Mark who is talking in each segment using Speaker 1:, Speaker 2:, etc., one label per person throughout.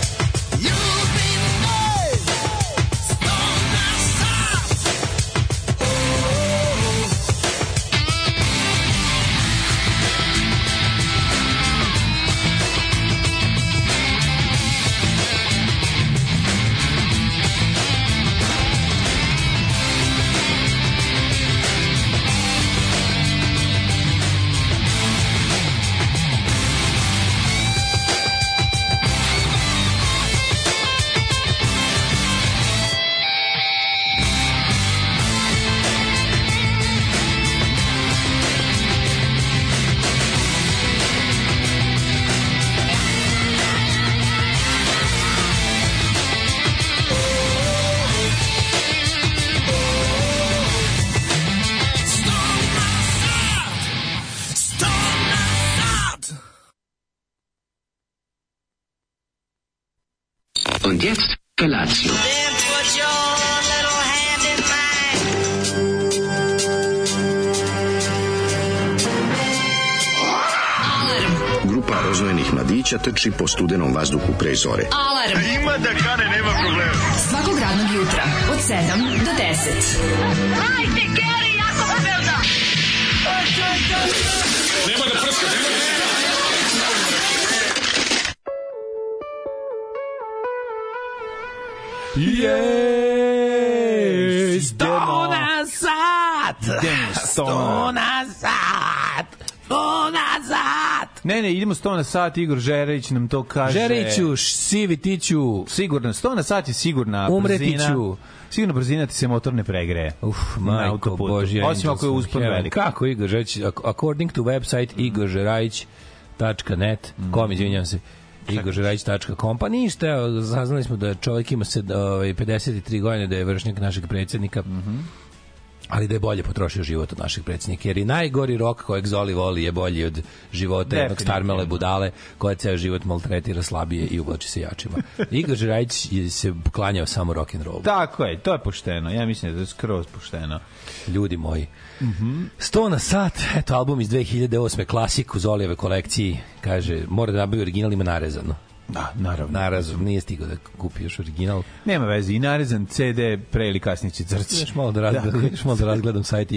Speaker 1: Oh, Oh, er, Und jetzt Felatio.
Speaker 2: Then put your little hand in mine.
Speaker 3: Grupa roznojenih mladića trči po studenom vazduhu pre zore.
Speaker 4: Alarm. Ima da kane, nema problema. Svakog radnog jutra, od 7 do 10.
Speaker 5: Jej!
Speaker 6: Idemo.
Speaker 5: nazad!
Speaker 6: Idemo sto.
Speaker 5: nazad! Sto nazad!
Speaker 6: Ne, ne, idemo 100 na sat, Igor Žerević nam to kaže.
Speaker 5: Žeriću, sivi tiću,
Speaker 6: Sigurno, 100 na sat je sigurna
Speaker 5: Umreti
Speaker 6: brzina.
Speaker 5: ću.
Speaker 6: Sigurno brzina ti se motor ne pregreje.
Speaker 5: Uf,
Speaker 6: Na
Speaker 5: majko
Speaker 6: autoputu.
Speaker 5: Božja.
Speaker 6: Osim ako je uspon velik. Mhm.
Speaker 5: Kako Igor Žerajić, ac- according to website igoržerajić.net, kom, izvinjam se, igoržerajić.com, pa ništa, evo, saznali smo da čovjek ima se, ovaj, 53 godine, da je vršnik našeg predsjednika,
Speaker 6: Mhm.
Speaker 5: ali da je bolje potrošio život od našeg predsjednika, jer i najgori rok kojeg Zoli voli je bolji od života jednog
Speaker 6: Definitivno.
Speaker 5: starmele budale koja ceo život maltretira slabije i uvlači se jačima. Igor Žerajić je se klanjao samo rock'n'rollu.
Speaker 6: Tako je, to je pošteno. Ja mislim da je skroz pošteno.
Speaker 5: ljudi moji. Mm
Speaker 6: Mhm.
Speaker 5: 100 na sat, eto album iz 2008. klasik u Zolijeve kolekciji, kaže, mora da nabavi original, ima narezano.
Speaker 6: Da, naravno.
Speaker 5: Narazom, nije stigao da kupi još original.
Speaker 6: Nema veze, i narezan CD pre ili kasnije će crci.
Speaker 5: Još malo da, razgledam, još malo da razgledam sajt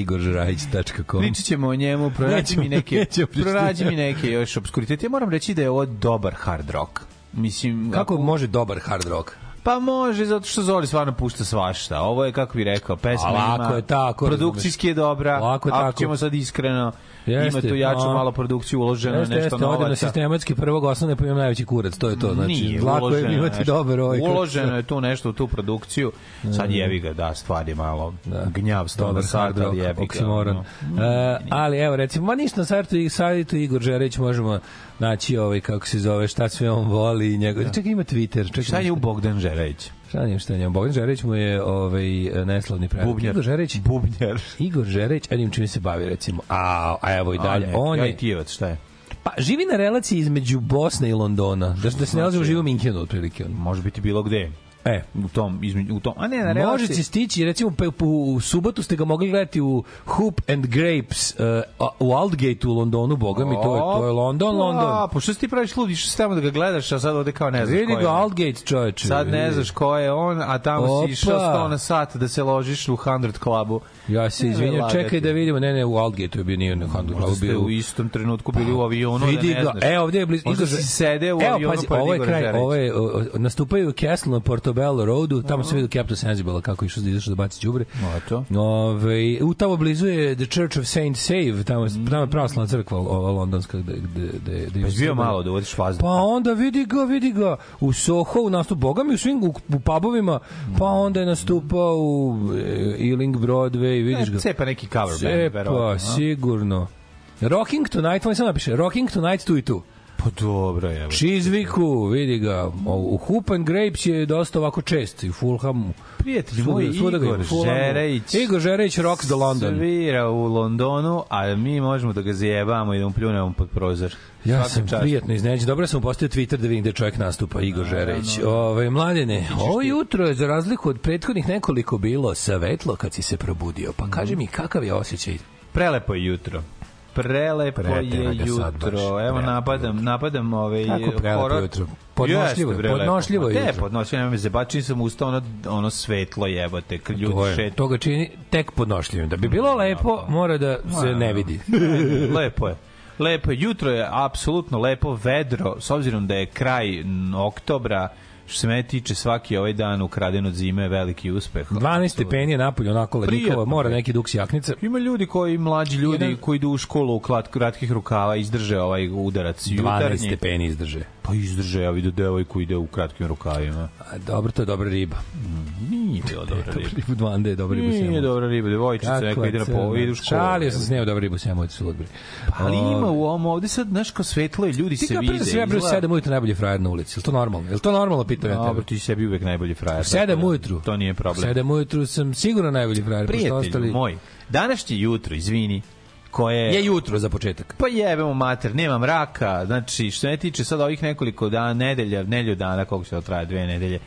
Speaker 5: igoržerajić.com.
Speaker 6: Pričat ćemo o njemu, prorađi
Speaker 5: Nećemo-
Speaker 6: mi neke,
Speaker 5: nećemo pričati.
Speaker 6: prorađi mi neke još obskuritete. Ja moram reći da je ovo dobar hard rock. Mislim,
Speaker 5: Kako
Speaker 6: ako-
Speaker 5: može dobar hard rock?
Speaker 6: Pa može, zato što Zoli stvarno pušta svašta. Ovo je, kako bi rekao, pesma
Speaker 5: A lako
Speaker 6: ima...
Speaker 5: je tako,
Speaker 6: Produkcijski je dobra.
Speaker 5: Lako je
Speaker 6: ako
Speaker 5: tako.
Speaker 6: ćemo sad iskreno,
Speaker 5: Jeste,
Speaker 6: ima tu jaču
Speaker 5: a.
Speaker 6: malo produkciju uloženo,
Speaker 5: Jeste,
Speaker 6: nešto
Speaker 5: jeste,
Speaker 6: novaca.
Speaker 5: odem na sistematski prvog osnovne, pa imam najveći kurac, to je to. Znači,
Speaker 6: Nije,
Speaker 5: lako je
Speaker 6: uloženo
Speaker 5: imati
Speaker 6: nešto.
Speaker 5: dobar ovaj. kako-
Speaker 6: Uloženo je tu nešto u tu produkciju. Sad jevi ga, da, stvar je malo da. gnjav sto na
Speaker 5: dobar
Speaker 6: sat,
Speaker 5: hard rock,
Speaker 6: ali da, jevi ga.
Speaker 5: oksimoron.
Speaker 6: ono.
Speaker 5: E, ali evo, recimo, ma ništa na sajtu, sajtu Igor Žereć možemo naći ovaj, kako se zove, šta sve on voli. i Njegov... Čekaj, ima Twitter. Čekaj,
Speaker 6: Da. Šta je u Bogdan Žerević?
Speaker 5: Šta njemu, šta njemu? Bogdan Žereć mu je ovaj, neslavni predak.
Speaker 6: Bubnjar.
Speaker 5: Igor Žereć,
Speaker 6: Bubnjar.
Speaker 5: Igor Žereć, ajde im čime se bavi recimo. A, a evo i dalje.
Speaker 6: A,
Speaker 5: on
Speaker 6: ja
Speaker 5: je,
Speaker 6: i Tijevac, šta je?
Speaker 5: pa živi na relaciji između Bosne i Londona. Da,
Speaker 6: Znači-
Speaker 5: da se nalazi u živom Minhenu otprilike. on.
Speaker 6: Može biti bilo gde.
Speaker 5: E,
Speaker 6: U tom, između, u tom, a ne, na relaciji.
Speaker 5: Možete stići, recimo pe- po- u subotu ste ga mogli gledati u Hoop and Grapes eh, a- u Aldgate u Londonu, boga mi, to je, to je London,
Speaker 6: A,
Speaker 5: London.
Speaker 6: pa što si ti praviš ludi, što si tamo da ga gledaš, a sad ovde kao ne znaš
Speaker 5: Vidi
Speaker 6: ko je
Speaker 5: ga
Speaker 6: on.
Speaker 5: Aldgate, čoveče.
Speaker 6: Sad ne znaš ko je on, a tamo
Speaker 5: Opa.
Speaker 6: si išao 100 na sat da se ložiš u 100 klubu.
Speaker 5: Ja se
Speaker 6: Nemoj
Speaker 5: izvinjam,
Speaker 6: lagati.
Speaker 5: čekaj da vidimo. Ne, ne, u Aldgate je bio nije na Handu
Speaker 6: Možda
Speaker 5: Glavu,
Speaker 6: ste
Speaker 5: bio
Speaker 6: u
Speaker 5: u
Speaker 6: istom trenutku bili u avionu,
Speaker 5: Vidi
Speaker 6: da ne
Speaker 5: ga,
Speaker 6: znaš.
Speaker 5: e, ovdje je blizu.
Speaker 6: Možda
Speaker 5: Igor-
Speaker 6: si sede u
Speaker 5: Evo,
Speaker 6: avionu pa
Speaker 5: pazi,
Speaker 6: pored
Speaker 5: ovo je
Speaker 6: Igora
Speaker 5: kraj,
Speaker 6: Žerića.
Speaker 5: ovo je, o, o, nastupaju u Castle na Portobello Roadu, tamo se vidi Captain Sensible kako je išao da izašao da baci đubre.
Speaker 6: Eto.
Speaker 5: Ove, u tamo blizu je The Church of Saint Save, tamo, je- tamo je pravoslavna crkva ova londonska gde gde gde gde
Speaker 6: Pa si bio
Speaker 5: Srba.
Speaker 6: malo da uvodiš fazdu.
Speaker 5: Pa onda vidi ga, vidi ga u Soho, u nastup Boga mi u svim u, u pubovima, pa onda je nastupao u e, Ealing Broadway, vidiš ga.
Speaker 6: E, Cepa neki cover band,
Speaker 5: Cepa,
Speaker 6: verovatno. a?
Speaker 5: pa, sigurno. Rocking Tonight, on sam napiše, Rocking Tonight tu i tu.
Speaker 6: Pa dobro, evo.
Speaker 5: Čizviku, vidi ga, u Hoop and Grapes je dosta ovako čest, i u Fulhamu.
Speaker 6: Prijatelj moj,
Speaker 5: Svuda- svuda ga ima,
Speaker 6: Igor
Speaker 5: u Fulhamu.
Speaker 6: Žerejić.
Speaker 5: Igor Žerejić, Rocks the London.
Speaker 6: Svira u Londonu, a mi možemo da ga zajebamo i da mu pljunemo pod prozor.
Speaker 5: Ja
Speaker 6: Svaka
Speaker 5: sam
Speaker 6: čast.
Speaker 5: prijatno iznenađen. Dobro sam postao Twitter da vidim gde čovjek nastupa, Igor Žerević. Ovaj mladene, ovo jutro je za razliku od prethodnih nekoliko bilo svetlo kad si se probudio. Pa
Speaker 6: Mhm.
Speaker 5: kaži mi kakav je osjećaj?
Speaker 6: Prelepo je jutro. Prelepo
Speaker 5: Pretera
Speaker 6: je
Speaker 5: ga sad baš.
Speaker 6: jutro. Evo
Speaker 5: Prelepo
Speaker 6: napadam, napadam ovaj
Speaker 5: Kako prelepo
Speaker 6: horor.
Speaker 5: jutro? Podnošljivo je,
Speaker 6: Jeste, prelepo.
Speaker 5: podnošljivo je
Speaker 6: Ma Ne,
Speaker 5: jutro.
Speaker 6: podnošljivo je, zebačim sam usta ono, ono svetlo jebote, kad ljudi
Speaker 5: To, je,
Speaker 6: šetu.
Speaker 5: to ga čini tek podnošljivim. Da bi bilo lepo, mora da se ne vidi.
Speaker 6: lepo je. Lepo je. Jutro je apsolutno lepo, vedro, s obzirom da je kraj m, oktobra, što se mene tiče svaki ovaj dan ukraden od zime je veliki uspeh.
Speaker 5: 12 stepeni je napolje, onako ledikova,
Speaker 6: Prijatno
Speaker 5: mora
Speaker 6: je.
Speaker 5: neki duks jaknice.
Speaker 6: Pa Ima ljudi koji, mlađi ljudi
Speaker 5: Jedan-
Speaker 6: koji idu u školu u klat, kratkih rukava, izdrže ovaj udarac
Speaker 5: 12
Speaker 6: jutarnji.
Speaker 5: stepeni izdrže.
Speaker 6: Pa izdrže, ja vidu devojku ide u kratkim rukavima.
Speaker 5: A, dobro, to je dobra riba.
Speaker 6: Nije bila dobra riba.
Speaker 5: Ribu 12 je dobra riba.
Speaker 6: Nije
Speaker 5: sjemovac.
Speaker 6: dobra riba, devojčica neka
Speaker 5: Kakva
Speaker 6: ide na
Speaker 5: crna.
Speaker 6: po, ide u školu.
Speaker 5: Šalio sam se njeo dobra ribu semovac su odbri.
Speaker 6: Ali ima u ovom, ovde sad, znaš, kao svetlo je, ljudi
Speaker 5: Pa Ti
Speaker 6: se
Speaker 5: kao
Speaker 6: vide.
Speaker 5: prvi sve broj
Speaker 6: izgleda-
Speaker 5: 7 ujutro najbolji frajer na ulici. Jel to normalno? Jel to normalno pitam ja tebe?
Speaker 6: Dobro, ti si sebi uvek najbolji frajer.
Speaker 5: 7
Speaker 6: tako da
Speaker 5: ujutru.
Speaker 6: To nije problem.
Speaker 5: 7 ujutru sam sigurno najbolji frajer. pošto
Speaker 6: Prijatelju
Speaker 5: ostali-
Speaker 6: moj, današnje jutro, izvini, koje...
Speaker 5: Je jutro za početak.
Speaker 6: Pa jebemo mater, nema da, mraka, znači što ne tiče sad ovih nekoliko dana, nedelja, nelju dana, koliko će to da traje, dve nedelje,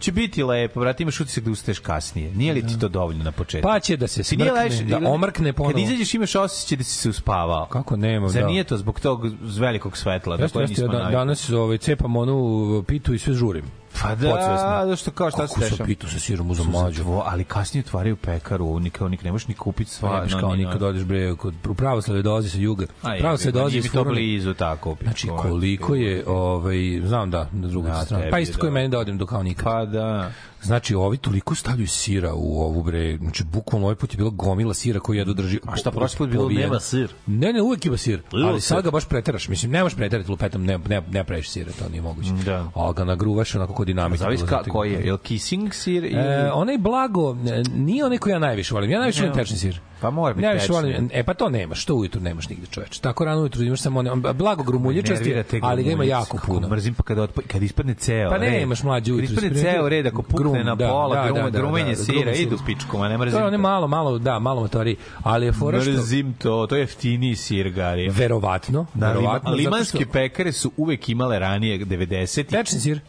Speaker 6: će biti lepo, brate, imaš utisak da ustaješ kasnije. Nije li ti to dovoljno na početku?
Speaker 5: Da. Pa će da se
Speaker 6: Ti nije
Speaker 5: smrkne,
Speaker 6: leš-
Speaker 5: da omrkne
Speaker 6: Kad
Speaker 5: ponovo.
Speaker 6: izađeš imaš osjećaj da si se uspavao.
Speaker 5: Kako nema,
Speaker 6: Zar
Speaker 5: da.
Speaker 6: nije to zbog tog z- velikog svetla na
Speaker 5: Jeste,
Speaker 6: koje
Speaker 5: jeste,
Speaker 6: Dakle, nismo
Speaker 5: ja da-
Speaker 6: navikli?
Speaker 5: danas ovaj, cepam onu e, pitu i sve žurim.
Speaker 6: Pa da,
Speaker 5: Podsvesno.
Speaker 6: da što kao šta se
Speaker 5: Kako sam
Speaker 6: dešava? pa,
Speaker 5: pitu sa sirom uzam mlađu.
Speaker 6: Tvo, ali kasnije otvaraju pekaru, nikao nik ne možeš ni kupiti
Speaker 5: Pa,
Speaker 6: sva.
Speaker 5: no, kao nikad odeš bre, kod u pravoslavlje dolazi sa juga. Pravoslavlje dolazi iz
Speaker 6: pa mi to
Speaker 5: Furune.
Speaker 6: blizu tako.
Speaker 5: Znači,
Speaker 6: pičko,
Speaker 5: koliko je, ovaj, znam da, na drugu
Speaker 6: Na
Speaker 5: stranu.
Speaker 6: tebi
Speaker 5: Pa
Speaker 6: je
Speaker 5: isto kao i
Speaker 6: da.
Speaker 5: meni da odem do kao nikad.
Speaker 6: Pa da.
Speaker 5: Znači, ovi toliko stavljaju sira u ovu bre, znači bukvalno ovaj put je bila gomila sira koju jedu drži.
Speaker 6: A šta prošli put bilo
Speaker 5: pobijena.
Speaker 6: nema sir?
Speaker 5: Ne, ne, uvek ima sir.
Speaker 6: Ima
Speaker 5: ali sad
Speaker 6: sir.
Speaker 5: ga baš preteraš. Mislim, ne možeš preterati lupetom, ne, ne, ne praviš sira, to nije moguće.
Speaker 6: Da.
Speaker 5: Ali ga nagruvaš onako kod dinamita.
Speaker 6: Zavis
Speaker 5: Dolazi
Speaker 6: ka,
Speaker 5: ti-
Speaker 6: koji je, je li kissing sir ili...
Speaker 5: E, onaj blago, e, nije onaj koji ja najviše volim. Ja najviše volim tečni sir.
Speaker 6: Pa mora biti
Speaker 5: Najviše
Speaker 6: tečni.
Speaker 5: volim. E pa to nemaš, to ujutru nemaš nigde, čoveče. Tako rano ujutru imaš samo one, on- blago grumuljičasti,
Speaker 6: Nervira te
Speaker 5: ali ga ima
Speaker 6: grumuljice.
Speaker 5: jako
Speaker 6: Kako
Speaker 5: puno.
Speaker 6: Mrzim pa kad, otpa, kad ispadne ceo
Speaker 5: Pa ne,
Speaker 6: red.
Speaker 5: imaš mlađe
Speaker 6: Kad
Speaker 5: ujutru,
Speaker 6: ispadne
Speaker 5: ispričaj.
Speaker 6: ceo red, ako pukne
Speaker 5: Grum,
Speaker 6: na
Speaker 5: da,
Speaker 6: pola,
Speaker 5: da,
Speaker 6: grum,
Speaker 5: da, da,
Speaker 6: grumenje
Speaker 5: da,
Speaker 6: sira,
Speaker 5: grumen sir.
Speaker 6: idu pičkom, a ne mrzim
Speaker 5: To je
Speaker 6: to.
Speaker 5: one malo, malo, da, malo motori, ali je fora što...
Speaker 6: Mrzim to, to je jeftiniji sir, Gari.
Speaker 5: Verovatno,
Speaker 6: Da, lima,
Speaker 5: verovatno.
Speaker 6: limanske
Speaker 5: zato što-
Speaker 6: pekare su uvek imale ranije 90
Speaker 5: Tečni sir.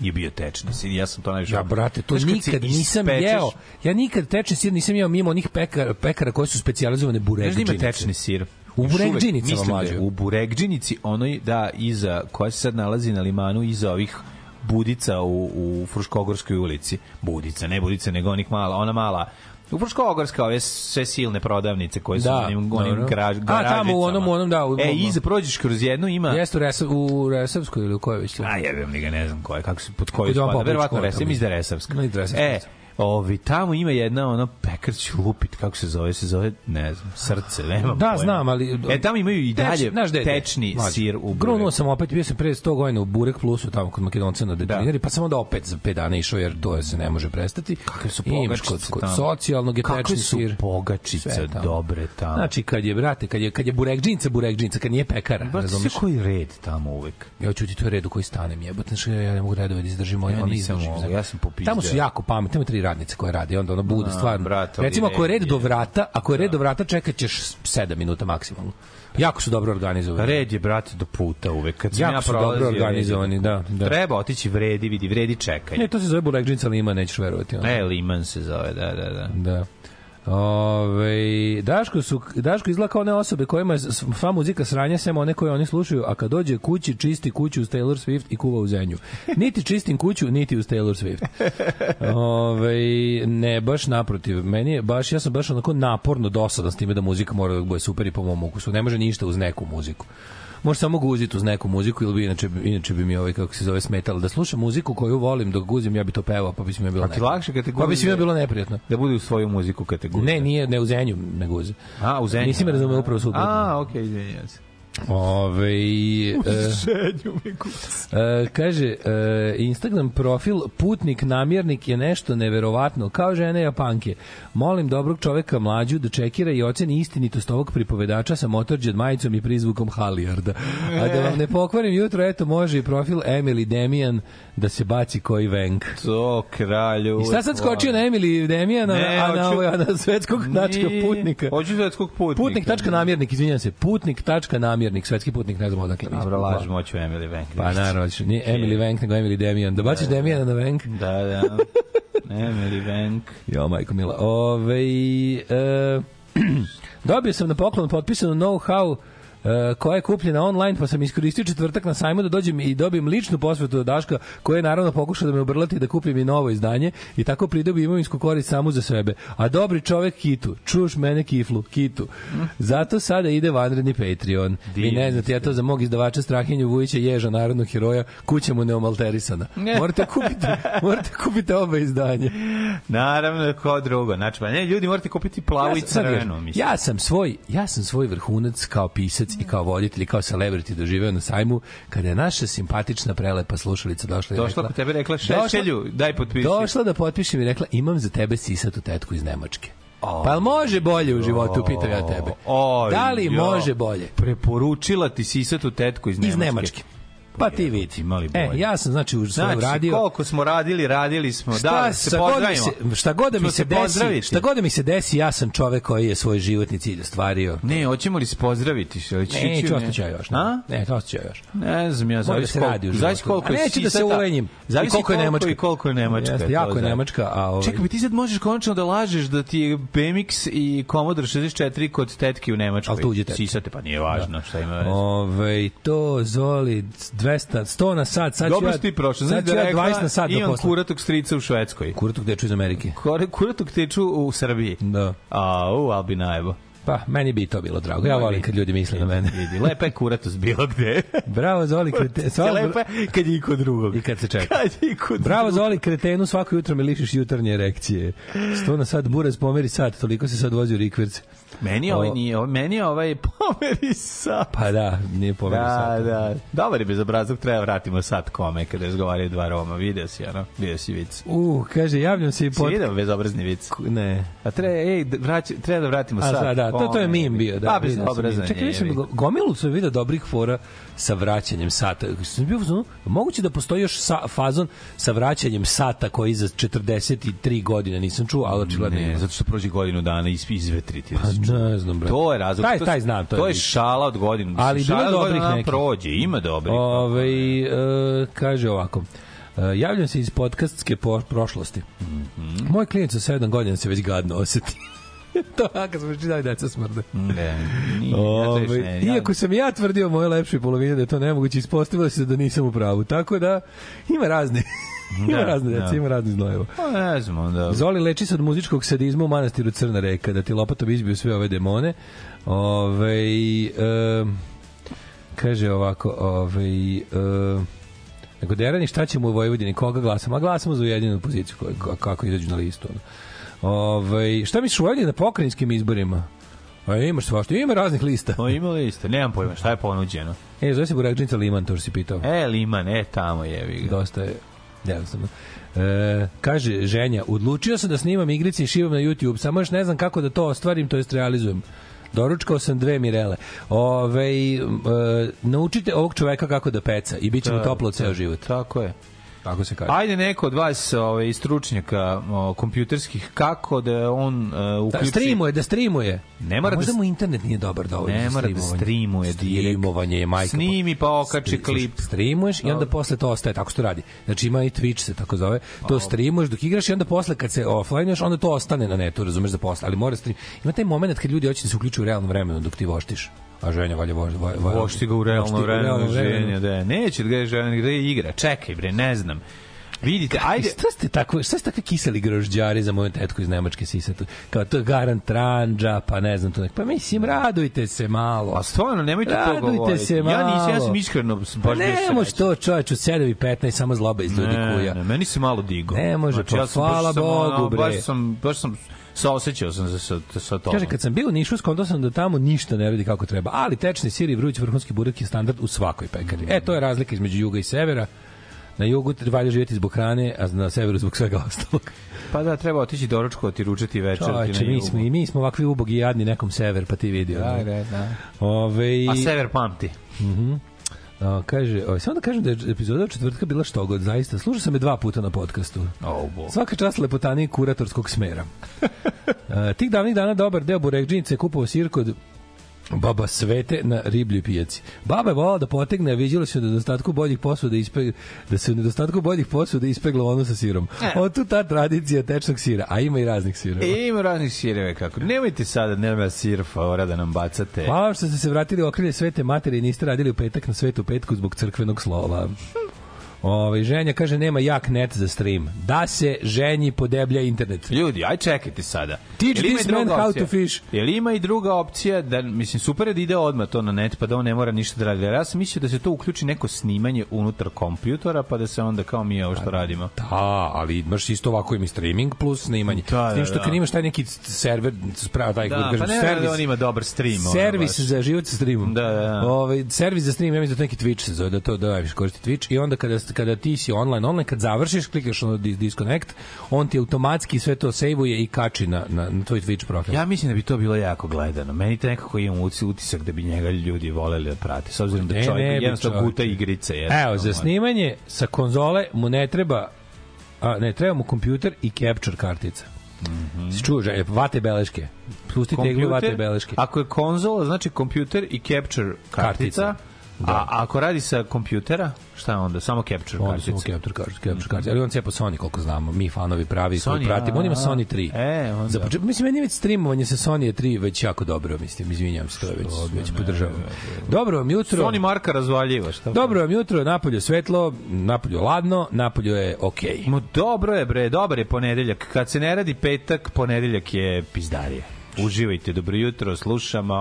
Speaker 6: je bio tečni sir. Ja sam to najviše.
Speaker 5: Ja,
Speaker 6: volim.
Speaker 5: brate, to
Speaker 6: Da, Znaš, kad se
Speaker 5: nikad nisam
Speaker 6: ispečeš-
Speaker 5: jeo. Ja nikad tečni sir nisam jeo mimo onih pekara, pekara koje su specijalizovane burek
Speaker 6: Znaš da ima
Speaker 5: džinice.
Speaker 6: tečni sir?
Speaker 5: U
Speaker 6: Još uvek,
Speaker 5: burekdžinicama,
Speaker 6: mislim da je
Speaker 5: mlađe.
Speaker 6: U burekđinici, onoj, da, iza, koja se sad nalazi na limanu, iza ovih budica u, u Fruškogorskoj ulici. Budica, ne budica, nego onih mala, ona mala. U Fruškogorska, ove sve silne prodavnice koje su
Speaker 5: Da,
Speaker 6: da, onim, onim
Speaker 5: dobro.
Speaker 6: graž,
Speaker 5: A, tamo u
Speaker 6: garažicama.
Speaker 5: onom- u onom, da, u-
Speaker 6: e, iza prođeš kroz jednu, ima...
Speaker 5: Jeste u, Resa, u Resavskoj ili u kojoj već? Da,
Speaker 6: A Pa jebem li ga, ne znam koje, kako se, pod koju
Speaker 5: Kod Jovan
Speaker 6: spada.
Speaker 5: Popović,
Speaker 6: Verovatno
Speaker 5: koja je
Speaker 6: Resa,
Speaker 5: tamo?
Speaker 6: mislim da je Resavska.
Speaker 5: Ma, i da je Resavska.
Speaker 6: E, ovi, tamo ima jedna ono pekarću lupit, kako se zove, se zove, ne znam, srce, nema
Speaker 5: Da, znam, ali...
Speaker 6: E, tamo imaju i dalje
Speaker 5: Teč- znaš gde je
Speaker 6: tečni
Speaker 5: Mlađe.
Speaker 6: sir u
Speaker 5: Grunuo
Speaker 6: Grunuo
Speaker 5: sam opet, bio sam pre 100 godina u Burek Plusu, tamo kod Makedonca na
Speaker 6: Da.
Speaker 5: Detrineri, pa sam onda opet za 5 dana išao, jer to se ne može prestati.
Speaker 6: Kakve su
Speaker 5: I imaš kod-
Speaker 6: pogačice
Speaker 5: kod
Speaker 6: tamo.
Speaker 5: socijalnog je
Speaker 6: Kakve
Speaker 5: tečni
Speaker 6: su
Speaker 5: sir.
Speaker 6: pogačice
Speaker 5: Sve tamo.
Speaker 6: dobre tamo.
Speaker 5: Znači, kad je, brate, kad je, kad je burekđinca, burekđinca, kad nije pekara,
Speaker 6: Brate, sve
Speaker 5: razumiješ?
Speaker 6: koji red tamo uvek.
Speaker 5: Ja ću ti to je red u koji stanem jebote, znači ja ne mogu redove da izdržim, ja,
Speaker 6: Ja
Speaker 5: ja
Speaker 6: nisam
Speaker 5: izdržim.
Speaker 6: ovo,
Speaker 5: znači.
Speaker 6: ja sam popizdeo.
Speaker 5: Tamo su jako pametne, tamo tri radnice koje rade, i onda ono bude stvarno.
Speaker 6: brate, ali
Speaker 5: Recimo ako je red
Speaker 6: red
Speaker 5: do
Speaker 6: je. Da.
Speaker 5: vrata, ako je red do vrata čekaćeš 7 minuta maksimalno. Jako su dobro organizovani.
Speaker 6: Red je, brate, do puta uvek. Kad sam
Speaker 5: Pa jako
Speaker 6: ja
Speaker 5: su dobro
Speaker 6: prolazio, red je-
Speaker 5: organizovani, da, da.
Speaker 6: Treba otići vredi, vidi, vredi čekaj.
Speaker 5: Ne, to se zove burekđinca, ali ima, nećeš verovati. ono.
Speaker 6: E, Liman se zove, da, da, da.
Speaker 5: Da. Ove, Daško, su, Daško izgleda kao one osobe kojima je s- sva muzika sranja sem one koje oni slušaju, a kad dođe kući čisti kuću uz Taylor Swift i kuva u zenju. Niti čistim kuću, niti uz Taylor Swift. Ove, ne, baš naprotiv. Meni je baš, ja sam baš onako naporno dosadan s time da muzika mora da bude super i po mom ukusu. Ne može ništa uz neku muziku. Može samo guziti uz neku muziku ili bi inače, inače bi mi ovaj kako se zove smetalo da slušam muziku koju volim dok guzim ja bi to pevao pa bi se mi bilo
Speaker 6: A ti
Speaker 5: neprijatno.
Speaker 6: lakše kad te
Speaker 5: pa bi se mi
Speaker 6: guze-
Speaker 5: bilo neprijatno
Speaker 6: Da bude u svoju muziku kategoriju.
Speaker 5: Ne, nije, ne u Zenju, nego u Zenju.
Speaker 6: A, u Zenju.
Speaker 5: Nisi me razumeo upravo suprotno.
Speaker 6: A, okej, okay, izvinjam se.
Speaker 5: Ove, e, e, kaže, e, Instagram profil Putnik namjernik je nešto neverovatno, kao žene Japanke. Molim dobrog čoveka mlađu da čekira i oceni istinitost ovog pripovedača sa motorđed majicom i prizvukom Halijarda. A da vam ne pokvarim jutro, eto može i profil Emily Demian da se baci koji venk.
Speaker 6: To, kralju.
Speaker 5: I šta sad skočio na Emily Demian, a na,
Speaker 6: Ne,
Speaker 5: a na,
Speaker 6: hoću-
Speaker 5: ovaj, a na svetskog načka putnika?
Speaker 6: Hoću svetskog putnika.
Speaker 5: Putnik tačka namjernik, izvinjavam se, putnik tačka namjernik, svetski putnik, ne znam odakle.
Speaker 6: Dobro, lažem, hoću Emily Venk.
Speaker 5: Pa naravno, ću- nije Emily Venk, nego Emily Demian. Da baciš Demiana na Venk?
Speaker 6: Da, da. Emily Venk.
Speaker 5: Jo, majko mila. Ove, e, dobio sam na poklon potpisano know-how e, koja je kupljena online, pa sam iskoristio četvrtak na sajmu da dođem i dobijem ličnu posvetu od Daška, koja je naravno pokušao da me obrlati da kupim i novo izdanje i tako pridobi imovinsku korist samu za sebe. A dobri čovek Kitu, čuš mene kiflu, Kitu. Zato sada ide vanredni Patreon. Vi ne znate, ja to za mog izdavača Strahinju Vujića, ježa narodnog heroja, kuća mu neomalterisana. Morate kupiti, morate kupiti oba izdanje.
Speaker 6: Naravno, kao drugo. Znači, pa ne, ljudi, morate kupiti plavu i
Speaker 5: sam- sad vidiš,
Speaker 6: crvenu, Pa mislim.
Speaker 5: ja sam svoj, ja sam svoj vrhunac kao pisac i kao voditelj i kao celebrity doživeo na sajmu kada je naša simpatična prelepa slušalica došla i
Speaker 6: Došla
Speaker 5: rekla,
Speaker 6: kod tebe i rekla,
Speaker 5: Došla-
Speaker 6: "Šešelju, daj potpiši."
Speaker 5: Došla da potpišem i rekla imam za tebe sisatu tetku iz Nemačke. Pa jel može bolje u životu, pitam ja tebe.
Speaker 6: Oj,
Speaker 5: da li
Speaker 6: jo.
Speaker 5: može bolje?
Speaker 6: Preporučila ti sisatu tetku iz Nemačke.
Speaker 5: Iz Nemačke. Pa ti vidi.
Speaker 6: Mali
Speaker 5: E,
Speaker 6: bolje.
Speaker 5: ja sam, znači, u svojem
Speaker 6: Znači,
Speaker 5: radio...
Speaker 6: koliko smo radili, radili smo. da, se
Speaker 5: šta god mi
Speaker 6: pozdravimo.
Speaker 5: se, šta god da
Speaker 6: Ćemo
Speaker 5: mi se desi,
Speaker 6: pozdraviti.
Speaker 5: šta god da mi se desi, ja sam čovek koji je svoj životni cilj ostvario.
Speaker 6: Ne, hoćemo li se pozdraviti? Što li
Speaker 5: Ne, ću ostaću ja još. da.
Speaker 6: A?
Speaker 5: Ne, ne ostaću ja još.
Speaker 6: Ne znam, ja
Speaker 5: Mora da
Speaker 6: zavisi
Speaker 5: se radi u
Speaker 6: koliko,
Speaker 5: životu.
Speaker 6: zavisi koliko
Speaker 5: A
Speaker 6: je
Speaker 5: neću da se
Speaker 6: sisata.
Speaker 5: ulenjim.
Speaker 6: Zavisi
Speaker 5: I koliko je Nemačka.
Speaker 6: I koliko je Nemačka.
Speaker 5: Jeste,
Speaker 6: to
Speaker 5: jako je
Speaker 6: da.
Speaker 5: Nemačka, a ovaj-
Speaker 6: Čekaj, ti sad možeš končno da lažeš da ti je BMX i Commodore 64 kod tetke u Nemačkoj.
Speaker 5: Al tuđe tetke. Da.
Speaker 6: Sisate, pa nije važno šta ima veze.
Speaker 5: Ove, Ovaj, to Zoli 200, 100 na sat, sad ću
Speaker 6: Dobro
Speaker 5: ja...
Speaker 6: si ti prošao. Znači
Speaker 5: Sad ću
Speaker 6: da
Speaker 5: ja 20
Speaker 6: rekla,
Speaker 5: na sat do
Speaker 6: imam
Speaker 5: posla.
Speaker 6: kuratog strica u Švedskoj.
Speaker 5: Kuratok deču iz Amerike.
Speaker 6: Kore- Kuratog teču u Srbiji.
Speaker 5: Da.
Speaker 6: A, u, ali bi najebo.
Speaker 5: Pa, meni bi i to bilo drago. Ja volim kad ljudi misle na mene.
Speaker 6: Vidi, lepa je kuratost bilo gde.
Speaker 5: Bravo Zoli, krete...
Speaker 6: Sva
Speaker 5: sva-
Speaker 6: lepa je kad je i kod drugog.
Speaker 5: I kad se čeka.
Speaker 6: Kad je i kod
Speaker 5: Bravo Zoli, kretenu, svako jutro me lišiš jutarnje erekcije. Sto na sat, buraz, pomeri sat, toliko se sad vozi u rikverc.
Speaker 6: Meni ovaj
Speaker 5: O-
Speaker 6: nije, ovaj- meni je ovaj pomeri sat.
Speaker 5: Pa da, nije pomeri
Speaker 6: Da,
Speaker 5: sat.
Speaker 6: da. Dobar je bezobrazluk, treba vratimo sat kome kada razgovaraju dva Roma. Video si, ono, video si vic. Si
Speaker 5: U, kaže, javljam se i pod...
Speaker 6: vidio bezobrazni vic?
Speaker 5: Ne.
Speaker 6: A treba, ej, da vrać, treba da vratimo
Speaker 5: A
Speaker 6: sat.
Speaker 5: sad, da, to, to je
Speaker 6: kome.
Speaker 5: mim bio. Da,
Speaker 6: Pa
Speaker 5: vidio sam
Speaker 6: bezobrazan
Speaker 5: mim.
Speaker 6: je.
Speaker 5: Čekaj,
Speaker 6: jebi.
Speaker 5: nisam, go- gomilu sam vidio dobrih fora sa vraćanjem sata. Sam bio, u fazonu, moguće da postoji još sa, fazon sa vraćanjem sata koji za 43 godine nisam čuo, ali očigledno
Speaker 6: Ne,
Speaker 5: ima.
Speaker 6: zato što prođe godinu dana i isp- izvetriti.
Speaker 5: Pa ne znam, bre.
Speaker 6: To je razlog.
Speaker 5: Taj,
Speaker 6: to
Speaker 5: taj znam, to je
Speaker 6: to je
Speaker 5: više.
Speaker 6: šala od godinu. Mislim,
Speaker 5: Ali bilo
Speaker 6: šala
Speaker 5: je
Speaker 6: od godinu
Speaker 5: dobrih
Speaker 6: dana
Speaker 5: nekih.
Speaker 6: prođe, ima dobrih.
Speaker 5: Ove, Ovaj, e, kaže ovako. E, javljam se iz podcastske po prošlosti. Moj klijent sa 7 godina se već gadno oseti. to je kad smo čitali deca smrde.
Speaker 6: Ne, nije, zato još
Speaker 5: Ove,
Speaker 6: ne, ja-
Speaker 5: iako sam ja tvrdio moje lepše polovine da je to nemoguće, ispostavilo se da nisam u pravu. Tako da, ima razne. ima
Speaker 6: Da,
Speaker 5: razne deca,
Speaker 6: da.
Speaker 5: ima razne znojeva.
Speaker 6: Pa ne znam, onda.
Speaker 5: Zoli leči se od muzičkog sadizma u manastiru Crna reka, da ti lopatom izbiju sve ove demone. Ove, em, kaže ovako, ove, em, nego Derani, šta ćemo u Vojvodini, koga glasamo? A glasamo za ujedinu poziciju, koju, ka- kako izađu na listu. ono. Ove, šta misliš u Vojvodini na pokrajinskim izborima? A imaš svašta, ima raznih lista.
Speaker 6: Pa imali ste, nemam pojma šta je ponuđeno.
Speaker 5: E, zove se Burakđinica Liman, to što si pitao.
Speaker 6: E, Liman, e, tamo jevi ga.
Speaker 5: Dosta je jednostavno. E, kaže ženja, odlučio sam da snimam igrice i šivam na YouTube, samo još ne znam kako da to ostvarim, to jest realizujem. Doručkao sam dve Mirele. Ove, e, naučite ovog čoveka kako da peca i bit će mu toplo ceo život.
Speaker 6: Tako je.
Speaker 5: Tako se kaže.
Speaker 6: Ajde neko od vas, ovaj stručnjaka o, kompjuterskih kako da on e,
Speaker 5: Da,
Speaker 6: uključi
Speaker 5: streamuje, da streamuje.
Speaker 6: Ne mora
Speaker 5: A možda
Speaker 6: da-
Speaker 5: mu internet nije dobar dovoljno.
Speaker 6: Ne
Speaker 5: za
Speaker 6: mora da
Speaker 5: streamovanje.
Speaker 6: streamuje direkt.
Speaker 5: Streamovanje je majka.
Speaker 6: Snimi pa okači klip.
Speaker 5: Streamuješ i onda posle to ostaje, tako što radi. Znači ima i Twitch se tako zove. To streamuješ dok igraš i onda posle kad se offlineuješ, onda to ostane na netu, razumeš da posle. Ali mora stream. Ima taj moment kad ljudi hoće da se uključe u realnom vremenu dok ti voštiš. A ženja valja voš, vo, vo,
Speaker 6: Pošti ga u realno
Speaker 5: vošti ga u
Speaker 6: vreme
Speaker 5: realnom
Speaker 6: ženja, da. Neće da ga ženja gde igra. Čekaj bre, ne znam. Vidite, ajde.
Speaker 5: Šta ste tako, šta ste takvi kiseli grožđari za moju tetku iz Nemačke sisatu? Kao to je garant ranđa, pa ne znam to nek. Pa mislim, radujte se malo.
Speaker 6: Pa stvarno, nemojte to
Speaker 5: Radujte
Speaker 6: govoriti.
Speaker 5: se
Speaker 6: Ja nisam, ja sam
Speaker 5: malo.
Speaker 6: iskreno baš
Speaker 5: Pa
Speaker 6: bio
Speaker 5: ne
Speaker 6: srećan.
Speaker 5: može to čovječ u 7 i 15 samo zloba iz ljudi
Speaker 6: Ne,
Speaker 5: kuja.
Speaker 6: ne, meni se malo digo.
Speaker 5: Ne može, pa
Speaker 6: ja sam baš
Speaker 5: hvala
Speaker 6: sam, ono,
Speaker 5: Bogu, bre.
Speaker 6: Baš sam, baš sam, saosećao sam se sa, sa tom.
Speaker 5: Kaže, kad sam bio u Nišu, skontao sam da tamo ništa ne radi kako treba, ali tečni sir i vruć vrhunski burak je standard u svakoj pekari. E, to je razlika između juga i severa. Na jugu te- valja živjeti zbog hrane, a na severu zbog svega ostalog.
Speaker 6: Pa da, treba otići doručkovati, ručati večer.
Speaker 5: Čovječe, mi smo, i mi smo ovakvi ubogi i jadni nekom sever, pa ti vidio.
Speaker 6: Da, da, da.
Speaker 5: Ove, i-
Speaker 6: A sever pamti.
Speaker 5: a, kaže, oj, samo da kažem da je epizoda od četvrtka bila što god, zaista. Slušao sam je dva puta na podcastu.
Speaker 6: O, bog.
Speaker 5: Svaka čast lepotaniji kuratorskog smera. E, tih davnih dana dobar deo burekđinice je kupovao sir kod Baba Svete na ribljoj pijaci. Baba je volala da potegne, a viđalo se da u nedostatku boljih posuda ispe, da se u nedostatku boljih posuda ispeglo ono sa sirom. Od tu ta tradicija tečnog sira, a ima i raznih sira.
Speaker 6: E, ima raznih sireve kako. Nemojte sada, nema sir favora da nam bacate.
Speaker 5: Hvala vam što ste se vratili u okrilje Svete Matere i niste radili u petak na Svetu Petku zbog crkvenog slova. Ove, ženja kaže nema jak net za stream. Da se ženji podeblja internet.
Speaker 6: Ljudi, aj čekajte sada.
Speaker 5: Teach
Speaker 6: Jel ima i
Speaker 5: this
Speaker 6: druga
Speaker 5: man how
Speaker 6: opcija?
Speaker 5: to fish.
Speaker 6: Jel ima i druga opcija da, mislim, super je da ide odmah to na net, pa da on ne mora ništa da radi. Jer Ja sam mislio da se to uključi neko snimanje unutar kompjutora, pa da se onda kao mi ovo što radimo.
Speaker 5: Da, ali imaš isto ovako im i streaming plus snimanje.
Speaker 6: Da, da,
Speaker 5: Da, S tim što kad
Speaker 6: da.
Speaker 5: imaš taj neki server, sprava taj
Speaker 6: Da,
Speaker 5: kažem,
Speaker 6: pa ne servis, da on ima dobar stream. ono,
Speaker 5: servis
Speaker 6: baš.
Speaker 5: za život sa streamom.
Speaker 6: Da, da, da.
Speaker 5: Ovaj servis za stream, ja mislim da to neki Twitch se zove, da to da viš da, koristi Twitch i onda kada kada ti si online, online kad završiš, klikaš ono dis- disconnect, on ti automatski sve to sejvuje i kači na, na, na tvoj Twitch profil.
Speaker 6: Ja mislim da bi to bilo jako gledano. Meni to nekako imam uci- utisak da bi njega ljudi voleli da prate, s obzirom da
Speaker 5: Ne,
Speaker 6: čovjek
Speaker 5: ne bi,
Speaker 6: jednostavno
Speaker 5: čovječe.
Speaker 6: guta igrice.
Speaker 5: Evo, za snimanje sa konzole mu ne treba a, ne, treba mu kompjuter i capture kartica. Mm
Speaker 6: Mhm.
Speaker 5: -hmm. Čuo, želje, vate beleške. Pusti teglu, vate beleške.
Speaker 6: Ako je konzola, znači kompjuter i capture kartica.
Speaker 5: Kartica. da.
Speaker 6: A ako radi sa kompjutera, šta je onda? Samo capture
Speaker 5: Pa Onda
Speaker 6: kartica.
Speaker 5: samo capture kartica, capture kartica. Ali on cepa Sony, koliko znamo, mi fanovi pravi
Speaker 6: Sony,
Speaker 5: koji pratimo. On ima
Speaker 6: a,
Speaker 5: Sony 3.
Speaker 6: e, onda.
Speaker 5: Za početak, mislim, meni je već streamovanje sa Sony 3 već jako dobro, mislim, izvinjam se, to je već, već podržavam. Dobro vam jutro.
Speaker 6: Sony marka razvaljiva, šta?
Speaker 5: Dobro vam jutro, napolju je svetlo, napolju je ladno, napolju je okej. Okay.
Speaker 6: Ma dobro je bre, dobar je ponedeljak. Kad se ne radi petak, ponedeljak je pizdarija. Uživajte, dobro jutro, slušamo.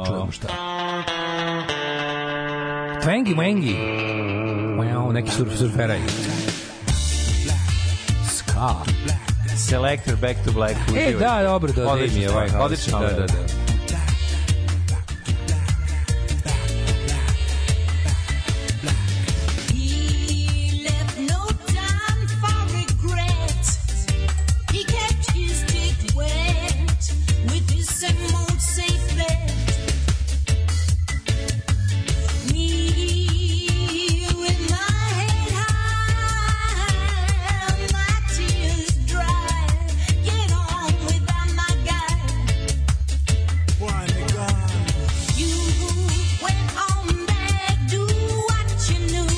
Speaker 5: Da čujemo šta. Twengi Wengi. Wow, neki surf, surferaj. Ska.
Speaker 6: Selector Back to Black.
Speaker 5: E, da, dobro, da, da
Speaker 6: Odlična
Speaker 5: mi je ovaj.
Speaker 6: stvar,
Speaker 5: Odlično,
Speaker 6: odlična
Speaker 5: da, da,
Speaker 6: stvar.
Speaker 5: da.
Speaker 1: He left no time for regret. He kept his dick wet with his same old safe bet. Me with my head high, my tears dry. Get on without my guy. You went on back, do what you knew,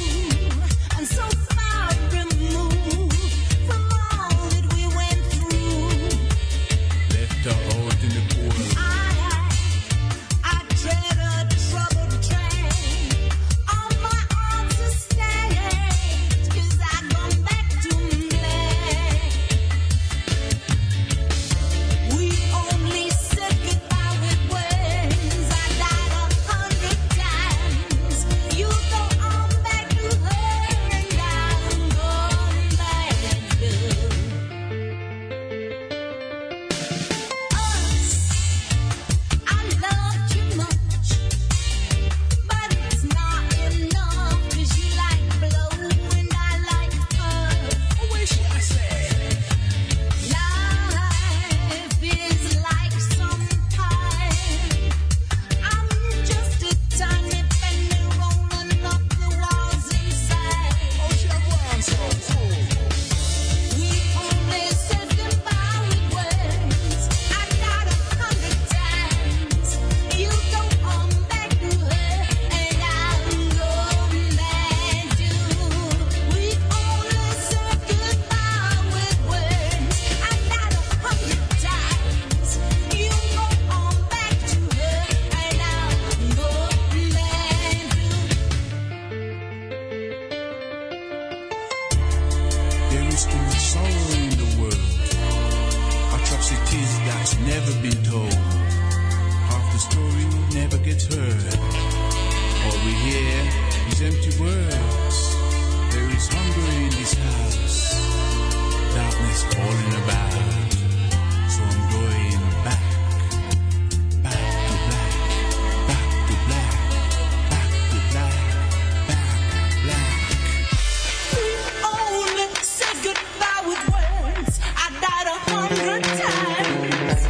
Speaker 1: and so far removed from all that we went through. I, I dread a troubled train. All my arms are stained 'cause I gone back to black. We only said goodbye with words. I died a hundred times. You go on back to her, and I'm going back to us. I loved you much, but it's not enough 'cause you like blue and I like purple. Wish I said. Life is like some pie. I'm just a tiny penny rolling up the walls inside. Oh, your words so We only said goodbye with words. I got a hundred times. You go on back to her, and I'm going back to. We only said goodbye with words. I got a hundred times. You go on back to her, and I'm going back to.
Speaker 7: There is too much sorrow in the world. Atrocities that's never been told. Half the story never gets heard. All we hear is empty words. There is hunger in this house. Darkness falling about. So I'm going back. Back to black. Back to black. Back to black. Back to black.
Speaker 1: only said goodbye with words. I died a hundred times.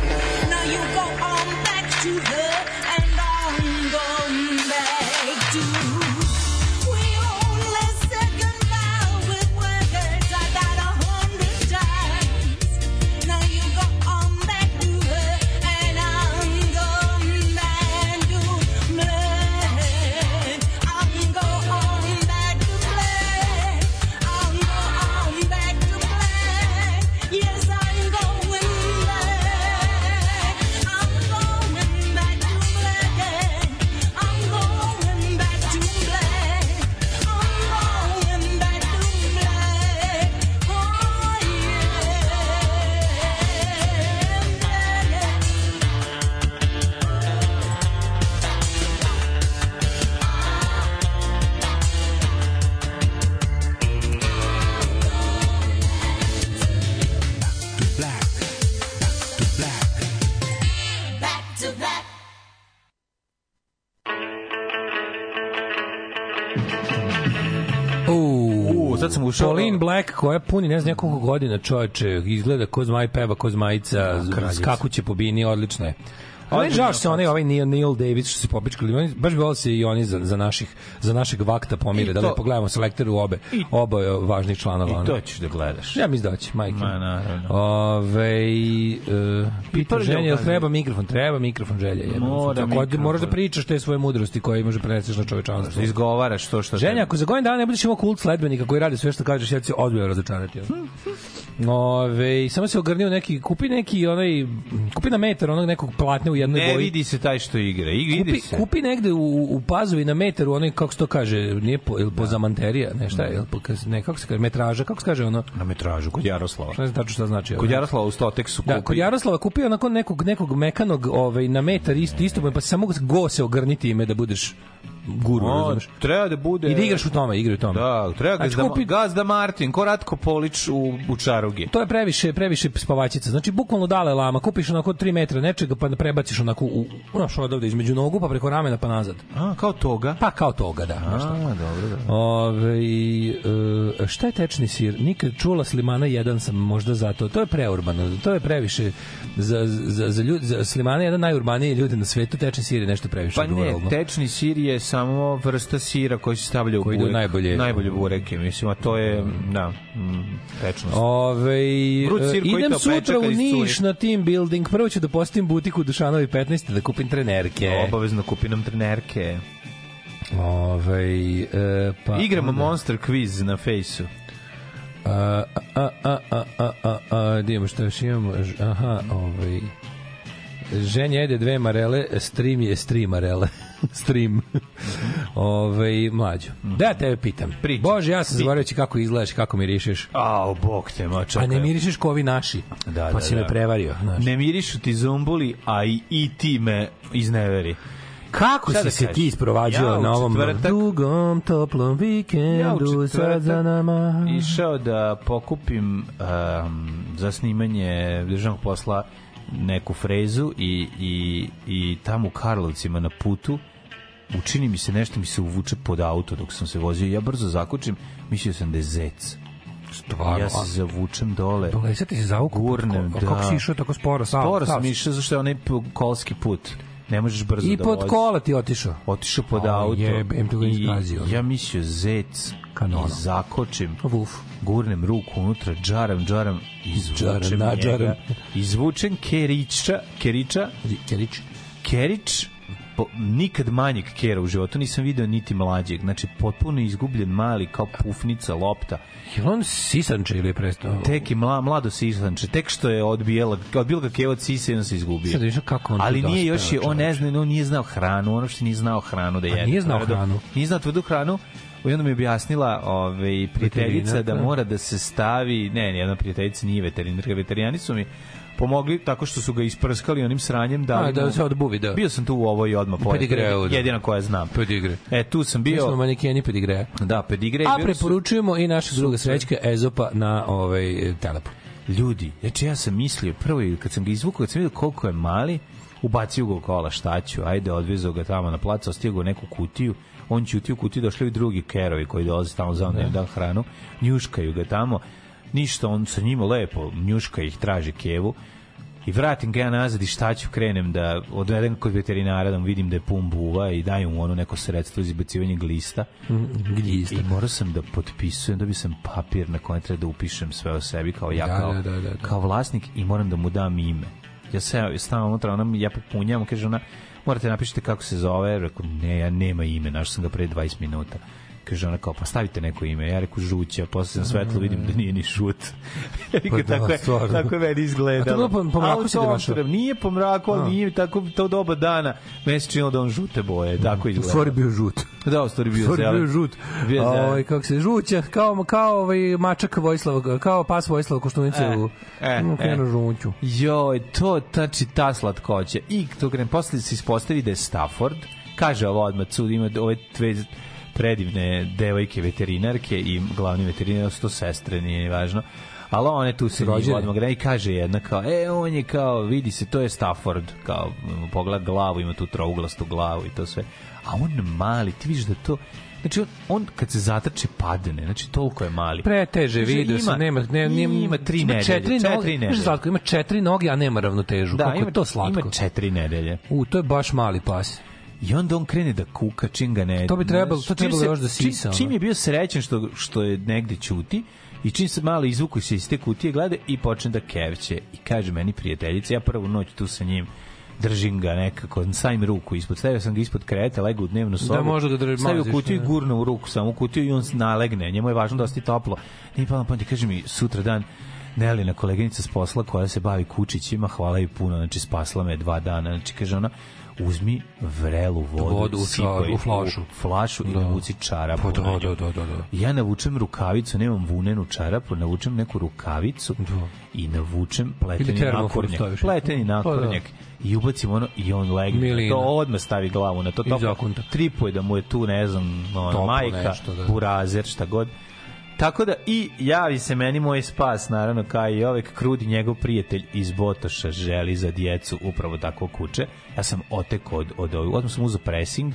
Speaker 1: Now you go on back to her, and I'm going back to. We only said goodbye with words. I died a hundred times.
Speaker 6: sad sam ušao...
Speaker 5: Pauline Black koja puni ne znam ja koliko godina čoveče, izgleda ko zmaj peva, ko zmajica,
Speaker 6: Da,
Speaker 5: skakuće po bini, odlično je. A meni žao što se onaj ovaj Neil, Neil Davis što se popičkali, oni baš bi volio da se i oni za, za, naših, za našeg vakta pomire,
Speaker 6: I
Speaker 5: da li
Speaker 6: to-
Speaker 5: pogledamo selektoru obe, oba je važnih članova.
Speaker 6: I
Speaker 5: ono.
Speaker 6: to ćeš da gledaš.
Speaker 5: Ja mislim da će, majke.
Speaker 6: Ma, naravno.
Speaker 5: Ove, uh, pita
Speaker 6: Prljavo
Speaker 5: želje, jel
Speaker 6: kaže.
Speaker 5: treba mikrofon? Treba mikrofon želje. jebem.
Speaker 6: Mora
Speaker 5: Tako,
Speaker 6: mikrofon.
Speaker 5: Moraš da pričaš te svoje mudrosti koje može preneseš na čovečanstvo.
Speaker 6: Da Izgovaraš to što...
Speaker 5: Ženja,
Speaker 6: treba.
Speaker 5: ako za godin dana ne budeš imao kult sledbenika koji radi sve što kažeš, ja ću se ozbiljno razočarati. Ove, samo se ogrnio neki, kupi neki onaj, kupi na metar onog nekog platne u jednoj
Speaker 6: Ne
Speaker 5: boji.
Speaker 6: vidi se taj što igra. I vidi
Speaker 5: Kupi,
Speaker 6: se.
Speaker 5: kupi negde u, u pazovi na metar u onoj, kako se to kaže, nije po,
Speaker 6: Da.
Speaker 5: ili pozamanterija, ne šta je, ili po, ne, kako se kaže, metraža, kako se kaže ono,
Speaker 6: Na metražu, kod Jaroslava.
Speaker 5: ne znam tačno šta znači.
Speaker 6: Kod
Speaker 5: ono.
Speaker 6: Jaroslava u Stoteksu kupi.
Speaker 5: Da, kod Jaroslava kupio onako nekog, nekog mekanog ovaj, na metar isto, isto mu je, pa samo go se ogrniti ime da budeš guru,
Speaker 6: On,
Speaker 5: razumeš?
Speaker 6: treba da bude...
Speaker 5: I da igraš u tome, igraj u tome.
Speaker 6: Da, treba
Speaker 5: Znači,
Speaker 6: znači, gazda,
Speaker 5: kupi-
Speaker 6: gazda Martin, ko Ratko Polić u, u čarugi.
Speaker 5: To je previše, previše spavačica. Znači, bukvalno dale lama, kupiš onako 3 metra nečega, pa prebaciš onako u, unaš odavde između nogu, pa preko ramena, pa nazad.
Speaker 6: A, kao toga.
Speaker 5: Pa kao toga, da. znaš šta.
Speaker 6: dobro, da.
Speaker 5: Ove, e, šta je tečni sir? Nikad čula Slimana jedan sam, možda zato. To je preurbano, to je previše. Za, za, za, ljudi, za Slimana je jedan najurbaniji ljudi na svetu, tečni sir je nešto previše
Speaker 6: Pa ne,
Speaker 5: ruralno.
Speaker 6: tečni sir je samo vrsta sira koji se stavlja u
Speaker 5: Koji ide
Speaker 6: burek.
Speaker 5: najbolje.
Speaker 6: Najbolje bureke, mislim, a to je, da, mm, tečnost.
Speaker 5: Ove, e,
Speaker 6: Vruć sir koji
Speaker 5: idem
Speaker 6: to
Speaker 5: sutra
Speaker 6: pečeka
Speaker 5: u
Speaker 6: iz
Speaker 5: Niš
Speaker 6: cure.
Speaker 5: na team building. Prvo ću da postim butik u Dušanovi 15 da kupim trenerke.
Speaker 6: Obavezno kupi nam trenerke.
Speaker 5: Ove, e, pa,
Speaker 6: Igramo Monster Quiz na fejsu.
Speaker 5: A, a, a, a, a, a, a, gdje imamo, šta još imamo? Ž- Aha, ovaj... Ženja jede dve marele, stream je stream marele. stream. Ove, mlađo. Da ja tebe pitam.
Speaker 6: Mhm. Pričaj.
Speaker 5: Bože, ja sam zaboravio ti kako izgledaš, kako mirišeš.
Speaker 6: Au, bog te mačak.
Speaker 5: A ne mirišeš ko ovi naši.
Speaker 6: Da,
Speaker 5: pa
Speaker 6: da,
Speaker 5: si me
Speaker 6: da.
Speaker 5: prevario. Znaš.
Speaker 6: Pa Ne mirišu ti zumbuli, a i, i ti me izneveri.
Speaker 5: Kako
Speaker 6: Šta
Speaker 5: si
Speaker 6: da
Speaker 5: se
Speaker 6: kažem?
Speaker 5: ti isprovađio
Speaker 6: Ja u
Speaker 5: na ovom
Speaker 6: četvrtak-
Speaker 5: dugom toplom vikendu sad za nama?
Speaker 6: išao da pokupim um, za snimanje državnog posla neku frezu i, i, i tamo u Karlovcima na putu učini mi se nešto mi se uvuče pod auto dok sam se vozio ja brzo zakučim mislio sam da je zec
Speaker 5: Stvarno.
Speaker 6: ja se zavučem dole
Speaker 5: Pogledaj, sad ti se zavuku.
Speaker 6: Gurnem,
Speaker 5: Kako- Kako
Speaker 6: da.
Speaker 5: si išao tako sporo? Sam,
Speaker 6: sporo sam išao zašto je onaj p- kolski put ne možeš brzo
Speaker 5: I
Speaker 6: da
Speaker 5: pod
Speaker 6: voziš.
Speaker 5: kola ti otišao.
Speaker 6: otišao pod
Speaker 5: O,
Speaker 6: auto
Speaker 5: jebem te ga
Speaker 6: i
Speaker 5: izgazio.
Speaker 6: ja mislio zec
Speaker 5: Kanonom.
Speaker 6: i zakočim
Speaker 5: Vuf.
Speaker 6: gurnem ruku unutra, džaram, džaram, izvučem
Speaker 5: Džaram, na,
Speaker 6: njega.
Speaker 5: džaram.
Speaker 6: Izvučem kerića, kerića,
Speaker 5: Kerić.
Speaker 6: kerić, po, nikad manjeg kera u životu nisam video niti mlađeg. Znači, potpuno izgubljen mali, kao pufnica, lopta.
Speaker 5: Jel on sisanče ili je prestao?
Speaker 6: Tek je mla, mlado sisanče, tek što je odbijela, odbijela ga keva od sisa i on se izgubio.
Speaker 5: Sad više kako on
Speaker 6: Ali
Speaker 5: to
Speaker 6: nije
Speaker 5: dospeo,
Speaker 6: još je, on ne
Speaker 5: čoveče.
Speaker 6: zna, on nije znao hranu, ono što nije znao hranu da jede.
Speaker 5: nije znao
Speaker 6: tvrdo.
Speaker 5: hranu?
Speaker 6: Nije znao tvrdu hranu. I onda mi je objasnila ovaj, prijateljica da
Speaker 5: Veterinarka?
Speaker 6: mora da se stavi, ne, jedna prijateljica nije veterinarka, veterijani su mi pomogli tako što su ga isprskali onim sranjem. Da,
Speaker 5: A, da se odbuvi, da.
Speaker 6: Bio sam tu u ovoj odmah pored,
Speaker 5: Pedigreu, da.
Speaker 6: jedina koja znam.
Speaker 5: Pedigre.
Speaker 6: E, tu sam
Speaker 5: Mi smo
Speaker 6: bio,
Speaker 5: manikeni pedigreja.
Speaker 6: da, pedigre.
Speaker 5: A
Speaker 6: i bili su-
Speaker 5: preporučujemo i naša druga srećka Ezopa na ovaj e, telepu.
Speaker 6: ljudi, znači ja sam mislio prvo i kad sam ga izvukao, kad sam vidio koliko je mali, ubacio ga u kola, šta ću, ajde, odvezao ga tamo na plac, ostavio ga u neku kutiju, on ćuti u kutiju, došli i drugi kerovi koji dolaze tamo za da da hranu, njuškaju ga tamo, ništa, on sa njima lepo, njuška ih, traži kevu, I vratim ga ja nazad i šta ću krenem da odvedem kod veterinara da mu vidim da je pun buva i daju mu ono neko sredstvo za izbacivanje glista.
Speaker 5: Gdje
Speaker 6: I morao sam da potpisujem, dobio sam papir na kojem treba da upišem sve o sebi kao ja,
Speaker 5: Da,
Speaker 6: kao,
Speaker 5: da, da, da, da.
Speaker 6: kao vlasnik i moram da mu dam ime. Ja se stavim unutra, ona mi- ja popunjam, kaže ona, morate napišite kako se zove, rekao, ne, ja nema ime, našao sam ga pre 20 minuta. Kaže ona kao, pa stavite neko ime. Ja reku žuća, posle na svetlo vidim da nije ni šut. Ja rekao,
Speaker 5: Pa da,
Speaker 6: tako, je,
Speaker 5: stvarno.
Speaker 6: tako je meni izgledalo.
Speaker 5: A to bilo po- po mraku
Speaker 6: A u
Speaker 5: si ga
Speaker 6: tom
Speaker 5: našao?
Speaker 6: trenu- Nije po mraku, ali nije tako to doba dana. Meni se činilo da on žute boje, tako izgleda.
Speaker 5: bio žut.
Speaker 6: Da, u stvari bio
Speaker 5: Stvari
Speaker 6: zelen.
Speaker 5: bio žut.
Speaker 6: Bio
Speaker 5: A,
Speaker 6: zelen.
Speaker 5: ovaj, kako se žuća, kao, kao ovaj mačak Vojislava, kao pas Vojislava Koštunice
Speaker 6: E,
Speaker 5: u
Speaker 6: e,
Speaker 5: u krenu
Speaker 6: e.
Speaker 5: žuću.
Speaker 6: Joj, to tači ta slatkoća. I to krenem, posle se ispostavi da je Stafford, kaže ovo odmah, cud ima ove dve predivne devojke veterinarke i glavni veterinar, su to sestre, nije ni važno. Ali one tu se njih
Speaker 5: Rođene.
Speaker 6: odmah gleda i kaže jedna kao, e, on je kao, vidi se, to je Stafford, kao, pogled glavu, ima tu trouglastu glavu i to sve. A on mali, ti vidiš da to, Znači, on, on kad se zatrče, padne. Znači, toliko je mali.
Speaker 5: Preteže,
Speaker 6: Znači,
Speaker 5: vidio se,
Speaker 6: ima-
Speaker 5: nema, ne, nema,
Speaker 6: ima tri
Speaker 5: ima
Speaker 6: nedelje,
Speaker 5: četiri,
Speaker 6: četiri
Speaker 5: noge,
Speaker 6: nedelje.
Speaker 5: Znaš, slatko, ima četiri noge, a nema ravnotežu. Da, Kako
Speaker 6: ima,
Speaker 5: je to slatko?
Speaker 6: Ima četiri nedelje.
Speaker 5: U, to je baš mali pas.
Speaker 6: I onda on krene da kuka, čim ga ne...
Speaker 5: To bi trebalo-
Speaker 6: znaš,
Speaker 5: to
Speaker 6: čim
Speaker 5: trebalo
Speaker 6: se-
Speaker 5: još da sisa,
Speaker 6: Čim,
Speaker 5: ono.
Speaker 6: čim je bio srećen što, što je negde ćuti, i čim se malo izvuku se iz te kutije, gleda i počne da kevće. I kaže meni prijateljica, ja prvu noć tu sa njim držim ga nekako, sajim ruku ispod, stavio sam ga ispod kreta, legao u dnevnu sobu,
Speaker 5: može da drži-
Speaker 6: stavio
Speaker 5: maziš,
Speaker 6: kutiju i
Speaker 5: ne.
Speaker 6: gurno u ruku, samo u kutiju i on s- nalegne, njemu je važno da osti toplo. Nije pa na pamet, kaže mi, sutra dan, Nelina koleginica s posla koja se bavi kučićima, hvala i puno, znači spasla me dva dana, znači kaže ona, uzmi vrelu vodu,
Speaker 5: Vodu u
Speaker 6: sipaj
Speaker 5: čar- u flašu.
Speaker 6: flašu i navuci čarapu.
Speaker 5: Pa da,
Speaker 6: na nju.
Speaker 5: da, da, da, da.
Speaker 6: Ja navučem rukavicu, nemam vunenu čarapu, navučem neku rukavicu i navučem pleteni
Speaker 5: Da. Ili termofor
Speaker 6: nakornjak.
Speaker 5: staviš. Pa da.
Speaker 6: Pleteni nakornjak. I ubacim ono i on legne.
Speaker 5: Milina.
Speaker 6: To odmah stavi glavu na to.
Speaker 5: I zakunta.
Speaker 6: Tripuje da mu je tu, ne znam, ono,
Speaker 5: Toplo
Speaker 6: majka,
Speaker 5: nešto, da.
Speaker 6: burazer, šta god. Tako da i javi se meni moj spas, naravno, kao i ovek krudi njegov prijatelj iz Botoša želi za djecu upravo tako kuće. Ja sam oteko od, od ovih, odmah sam uzao pressing,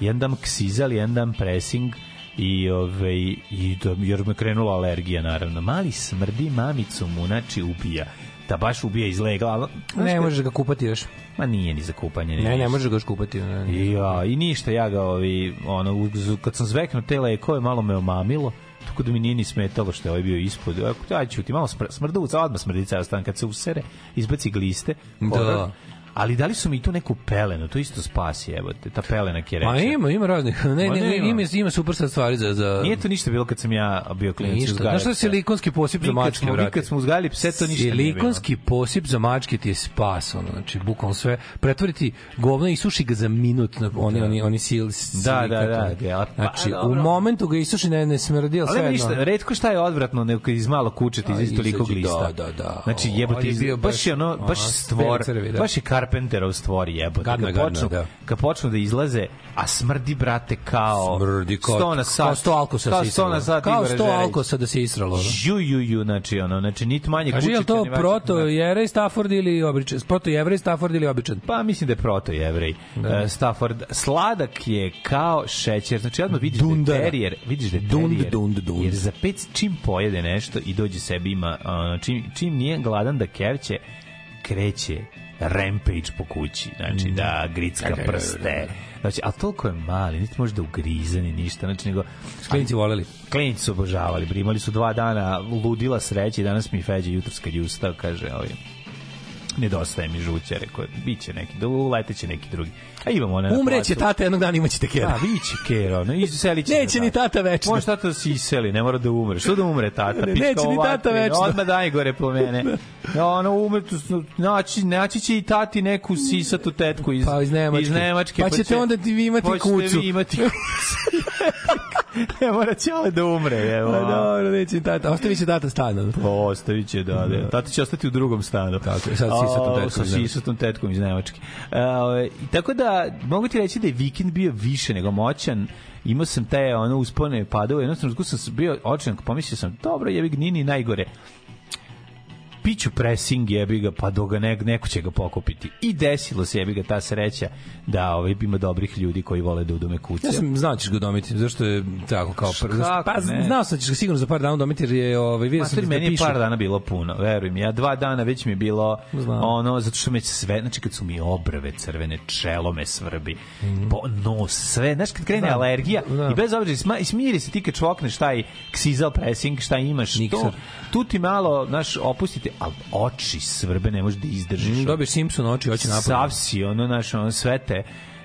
Speaker 6: jedan dan ksizal, jedan dan pressing i, ove, i da, jer me krenula alergija, naravno. Mali smrdi mamicu mu, znači ubija da baš ubija iz legla. ali-
Speaker 5: Ne možeš ga kupati još.
Speaker 6: Ma nije ni za kupanje. ni
Speaker 5: Ne,
Speaker 6: ništa.
Speaker 5: ne možeš ga još kupati. Ne, ne.
Speaker 6: I Ja, i ništa, ja ga ovi, ono, uz- kad sam zveknuo te lekove, malo me omamilo, tako da mi nije ni smetalo što je ovaj bio ispod. Ako ja ćuti, malo smr, smrduca, odmah smrdica ja stan, kad se usere, izbaci gliste.
Speaker 5: Da.
Speaker 6: horor. Ali dali su mi tu neku pelenu, to isto spasi, evo, te, ta pelena kireča.
Speaker 5: Ma Pa ima, ima raznih. Ne, ne,
Speaker 6: Ma ne,
Speaker 5: ne,
Speaker 6: ima.
Speaker 5: ima, ima super sad stvari za... za...
Speaker 6: Nije to ništa bilo kad sam ja bio klinic.
Speaker 5: Ništa. Znaš šta je silikonski posip za mačke,
Speaker 6: brate?
Speaker 5: brate?
Speaker 6: Nikad smo uzgajali pse, to ništa nije bilo.
Speaker 5: Silikonski posip za mačke ti je spas, ono, znači, bukvalno sve. Pretvoriti govno i isuši ga za minut, na, oni, oni, oni sil,
Speaker 6: Da, da,
Speaker 5: silikat,
Speaker 6: da,
Speaker 5: ono.
Speaker 6: da, pa,
Speaker 5: Znači, u
Speaker 6: dobro.
Speaker 5: momentu ga isuši ne, ne smrdi, ali,
Speaker 6: Ali
Speaker 5: sve
Speaker 6: nema ništa, redko šta je odvratno nego kad iz malo kuće ti
Speaker 5: A,
Speaker 6: izađe toliko
Speaker 5: izađe,
Speaker 6: glista.
Speaker 5: da, da, da.
Speaker 6: Znači
Speaker 5: O,
Speaker 6: jebote,
Speaker 5: ali je
Speaker 6: iz-
Speaker 5: bio
Speaker 6: baš
Speaker 5: baš,
Speaker 6: je ono, baš
Speaker 5: aha,
Speaker 6: stvor,
Speaker 5: crvi, da.
Speaker 6: baš je Carpenterov stvor jebote.
Speaker 5: Gadno je,
Speaker 6: Kad
Speaker 5: gadno je,
Speaker 6: počnu,
Speaker 5: da.
Speaker 6: kad počnu da izlaze, a smrdi brate kao
Speaker 5: Smrdi kao,
Speaker 6: 100 na sat.
Speaker 5: kao sto alkosa
Speaker 6: Kao
Speaker 5: se
Speaker 6: 100
Speaker 5: isralo.
Speaker 6: na sat
Speaker 5: kao
Speaker 6: Igora
Speaker 5: sto
Speaker 6: Žerić.
Speaker 5: alkosa da se isralo. ono.
Speaker 6: Ju, ju, ju, znači ono, znači nit manje kuće.
Speaker 5: Kaži, je li to proto
Speaker 6: da.
Speaker 5: jevrej Stafford ili običan? Proto jevrej Stafford ili običan?
Speaker 6: Pa mislim da je proto jevrej. Da. Stafford sladak je kao šećer. Znači odmah vidiš da je
Speaker 5: Dundara.
Speaker 6: terijer, vidiš da je
Speaker 5: Dund,
Speaker 6: terijer.
Speaker 5: dund, dund.
Speaker 6: Jer za pet čim pojede nešto i dođe sebi ima ono, čim čim nije gladan da kerće, kreće rampage po kući.
Speaker 5: Mm.
Speaker 6: Znači da gricka
Speaker 5: da,
Speaker 6: prste. Znači, a toliko je mali, niti može da ugrize ni ništa, znači nego
Speaker 5: Klinci voleli.
Speaker 6: klinici su obožavali, bre, imali su dva dana ludila sreće i danas mi Feđa jutros kad je ustao, kaže, ovi, nedostaje mi žuća, rekao, biće neki, da uleteće neki drugi. A imamo one na
Speaker 5: Umreće
Speaker 6: placu.
Speaker 5: tata jednog dana imaće tekera.
Speaker 6: A, biće kera, ono, iselit će.
Speaker 5: Neće
Speaker 6: me
Speaker 5: ni tata večno.
Speaker 6: Može tata da se iseli, ne mora da umre. Što da umre tata?
Speaker 5: Ne,
Speaker 6: Pička
Speaker 5: neće ni
Speaker 6: u
Speaker 5: tata
Speaker 6: vatri,
Speaker 5: večno. Da.
Speaker 6: Odmah daj gore po mene. Ja, ono, umre, tu, su- naći, naći će i tati neku sisatu tetku iz,
Speaker 5: Pa iz Nemačke.
Speaker 6: iz Nemačke,
Speaker 5: Pa ćete onda ti vi imati
Speaker 6: pa ćete
Speaker 5: kuću.
Speaker 6: vi imati kuću. ne mora će ali da umre. Evo.
Speaker 5: Pa dobro, neće ni tata. Ostavit će tata stanom.
Speaker 6: Ostavit će, da, da. Tata će ostati u drugom stanu.
Speaker 5: Tako je, sad s
Speaker 6: A,
Speaker 5: sisatom tetkom
Speaker 6: Sa
Speaker 5: iz Nemačke.
Speaker 6: sisatom tetkom iz Nemačke. A, ove, i tako da, mogu ti reći da je vikend bio više nego moćan. Imao sam te ono, uspone padove. Jednom trenutku sam se bio očan, pomislio sam, dobro, jebi ga, nije ni najgore. Piću pressing jebi ga, pa do ga ne, neko će ga pokupiti. I desilo se jebi ga ta sreća da ovaj, ima dobrih ljudi koji vole da udume kuće.
Speaker 5: Ja sam znao da ćeš ga udomiti, zašto je tako kao prvo.
Speaker 6: Kako
Speaker 5: Pa
Speaker 6: ne?
Speaker 5: znao sam da ćeš ga sigurno za par dana udomiti jer je ovaj video sam
Speaker 6: Master,
Speaker 5: da
Speaker 6: Pa meni je
Speaker 5: pišu.
Speaker 6: par dana bilo puno, verujem. Ja dva dana već mi je bilo
Speaker 5: Znam.
Speaker 6: ono, zato što me sve, znači kad su mi obrve crvene, čelo me svrbi,
Speaker 5: Mhm.
Speaker 6: po, nos, sve, znaš kad
Speaker 5: Da.
Speaker 6: krene alergija
Speaker 5: Znam.
Speaker 6: i bez obzira, sma, i smiri se ti kad čvokneš taj ksizal pressing, šta imaš, to,
Speaker 5: Mikser.
Speaker 6: tu ti malo, znaš, opustite, ali oči svrbe ne možeš da izdržiš.
Speaker 5: Mm, Dobiješ Simpson oči, oči napad.
Speaker 6: Sav si, ono, znaš, ono, sve te,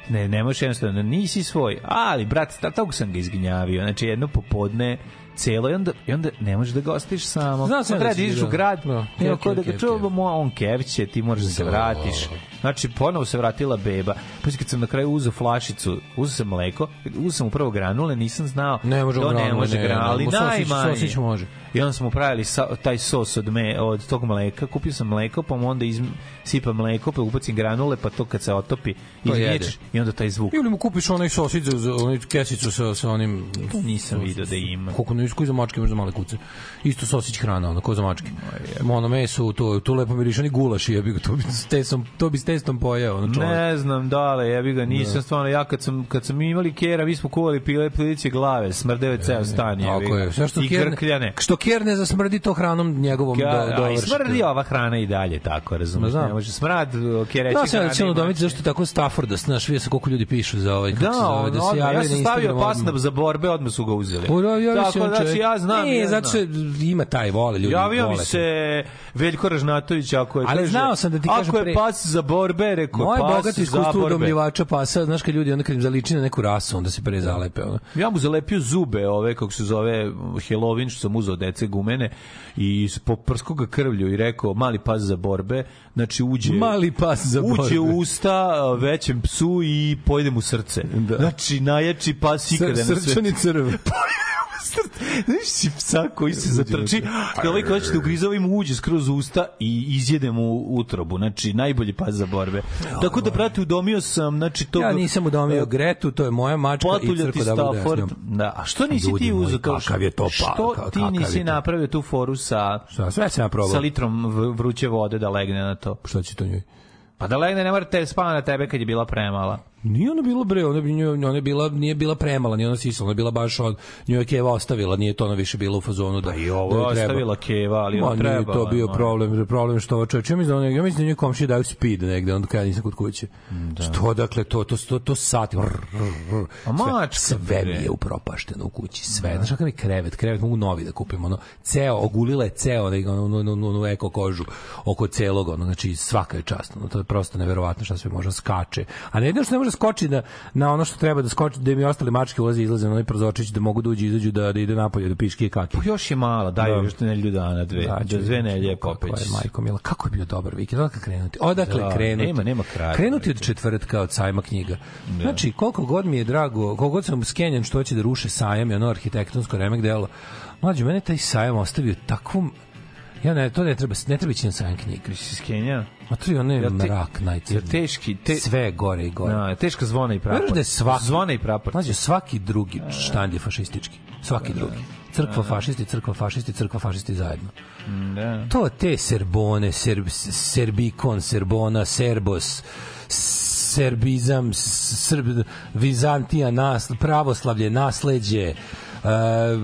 Speaker 6: ne, ne možeš jednostavno, nisi svoj, ali, brat, ta- tako sam ga izginjavio, znači, jedno popodne, celo i onda, i onda ne možeš da ga ostaviš samo.
Speaker 5: Znao sam
Speaker 6: Onda
Speaker 5: da
Speaker 6: treba da
Speaker 5: si
Speaker 6: ideš u
Speaker 5: video.
Speaker 6: grad,
Speaker 5: Da.
Speaker 6: nema
Speaker 5: Okej,
Speaker 6: ko da
Speaker 5: okej,
Speaker 6: ga
Speaker 5: okej.
Speaker 6: čuvamo, a on kevće, ti moraš da se
Speaker 5: Da.
Speaker 6: vratiš. Znači, ponovo se vratila beba. Pa kad sam na kraju uzeo flašicu, uzeo sam mleko, uzeo sam upravo granule, nisam znao
Speaker 5: Ne može
Speaker 6: da on ne
Speaker 5: granule,
Speaker 6: može
Speaker 5: ne,
Speaker 6: granule,
Speaker 5: ne,
Speaker 6: ali
Speaker 5: mu sosić-
Speaker 6: najmanje.
Speaker 5: sosić može.
Speaker 6: I onda smo pravili sa, taj sos od, me, od tog mleka, kupio sam mleko, pa mu onda iz, sipam mleko, pa ubacim granule, pa to kad se otopi,
Speaker 5: To jede.
Speaker 6: izmiječeš i onda taj zvuk.
Speaker 5: Ili mu kupiš onaj sosić za onaj kesicu sa, sa onim
Speaker 6: Nisam video da ima.
Speaker 5: koliko ne nisu koji za mačke, možda male kuce. Isto sosić hrana, ono, ko za mačke. Ono meso, to, tu lepo miriše, ni gulaš, jebi ga, to bi s testom, to bi s testom pojeo, ono čovjek. Da.
Speaker 6: Ne znam, dale, jebi ga, nisam stvarno, ja kad sam, kad sam imali kjera, mi smo kuvali pile pliće glave, smrdeve ceo stan, jebi
Speaker 5: E, Tako
Speaker 6: ga.
Speaker 5: je. Sve što
Speaker 6: I grkljane.
Speaker 5: kerne, što kerne zasmrdi to hranom njegovom do,
Speaker 6: Ja, a i
Speaker 5: dovršite.
Speaker 6: smrdi ova hrana i dalje, tako, razumiješ,
Speaker 5: Ma znam.
Speaker 6: ne može smrad, kjereći
Speaker 5: Da, sam cijelo domit, zašto je tako Stafforda, znaš, vidio se koliko ljudi pišu za ovaj, kako se
Speaker 6: Da,
Speaker 5: zove,
Speaker 6: on,
Speaker 5: da se
Speaker 6: odmah,
Speaker 5: javljaju
Speaker 6: ja
Speaker 5: na
Speaker 6: sam stavio
Speaker 5: Instagramu
Speaker 6: pas
Speaker 5: odmah.
Speaker 6: na- za borbe, odmah su ga uzeli.
Speaker 5: U, ja, ja
Speaker 6: Tako, znači, ja znam.
Speaker 5: Nije,
Speaker 6: ja
Speaker 5: E, zato što
Speaker 6: znam.
Speaker 5: ima taj, vole ljudi.
Speaker 6: Javio mi
Speaker 5: vole
Speaker 6: se
Speaker 5: to.
Speaker 6: Veljko Ražnatović ako je
Speaker 5: Ali
Speaker 6: kaže,
Speaker 5: znao sam da ti kažem
Speaker 6: Ako je
Speaker 5: pre-
Speaker 6: pas za borbe, rekao
Speaker 5: Moje
Speaker 6: pas
Speaker 5: bogato
Speaker 6: za
Speaker 5: iskustvo
Speaker 6: borbe.
Speaker 5: udomljivača pasa, znaš kad ljudi onda kad im zaliči na neku rasu, onda se prezalepe. Ono.
Speaker 6: Ja mu zalepio zube, ove, kako se zove, Halloween, što sam uzeo od dece gumene, i poprsku ga krvlju i rekao, mali pas za borbe, znači uđe...
Speaker 5: Mali pas za
Speaker 6: Uđe
Speaker 5: borbe.
Speaker 6: u usta a, većem psu i pojde mu srce.
Speaker 5: Da.
Speaker 6: Znači, najjači pas ikada na svetu.
Speaker 5: Srčani crv.
Speaker 6: Znaš si psa koji se zatrči, kada ovaj hoće da ugrize, ovaj mu uđe skroz u usta i izjede mu utrobu. Znači, najbolji pas za borbe. Tako da, brate, udomio sam, znači, to...
Speaker 5: ovaj. Ja nisam udomio Gretu, to je moja mačka i
Speaker 6: Potulja ti
Speaker 5: crko da bude s
Speaker 6: Stafford.
Speaker 5: njom.
Speaker 6: Da, a što nisi
Speaker 5: Ljudi
Speaker 6: ti
Speaker 5: moji,
Speaker 6: uzeo to?
Speaker 5: kakav je to pa-
Speaker 6: Što
Speaker 5: ka-
Speaker 6: ti
Speaker 5: kakav
Speaker 6: nisi
Speaker 5: je to?
Speaker 6: napravio tu foru sa,
Speaker 5: Šta, sve sam ja
Speaker 6: sa
Speaker 5: probao.
Speaker 6: litrom v- vruće vode da legne na to?
Speaker 5: Šta će to njoj?
Speaker 6: Pa da legne, ne mora te spava na tebe kad je bila premala.
Speaker 5: Nije ona bila bre, ona bi njoj, ona je bila nije bila premala, nije ona sisala, ona je bila baš od nju je Keva ostavila, nije to ona više bila u fazonu da.
Speaker 6: Pa I ovo
Speaker 5: da joj treba.
Speaker 6: ostavila keva, ali
Speaker 5: Ma,
Speaker 6: ovo
Speaker 5: nije
Speaker 6: treba.
Speaker 5: to bio problem, problem što ova čovjek, ja mislim da ona, ja mislim da njoj komšije daju speed negde, onda kada nisam kod kuće. To, dakle, to, to, to, to sati. rr, rr, rr.
Speaker 6: Da. A mačka,
Speaker 5: sve, sve mi
Speaker 6: bre. Da.
Speaker 5: je upropašteno u kući, sve. Znaš kakav je krevet, krevet mogu novi da kupim, ono, ceo, ogulila je ceo, ono, ono, ono, ono, ono eko kožu oko celog, ono, znači svaka je čast, ono, to je prosto neverovatno šta sve može da skače. A ne jedno što ne može skoči da, na ono što treba da skoči, da mi ostale mačke ulaze i izlaze na onaj prozorčić, da mogu da uđu i izađu, da, da ide napolje, da piški i kaki.
Speaker 6: Još je mala, daj
Speaker 5: Da.
Speaker 6: još nedelju dana, dve. Da,
Speaker 5: ću
Speaker 6: dve
Speaker 5: vidjeti
Speaker 6: nedelje
Speaker 5: kako
Speaker 6: popeć.
Speaker 5: je, majko mila, kako je bio dobar vikend, odakle krenuti? Odakle
Speaker 6: Da,
Speaker 5: krenuti?
Speaker 6: nema- nema kraja.
Speaker 5: Krenuti od četvrtka, od sajma knjiga. Znači, koliko god mi je drago, koliko god sam skenjan što će da ruše sajam i ono arhitektonsko remek delo, mlađe, mene taj sajam ostavio takvom Ja ne, to ne treba, ne treba ići na sajam knjiga.
Speaker 6: Jesi iz Kenja?
Speaker 5: Ma to je onaj
Speaker 6: Jel te-
Speaker 5: mrak najcrniji.
Speaker 6: jel teški- te-
Speaker 5: Sve je gore i gore.
Speaker 6: Da, teška zvona i prapor.
Speaker 5: Veruš da je svaki...
Speaker 6: Zvona i prapor.
Speaker 5: Mlađe, svaki drugi štand je fašistički. Svaki drugi. Crkva fašisti, crkva fašisti, crkva fašisti zajedno.
Speaker 6: Da.
Speaker 5: To te Serbone, Serb, Serbikon, Serbona, Serbos, Serbizam, Srb, Vizantija, nas, pravoslavlje, nasleđe, Uh,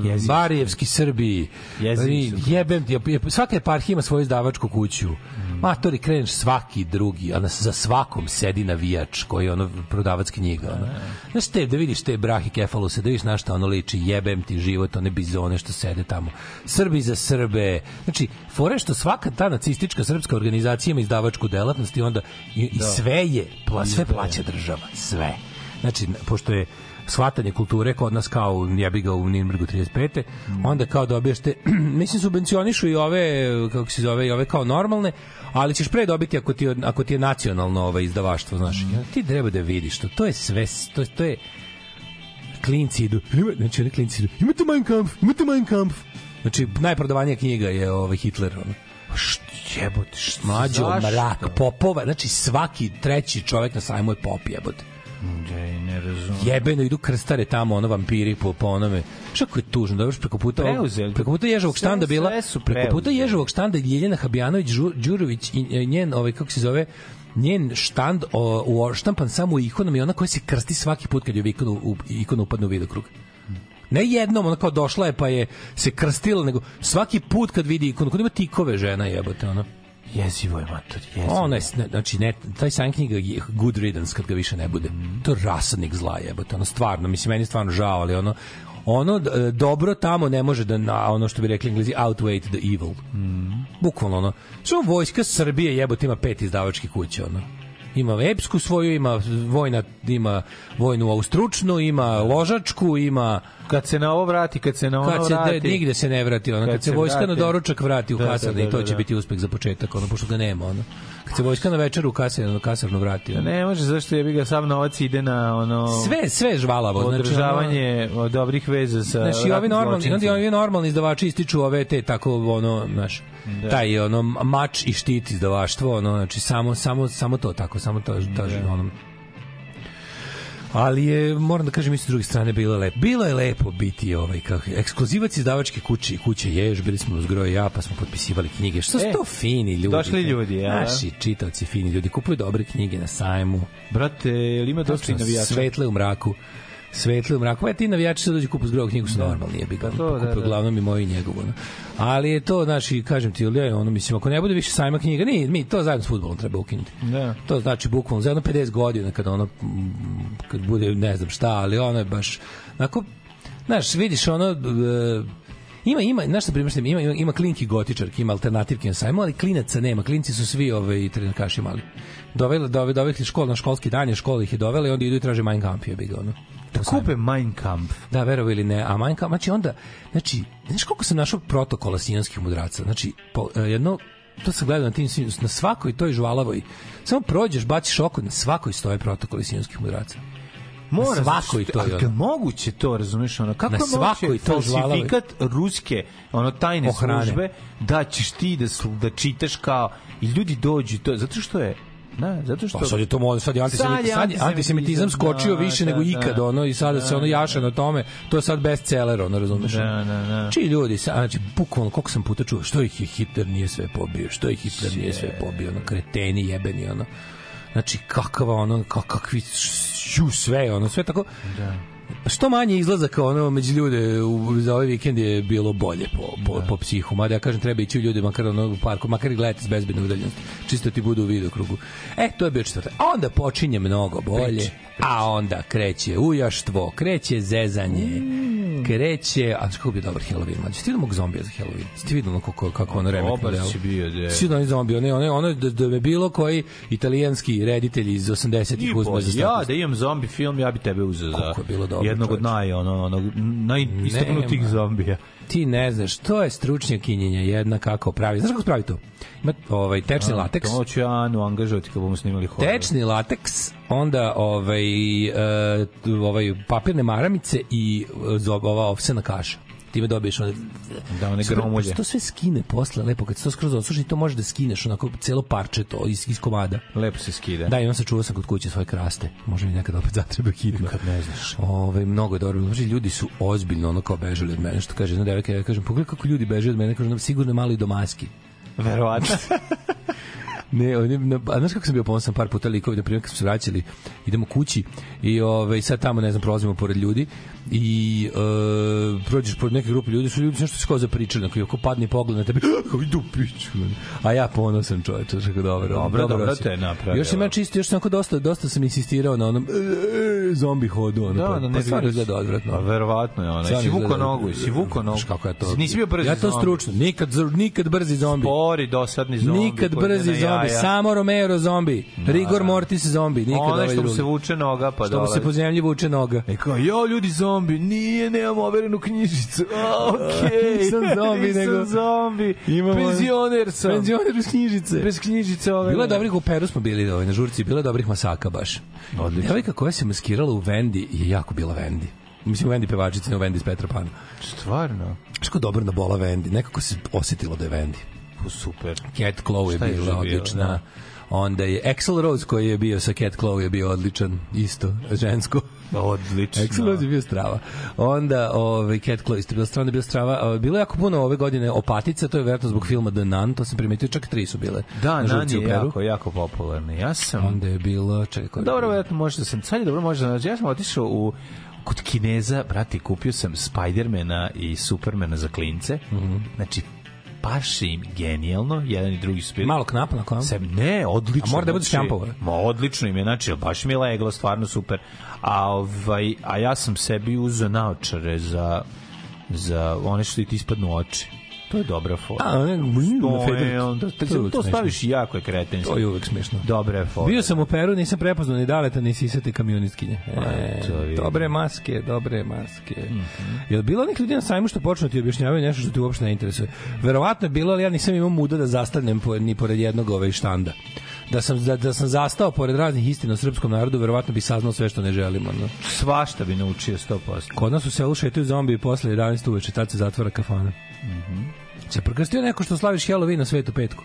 Speaker 6: Jezivi
Speaker 5: Barijevski Srbi
Speaker 6: Jezivi
Speaker 5: i
Speaker 6: Srbi.
Speaker 5: jebem ti, je- svaka eparhija ima svoju izdavačku kuću matori kreneš svaki drugi a na, za svakom sedi navijač koji je ono prodavac knjiga ono. znaš te, da vidiš te brahi kefaluse da vidiš na šta ono liči, jebem ti život one bizone što sede tamo Srbi za Srbe, znači fore što svaka ta nacistička srpska organizacija ima izdavačku delatnost i onda i, i sve je, pla, sve plaća država sve, znači n- pošto je shvatanje kulture kod nas kao u- jebi ga u Nirnbergu 35. Onda kao dobiješ te, mislim subvencionišu i ove, kako se zove, i ove kao normalne, ali ćeš pre dobiti ako ti, je- ako ti je nacionalno ove izdavaštvo, znaš. Ja, Ti treba da vidiš to, to je sve, s- to, to je klinci idu, ima- znači oni klinci idu, imate Mein Kampf, imate Mein Kampf. Znači, najprodavanija knjiga je ovaj Hitler, ono.
Speaker 6: pa
Speaker 5: Jebote, mlađo,
Speaker 6: zašto?
Speaker 5: mrak, popova, znači svaki treći čovjek na sajmu je pop, jebote
Speaker 6: Ej, ne razumem.
Speaker 5: jebeno idu krstare tamo ono vampiri po po onome kako je tužno da baš preko puta ovog-
Speaker 6: Preuzeli.
Speaker 5: preko puta Ježovog
Speaker 6: Sve-
Speaker 5: štanda bila
Speaker 6: sve su
Speaker 5: preko puta
Speaker 6: preuzeli.
Speaker 5: Ježovog štanda je Ljiljana Habjanović Žu- Đurović i e, njen ovaj kako se zove njen štand o, u oštampan samo ikonom i ona koja se krsti svaki put kad je ikonu, u, ikonu upadne u vidokrug ne jednom, ona kao došla je pa je se krstila, nego svaki put kad vidi ikonu, kod ima tikove žena jebote, ona.
Speaker 6: Jezivo je, mater, jezivo.
Speaker 5: Ona je, ne, znači, ne, taj san knjiga je good riddance kad ga više ne bude. To je rasadnik zla jebote, ono stvarno, mislim, meni je stvarno žao, ali ono, ono d- e, dobro tamo ne može da na ono što bi rekli Englezi outweigh the evil. Bukvalno ono. Što vojska Srbije jebote ima pet izdavačkih kuća ono. Ima epsku svoju, ima vojna, ima vojnu ovu stručnu, ima ložačku, ima
Speaker 6: Kad se na ovo vrati, kad se na ono
Speaker 5: kad se
Speaker 6: vrati...
Speaker 5: de, nigde se ne vrati ono kad, se vojska
Speaker 6: vrati.
Speaker 5: na doručak vrati u
Speaker 6: Da, da,
Speaker 5: kasarni
Speaker 6: da,
Speaker 5: i to
Speaker 6: da,
Speaker 5: će
Speaker 6: da.
Speaker 5: biti uspeh za početak ono pošto ga nema ono kad se vojska na večeru u kasarnu, kasarnu vrati ono.
Speaker 6: Da Ne može, zašto je bi ga sav novac ide na ono...
Speaker 5: sve sve je žvalavo znači ono-
Speaker 6: Održavanje o, dobrih veza sa
Speaker 5: Znaš, i ovi
Speaker 6: ratnim
Speaker 5: normalni, i
Speaker 6: zločincima.
Speaker 5: onda i ovi normalni izdavači ističu ove te tako ono, znaš,
Speaker 6: Da.
Speaker 5: taj ono mač i štit
Speaker 6: Da.
Speaker 5: izdavaštvo, ono znači samo samo samo to tako, samo to ta ono. Ali je, moram da kažem, isto s druge strane, bilo je lepo. Bilo je lepo biti ovaj, kako, ekskluzivac izdavačke kuće i kuće Jež, bili smo uz groje ja, pa smo potpisivali knjige. Što su
Speaker 6: E,
Speaker 5: to fini ljudi?
Speaker 6: došli ljudi, jel? da?
Speaker 5: Naši čitavci fini ljudi, kupuju dobre knjige na sajmu.
Speaker 6: Brate, jel ima dosta i navijača?
Speaker 5: Svetle u mraku. Svetle u mraku. E, ti navijači sad dođu kupu zgrovu knjigu, su normalni, jebi ga. pa
Speaker 6: to, da,
Speaker 5: Kupe
Speaker 6: da.
Speaker 5: uglavnom i moju i njegovu. No. Ali je to, znaš, i kažem ti, Ilija, ono, mislim, ako ne bude više sajma knjiga, ni, mi to zajedno s futbolom treba ukinuti.
Speaker 6: Da.
Speaker 5: To znači bukvalno za jedno 50 godina kada ono, mm, kad bude ne znam šta, ali ono je baš, onako, znaš, vidiš ono, e, ima ima znaš šta primetim ima ima, ima klinki gotičarki ima alternativke na sajmu ali klinaca nema klinci su svi ove i trenerkaši mali doveli dove doveli ih škol na školski dan je škola ih je dovela i onda idu i traže Mein Kampf je ga ono
Speaker 6: Da kupe Mein Kampf.
Speaker 5: Da, verovo ili ne, a manjka, znači onda, znači, znaš koliko sam našao protokola sinjanskih mudraca, znači, po, e, jedno, to sam gledao na tim, sin- na svakoj toj žvalavoj, samo prođeš, baciš oko, na svakoj stoje protokoli sinjanskih mudraca.
Speaker 6: Mora,
Speaker 5: svakoj
Speaker 6: zato što-
Speaker 5: toj,
Speaker 6: ali
Speaker 5: ono.
Speaker 6: ga moguće to, razumeš, ono, kako
Speaker 5: Na
Speaker 6: je moguće
Speaker 5: svakoj toj žvalavi.
Speaker 6: falsifikat ruske, ono, tajne
Speaker 5: Ohrane.
Speaker 6: službe, da ćeš ti da, slu, da čitaš kao, i ljudi dođu, i to, zato što je, na, zato što...
Speaker 5: Pa sad je to mod, sad je
Speaker 6: Sad je
Speaker 5: antisemitizam, da, sad je antisemitizam
Speaker 6: antisemitizam,
Speaker 5: skočio
Speaker 6: da,
Speaker 5: više
Speaker 6: da,
Speaker 5: nego
Speaker 6: da.
Speaker 5: ikad, ono, i sada se ono jaša na tome, to je sad bestseller, ono, razumeš?
Speaker 6: Da, da, da.
Speaker 5: Čiji ljudi, sa- znači, bukvalno, koliko sam puta čuo, što ih je Hitler nije sve pobio, što ih Hitler nije sve pobio, ono, kreteni jebeni, ono, znači, kakava, ono, kak, kakvi, šu, sve, ono, sve tako, Pa što manje izlazaka ono među ljude u, za ovaj vikend je bilo bolje po, po,
Speaker 6: Da.
Speaker 5: po psihu. Mada ja kažem treba ići u ljude makar ono u parku, makar i gledati s bezbedne udaljenosti. Čisto ti budu u vidokrugu. E, to je bio četvrtak. A onda počinje mnogo bolje. A onda kreće ujaštvo, kreće zezanje,
Speaker 6: Mm.
Speaker 5: kreće... A znaš kako bi dobar Halloween? Mlađe, Jesi ti vidimo zombija za Halloween? Jesi ti vidimo kako, kako ono remek
Speaker 6: Dobar si bio, da.
Speaker 5: Svi oni zombi, one, one, ono da, da me bilo koji italijanski reditelj iz 80-ih uzme za
Speaker 6: Ibo, ja
Speaker 5: status.
Speaker 6: da imam zombi film, ja bi tebe uzeo za
Speaker 5: Kako je bilo dobro,
Speaker 6: jednog od
Speaker 5: čoveče.
Speaker 6: naj, ono, onog, najistaknutih
Speaker 5: Nema.
Speaker 6: zombija.
Speaker 5: ti ne znaš, to je stručnjakinjenja jedna kako pravi. Znaš kako pravi to? Ima ovaj, tečni lateks.
Speaker 6: To ću ja Anu angažovati kad bomo snimali horor.
Speaker 5: Tečni lateks, onda ovaj, e, tu, ovaj papirne maramice i e, zo- ova ovsena kaša. Time dobiješ one...
Speaker 6: Da, one
Speaker 5: Super,
Speaker 6: gromulje.
Speaker 5: pošto To sve skine posle, lepo, kad se to skroz odsuši, to možeš da skineš onako celo parče to iz, iz komada.
Speaker 6: Lepo se skida.
Speaker 5: Da, imam se čuvao sam kod kuće svoje kraste. Može mi nekad opet zatreba hitno. Kad ne znaš. Ove, mnogo je dobro. bilo. Znači, ljudi su ozbiljno ono kao bežali od mene. Što kaže jedna devojka, ja kažem, pogledaj kako ljudi beže od mene. Kažem, "Nam sigurno je malo i do maski.
Speaker 6: Verovatno.
Speaker 5: Ne, oni, na, a znaš kako sam bio ponosan par puta likovi, na primjer, kad smo se vraćali, idemo kući i ove, sad tamo, ne znam, prolazimo pored ljudi i e, prođeš pored neke grupe ljudi, su ljudi nešto se kao zapričali, onako, i ako padne pogled na tebe, kao idu piću. A ja ponosan čovječe, tako dobro.
Speaker 6: Dobro, dobro
Speaker 5: si.
Speaker 6: te je napravila.
Speaker 5: Još sam ja čisto, još sam onako dosta, dosta sam insistirao na onom e, zombi hodu,
Speaker 6: Da,
Speaker 5: ono, pa, pa stvarno izgleda odvratno.
Speaker 6: Pa verovatno je ona.
Speaker 5: Stvarno
Speaker 6: Si vuko
Speaker 5: izgleda-
Speaker 6: nogu, si vuko nogu.
Speaker 5: Znaš kako ja to...
Speaker 6: Nisi bio brzi
Speaker 5: Ja to
Speaker 6: zombi.
Speaker 5: stručno, nikad, nikad brzi zombi.
Speaker 6: Pori dosadni zombi.
Speaker 5: Nikad
Speaker 6: koji ide
Speaker 5: brzi
Speaker 6: na
Speaker 5: zombi,
Speaker 6: jaja.
Speaker 5: samo Romero zombi, Rigor Mortis zombi, nikad
Speaker 6: Onaj
Speaker 5: ovaj
Speaker 6: što mu
Speaker 5: drugi.
Speaker 6: se vuče noga, pa
Speaker 5: što mu
Speaker 6: dolazi.
Speaker 5: se po zemlji vuče noga.
Speaker 6: E kao, jo, ljudi, zombi, nije, nemam overenu knjižicu. A, Okej.
Speaker 5: Nisam zombi,
Speaker 6: Nisam
Speaker 5: nego-
Speaker 6: zombi.
Speaker 5: Imamo-
Speaker 6: Penzioner sam.
Speaker 5: Penzioner iz knjižice.
Speaker 6: Bez knjižice ove.
Speaker 5: Bilo je dobrih, u Peru smo bili ovaj, na žurci, bilo je dobrih masaka baš. Odlično. Devojka koja se maskirala u Vendi je jako bila Vendi. Mislim, u Vendi pevačica, ne u Vendi iz Petra Pana.
Speaker 6: Stvarno.
Speaker 5: Što dobro na bola Vendi, nekako se osetilo da je Vendi.
Speaker 6: U, Pa Super.
Speaker 5: Cat Claw je
Speaker 6: Šta je
Speaker 5: bila
Speaker 6: još bio,
Speaker 5: odlična.
Speaker 6: da?
Speaker 5: Onda je Axel Rose koji je bio sa Cat Claw je bio odličan, isto, žensko.
Speaker 6: Odlično.
Speaker 5: Axel Rose je bio strava. Onda ovaj Cat Claw isto je bila strava, onda je bila strava. A, Bilo je jako puno ove godine opatica, to je verovatno zbog filma The Nun, to sam primetio, čak tri su bile.
Speaker 6: Da,
Speaker 5: na
Speaker 6: Nan
Speaker 5: žurci
Speaker 6: je
Speaker 5: u Peru.
Speaker 6: jako, jako popularni. Ja sam
Speaker 5: Onda je bilo, čekaj, koja je
Speaker 6: Dobro,
Speaker 5: bila?
Speaker 6: verovatno može da sam. Sad je dobro može da nađe. Ja sam otišao u kod Kineza, brate, kupio sam Spidermana i Supermana za klince.
Speaker 5: Mhm.
Speaker 6: Znači, baš im genijalno, jedan i drugi su bili.
Speaker 5: malo knap na kom.
Speaker 6: Sem, ne, odlično.
Speaker 5: A mora da bude
Speaker 6: znači,
Speaker 5: štampovano.
Speaker 6: Ma odlično im je, znači, baš mi je leglo, stvarno super. A, ovaj, a ja sam sebi uzeo naočare za, za one što ti ispadnu u oči. To je dobra fora.
Speaker 5: A, ne,
Speaker 6: to, je,
Speaker 5: Fedor-
Speaker 6: onda,
Speaker 5: to
Speaker 6: to,
Speaker 5: je uvek smešno.
Speaker 6: staviš i jako je kretenstvo.
Speaker 5: To je uvek smešno.
Speaker 6: Dobra je fora.
Speaker 5: Bio sam u Peru, nisam prepoznao ni Daleta, ni Sisate kamionistkinje. E,
Speaker 6: to vidim.
Speaker 5: dobre maske, dobre maske.
Speaker 6: Mhm.
Speaker 5: Je li bilo onih ljudi na sajmu što počnu da ti objašnjavaju nešto što ti uopšte ne interesuje? Verovatno je bilo, ali ja nisam imao muda da zastanem po, ni pored jednog ovaj štanda. Da sam, da, da sam zastao pored raznih istina o srpskom narodu, verovatno bi saznao sve što ne želimo. Ono.
Speaker 6: Svašta bi naučio 100%.
Speaker 5: Kod nas u selu šetaju zombi posle
Speaker 6: Mhm.
Speaker 5: 11 uveče, tad se zatvara kafana. Mm -hmm. Se prekrstio neko što slaviš Halloween na svetu petku.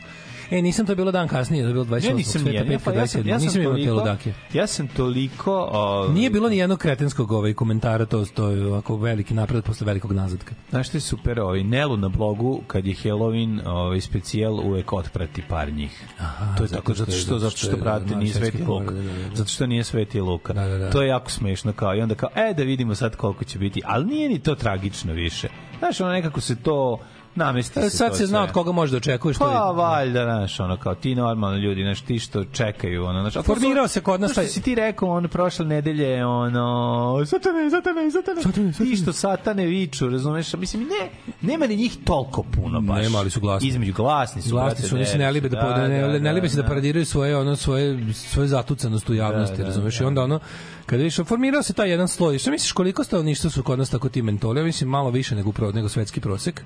Speaker 5: E, nisam to bilo dan kasnije, to je bilo 28.
Speaker 6: Ja nisam
Speaker 5: sveta,
Speaker 6: nijedan,
Speaker 5: petka,
Speaker 6: pa ja sam,
Speaker 5: 27..
Speaker 6: ja sam
Speaker 5: nisam imao
Speaker 6: toliko,
Speaker 5: peludake.
Speaker 6: ja sam toliko... O,
Speaker 5: Nije bilo ni jednog kretenskog ovaj komentara, to, to je ovako veliki napred posle velikog nazadka.
Speaker 6: Znaš što je super, ovaj, Nelu na blogu, kad je Halloween ovaj, specijal, uvek otprati par njih. Aha, to je
Speaker 5: zato
Speaker 6: tako,
Speaker 5: što
Speaker 6: zato
Speaker 5: je-
Speaker 6: što, zato što,
Speaker 5: zato što je
Speaker 6: brate, nije
Speaker 5: Svetski
Speaker 6: Sveti
Speaker 5: Luka,
Speaker 6: Luka.
Speaker 5: da, da, da.
Speaker 6: Zato što nije Sveti Luka.
Speaker 5: Da, da, da.
Speaker 6: To je jako smešno, kao, i onda kao, e, da vidimo sad koliko će biti, ali nije ni to tragično više. Znaš, ono nekako se to namesti
Speaker 5: E,
Speaker 6: se
Speaker 5: sad
Speaker 6: to
Speaker 5: se zna
Speaker 6: sve.
Speaker 5: od koga možeš da očekuješ. to je-
Speaker 6: Pa valjda, znaš, ono kao ti normalni ljudi, znaš, ti što čekaju, ono, znaš. a to su-
Speaker 5: Formirao se kod nas
Speaker 6: to što
Speaker 5: taj-
Speaker 6: si ti rekao, ono, prošle nedelje, ono, satane, satane, satane,
Speaker 5: Satane, satane.
Speaker 6: ti što satane viču, razumeš, A mislim, ne, nema ni njih toliko puno baš.
Speaker 5: Nema, ali su glasni.
Speaker 6: Između glasni su,
Speaker 5: Glasni
Speaker 6: brate,
Speaker 5: su, oni se ne libe da, da, ne, ne, libe se da, paradiraju svoje ono svoje svoje zatucanost u
Speaker 6: Da,
Speaker 5: javnosti, da,
Speaker 6: da,
Speaker 5: razumeš? I onda ono kad više formirao se taj jedan sloj. Šta misliš koliko stanovništva su kod nas tako ti mentoli? Ja mislim malo više nego pro, nego svetski prosek.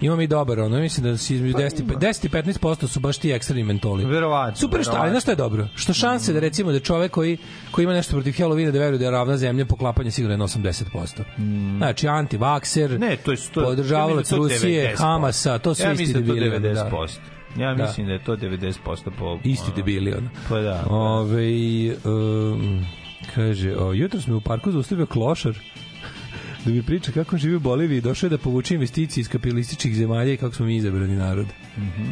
Speaker 5: Ima mi dobar, ono mislim da se između 10 i pe- 10 i 15% su baš ti ekstremni mentoli.
Speaker 6: Pa, Verovatno,
Speaker 5: Super što, ali
Speaker 6: verovatno.
Speaker 5: znaš šta je dobro? Što šanse da recimo da čovek koji koji ima nešto protiv Halloweena da veruje da je ravna zemlja poklapanje sigurno je na 80%. Znači antivakser,
Speaker 6: Mm. Ne, to je sto.
Speaker 5: podržavalac
Speaker 6: ja mislim da je to
Speaker 5: Rusije,
Speaker 6: 90%.
Speaker 5: Hamasa, to su
Speaker 6: ja
Speaker 5: isti
Speaker 6: mislim da je to
Speaker 5: debili, ono, da.
Speaker 6: 90%. Ja
Speaker 5: Da.
Speaker 6: mislim da je to 90% po...
Speaker 5: Isti
Speaker 6: ono,
Speaker 5: debili, ono.
Speaker 6: Pa da.
Speaker 5: Ove, um, kaže, o, jutro smo u parku zaustavio klošar da mi priča kako živi u Boliviji. Došao je da povuče investicije iz kapitalističkih zemalja i kako smo mi izabrani narod.
Speaker 6: Mhm.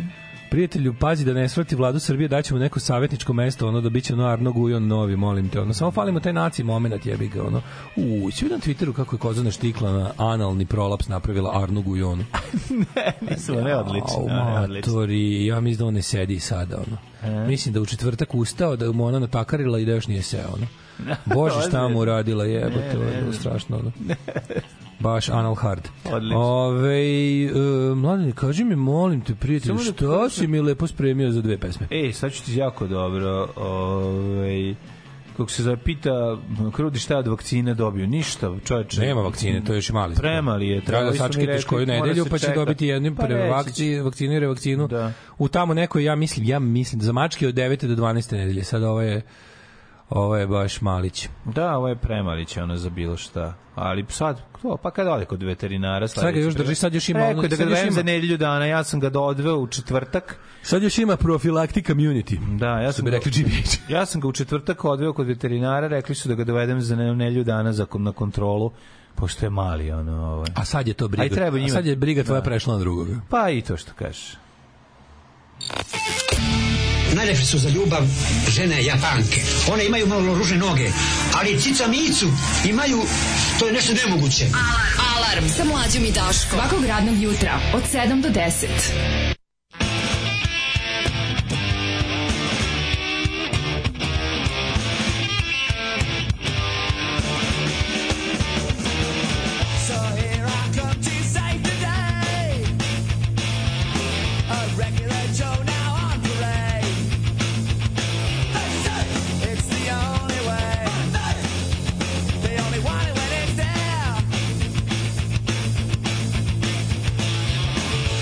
Speaker 5: Prijatelju, pazi da ne svrati vladu Srbije, daćemo neko savjetničko mesto, ono da biće ono Arno Gujon novi, molim te. Ono, samo falimo taj naci moment, jebi ga, ono. U, si vidio na Twitteru kako je kozana štikla na analni prolaps napravila Arno Gujonu.
Speaker 6: Mislim, ne odlično. ne,
Speaker 5: Au,
Speaker 6: odlično.
Speaker 5: matori, ja mislim da on ne sedi sada, ono.
Speaker 6: E?
Speaker 5: Mislim da u četvrtak ustao, da mu ona natakarila i da još nije seo, ono. Bože, šta mu uradila, jebote, ovo je bilo strašno, ono. Baš anal hard.
Speaker 6: Odlično.
Speaker 5: Ove, e, mladine, kaži mi, molim te, prijatelju,
Speaker 6: Samo da
Speaker 5: što si mi lepo spremio za dve pesme?
Speaker 6: E, sad ću ti jako dobro. Ovaj, kako se zapita, Krudi, šta je od vakcine dobio? Ništa, čoveče.
Speaker 5: Nema vakcine, to je još i mali.
Speaker 6: Premali je,
Speaker 5: Treba
Speaker 6: trebali
Speaker 5: da
Speaker 6: su mi
Speaker 5: sačekatiš
Speaker 6: rekli,
Speaker 5: koju
Speaker 6: mora
Speaker 5: nedelju,
Speaker 6: se
Speaker 5: pa će
Speaker 6: čekat.
Speaker 5: dobiti jednu
Speaker 6: Pa
Speaker 5: pa
Speaker 6: neće.
Speaker 5: vakcinu, vakcinu i revakcinu.
Speaker 6: Da.
Speaker 5: U tamo nekoj, ja mislim, ja mislim, za mačke od 9. do 12. nedelje. Sad ovo je, ovo je baš malić.
Speaker 6: Da, ovo je premalić, ono, za bilo šta. Ali sad, to, pa kad ode kod veterinara...
Speaker 5: Sad ga još drži, sad još ima
Speaker 6: Rekao
Speaker 5: ono...
Speaker 6: je da ga
Speaker 5: Sad još
Speaker 6: dovedem za
Speaker 5: ima,
Speaker 6: nedelju dana, ja sam ga odveo u četvrtak.
Speaker 5: sad još ima profilaktik community.
Speaker 6: Da, ja
Speaker 5: Što
Speaker 6: sam
Speaker 5: bi
Speaker 6: ga-
Speaker 5: rekli GBH.
Speaker 6: Ja sam ga u četvrtak odveo kod veterinara, rekli su da ga dovedem za nedelju dana za, na kontrolu, pošto je mali, ono, ovaj.
Speaker 5: A sad je to briga.
Speaker 6: A i treba Da.
Speaker 5: A
Speaker 6: njima-
Speaker 5: sad je briga tvoja prešla na drugoga.
Speaker 6: Pa i to što kažeš.
Speaker 8: Najlepše su za ljubav žene japanke. One imaju malo ružne noge, ali cica micu imaju, to je nešto nemoguće.
Speaker 4: Alarm sa mlađom i Daškom. Svakog radnog jutra od 7 do 10.
Speaker 1: So here I come to save the day. A regular Joe now on parade. It's the only way. The only one when it's there.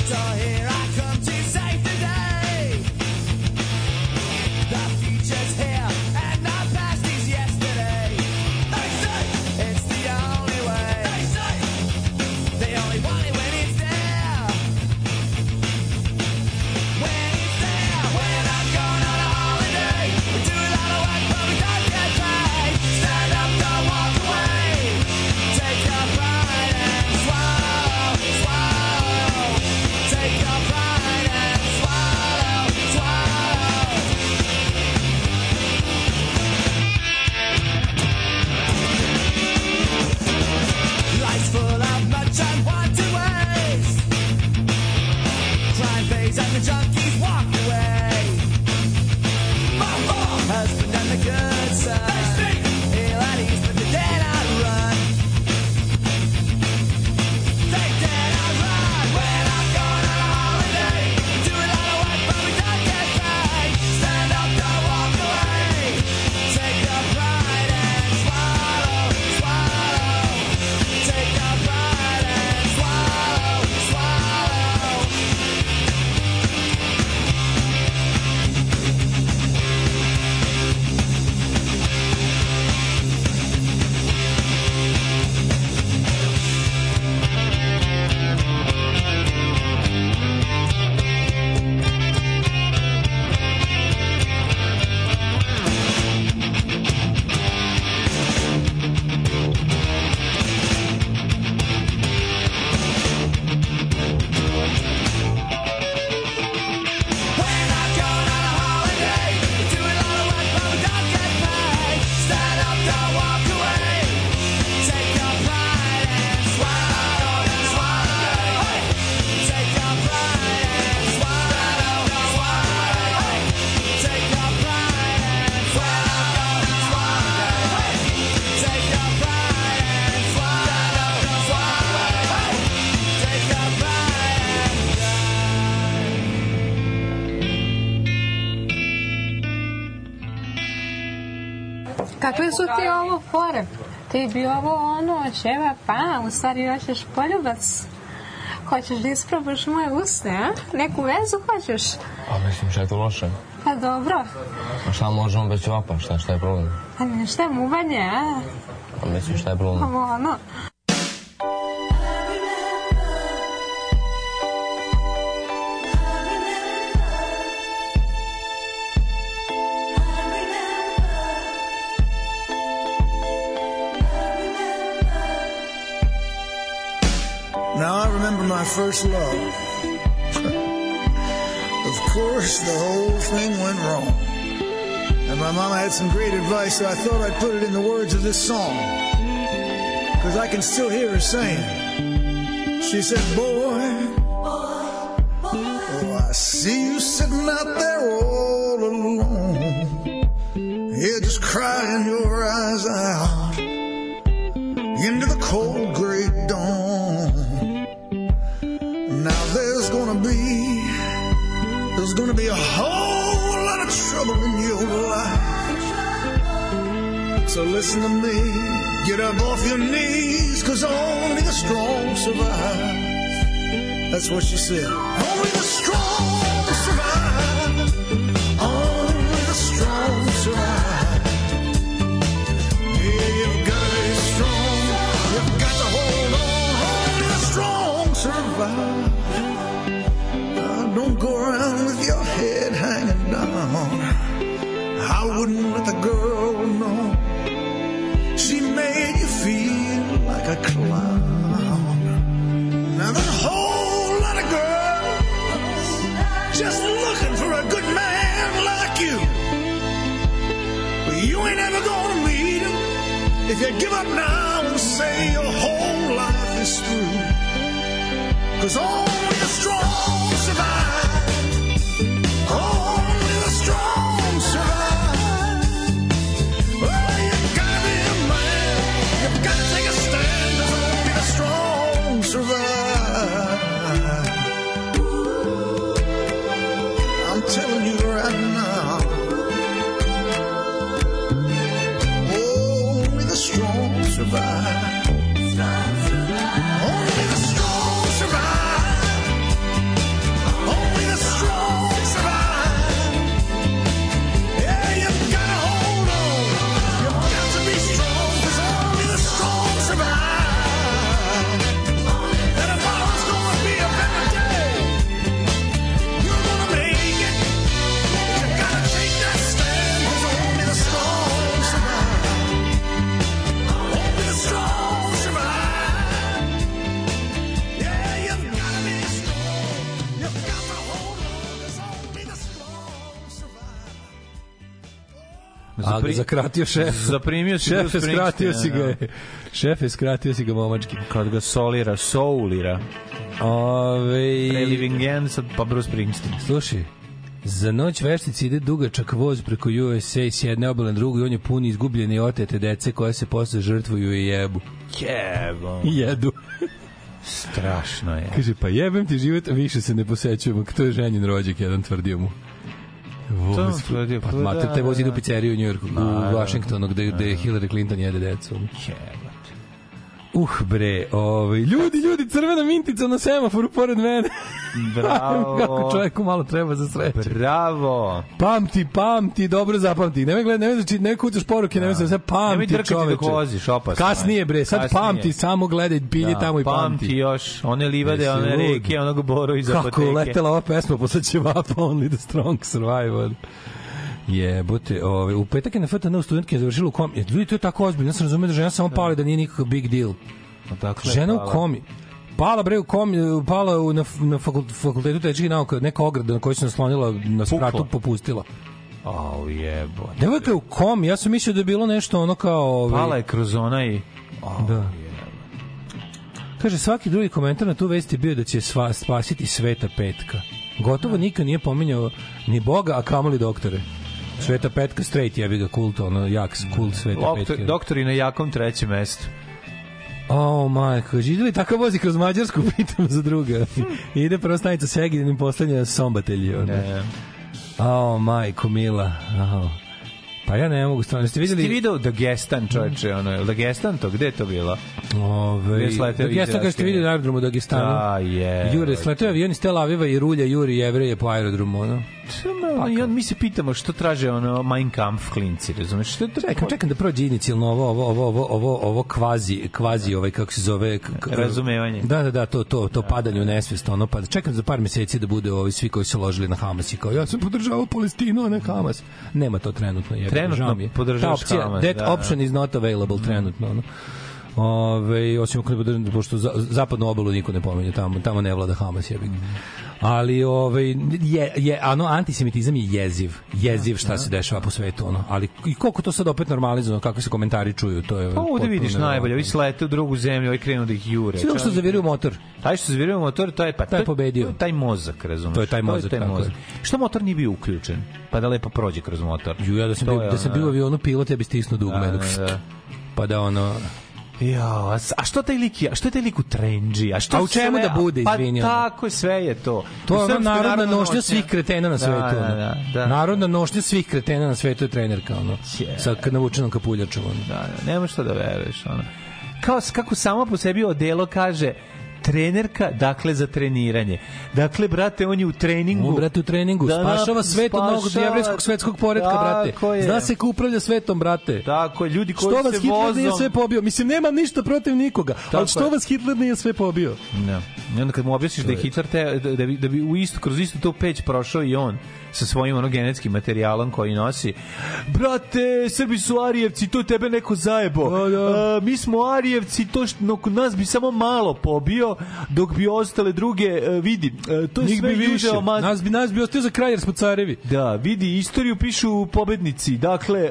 Speaker 1: So here I come
Speaker 9: Kakve su ti e ovo fore? Ti bi ovo ono, um ćeva pa, u stvari hoćeš poljubac. Hoćeš da isprobaš moje usne, a? Neku vezu hoćeš?
Speaker 10: A mislim, šta je to loše?
Speaker 9: Pa dobro.
Speaker 10: A šta možemo bez ćevapa, šta, šta je problem?
Speaker 9: A ne, šta je muvanje, a?
Speaker 10: A mislim, šta je problem?
Speaker 9: Ovo ono.
Speaker 1: Now I remember my first love. of course, the whole thing went wrong. And my mama had some great advice, so I thought I'd put it in the words of this song. Because I can still hear her saying. She said, Boy, oh, I see you sitting out there all alone. Yeah, just crying your eyes out into the cold gray dawn. Now there's gonna be, there's gonna be a whole lot of trouble in your life. So listen to me, get up off your knees, cause only the strong survive. That's what she said. Only the strong survive. Only the strong survive. Yeah, you've gotta be strong. You've got to hold on. Only the strong survive. Now, don't go around with your head hanging down. I wouldn't let the girl know. She made you feel like a clown. Now there's a whole lot of girls just looking for a good man like you. But you ain't ever gonna meet him. If you give up now and say your whole life is through, cause only the strong survive. Only the strong survive. Well, you gotta be a man. You gotta take a stand. 'cause Only the strong survive. I'm telling you right now. Only the Oh, strong survive. Only the strong survive. Only the strong survive. Yeah, you've got to hold on. You've got to be strong, 'cause only the strong survive. And tomorrow's gonna be a better day. You're gonna make it. You gotta take that stand, 'cause only the strong survive. Only the strong survive. Yeah, you've gotta be strong. You've got to hold on, 'cause only the strong survive.
Speaker 5: A ga da zakratio šef.
Speaker 6: Zaprimio si
Speaker 5: Šef
Speaker 6: Bruce
Speaker 5: je skratio
Speaker 6: Springsteena,
Speaker 5: si ga.
Speaker 6: da.
Speaker 5: Šef je skratio si ga momački.
Speaker 6: Kad ga solira, soulira.
Speaker 5: Ove,
Speaker 6: Reliving Again, sad pa Bruce Springsteen.
Speaker 5: Slušaj, za noć veštici ide dugačak voz preko USA s jedne obale na drugu i on je pun izgubljene i otete dece koja se posle žrtvuju i jebu.
Speaker 6: Jebo.
Speaker 5: I jedu.
Speaker 6: Strašno je.
Speaker 5: Kaže, pa jebem ti život, a više se ne posećujemo. To je ženjen rođak, jedan tvrdio mu.
Speaker 6: To
Speaker 5: Voz.
Speaker 6: on tvrdio,
Speaker 5: Pa,
Speaker 6: pa
Speaker 5: mater,
Speaker 6: da,
Speaker 5: taj voz
Speaker 6: da,
Speaker 5: ide u
Speaker 6: da.
Speaker 5: pizzeriju u Njujorku, u Washingtonu, gde, gde Hillary Clinton jede decu.
Speaker 6: Jebo.
Speaker 5: Uh bre, ovaj ljudi, ljudi, crvena mintica na semaforu pored mene.
Speaker 6: Bravo.
Speaker 5: Kako čoveku malo treba za sreću.
Speaker 6: Bravo.
Speaker 5: Pamti, pamti, dobro zapamti. Nemoj gledaj, nemoj znači ne kucaš poruke, nemoj se sad
Speaker 6: Da. Nemoj
Speaker 5: pamti,
Speaker 6: drkati
Speaker 5: čoveče.
Speaker 6: dok voziš, opasno je.
Speaker 5: Kasnije bre, sad
Speaker 6: Kasnije. Da,
Speaker 5: pamti, samo gledaj, pilji tamo i pamti.
Speaker 6: Pamti još, one livade,
Speaker 5: Jesi
Speaker 6: one
Speaker 5: lud?
Speaker 6: reke, onog boru iz apoteke.
Speaker 5: Kako je letela ova pesma posle ćevapa Only the Strong Survival. Jebote, ovaj, u petak je na FTN studentke je završila u kom... je, Ljudi, to je tako ozbiljno, ja sam razumio da žena samo pali da nije nikakav big deal.
Speaker 6: Dakle,
Speaker 5: Žena u
Speaker 6: hvala.
Speaker 5: komi. Pala bre u komi, pala u, na, na fakul- fakultetu tehničkih nauka, neka ograda na koju se naslonila na spratu
Speaker 6: Pukla.
Speaker 5: popustila.
Speaker 6: Au jebote.
Speaker 5: Devojka je u komi, ja sam mislio da je bilo nešto ono kao... Ovaj,
Speaker 6: Pala je kroz onaj... Au,
Speaker 5: Da.
Speaker 6: jebote.
Speaker 5: Kaže, svaki drugi komentar na tu vest je bio da će sva, spasiti Sveta Petka. Gotovo
Speaker 6: Da.
Speaker 5: niko nije pominjao ni Boga, a kamoli doktore. Sveta Petka straight jebi ga kult, ono, jak kult Sveta
Speaker 6: Doktor,
Speaker 5: Petka.
Speaker 6: doktori na jakom trećem mestu.
Speaker 5: O, Oh, majko, kaže, ide li tako vozi kroz Mađarsku, pritom za druga.
Speaker 6: Hmm.
Speaker 5: ide prva stanica Segedin i poslednja Sombatelji. Ono.
Speaker 6: E,
Speaker 5: O, majko, mila. O. Pa ja ne mogu stvarno. Jeste
Speaker 6: Ti
Speaker 5: vidjeli...
Speaker 6: video Dagestan, čoveče, ono, je li Dagestan to? Gde je to bilo?
Speaker 5: Ove,
Speaker 6: Jesi sleteo iz
Speaker 5: Dagestan, kao
Speaker 6: Raske?
Speaker 5: ste vidjeli na aerodromu u Dagestanu.
Speaker 6: Da, je.
Speaker 5: Jure, sleteo je avion iz Tel Aviva i rulja Juri Jevreje po aerodromu. Ono.
Speaker 6: Pa, Ono, I on, mi se pitamo što traže ono Mein Kampf klinci, razumeš? Što je to?
Speaker 5: Čekam, čekam da prođe inicijalno ovo, ovo, ovo, ovo, ovo, ovo kvazi, kvazi, ovaj, kako se zove... k- k-
Speaker 6: Razumevanje.
Speaker 5: Da, da, da, to, to, to padanje u nesvest, ono, pa čekam za par meseci da bude ovi svi koji su ložili na Hamas i kao, ja sam podržavao Palestinu, a ne Hamas. Nema to trenutno, je.
Speaker 6: Trenutno podržavaš Hamas,
Speaker 5: That
Speaker 6: da,
Speaker 5: option is not available trenutno, ono. Ove, osim ako ne bude, pošto za, zapadnu obalu niko ne pominje, tamo, tamo ne vlada Hamas, jebik. Ali ove, je, je, ano, antisemitizam je jeziv. Jeziv
Speaker 6: Da,
Speaker 5: šta se dešava po svetu. Ono. Ali i koliko to sad opet normalizovano, kako se komentari čuju, to je...
Speaker 6: Pa ovde
Speaker 5: potpuno
Speaker 6: vidiš
Speaker 5: nevjerovatno.
Speaker 6: najbolje, ovi slete u drugu zemlju, ovi krenu da ih jure.
Speaker 5: Sve ovo što
Speaker 6: čovek.
Speaker 5: zaviruju motor.
Speaker 6: Taj što zaviruje motor, to je pa
Speaker 5: Taj
Speaker 6: to-
Speaker 5: pobedio.
Speaker 6: to je Taj mozak, razumeš?
Speaker 5: To je taj mozak, tako je.
Speaker 6: Što motor nije bio uključen? Pa da lepo prođe kroz motor.
Speaker 5: Ju, ja da sam,
Speaker 6: To
Speaker 5: bio,
Speaker 6: je
Speaker 5: da sam
Speaker 6: ono,
Speaker 5: bio u avionu pilot, ja bi stisnuo dugme.
Speaker 6: da,
Speaker 5: dok-
Speaker 6: da, da.
Speaker 5: Pa da ono...
Speaker 6: Ja, a s- a što taj lik, je- a što je taj lik u trendži? A što
Speaker 5: A u čemu
Speaker 6: sve-
Speaker 5: da bude,
Speaker 6: pa
Speaker 5: izvini, ono?
Speaker 6: tako je, sve je to.
Speaker 5: To
Speaker 6: U
Speaker 5: je ono
Speaker 6: Srpskoj
Speaker 5: narodna
Speaker 6: narodnoj
Speaker 5: nošnja
Speaker 6: nošnji-
Speaker 5: svih kretena na
Speaker 6: Da,
Speaker 5: svetu.
Speaker 6: da,
Speaker 5: ono.
Speaker 6: da, da.
Speaker 5: Narodna nošnja svih kretena na svetu je trenerka. Ono.
Speaker 6: Je.
Speaker 5: Sa k- navučenom kapuljačom. Ono.
Speaker 6: Da, da, nema što da veruješ, ono. Kao s- kako samo po sebi odelo kaže trenerka, dakle za treniranje. Dakle, brate, on je u treningu.
Speaker 5: U, brate, u treningu.
Speaker 6: Da, da,
Speaker 5: spašava svet od novog
Speaker 6: spašava.
Speaker 5: jevrejskog svetskog poredka,
Speaker 6: Tako
Speaker 5: brate.
Speaker 6: je.
Speaker 5: Zna se ko upravlja svetom, brate.
Speaker 6: Tako je, ljudi koji
Speaker 5: Što vas
Speaker 6: se
Speaker 5: Hitler nije
Speaker 6: vozom...
Speaker 5: sve pobio? Mislim, nemam ništa protiv nikoga,
Speaker 6: Tako
Speaker 5: ali
Speaker 6: je.
Speaker 5: što vas Hitler nije sve pobio?
Speaker 6: Da. I onda kad mu objasniš da je Hitler te, da, da, bi, da bi u istu, kroz istu to peć prošao i on sa svojim ono genetskim materijalom koji nosi brate, Srbi su Arijevci to tebe neko zajebo
Speaker 5: Da, da.
Speaker 6: A, mi smo Arijevci to što no, kod nas bi samo malo pobio dok bi ostale druge e, vidi e, to je
Speaker 5: Njih
Speaker 6: sve
Speaker 5: bi više.
Speaker 6: južeo mas...
Speaker 5: Nas bi, nas bi ostio za kraj jer smo carevi.
Speaker 6: Da, vidi, istoriju pišu pobednici. Dakle, e,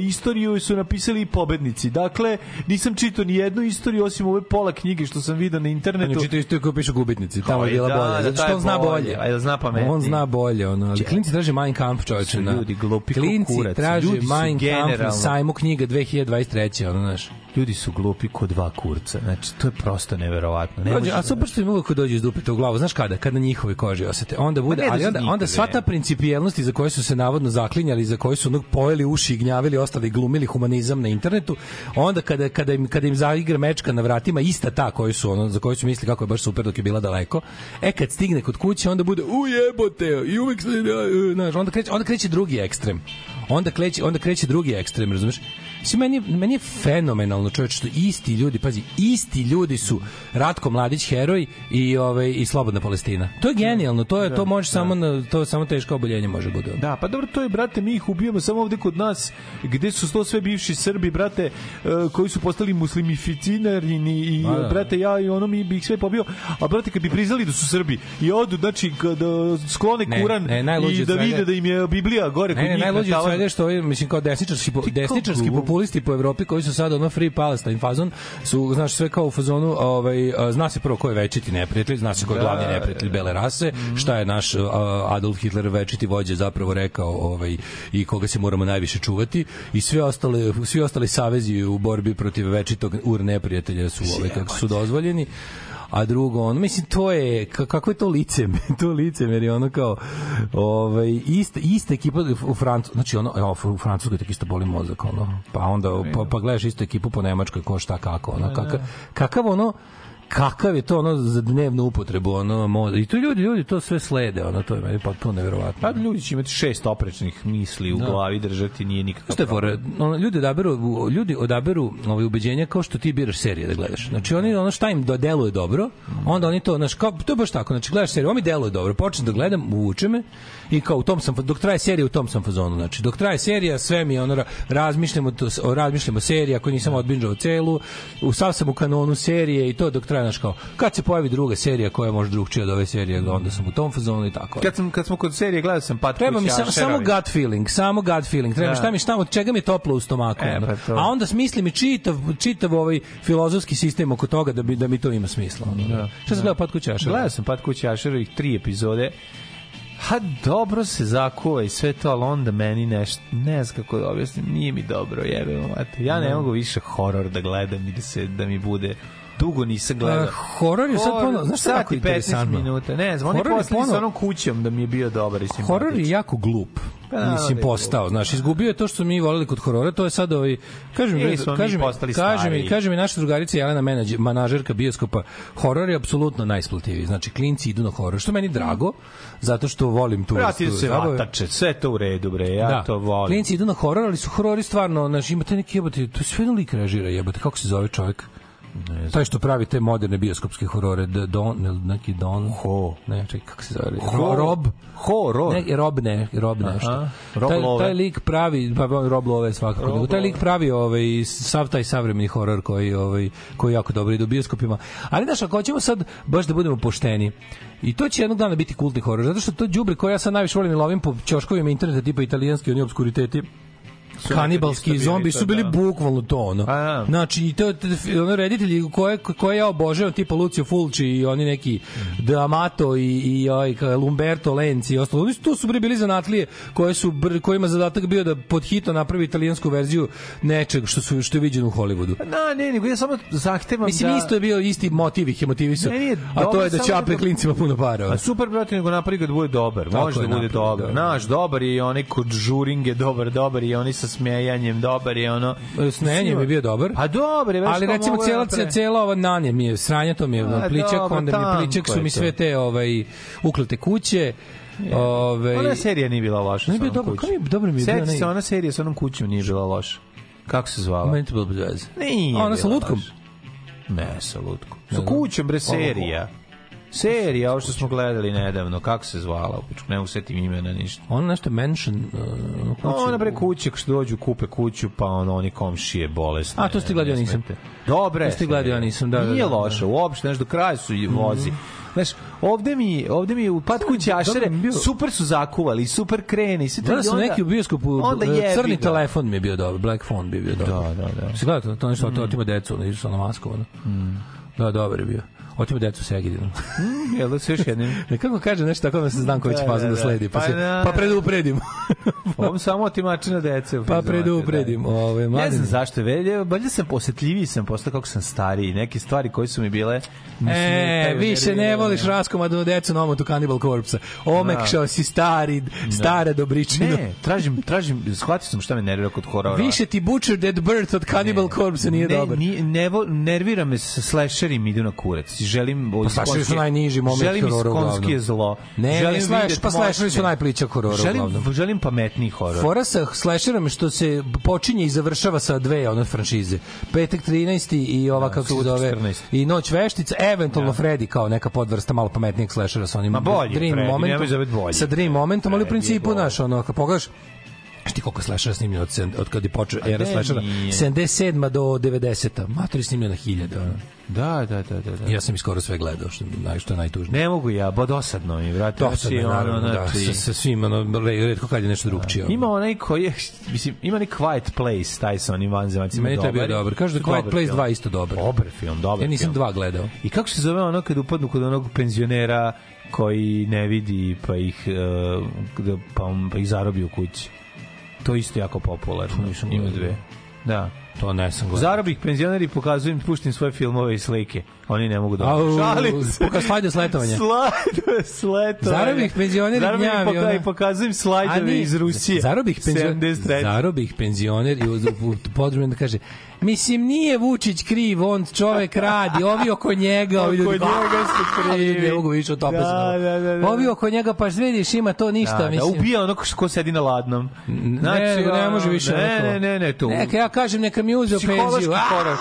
Speaker 6: istoriju su napisali i pobednici. Dakle, nisam čitao ni jednu istoriju osim ove pola knjige što sam video na internetu.
Speaker 5: Znači, to isto kao pišu gubitnici, tamo je
Speaker 6: Koji,
Speaker 5: bila
Speaker 6: da, da,
Speaker 5: bolja. Zato
Speaker 6: taj
Speaker 5: što on zna
Speaker 6: bolje.
Speaker 5: bolje.
Speaker 6: Ajde, da zna pametnije.
Speaker 5: On zna bolje, ono. Ali klinci traže Mein Kampf, čovječe.
Speaker 6: Su
Speaker 5: na-
Speaker 6: ljudi glupi ko
Speaker 5: Klinci
Speaker 6: kurac.
Speaker 5: traže
Speaker 6: Ljudi su
Speaker 5: Mein Kampf na
Speaker 6: generalno-
Speaker 5: sajmu knjiga 2023. Ono, znaš.
Speaker 6: Ljudi su glupi kod dva kurca. Znači, to je prosto neverovatno. Ne
Speaker 5: Dođe,
Speaker 6: može- da
Speaker 5: a super što im uvek dođe iz dupeta u glavu, znaš kada, kad na njihovoj koži osete. Onda bude,
Speaker 6: ne, da
Speaker 5: ali
Speaker 6: su
Speaker 5: onda, onda
Speaker 6: nikad,
Speaker 5: sva
Speaker 6: ne.
Speaker 5: ta principijelnost za koju su se navodno zaklinjali, za koju su onog pojeli uši i gnjavili, ostali i glumili humanizam na internetu, onda kada, kada, im, kada im zaigra mečka na vratima, ista ta koju su, ono, za koju su mislili kako je baš super dok je bila daleko, e kad stigne kod kuće, onda bude ujebote, i uvek se, da, e, znaš, onda kreće, onda kreće drugi ekstrem. Onda kreće, onda kreće drugi ekstrem, razumeš? Mislim, meni, je- meni je fenomenalno čovječ što isti ljudi, pazi, isti ljudi su Ratko Mladić heroj i ovaj i Slobodna Palestina. To je genijalno, to je to može samo na, to samo teško oboljenje može bude.
Speaker 6: Da, pa dobro, to je, brate, mi ih ubijamo samo ovde kod nas, gde su to sve bivši Srbi, brate, e, koji su postali muslimificinerni i,
Speaker 5: Ma, da.
Speaker 6: brate, ja i ono mi bi ih sve pobio, a brate, kad bi priznali da su Srbi i odu, znači, kada sklone
Speaker 5: Ne,
Speaker 6: Kuran
Speaker 5: ne, najluđe
Speaker 6: i
Speaker 5: od
Speaker 6: da
Speaker 5: svega-
Speaker 6: vide da im je Biblija gore
Speaker 5: Ne,
Speaker 6: kod
Speaker 5: ne,
Speaker 6: njih. na
Speaker 5: najluđe od
Speaker 6: tavanu.
Speaker 5: svega je što ovi, mislim, kao desničarski, po,
Speaker 6: Ti kao
Speaker 5: desničarski
Speaker 6: glup.
Speaker 5: populisti po Evropi koji su sad ono Free Palestine fazon, su, znaš, sve kao u fazonu, ovaj, a, zna se prvo ko je večiti neprijatelj, zna se
Speaker 6: Da,
Speaker 5: ko je glavni neprijatelj bele rase,
Speaker 6: Mhm.
Speaker 5: šta je naš a, Adolf Hitler večiti vođe zapravo rekao ovaj, i koga se moramo najviše čuvati i sve ostale, svi ostali savezi u borbi protiv večitog ur neprijatelja su, ovaj, kako su dozvoljeni a drugo on mislim to je ka- kako je to lice to lice jer je ono kao ovaj ista ista ekipa u Francu znači ono evo, u Francuskoj tako isto boli mozak ono pa onda pa, pa gledaš istu ekipu po Nemačkoj ko šta kako ono kakav kakav ono kakav je to ono za dnevnu upotrebu ono mo- i to ljudi ljudi to sve slede ono to je meni potpuno neverovatno
Speaker 6: Pa ljudi će imati šest oprečnih misli u glavi držati, nije nikakav
Speaker 5: Da. Šta je fora? Ono, ljudi odaberu, ljudi odaberu ovaj, ubeđenja kao što ti biraš serije da gledaš. Znači, oni, ono šta im do- deluje dobro, onda oni to, znaš, kao, to je baš tako, znači, gledaš seriju, ovo mi deluje dobro, počnem da gledam, uvuče me, i kao u tom sam, fa- dok traje serija, u tom sam fazonu, znači, dok traje serija, sve mi, je ono, ra- razmišljamo, to, o, razmišljamo serija, ako nisam odbinđao celu, u, sav sam u kanonu serije i to dok traje, znaš, kao, kad se pojavi druga serija koja je možda drugčija od ove serije, onda sam u tom fazonu i tako.
Speaker 6: Kad, sam, kad smo kod serije gledao sam Patkuć
Speaker 5: Treba mi samo, samo gut feeling, samo gut feeling. Treba
Speaker 6: Da.
Speaker 5: da. šta mi šta od čega mi je toplo u stomaku.
Speaker 6: E,
Speaker 5: ono.
Speaker 6: pa to.
Speaker 5: A onda smislim i čitav čitav ovaj filozofski sistem oko toga da bi da mi to ima smisla. Ono. Da. Šta se gleda pod kućaša?
Speaker 6: Gledao sam Pat Kući Ašerovih tri epizode. Ha, dobro se zakuva i sve to, ali onda meni nešto, ne znam kako da objasnim, nije mi dobro, jebemo, mate. Ja ne mogu više horor da gledam i da, se, da mi bude dugo nisam gledao.
Speaker 5: Uh, horor je sad ponovo, znaš šta je
Speaker 6: sat
Speaker 5: jako
Speaker 6: i 15
Speaker 5: interesantno?
Speaker 6: minuta, ne znam, oni
Speaker 5: Horor je
Speaker 6: poslali sa
Speaker 5: ponovo-
Speaker 6: onom kućom da mi je bio dobar i simpatičan.
Speaker 5: Horor je jako glup.
Speaker 6: Pa naravno
Speaker 5: mislim
Speaker 6: da je
Speaker 5: postao, znaš, izgubio je to što smo mi voleli kod horora, to je sad ovaj kažem
Speaker 6: Ili smo mi
Speaker 5: kažem
Speaker 6: postali
Speaker 5: kažem
Speaker 6: stariji.
Speaker 5: mi kaže mi naša drugarica Jelena menadž- manažerka bioskopa horor je apsolutno najisplativiji. Znači klinci idu na horor, što je meni drago, zato što volim tu
Speaker 6: Vratili su se
Speaker 5: zabavu.
Speaker 6: vatače, sve je to u redu, bre, ja da. to volim.
Speaker 5: Klinci idu na horor, ali su horori stvarno, znači imate neki jebote, to je sve jedno lik režira, jebote, kako se zove čovjek? Taj što pravi te moderne bioskopske horore, The Don, ili neki Don...
Speaker 6: Ho.
Speaker 5: Ne, čekaj, kako se zove?
Speaker 6: Ho-
Speaker 5: Rob?
Speaker 6: Horor.
Speaker 5: Ne, Rob ne, Rob nešto.
Speaker 6: Aha. Rob
Speaker 5: taj,
Speaker 6: Love.
Speaker 5: taj lik pravi, pa pa, Rob Love svakako. nego taj lik pravi ovaj, sav taj savremeni horor koji, ovaj, koji jako dobro ide u bioskopima. Ali znaš, ako hoćemo sad baš da budemo pošteni, I to će jednog dana biti kultni horor, zato što to đubre koje ja sad najviše volim i lovim po ćoškovima interneta tipa italijanski, oni obskuriteti,
Speaker 6: nekad
Speaker 5: kanibalski
Speaker 6: isto
Speaker 5: zombi
Speaker 6: bili
Speaker 5: su
Speaker 6: to,
Speaker 5: bili
Speaker 6: da.
Speaker 5: bukvalno to ono.
Speaker 6: A, da.
Speaker 5: Znači, i to, to ono reditelji koje, koje ja obožavam, tipa Lucio Fulci i oni neki D'Amato i, i ovaj, ka- Lumberto Lenzi i ostalo. Oni su, tu su bre bili zanatlije koje su, br- kojima zadatak bio da pod hitno napravi italijansku verziju nečeg što, su, što je viđeno u Hollywoodu.
Speaker 6: Na, ne, nego ja samo zahtevam
Speaker 5: Mislim,
Speaker 6: da...
Speaker 5: isto je bio isti motiv ih je motivisao,
Speaker 6: Ne, nije,
Speaker 5: a to
Speaker 6: dobro,
Speaker 5: je da
Speaker 6: samo
Speaker 5: ćape
Speaker 6: neko-
Speaker 5: klincima puno para. ono.
Speaker 6: A super, brate, nego napravi ga da bude dobar.
Speaker 5: Tako
Speaker 6: Može
Speaker 5: je,
Speaker 6: da bude
Speaker 5: napravi ga
Speaker 6: dobar.
Speaker 5: dobar.
Speaker 6: Naš, dobar je i onaj kod žuringe, dobar, dobar je i onaj sa smejanjem, dobar je ono...
Speaker 5: Snenjem E, je bio dobar.
Speaker 6: Pa dobar je, već
Speaker 5: ali
Speaker 6: kao
Speaker 5: recimo
Speaker 6: mogu da
Speaker 5: cijela
Speaker 6: napravi.
Speaker 5: cijela ova nanje mi je sranje to mi je
Speaker 6: A,
Speaker 5: pličak
Speaker 6: dobro,
Speaker 5: onda mi je pličak
Speaker 6: tanko
Speaker 5: su
Speaker 6: je
Speaker 5: mi
Speaker 6: to.
Speaker 5: sve te ovaj uklete kuće ovaj
Speaker 6: Ona Pa da, serija nije bila loša.
Speaker 5: Ne,
Speaker 6: sa
Speaker 5: bio
Speaker 6: onom
Speaker 5: dobar,
Speaker 6: kućom.
Speaker 5: kao mi je- dobro mi je bio
Speaker 6: Sjeti
Speaker 5: onaj-
Speaker 6: se, ona serija sa onom kućom nije bila loša. Kako se zvala?
Speaker 5: Pa meni to bilo bez veze.
Speaker 6: Nije
Speaker 5: A ona sa
Speaker 6: bila
Speaker 5: lutkom.
Speaker 6: loša. Ne, sa lutkom. Sa kućom, bre, serija. Serija, ovo što smo gledali nedavno, kako se zvala, u pičku, ne mogu setim imena, ništa.
Speaker 5: Ona nešto mansion uh, kuću.
Speaker 6: Ona bre kuće, što dođu, kupe kuću, pa ono, oni komšije bolesne.
Speaker 5: A, to ste gledali, ja nisam.
Speaker 6: smete. Dobre.
Speaker 5: To ste gledali, ja nisam, da, da,
Speaker 6: Nije
Speaker 5: da, Mhm. da.
Speaker 6: loše, uopšte, znaš, do kraja su i vozi. Znaš, ovde mi, ovde mi u pad kuće
Speaker 5: da,
Speaker 6: Ašere,
Speaker 5: bio.
Speaker 6: super su zakuvali, super krene i sve to.
Speaker 5: Gledao
Speaker 6: i
Speaker 5: sam
Speaker 6: onda-
Speaker 5: neki u bioskopu,
Speaker 6: onda
Speaker 5: eh,
Speaker 6: jebi
Speaker 5: crni
Speaker 6: ga.
Speaker 5: telefon mi je bio dobar, black phone bi bio dobar.
Speaker 6: Da, da, Mm. da.
Speaker 5: Se gleda to, to nešto, to otima decu, ono, išao na masku, ono. Da, dobar je bio. Otima decu sa Egidinu.
Speaker 6: Jel da se još jednim?
Speaker 5: Kako kaže nešto tako, onda se znam koji će
Speaker 6: Da,
Speaker 5: fazon
Speaker 6: da,
Speaker 5: da
Speaker 6: da.
Speaker 5: sledi, pa,
Speaker 6: Pa
Speaker 5: se,
Speaker 6: da.
Speaker 5: pa predupredim.
Speaker 6: Ovom samo otimačina dece.
Speaker 5: Pa
Speaker 6: znate,
Speaker 5: predupredim.
Speaker 6: da.
Speaker 5: Ove,
Speaker 6: Ne
Speaker 5: mladine.
Speaker 6: znam zašto, velje, bolje sam posetljiviji sam posle kako sam stariji, neke stvari koje su mi bile...
Speaker 5: E,
Speaker 6: smetaju,
Speaker 5: više ne
Speaker 6: nerviraju.
Speaker 5: voliš raskomadu decu na omotu Cannibal Corpse. Omekšao si stari, stara dobričina.
Speaker 6: Da. Ne, tražim, tražim, shvatio sam šta me nervira kod horora.
Speaker 5: Više ti Butcher Dead Bird od Cannibal Corpse nije
Speaker 6: ne,
Speaker 5: dobar.
Speaker 6: Ni, ne, vo- nervira me sa slasherima idu na kurac. Želim pa
Speaker 5: slasheri su najniži moment
Speaker 6: Želim
Speaker 5: horora uglavnom.
Speaker 6: iskonski zlo.
Speaker 5: Ne,
Speaker 6: želim
Speaker 5: ne, slash-
Speaker 6: vidjeti
Speaker 5: pa slasheri su
Speaker 6: moćne.
Speaker 5: najplića horora
Speaker 6: Želim,
Speaker 5: uglavnom.
Speaker 6: želim pametniji horor.
Speaker 5: Fora sa slasherom je što se počinje i završava sa dve ono franšize. Petak 13. i ova kako se
Speaker 6: subotak
Speaker 5: zove
Speaker 6: 14..
Speaker 5: i Noć veštica, eventualno Freddy kao neka podvrsta malo pametnijeg slashera sa onim
Speaker 6: Da. Ma bolji je
Speaker 5: Dream
Speaker 6: Freddy,
Speaker 5: momentom.
Speaker 6: nemoj zove bolji.
Speaker 5: Sa Dream momentom, ali u
Speaker 6: Freddy je
Speaker 5: principu
Speaker 6: bolji.
Speaker 5: naš ono kad pogledaš Znaš ti koliko je slashera snimljeno od, sedam- od kad je počeo era
Speaker 6: ne,
Speaker 5: slashera?
Speaker 6: nije.
Speaker 5: 77. do 90. Matori snimljeno na hiljade. ono.
Speaker 6: Da, da, da, da. da.
Speaker 5: Ja sam ih skoro sve gledao, što, naj, što je najtužnije.
Speaker 6: Ne mogu ja, bo dosadno mi, Znači, vrati.
Speaker 5: Dosadno je, naravno, da, sa, sa svim, ono, re- redko kad je nešto drugčije. ono.
Speaker 6: znači, Ima onaj koji je, mislim, ima onaj Quiet Place, taj sa onim vanzemacima.
Speaker 5: Meni to je bio dobar. Kažu da Quiet Place 2 isto dobar.
Speaker 6: Dobar film, dobar
Speaker 5: Ja nisam
Speaker 6: film.
Speaker 5: dva gledao.
Speaker 6: I kako se zove ono kad upadnu kod onog penzionera koji ne vidi pa ih, eh, da- pa, pa ih zarobi u kući? To je isto jako popularno. Ima
Speaker 5: gledao.
Speaker 6: dve. Da.
Speaker 5: To ne sam gledao.
Speaker 6: Zarobi ih penzioneri, pokazujem, puštim svoje filmove i slike. Oni ne mogu da...
Speaker 5: Au,
Speaker 6: Šalim se.
Speaker 5: poka- slajde sletovanja.
Speaker 6: Slajde sletovanja.
Speaker 5: Zarobih penzioneri
Speaker 6: Zarobih
Speaker 5: gnjavi,
Speaker 6: poka-
Speaker 5: ono.
Speaker 6: da, i pokazujem slajdeve iz Rusije.
Speaker 5: Zarobih penzioner,
Speaker 6: 73.
Speaker 5: zarobih penzioner i u, u, u podrumen da kaže Mislim, nije Vučić kriv, on čovek radi, ovi oko njega, ovi ljudi...
Speaker 6: Oko njega su
Speaker 5: A, ljudi,
Speaker 6: krivi.
Speaker 5: Ne mogu više od topa.
Speaker 6: Da,
Speaker 5: se-
Speaker 6: da, da, da.
Speaker 5: Ovi oko njega, pa vidiš, ima to ništa,
Speaker 6: Da, da,
Speaker 5: mislim.
Speaker 6: ubija ono ko- ko sedi na ladnom. Znači,
Speaker 5: ne, ne,
Speaker 6: ono,
Speaker 5: može više.
Speaker 6: Ne,
Speaker 5: onako.
Speaker 6: ne, ne, ne, to.
Speaker 5: Neka ja kažem, neka mi uze
Speaker 6: Psihološki
Speaker 5: penziju. A,
Speaker 6: horor.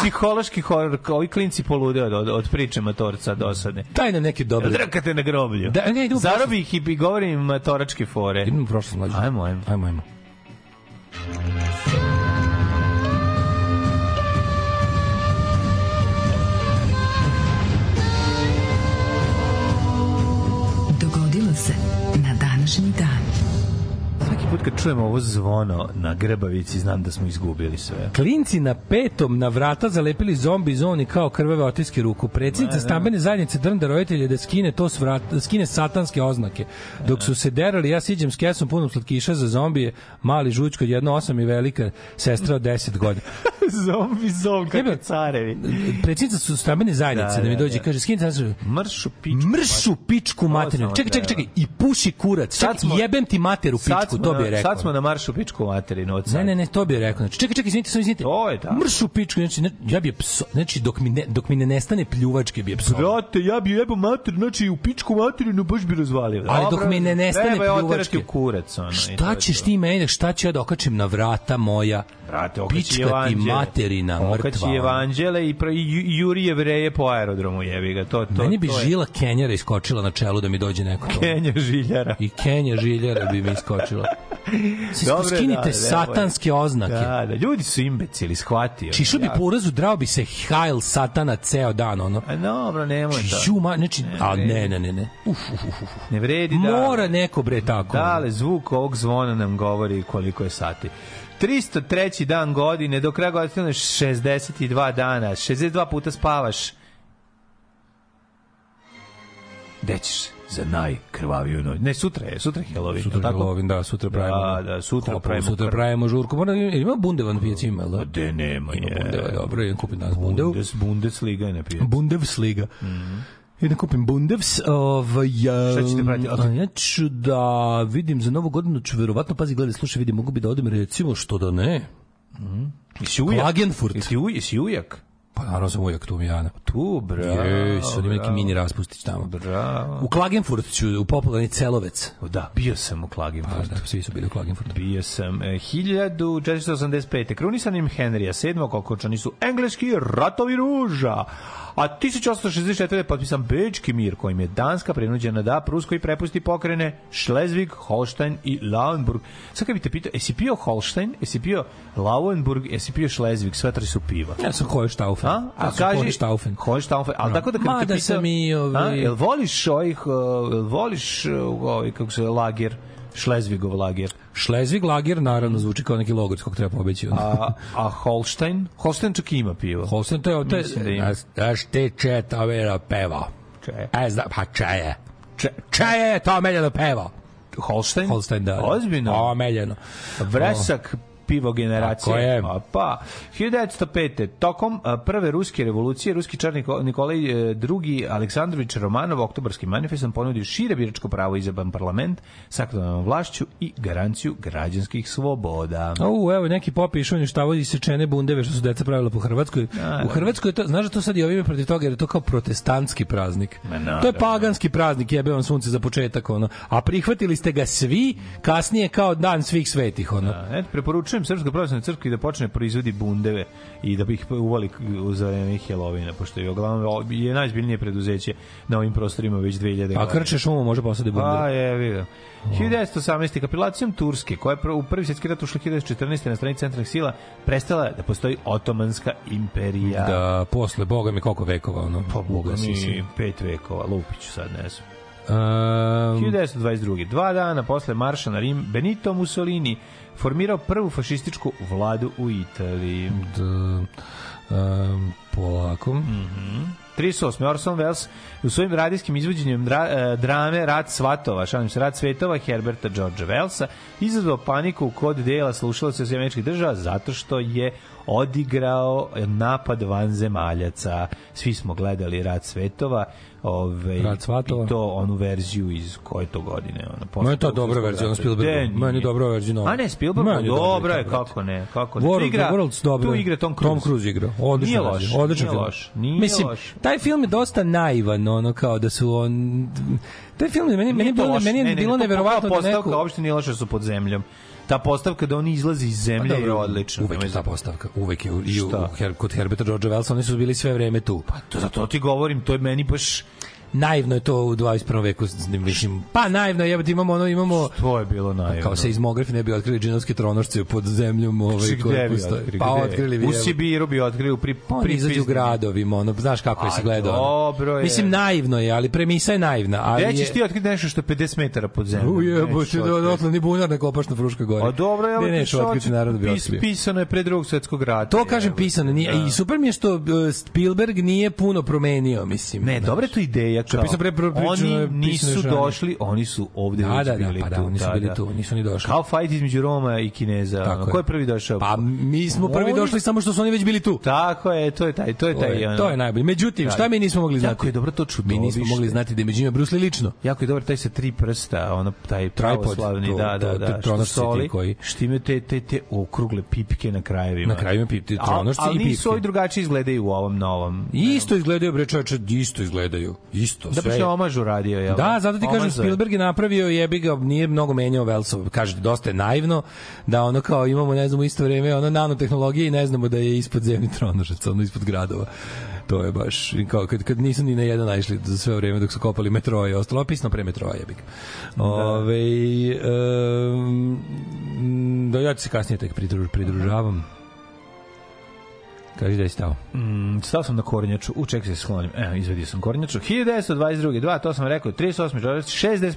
Speaker 6: Psihološki horor. kao Ovi klinci polude od, od, od priče matorca dosadne.
Speaker 5: Daj nam neki dobri.
Speaker 6: Drkate na groblju.
Speaker 5: Da, ne, idu u
Speaker 6: Zarobi ih i govorim matoračke fore.
Speaker 5: Idemo u prošlost, mlađe.
Speaker 6: Ajmo, ajmo.
Speaker 5: Ajmo, ajmo.
Speaker 4: Dogodilo se na današnji dan.
Speaker 5: Svaki
Speaker 6: put kad čujem ovo zvono na Grbavici, znam da smo izgubili sve.
Speaker 5: Klinci na petom na vrata zalepili zombi zoni kao krvave otiske ruku. Predsjednica
Speaker 6: Da,
Speaker 5: stambene zajednice drnda roditelje da skine to s vrata, da skine satanske oznake. Dok su se derali, ja siđem s kesom punom slatkiša za zombije, mali žučko, jedno osam i velika sestra od 10 godina.
Speaker 6: Zombi zom,
Speaker 5: Jebe.
Speaker 6: carevi.
Speaker 5: Predsjednica su stambene zajednice, da,
Speaker 6: Da,
Speaker 5: mi
Speaker 6: da,
Speaker 5: dođe,
Speaker 6: da.
Speaker 5: kaže, skinite satanske
Speaker 6: Mršu pičku.
Speaker 5: mršu pičku materinu.
Speaker 6: Osnovno,
Speaker 5: Čekaj, čekaj,
Speaker 6: da,
Speaker 5: čekaj. I puši kurac.
Speaker 6: Sad
Speaker 5: Čekaj,
Speaker 6: smo-
Speaker 5: jebem ti materu
Speaker 6: Sad
Speaker 5: pičku,
Speaker 6: smo
Speaker 5: to
Speaker 6: na-
Speaker 5: bi rekao.
Speaker 6: Sad smo na maršu pičku materinu. Od sad.
Speaker 5: Ne, ne, ne, to bih rekao. Znači, čekaj, čekaj, izvinite, samo izvinite.
Speaker 6: To je da. tako.
Speaker 5: Mršu pičku, znači, ne, ja bih je pso, znači, dok mi ne, dok mi ne nestane pljuvačke bi je pso.
Speaker 6: Brate, ja bi jebao mater, znači u pičku materinu baš bi razvalio.
Speaker 5: Ali dok mi ne nestane
Speaker 6: treba je oterati
Speaker 5: pljuvačke.
Speaker 6: u kurac, ono, i to
Speaker 5: Šta
Speaker 6: je
Speaker 5: ćeš
Speaker 6: to.
Speaker 5: ti meni, šta ću ja da okačim na vrata moja?
Speaker 6: Brate,
Speaker 5: Pička
Speaker 6: okači
Speaker 5: ti
Speaker 6: evanđelje.
Speaker 5: materina, mrtva, ono.
Speaker 6: Okači evanđele i, pro, i, ju- i juri jevreje po aerodromu, jebi ga. To, to,
Speaker 5: Meni bi
Speaker 6: to je
Speaker 5: žila Kenjara iskočila na čelu da mi dođe neko to.
Speaker 6: Kenja žiljara.
Speaker 5: I Kenja žiljara bi mi iskočila. Svi
Speaker 6: Dobro,
Speaker 5: skinite
Speaker 6: da, da,
Speaker 5: satanske oznake.
Speaker 6: Da, da, ljudi su imbecili, shvatio.
Speaker 5: Čišu bi po urazu, drao bi se hajl satana ceo dan, ono.
Speaker 6: A dobro, nemoj to.
Speaker 5: Čuma, znači, a ne, ne, ne, ne. Uf, uf, uf, uf.
Speaker 6: Ne vredi da.
Speaker 5: Mora neko, bre, tako.
Speaker 6: Da, ali zvuk ovog zvona nam govori koliko je sati. 303. dan godine, do kraja godine imaš 62 dana, 62 puta spavaš. Gde ćeš za najkrvaviju noć? Ne, sutra je, sutra je Halloween.
Speaker 5: Sutra
Speaker 6: je li
Speaker 5: tako? Halloween, da, sutra
Speaker 6: Да,
Speaker 5: pravimo.
Speaker 6: Da, da, sutra
Speaker 5: Kopu,
Speaker 6: pravimo
Speaker 5: Sutra
Speaker 6: krv.
Speaker 5: pravimo žurku. Mora, ima- ima bundevan pijac ima, jel da?
Speaker 6: De nema
Speaker 5: Ima bundeva,
Speaker 6: je.
Speaker 5: dobro, idem kupim danas bundev.
Speaker 6: Bundes, Bundesliga je napio.
Speaker 5: Bundesliga. Idem kupim Bundevs. Ovaj, ja,
Speaker 6: Šta ćete praviti?
Speaker 5: a ja ću da vidim za novu godinu, ću verovatno, pazi, gledaj, slušaj, vidim, mogu bi da odem, recimo, što da ne.
Speaker 6: Jesi ujak?
Speaker 5: Klagenfurt.
Speaker 6: Jesi ujak? Jesi ujak?
Speaker 5: Pa naravno sam uvijek tu, Mijana.
Speaker 6: Tu, bravo.
Speaker 5: Ej, sad ima neki
Speaker 6: bravo,
Speaker 5: mini raspustić tamo.
Speaker 6: Bravo.
Speaker 5: U Klagenfurt ću, u popularni Celovec.
Speaker 6: Da, bio sam u Klagenfurtu.
Speaker 5: Da, svi su bili u Klagenfurtu.
Speaker 6: Bio sam e, 1485. Krunisanim Henrija VII. okončani su engleski ratovi ruža. A 1864. potpisan Bečki mir, kojim je Danska prinuđena da Pruskoj prepusti pokrene Šlezvig, Holstein i Lauenburg. Sad kad bi te pitao, jesi pio Holstein, jesi pio Lauenburg, jesi pio Šlezvig, sve tri su piva.
Speaker 5: Ja sam Hohenstaufen.
Speaker 6: A? A
Speaker 5: Ja sam
Speaker 6: kaži,
Speaker 5: Hohenstaufen.
Speaker 6: Hohenstaufen. Ali
Speaker 5: No.
Speaker 6: tako da kad bi
Speaker 5: Mada
Speaker 6: te pitao...
Speaker 5: sam i, ovaj-
Speaker 6: A, jel voliš ovih, uh, jel voliš uh, ovaj, kako se, lager, Šlezvigov lager?
Speaker 5: Šlezvig lager, naravno, zvuči kao neki logor s kog treba pobeći. A,
Speaker 6: A, a Holstein? Holstein čak ima pivo.
Speaker 5: Holstein, to je... To je
Speaker 6: Mislim da ima.
Speaker 5: Znaš ti če to mene peva?
Speaker 6: Če?
Speaker 5: E, zna, pa če je. Če, če je to mene peva?
Speaker 6: Holstein?
Speaker 5: Holstein, da. da.
Speaker 6: Ozbiljno?
Speaker 5: O, meljeno.
Speaker 6: Vresak pivo generacije.
Speaker 5: Tako je.
Speaker 6: Pa, pa. 1905. Tokom a, prve ruske revolucije, ruski čar Niko- Nikolaj e, II. Aleksandrović Romanov oktobarskim manifestom ponudio šire biračko pravo izaban parlament sa aktualnom vlašću i garanciju građanskih sloboda.
Speaker 5: O, evo, neki pop je išao uništavao isečene bundeve što su deca pravila po Hrvatskoj. u Hrvatskoj je to, znaš da to sad i ovime protiv toga, jer je to kao protestantski praznik. to je paganski praznik, jebe vam sunce za početak, ono. A prihvatili ste ga svi, kasnije kao dan svih svetih, ono.
Speaker 6: E, preporučujem Srpskoj pravoslavnoj crkvi da počne proizvodi bundeve i da bi ih uvali k- za vreme Helovina, pošto je uglavnom o- je najzbiljnije preduzeće na ovim prostorima već 2000
Speaker 5: A krče šumu može da posadi bundeve.
Speaker 6: Pa je, vidio. 1918. kapilacijom Turske, koja je pr- u prvi svjetski rat ušla 1914. na strani centralnih sila, prestala je da postoji Otomanska imperija.
Speaker 5: da posle boga mi koliko vekova ono
Speaker 6: Pa boga
Speaker 5: ugasi se.
Speaker 6: mi pet vekova, lupiću sad, ne znam.
Speaker 5: Ehm,
Speaker 6: 1922. Dva dana posle marša na Rim, Benito Mussolini formirao prvu fašističku vladu u Italiji.
Speaker 5: d- ehm, da, polako
Speaker 6: Mm. 38. Orson Welles u svojim radijskim izvođenjem dra, e, drame Rat svatova, šalim se, Rat svetova Herberta Georgea Wellsa, izazvao paniku kod dela slušalaca iz američkih država zato što je odigrao napad vanzemaljaca. Svi smo gledali Rat svetova, ove,
Speaker 5: Rat svatova.
Speaker 6: i to onu verziju iz koje to godine. Ona, posle
Speaker 5: Ma je to
Speaker 6: Drugog
Speaker 5: dobra
Speaker 6: svjetskog rata.
Speaker 5: verzija ono Spielberga.
Speaker 6: De, nije.
Speaker 5: Meni je dobra verzija nova.
Speaker 6: A ne, Spielberg,
Speaker 5: Meni je dobra
Speaker 6: dobra je,
Speaker 5: verzija, brate.
Speaker 6: kako ne, kako ne. Tu
Speaker 5: World,
Speaker 6: Pa, igra,
Speaker 5: igra, World's dobro.
Speaker 6: Tu igra Tom Cruise.
Speaker 5: Tom Cruise igra. Odlično.
Speaker 6: Nije
Speaker 5: radi,
Speaker 6: loš,
Speaker 5: Odličan
Speaker 6: nije
Speaker 5: film.
Speaker 6: loš, nije
Speaker 5: Mislim,
Speaker 6: loš.
Speaker 5: taj film je dosta naivan, ono kao da su on... Taj film je meni, meni, je
Speaker 6: Nije to
Speaker 5: bilo,
Speaker 6: loše.
Speaker 5: meni je
Speaker 6: Ne, ne,
Speaker 5: bilo
Speaker 6: to-
Speaker 5: neverovatno
Speaker 6: ta
Speaker 5: da
Speaker 6: postavka
Speaker 5: neko...
Speaker 6: uopšte nije loša su pod zemljom. Ta postavka da oni izlaze iz zemlje
Speaker 5: Pa Dobro,
Speaker 6: je odlična.
Speaker 5: Uvek je ta postavka. Uvek je u, i u,
Speaker 6: Šta? Pa
Speaker 5: u Her, kod Herberta Georgea Wellsa, oni su bili sve vreme tu.
Speaker 6: To zato ti govorim, to je meni baš
Speaker 5: naivno je to u 21. veku s- mislim pa naivno je imamo ono imamo
Speaker 6: To je bilo naivno.
Speaker 5: Pa
Speaker 6: Znači,
Speaker 5: kao se izmografi ne bi otkrili džinovske tronošce pod zemljom ovaj koji postoje. Pa otkrili bi.
Speaker 6: U
Speaker 5: evo.
Speaker 6: Sibiru bi otkrili u pri,
Speaker 5: Pa oni izađu
Speaker 6: pripizni.
Speaker 5: gradovima, ono, znaš kako je se
Speaker 6: A,
Speaker 5: gledao. ono.
Speaker 6: dobro je.
Speaker 5: Mislim, naivno je, ali premisa je naivna. Ali
Speaker 6: Gde ćeš
Speaker 5: je-
Speaker 6: ti otkriti nešto što je 50 metara pod zemljom?
Speaker 5: U
Speaker 6: Nećeš
Speaker 5: jebote, do
Speaker 6: otkriti.
Speaker 5: dotle ni bunar ne kopaš na Fruškoj gori.
Speaker 6: A dobro, ja
Speaker 5: Gde nećeš otkriti narod bi otkrio.
Speaker 6: Pisano je pre drugog svetskog rata.
Speaker 5: To kažem
Speaker 6: jebote, Da.
Speaker 5: pisano, nije, i super mi je što e, Spielberg nije puno promenio, mislim.
Speaker 6: Ne,
Speaker 5: znaš.
Speaker 6: dobra je to ideja. Kao,
Speaker 5: pisao pre- pre- pričano
Speaker 6: oni
Speaker 5: je pisano
Speaker 6: nisu
Speaker 5: još ranije.
Speaker 6: došli, oni su ovde
Speaker 5: Da,
Speaker 6: već
Speaker 5: da, da,
Speaker 6: bili
Speaker 5: pa da,
Speaker 6: tu,
Speaker 5: oni su bili tu, nisu ni došli.
Speaker 6: Kao fight između Roma i Kineza.
Speaker 5: Tako
Speaker 6: Tako Ko je prvi došao?
Speaker 5: Pa mi smo prvi
Speaker 6: Oni-
Speaker 5: došli samo što su oni već bili tu.
Speaker 6: Tako je, to je taj, to je
Speaker 5: To
Speaker 6: taj.
Speaker 5: je,
Speaker 6: ono.
Speaker 5: to je najbolje. Međutim, šta mi nismo mogli znati?
Speaker 6: Jako je dobro to
Speaker 5: Mi
Speaker 6: čudovište.
Speaker 5: nismo mogli znati da je među njima Bruce Lee lično.
Speaker 6: Jako je dobar taj sa tri prsta, ono taj
Speaker 5: Tripod,
Speaker 6: pravoslavni,
Speaker 5: to-
Speaker 6: da, da,
Speaker 5: to-
Speaker 6: da,
Speaker 5: to- tronošci ti
Speaker 6: soli,
Speaker 5: koji-
Speaker 6: što imaju te, te, te okrugle pipke na krajevima.
Speaker 5: Na kraju ima pip- ti
Speaker 6: A-
Speaker 5: tronošci i
Speaker 6: Ali nisu
Speaker 5: pipke.
Speaker 6: ovi drugačiji izgledaju u ovom novom.
Speaker 5: Isto izgledaju, bre čoveče, isto izgledaju. Isto,
Speaker 6: Da
Speaker 5: sve.
Speaker 6: baš
Speaker 5: je-
Speaker 6: je omaž uradio, jel?
Speaker 5: Da, zato ti kažem,
Speaker 6: Omaž za-
Speaker 5: Spielberg je napravio, jebi ga, nije mnogo menjao Velsov, kažete, dosta je naivno, da ono kao imamo, ne znamo, u isto vreme, ono nanotehnologije i ne znamo da je ispod zemlji tronožac, ono ispod gradova. To je baš, i kao, kad, kad nisu ni na jedan naišli za sve vreme dok su kopali metroa i ostalo, a pisno pre metroa, jebi ga.
Speaker 6: Da.
Speaker 5: Ove, um, da ja ti se kasnije tek pridruž, pridružavam. Kaži da je stao.
Speaker 6: Mm, Stao sam na kornjaču, u ček se sklonim, evo, izvedio sam kornjaču. 1922. 2, to sam rekao, 38. čovjek,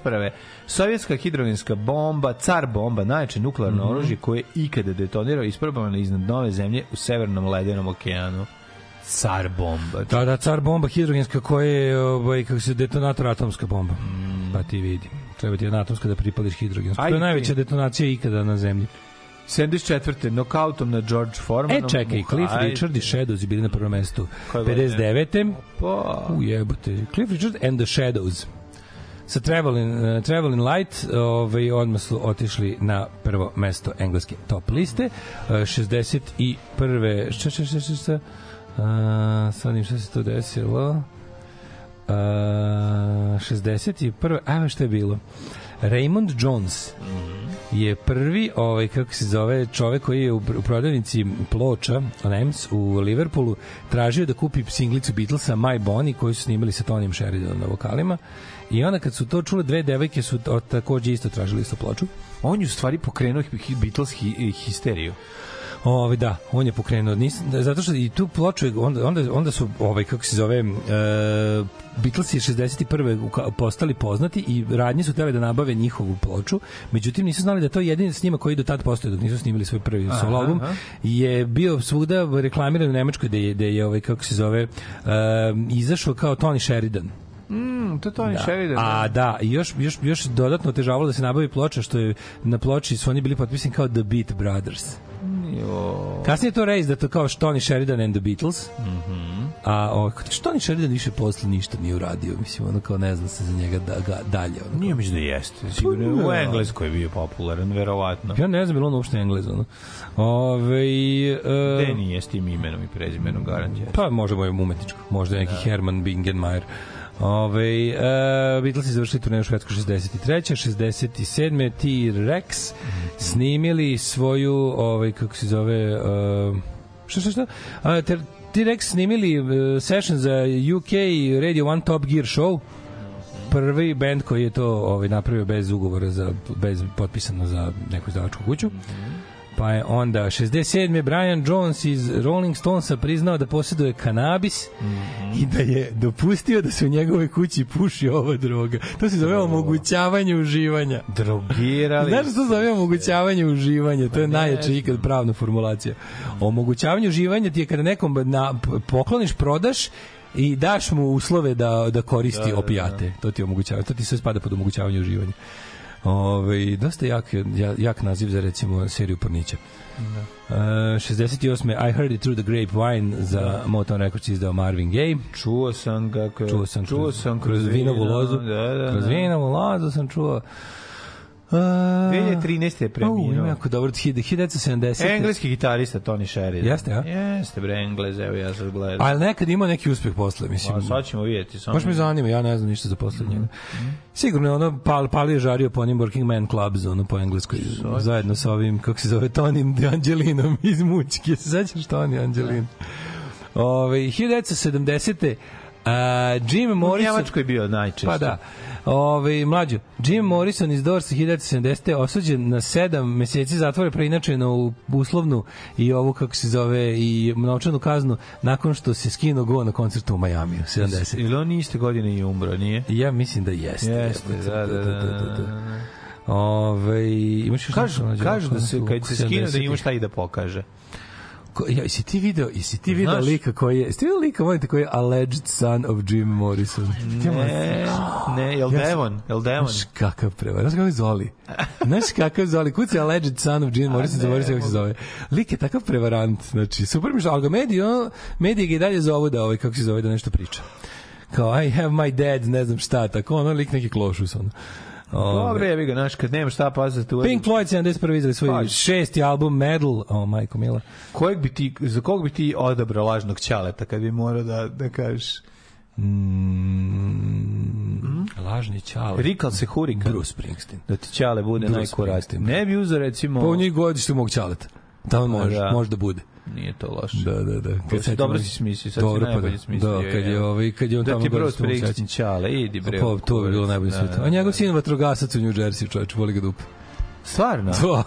Speaker 6: 61. Sovjetska hidrogenska bomba, car bomba, najjače nuklearno
Speaker 5: Mhm.
Speaker 6: oružje koje je ikada detonirao, isprobavano iznad nove zemlje u severnom ledenom okeanu. Car bomba.
Speaker 5: Da, da, car bomba hidrogenska koja je, ovaj, kako se, detonator atomska bomba. Pa ti vidi. Treba ti jedna atomska da pripališ hidrogensku.
Speaker 6: Mm. Ajde
Speaker 5: to je
Speaker 6: ti.
Speaker 5: najveća detonacija ikada na zemlji.
Speaker 6: 74. nokautom na George
Speaker 5: E,
Speaker 6: Formanu.
Speaker 5: čekaj, Cliff
Speaker 6: Ajde.
Speaker 5: Richard i Shadows bili na prvom mestu.
Speaker 6: Koje godine?
Speaker 5: 59.
Speaker 6: Pa,
Speaker 5: U jebote. Cliff Richard and the Shadows. Sa Traveling, uh, Traveling Light ovaj, odmah su otišli na prvo mesto engleske top liste. Uh, 61. Šta, šta, šta, šta, šta? Uh, sad im šta se to desilo? Eh, Uh, 61. Ajmo šta je bilo. Raymond Jones je prvi, ovaj, kako se zove, čovek koji je u, u prodavnici ploča, Lems, u Liverpoolu, tražio da kupi singlicu Beatlesa My Bonnie, koju su snimili sa Tonijem Sheridanom na vokalima. I onda kad su to čule, dve devojke su to, takođe isto tražili istu ploču.
Speaker 6: on je u stvari pokrenuo hi- Beatles hi- histeriju.
Speaker 5: Ovaj da, on je pokrenuo nis, da, zato što i tu ploču je- onda onda onda su ovaj kako se zove e, Beatles je 61. u ka- postali poznati i radnje su hteli da nabave njihovu ploču, međutim nisu znali da to je jedini snimak koji do tad postoji dok nisu snimili svoj prvi solo album je bio svuda reklamiran u Nemačkoj da je da je ovaj kako se zove e, izašao kao Tony Sheridan.
Speaker 6: Mm, to je Tony da. Sheridan.
Speaker 5: A da, i još, još, još dodatno otežavalo da se nabavi ploča, što je na ploči su oni bili potpisani kao The Beat Brothers. Kasnije je to rejz da to kao Tony Sheridan and the Beatles. Mm
Speaker 6: Mhm.
Speaker 5: -hmm. A o, Tony Sheridan više posle ništa nije uradio. Mislim, ono kao ne zna se za njega da, ga, dalje. Ono.
Speaker 6: Nije mislim da jeste. Sigurno je u
Speaker 5: ne.
Speaker 6: Engleskoj je bio popularan, verovatno.
Speaker 5: Pa da. Ja ne znam, je li on uopšte englez. Ono. Ove,
Speaker 6: Gde
Speaker 5: e,
Speaker 6: nije s tim imenom i prezimenom garantija?
Speaker 5: pa možemo i umetničko. Možda neki Herman Bingenmajer. Ove, e, Beatlesi završili turneju u Švedskoj 63. 67. T-Rex snimili svoju, ovaj, kako se zove, e, šta, šta, šta? A, ter, T-Rex snimili e, session za UK Radio One Top Gear show prvi bend koji je to ovaj napravio bez ugovora za bez potpisano za neku izdavačku kuću. Pa je onda 67. Brian Jones iz Rolling Stonesa priznao da posjeduje kanabis i da je dopustio da se u njegovoj kući puši ova droga. To se zove omogućavanje uživanja.
Speaker 6: Drogirali.
Speaker 5: Znaš što zove omogućavanje uživanja?
Speaker 6: Pa
Speaker 5: To je najjača ikad pravna formulacija. Omogućavanje uživanja ti je kada nekom na, pokloniš, prodaš i daš mu uslove da, da koristi opijate. To ti omogućava, to ti sve spada pod omogućavanje uživanja. Ove, dosta jak, ja- jak naziv za recimo seriju Pornića. Da. E, 68. I Heard It Through the Grapevine za
Speaker 6: Da.
Speaker 5: Motown Records izdao Marvin Gaye.
Speaker 6: Čuo sam ga. Kroz,
Speaker 5: Čuo sam
Speaker 6: čuo sam
Speaker 5: kroz, kroz vinovu
Speaker 6: vino,
Speaker 5: lozu.
Speaker 6: Da, da,
Speaker 5: kroz
Speaker 6: da.
Speaker 5: vinovu lozu sam čuo. Uh,
Speaker 6: 2013. je
Speaker 5: U, ima
Speaker 6: preminuo.
Speaker 5: jako dobro, 1970.
Speaker 6: Engleski gitarista Tony Sheridan.
Speaker 5: Jeste, a?
Speaker 6: Jeste, bre, Englez, evo ja sad gledam.
Speaker 5: Ali nekad ima neki uspeh posle,
Speaker 6: A
Speaker 5: mislim.
Speaker 6: sad ćemo vidjeti. Samo...
Speaker 5: Baš me zanima, ja ne znam ništa za posle njega. Sigurno je ono, pal, pali je žario po onim Working Man Clubs, ono po engleskoj, zajedno sa ovim, kako se zove, Tonim De Angelinom
Speaker 6: Da.
Speaker 5: iz Mućke. Se sećaš Toni Angelin? Ove, 1970. Uh, Jim
Speaker 6: U
Speaker 5: Morrison...
Speaker 6: Njemačkoj je bio najčešće.
Speaker 5: Pa da. Ove, mlađo, Jim Morrison iz Dorsa 1970. osuđen na 7 meseci zatvora preinačeno u uslovnu i ovu, kako se zove, i novčanu kaznu nakon što se skinuo go na koncertu u Majamiju, 70.
Speaker 6: Ili on iste godine i umro, nije?
Speaker 5: Ja mislim da jeste.
Speaker 6: Jeste,
Speaker 5: jebote.
Speaker 6: da, da, da, da,
Speaker 5: Ove, imaš još
Speaker 6: Kažu,
Speaker 5: nešto, mlađo,
Speaker 6: kažu da
Speaker 5: oko-
Speaker 6: se,
Speaker 5: oko
Speaker 6: kad se skine, da
Speaker 5: 70-ih?
Speaker 6: ima šta i da pokaže.
Speaker 5: Ko- Ja, jesi ti video, jesi ti video
Speaker 6: Znaš-
Speaker 5: lika koji je, jesi ti video lika, volite, koji je alleged son of Jim Morrison?
Speaker 6: Ne, ne, jel
Speaker 5: Ja sam-
Speaker 6: Devon? Jel Devon?
Speaker 5: Znaš kakav prevar, znaš kakav Zoli. Znaš kakav Zoli, kuci Alleged Son of Gene Morrison, zaboravio sam kako se zove. Lik je takav prevarant, znači, super mi što, ali ga mediji, on, mediji ga i dalje zovu da, ovaj, kako se zove, da nešto priča. Kao, I have my dad, ne znam šta, tako, ono, lik neki klošus, ono. Ove,
Speaker 6: Dobre, jebi ga, znaš, kad nema šta paziti tu...
Speaker 5: Pink Floyd 71 izdali svoj
Speaker 6: Pa-
Speaker 5: šesti album Metal, o majko mila.
Speaker 6: Kojeg bi ti, za kog bi ti odabrao lažnog ćaleta kad bi morao da, da kažeš?
Speaker 5: Lažni čale.
Speaker 6: Rikal se hurika.
Speaker 5: Bruce Springsteen.
Speaker 6: Da ti ćale bude
Speaker 5: Bruce
Speaker 6: najkuratiji.
Speaker 5: Springsteen.
Speaker 6: Ne bi uzeo, recimo...
Speaker 5: Pa u njih godištu mog čaleta. Tamo može,
Speaker 6: da.
Speaker 5: može da bude.
Speaker 6: Nije to loše.
Speaker 5: Da, da, da.
Speaker 6: si
Speaker 5: sad
Speaker 6: dobro
Speaker 5: ti-
Speaker 6: si smislio, sad si najbolje smislio,
Speaker 5: Da, kad je,
Speaker 6: evo.
Speaker 5: ovaj, kad je on
Speaker 6: Da
Speaker 5: tamo
Speaker 6: ti
Speaker 5: gore
Speaker 6: bro
Speaker 5: što mu
Speaker 6: Springsteen
Speaker 5: sećam.
Speaker 6: ćale, idi bre.
Speaker 5: Pa, to bi bilo najbolje
Speaker 6: Da,
Speaker 5: sve to.
Speaker 6: da,
Speaker 5: A
Speaker 6: da.
Speaker 5: njegov sin vatrogasac u New Jersey, čovječ, voli ga dupe.
Speaker 6: Stvarno?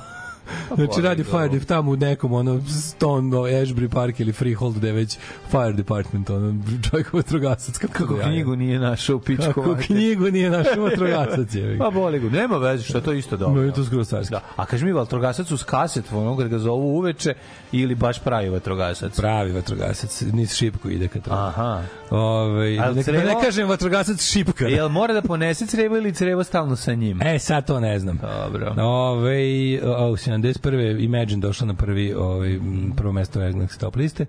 Speaker 5: To. Znači
Speaker 6: Bože,
Speaker 5: radi
Speaker 6: dobro.
Speaker 5: fire dep tamo u nekom ono Stone, no, Ashbury Park ili Freehold gde je već fire department ono čovjek vatrogasac kako,
Speaker 6: Kako
Speaker 5: ja, ja.
Speaker 6: knjigu nije našao u pičku
Speaker 5: kako
Speaker 6: mater.
Speaker 5: knjigu nije našao vatrogasac je.
Speaker 6: Pa boli ga. Nema veze što je to isto dobro.
Speaker 5: Ma, je to skoro carski.
Speaker 6: Da. A kaži mi, vatrogasac uz kaset, ono kad ga zovu uveče, ili baš pravi vatrogasac?
Speaker 5: Pravi vatrogasac, niz šipku ide kad treba.
Speaker 6: Aha.
Speaker 5: Ovaj,
Speaker 6: Al
Speaker 5: da, ne, da ne
Speaker 6: crevo-
Speaker 5: kažem vatrogasac šipka.
Speaker 6: Jel mora da ponese crevo ili crevo stalno sa njim?
Speaker 5: E, sad to ne znam.
Speaker 6: Dobro.
Speaker 5: Ove, o, 71. Imagine došla na prvi, ovaj, m, prvo mesto Egnex top liste.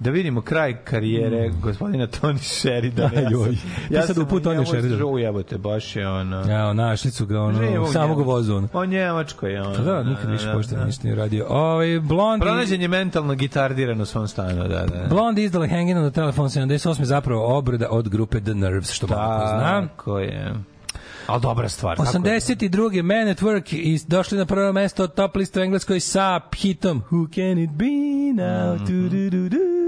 Speaker 6: Da vidimo kraj karijere gospodina Tony Sheridana.
Speaker 5: Aj, Hmm. Da, joj. Ti sad
Speaker 6: sam
Speaker 5: u put Tony
Speaker 6: njemu
Speaker 5: Sheridana.
Speaker 6: žao jebote, baš je ono...
Speaker 5: Ja, našli su ga, ono,
Speaker 6: Živo
Speaker 5: samo ga
Speaker 6: Njemačko.
Speaker 5: vozu, ono.
Speaker 6: O Njemačko je ono.
Speaker 5: Pa da, nikad više pošteno ništa nije radio. Ovaj, Blond...
Speaker 6: Pronađen je mentalno gitardiran u svom stanu, da, da.
Speaker 5: Blond izdala Hangin' on the Telephone 78. zapravo obrada od grupe The Nerves, što
Speaker 6: Da.
Speaker 5: malo ko zna.
Speaker 6: Tako je. Ali dobra stvar. Pa tako je.
Speaker 5: 82. Man at Work i došli na prvo mesto od top liste u Engleskoj sa hitom Who Can It Be Now
Speaker 6: Mhm.
Speaker 5: du, du, du, du, du.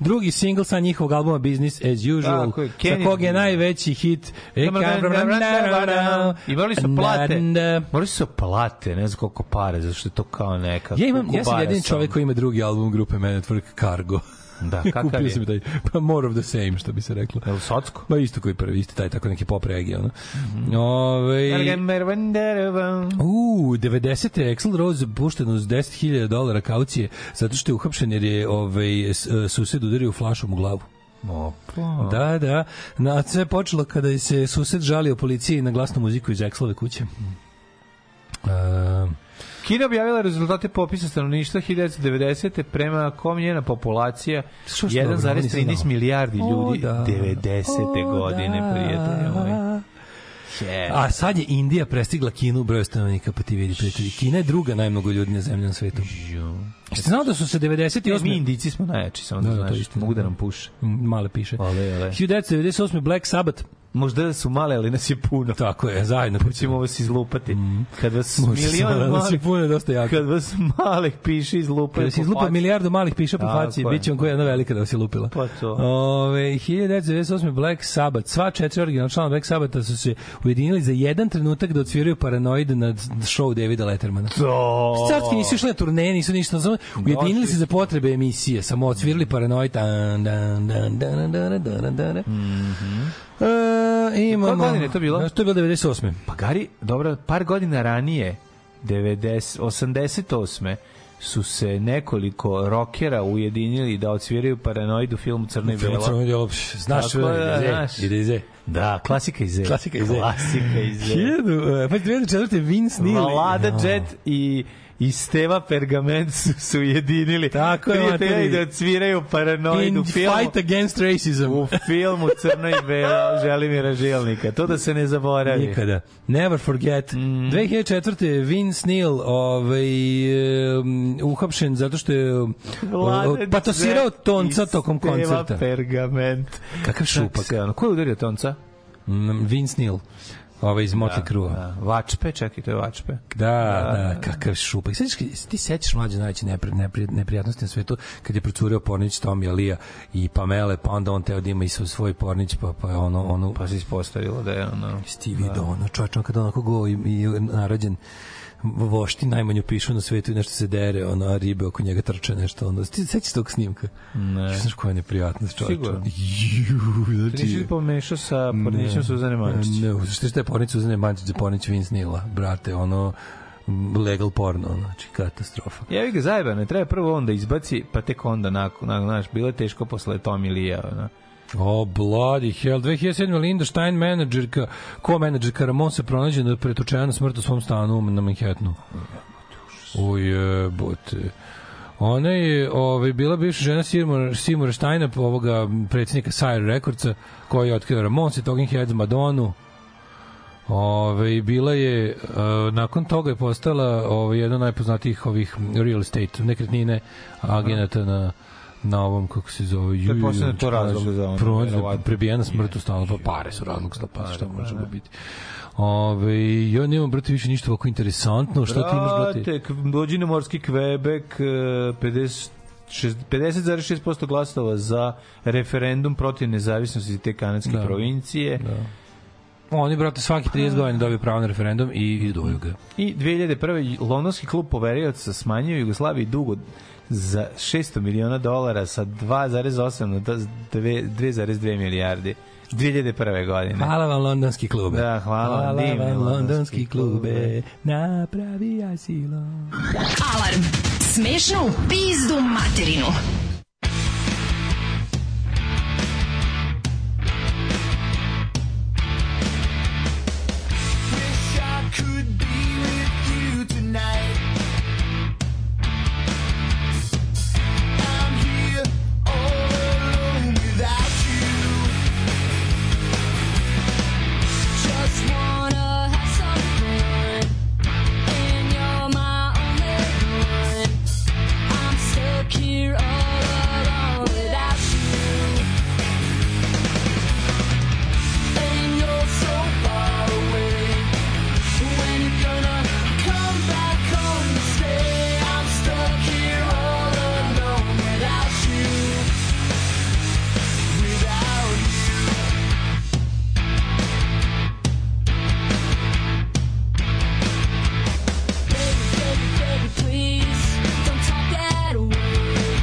Speaker 5: drugi singl sa njihovog albuma Business As Usual
Speaker 6: Tako je, Can
Speaker 5: sa
Speaker 6: It
Speaker 5: kog
Speaker 6: Be.
Speaker 5: je najveći hit
Speaker 6: I morali su plate.
Speaker 5: And, uh,
Speaker 6: Morali su plate, ne znam koliko pare, zato što je to kao neka.
Speaker 5: Ja, imam,
Speaker 6: koliko
Speaker 5: ja sam
Speaker 6: bara
Speaker 5: jedini
Speaker 6: sam.
Speaker 5: čovjek koji ima drugi album grupe Man at Work, Cargo.
Speaker 6: Da, kakav
Speaker 5: Kupio
Speaker 6: je?
Speaker 5: sam taj, pa more of the same, što bi se reklo.
Speaker 6: Jel Socko?
Speaker 5: Ma isto koji prvi, isto taj tako neki pop regija. Ono.
Speaker 6: Mhm.
Speaker 5: Ovaj- U, 90. je Axl Rose pušten uz 10.000 dolara kaucije zato što je uhapšen jer je ovaj, s- e, sused udario flašom u glavu.
Speaker 6: Opa.
Speaker 5: Da, da. Na, sve je počelo kada je se sused žalio policiji na glasnu muziku iz Axlove kuće. Um,
Speaker 6: Kina objavila rezultate popisa stanovništva 1990. prema kom njena populacija
Speaker 5: Što što dobro, nisam
Speaker 6: 1,13
Speaker 5: znao.
Speaker 6: milijardi ljudi
Speaker 5: O, da.
Speaker 6: 90.
Speaker 5: O,
Speaker 6: godine ovaj.
Speaker 5: da.
Speaker 6: prijatelje moji. Je.
Speaker 5: A sad je Indija prestigla Kinu u broju stanovnika, pa ti vidi prijatelji. Kina je druga najmnogoljudnija zemlja na svetu. Jeste znao da su se
Speaker 6: E, mi
Speaker 5: 98.
Speaker 6: indici smo najjači, samo da,
Speaker 5: Da, da, to je
Speaker 6: znaš,
Speaker 5: istina.
Speaker 6: mogu da nam puše.
Speaker 5: Mm, male piše.
Speaker 6: Ale, ale.
Speaker 5: 1998. Black Sabbath.
Speaker 6: Možda su male, ali nas je puno.
Speaker 5: Tako je, zajedno.
Speaker 6: Pa ćemo vas izlupati. Kad vas
Speaker 5: Možda sam
Speaker 6: milion
Speaker 5: da se
Speaker 6: malih,
Speaker 5: pune dosta jako.
Speaker 6: kad vas malih piše izlupaju.
Speaker 5: Kada si
Speaker 6: po
Speaker 5: izlupa
Speaker 6: faci.
Speaker 5: milijardu malih piša po
Speaker 6: Tako
Speaker 5: faci,
Speaker 6: je.
Speaker 5: bit će on koja jedna velika da si lupila.
Speaker 6: Pa to.
Speaker 5: Ove, 1998. Black Sabbath. Sva četiri originalna člana Black Sabbatha su se ujedinili za jedan trenutak da odsviraju paranoid na show Davida Lettermana.
Speaker 6: To. Da,
Speaker 5: Carski nisu išli na turneje, nisu ništa nazvali. Ujedinili
Speaker 6: Došli.
Speaker 5: se za potrebe emisije, samo odsvirali paranoid. Dan, dan, dan, dan, dan, dan, dan. E, imamo...
Speaker 6: Mhm. Koje godine je to bilo?
Speaker 5: To je bilo 98.
Speaker 6: Pa Gari, dobro, par godina ranije, 90, 88. su se nekoliko rokera ujedinili da odsviraju paranoid u filmu Crna i
Speaker 5: Film
Speaker 6: Bela.
Speaker 5: Crno djelo, pš, znaš,
Speaker 6: Tako je,
Speaker 5: ide,
Speaker 6: znaš.
Speaker 5: ide, ide.
Speaker 6: Da, klasika iz E.
Speaker 5: Klasika iz E.
Speaker 6: Klasika iz E.
Speaker 5: Hiljadu, e, pa 2004. Vince Neil.
Speaker 6: Vlada Jet i i Steva Pergament su se ujedinili.
Speaker 5: Tako je,
Speaker 6: Prijatelji
Speaker 5: materi.
Speaker 6: da odsviraju paranoid
Speaker 5: In
Speaker 6: u filmu.
Speaker 5: fight against racism.
Speaker 6: u filmu Crna i Bela Želimira Žilnika. To da se ne zaboravi.
Speaker 5: Nikada. Never forget. 2004. Vince Neil ovaj, um, uhapšen zato što je um,
Speaker 6: Vlada
Speaker 5: o, patosirao
Speaker 6: Zet
Speaker 5: tonca
Speaker 6: i
Speaker 5: tokom
Speaker 6: Steva
Speaker 5: koncerta.
Speaker 6: pergament.
Speaker 5: Kakav šupak.
Speaker 6: e, Tako se, ono, Ko je udario tonca?
Speaker 5: Mm, Vince Neil. Ovaj iz Motley Crue. Da,
Speaker 6: Da. Vačpe, čekaj, to je Vačpe.
Speaker 5: Da, da, kakav šupak. Sećaš, kad- se ti sećaš mlađe najveće nepri, nepri, neprijatnosti na svetu kad je procureo pornić Tom Jalija i Pamele, pa onda on teo da ima i svoj- svoj pornić, pa, pa je ono, ono,
Speaker 6: Pa se ispostavilo da je ono...
Speaker 5: Jesi ti video ono čovječ, on kada onako go i, i narađen vošti najmanju pišu na svetu i nešto se dere, ono, a ribe oko njega trče nešto, ono, ti se sećaš tog snimka? Ne. Znaš koja je neprijatnost čovječa?
Speaker 6: Sigurno.
Speaker 5: Ju,
Speaker 6: Ti nisi
Speaker 5: znači...
Speaker 6: pomešao sa pornićem Suzane Mančić.
Speaker 5: Ne, što šta je pornić uzene Mančić, za pornić Vince Nila, brate, ono, m, legal porno, ono, znači katastrofa.
Speaker 6: Jevi ga zajebano, je, treba prvo onda izbaci, pa tek onda nakon, nakon, znaš, bilo je teško posle Tom Ilija, ono.
Speaker 5: O, bloody hell. 2007. Linda Stein, menadžerka, ko-menadžerka Ramon se pronađena pretučena na smrt u svom stanu na Manhattanu. Ujebote. Ona je ovaj, bila bivša žena Seymour, Seymour Steina, ovoga predsjednika Sire Recordsa, koji je otkrio Ramonse, Talking Heads, Madonu. Ove, bila je, e, nakon toga je postala ove, jedna od najpoznatijih ovih real estate nekretnine agenata na na ovom kako se zove ju,
Speaker 6: Pretpostavljam da je to razlog za ono, verovatno.
Speaker 5: prebijena smrt u stanu pa pare su razlog za pa šta može da biti Ove, ja nemam, brate, više ništa ovako interesantno. Šta ti imaš, brate?
Speaker 6: Brate, k- dođi na morski Kvebek, e, 50 šest- 50,6% glasova za referendum protiv nezavisnosti te kanadske
Speaker 5: Da.
Speaker 6: provincije
Speaker 5: Oni, brate, svaki 30 godina dobiju pravo na referendum i iduju ga.
Speaker 6: i 2001. Londonski klub poverioca smanjio Jugoslaviji dugo za 600 miliona dolara sa 2,8 na 2,2 milijardi 2001. godine.
Speaker 5: Hvala vam, londonski klube.
Speaker 6: Da, hvala vam, divni
Speaker 5: vam,
Speaker 6: londonski
Speaker 5: londonski klube.
Speaker 6: klube.
Speaker 5: Napravi asilo.
Speaker 4: Alarm. Smešno u pizdu materinu.
Speaker 1: wish I could be with you tonight. I'm here all alone without you.
Speaker 9: Just wanna have some fun, and you're my only one. I'm stuck here all alone without you, and you're so far away. When you gonna come back home and stay? I'm stuck here all alone without you, without you. Baby, baby, please don't talk that away.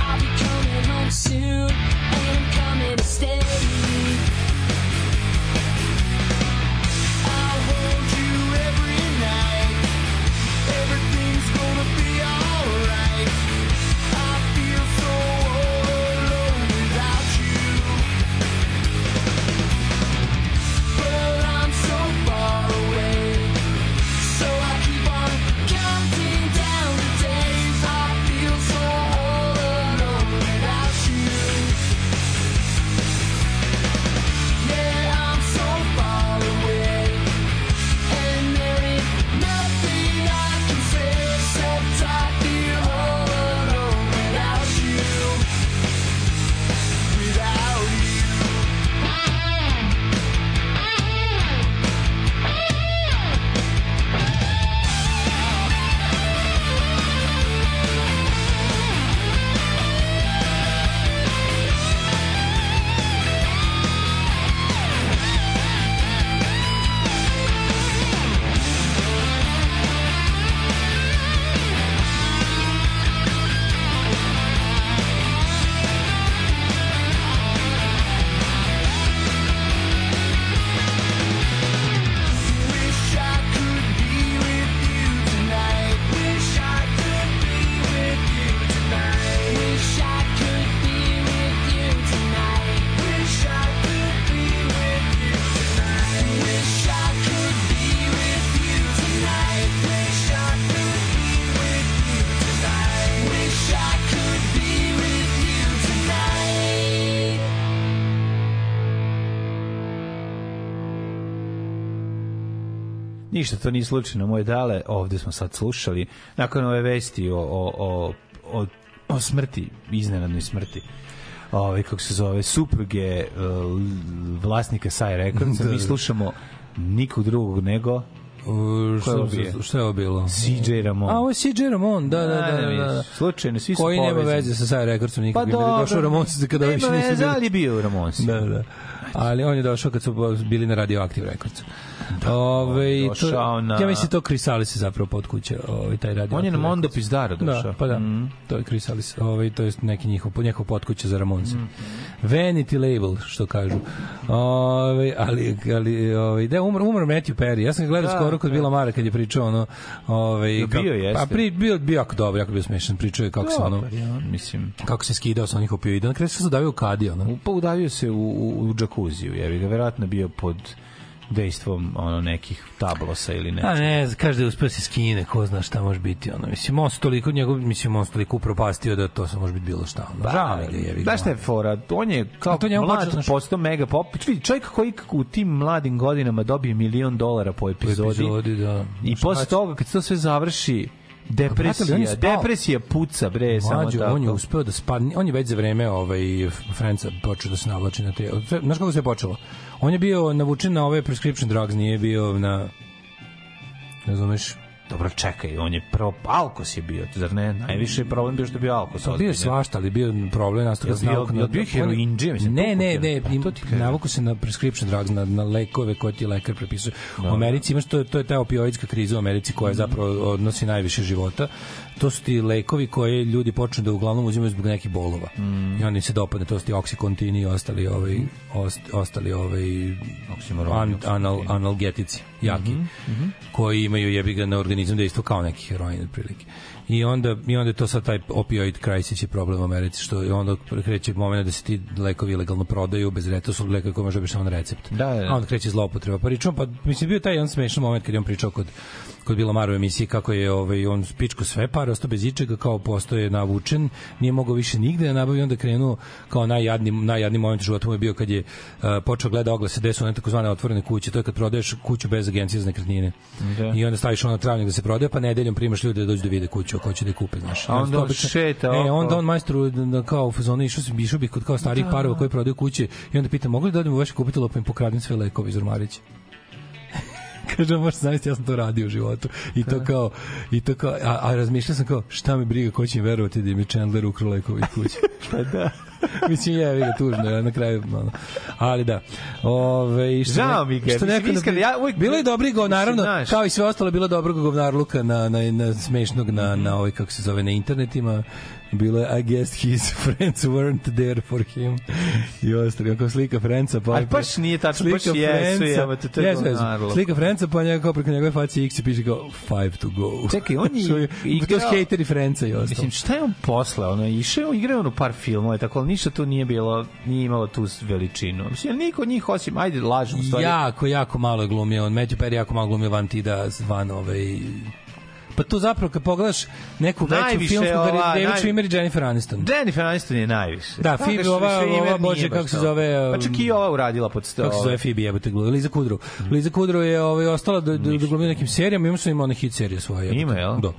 Speaker 9: I'll be coming home soon, and I'm coming to stay.
Speaker 1: I hold you every night. Everything's gonna be alright. I feel so all alone without you. But I'm so far away. So I keep on counting down the days. I feel so all alone without you. Yeah, I'm so far away. And there ain't nothing I can say except I feel all alone without you. Without you. Wish I could be with you tonight. Wish I could be with you tonight. Wish I could be with you tonight. Wish I could be with you tonight. Wish I could be with you tonight. Wish I could be with you tonight. Wish I could be with you tonight.
Speaker 6: Ništa to nije slučajno, moje dale, ovde smo sad slušali, nakon ove vesti o, o, o, o, o smrti, iznenadnoj smrti. ovaj, kako se zove, supruge uh, vlasnika Saj Records, mi slušamo nikog drugog nego
Speaker 5: Uh,
Speaker 6: Ko je
Speaker 5: Šta,
Speaker 6: ovo bio?
Speaker 5: šta- šta je ovo bilo?
Speaker 6: CJ Ramon.
Speaker 5: A, ovo je CJ Ramon, da, da, da. da, da.
Speaker 6: Slučajno, svi su
Speaker 5: Koji
Speaker 6: povezani.
Speaker 5: nema veze sa Saj Rekordsom nikakvim, jer je došao Ramonsi kada više
Speaker 6: Nema
Speaker 5: nisu
Speaker 6: Pa veze,
Speaker 5: bili.
Speaker 6: ali je bio Ramonsi.
Speaker 5: Da, da. Ali on je došao kad su bili na Radioaktiv Records. Da, Ove, to,
Speaker 6: došao na-
Speaker 5: Ja mislim to Chris Alice je zapravo pod kuće, ovaj, taj Radioaktiv
Speaker 6: On je na
Speaker 5: Records.
Speaker 6: Mondo Pizdara došao. Mhm.
Speaker 5: Da, pa da. To je Chris Alice, ovaj, to je neki njihov, njihov potkuće za Ramonse.
Speaker 6: Mhm.
Speaker 5: Vanity label, što kažu. Ovaj ali, ali ovaj da, umro, umro Matthew Perry. Ja sam ga gledao
Speaker 6: Da,
Speaker 5: skoro kod Bila Mara kad je pričao ono... ovaj
Speaker 6: Da,
Speaker 5: kako-
Speaker 6: bio jeste.
Speaker 5: Pa pri, bio, bio jako dobro, jako bio smešan. Pričao je kako se ono...
Speaker 6: Dobar je on, mislim.
Speaker 5: Kako se skidao sa onih opioida. Na kraju se zadavio u kadi, ono.
Speaker 6: Pa udavio se u, u, u džakuziju, je bi ga verovatno bio pod dejstvom ono nekih tablosa ili ne.
Speaker 5: A ne, znam, kaže da je uspeo se skine, ko zna šta može biti, ono, mislim, on se toliko, njegov, mislim, on se toliko upropastio da to se može biti bilo šta, ono, žao mi ga je.
Speaker 6: Znaš šta je fora? On je kao
Speaker 5: A to njemu počelo,
Speaker 6: mlad,
Speaker 5: znaš.
Speaker 6: postao mega pop. Vidi, čovjek koji u tim mladim godinama dobije milion dolara po epizodi.
Speaker 5: epizodi, da.
Speaker 6: I
Speaker 5: Šta
Speaker 6: posle
Speaker 5: će?
Speaker 6: toga, kad se to sve završi, Pa
Speaker 5: brate,
Speaker 6: depresija,
Speaker 5: ali on je spao.
Speaker 6: depresija puca, bre, samo
Speaker 5: Mlađo,
Speaker 6: tako.
Speaker 5: on je uspeo da spadne, on je već za vreme ovaj, Franca počeo da se navlači na te, sve- znaš kako se je počelo? On je bio navučen na ove prescription drugs, nije bio na, razumeš,
Speaker 6: Dobro, čekaj, on je prvo alkos je bio, zar ne? Najviše je problem bio što je bio alkos.
Speaker 5: Pa bio je svašta, ali bio je problem nastao kad
Speaker 6: Jel bio-
Speaker 5: nauku
Speaker 6: jel bio heroindžija, mislim,
Speaker 5: Ne,
Speaker 6: toliko
Speaker 5: ne, ne,
Speaker 6: heroina?
Speaker 5: im-
Speaker 6: To ti kažem.
Speaker 5: navuku se na prescription drugs, na, na lekove koje ti lekar prepisuje.
Speaker 6: Da,
Speaker 5: U Americi imaš to, to je ta opioidska kriza u Americi koja
Speaker 6: Mhm.
Speaker 5: zapravo odnosi najviše života. To su ti lekovi koje ljudi počnu da uglavnom uzimaju zbog nekih bolova.
Speaker 6: Mhm.
Speaker 5: I onda im se dopadne, to su ti oksikontini i ostali ovaj, ost, ostali ovaj
Speaker 6: Oksimoroni,
Speaker 5: an- anal, analgetici jaki
Speaker 6: Mhm,
Speaker 5: koji imaju jebi ga na organizam da isto kao neki heroin otprilike. I onda i onda je to sad taj opioid crisis je problem u Americi što je onda kreće momenat da se ti lekovi ilegalno prodaju bez recepta, to su lekovi koje možeš dobiti samo na recept.
Speaker 6: Da, da, da.
Speaker 5: A onda kreće zloupotreba. Pa pričam, pa mislim bio taj jedan smešan moment kad je on pričao kod kod Bila Maru emisiji kako je ovaj on spičko sve pare, ostao bez ičega, kao postoje navučen, nije mogao više nigde da nabavi, onda krenuo kao najjadni najjadni moment u životu mu je bio kad je eh, počeo gleda oglase gde su one takozvane otvorene kuće, to je kad prodaješ kuću bez agencije za nekretnine.
Speaker 6: Da.
Speaker 5: I onda staviš ono na travnjak da se prodaje, pa nedeljom primaš ljude da dođu da vide kuću, ako hoće da je kupe, znaš.
Speaker 6: A onda
Speaker 5: To
Speaker 6: on
Speaker 5: obično-
Speaker 6: šeta
Speaker 5: E,
Speaker 6: okolo.
Speaker 5: onda on majstru da- da kao u fazonu išao sam išao bih kod kao starih
Speaker 6: Da.
Speaker 5: parova koji prodaju kuće i onda pita mogu li da odem u vaše kupitilo pa im pokradem sve lekove iz ormarića kaže možeš zamisliti ja sam to radio u životu i
Speaker 6: E.
Speaker 5: to kao i to kao a, a razmišljao sam kao šta me briga ko će im verovati da im je Chandler ukrao lekove iz kuće
Speaker 6: Pa da.
Speaker 5: mislim je ga tužno je, na kraju ono. ali da ove i što
Speaker 6: Žao
Speaker 5: ne-
Speaker 6: mi ga je,
Speaker 5: što
Speaker 6: mislim,
Speaker 5: neko ne-
Speaker 6: iskreno, ja uvijek-
Speaker 5: bilo je dobrih go
Speaker 6: Mislim,
Speaker 5: naravno
Speaker 6: znaš.
Speaker 5: kao i sve ostalo bilo je dobrog govnarluka na na na smešnog na na ovaj kako se zove na internetima bilo je I guess his friends weren't there for him i ostali kako slika Franca pa
Speaker 6: Ali baš nije tačno, baš jesu,
Speaker 5: Franca-
Speaker 6: jebote, to je
Speaker 5: jesu, jesu.
Speaker 6: govnarluk.
Speaker 5: slika Franca pa njega kao preko njegove face X i piše kao five to go
Speaker 6: Čekaj, on je
Speaker 5: Što
Speaker 6: igrao-
Speaker 5: to su hejteri Franca i ostalo
Speaker 6: Mislim, šta je on posle? Ono, išao je, igrao je on u par filmova, i tako, ali ništa tu nije bilo, nije imalo tu veličinu. Mislim, jel niko od njih, osim, ajde, lažemo, stvari.
Speaker 5: Jako, jako malo je glumio on. Matthew Perry jako malo glumio van tida, van ovaj... Pa tu zapravo kad pogledaš neku veću
Speaker 6: Najviše
Speaker 5: filmsku
Speaker 6: ova,
Speaker 5: karijeru, David
Speaker 6: naj-
Speaker 5: Schwimmer i Jennifer Aniston.
Speaker 6: Jennifer Aniston je najviše.
Speaker 5: Da,
Speaker 6: Tako
Speaker 5: Phoebe,
Speaker 6: što
Speaker 5: ova-
Speaker 6: Schreiber
Speaker 5: ova,
Speaker 6: nije
Speaker 5: bože,
Speaker 6: baš
Speaker 5: kako se
Speaker 6: to.
Speaker 5: zove, um,
Speaker 6: Pa čak i ova uradila pod sto.
Speaker 5: Kako se zove Phoebe jebote glumio? Liza Kudrow. Liza Kudrow je ovaj, ostala da, da, da glumi u nekim serijama, ima su ima one hit serije svoje. jebote.
Speaker 6: Ima, jel?
Speaker 5: Da.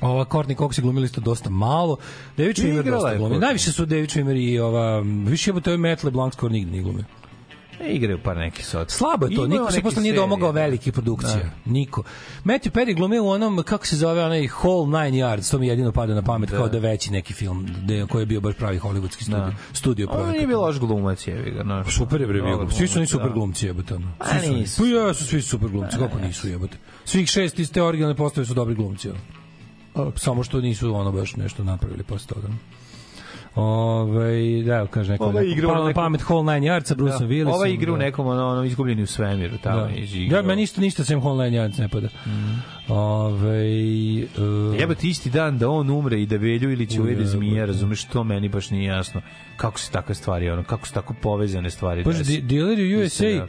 Speaker 5: Ova Courtney Cox je glumila isto dosta malo. David Schwimmer
Speaker 6: Igrala
Speaker 5: dosta
Speaker 6: je
Speaker 5: glumi.
Speaker 6: Courtney.
Speaker 5: Najviše su David Schwimmer i ova... Više jebote ovaj Matt LeBlanc skoro nigde nije glumio.
Speaker 6: E, igraju par nekih sot.
Speaker 5: Slabo je to, niko se posle nije domogao
Speaker 6: da.
Speaker 5: velike produkcije. Niko. Matthew Perry glumio u onom, kako se zove, onaj Whole Nine Yards, to mi jedino pada na pamet, kao da je veći neki film, da, koji je bio baš pravi hollywoodski studio, studio
Speaker 6: Ovo
Speaker 5: projekat.
Speaker 6: Da. nije bilo loš glumac, jevi ga. No.
Speaker 5: Pa Super je bre
Speaker 6: Dobar
Speaker 5: bio. Svi su oni
Speaker 6: glumac,
Speaker 5: super
Speaker 6: da.
Speaker 5: glumci jebote. ono.
Speaker 6: A,
Speaker 5: Svi su oni.
Speaker 6: nisu. Da,
Speaker 5: Pa ja su svi super glumci, kako nisu jebote. Svih šest iz te originalne postave su dobri glumci. ono. Samo što nisu ono baš nešto napravili posle toga. Ove, da, evo, kaže neko,
Speaker 6: Ova je
Speaker 5: neko
Speaker 6: igra u
Speaker 5: palo na
Speaker 6: nekom-
Speaker 5: pamet Whole Nine Yardsa, Bruce da. Willis.
Speaker 6: Ova igra u nekom ono, ono izgubljeni u svemiru, tamo da. izigrao.
Speaker 5: Ja, meni isto ništa sem Whole Nine Yards ne pada.
Speaker 6: Mm.
Speaker 5: Ove, e, uh,
Speaker 6: Jebate isti dan da on umre i da Velju ili će ujede zmija, razumeš, to meni baš nije jasno. Kako se takve stvari, ono, kako su tako povezane stvari.
Speaker 5: Bože,
Speaker 6: dese.
Speaker 5: di, dileri u
Speaker 6: Mislim
Speaker 5: USA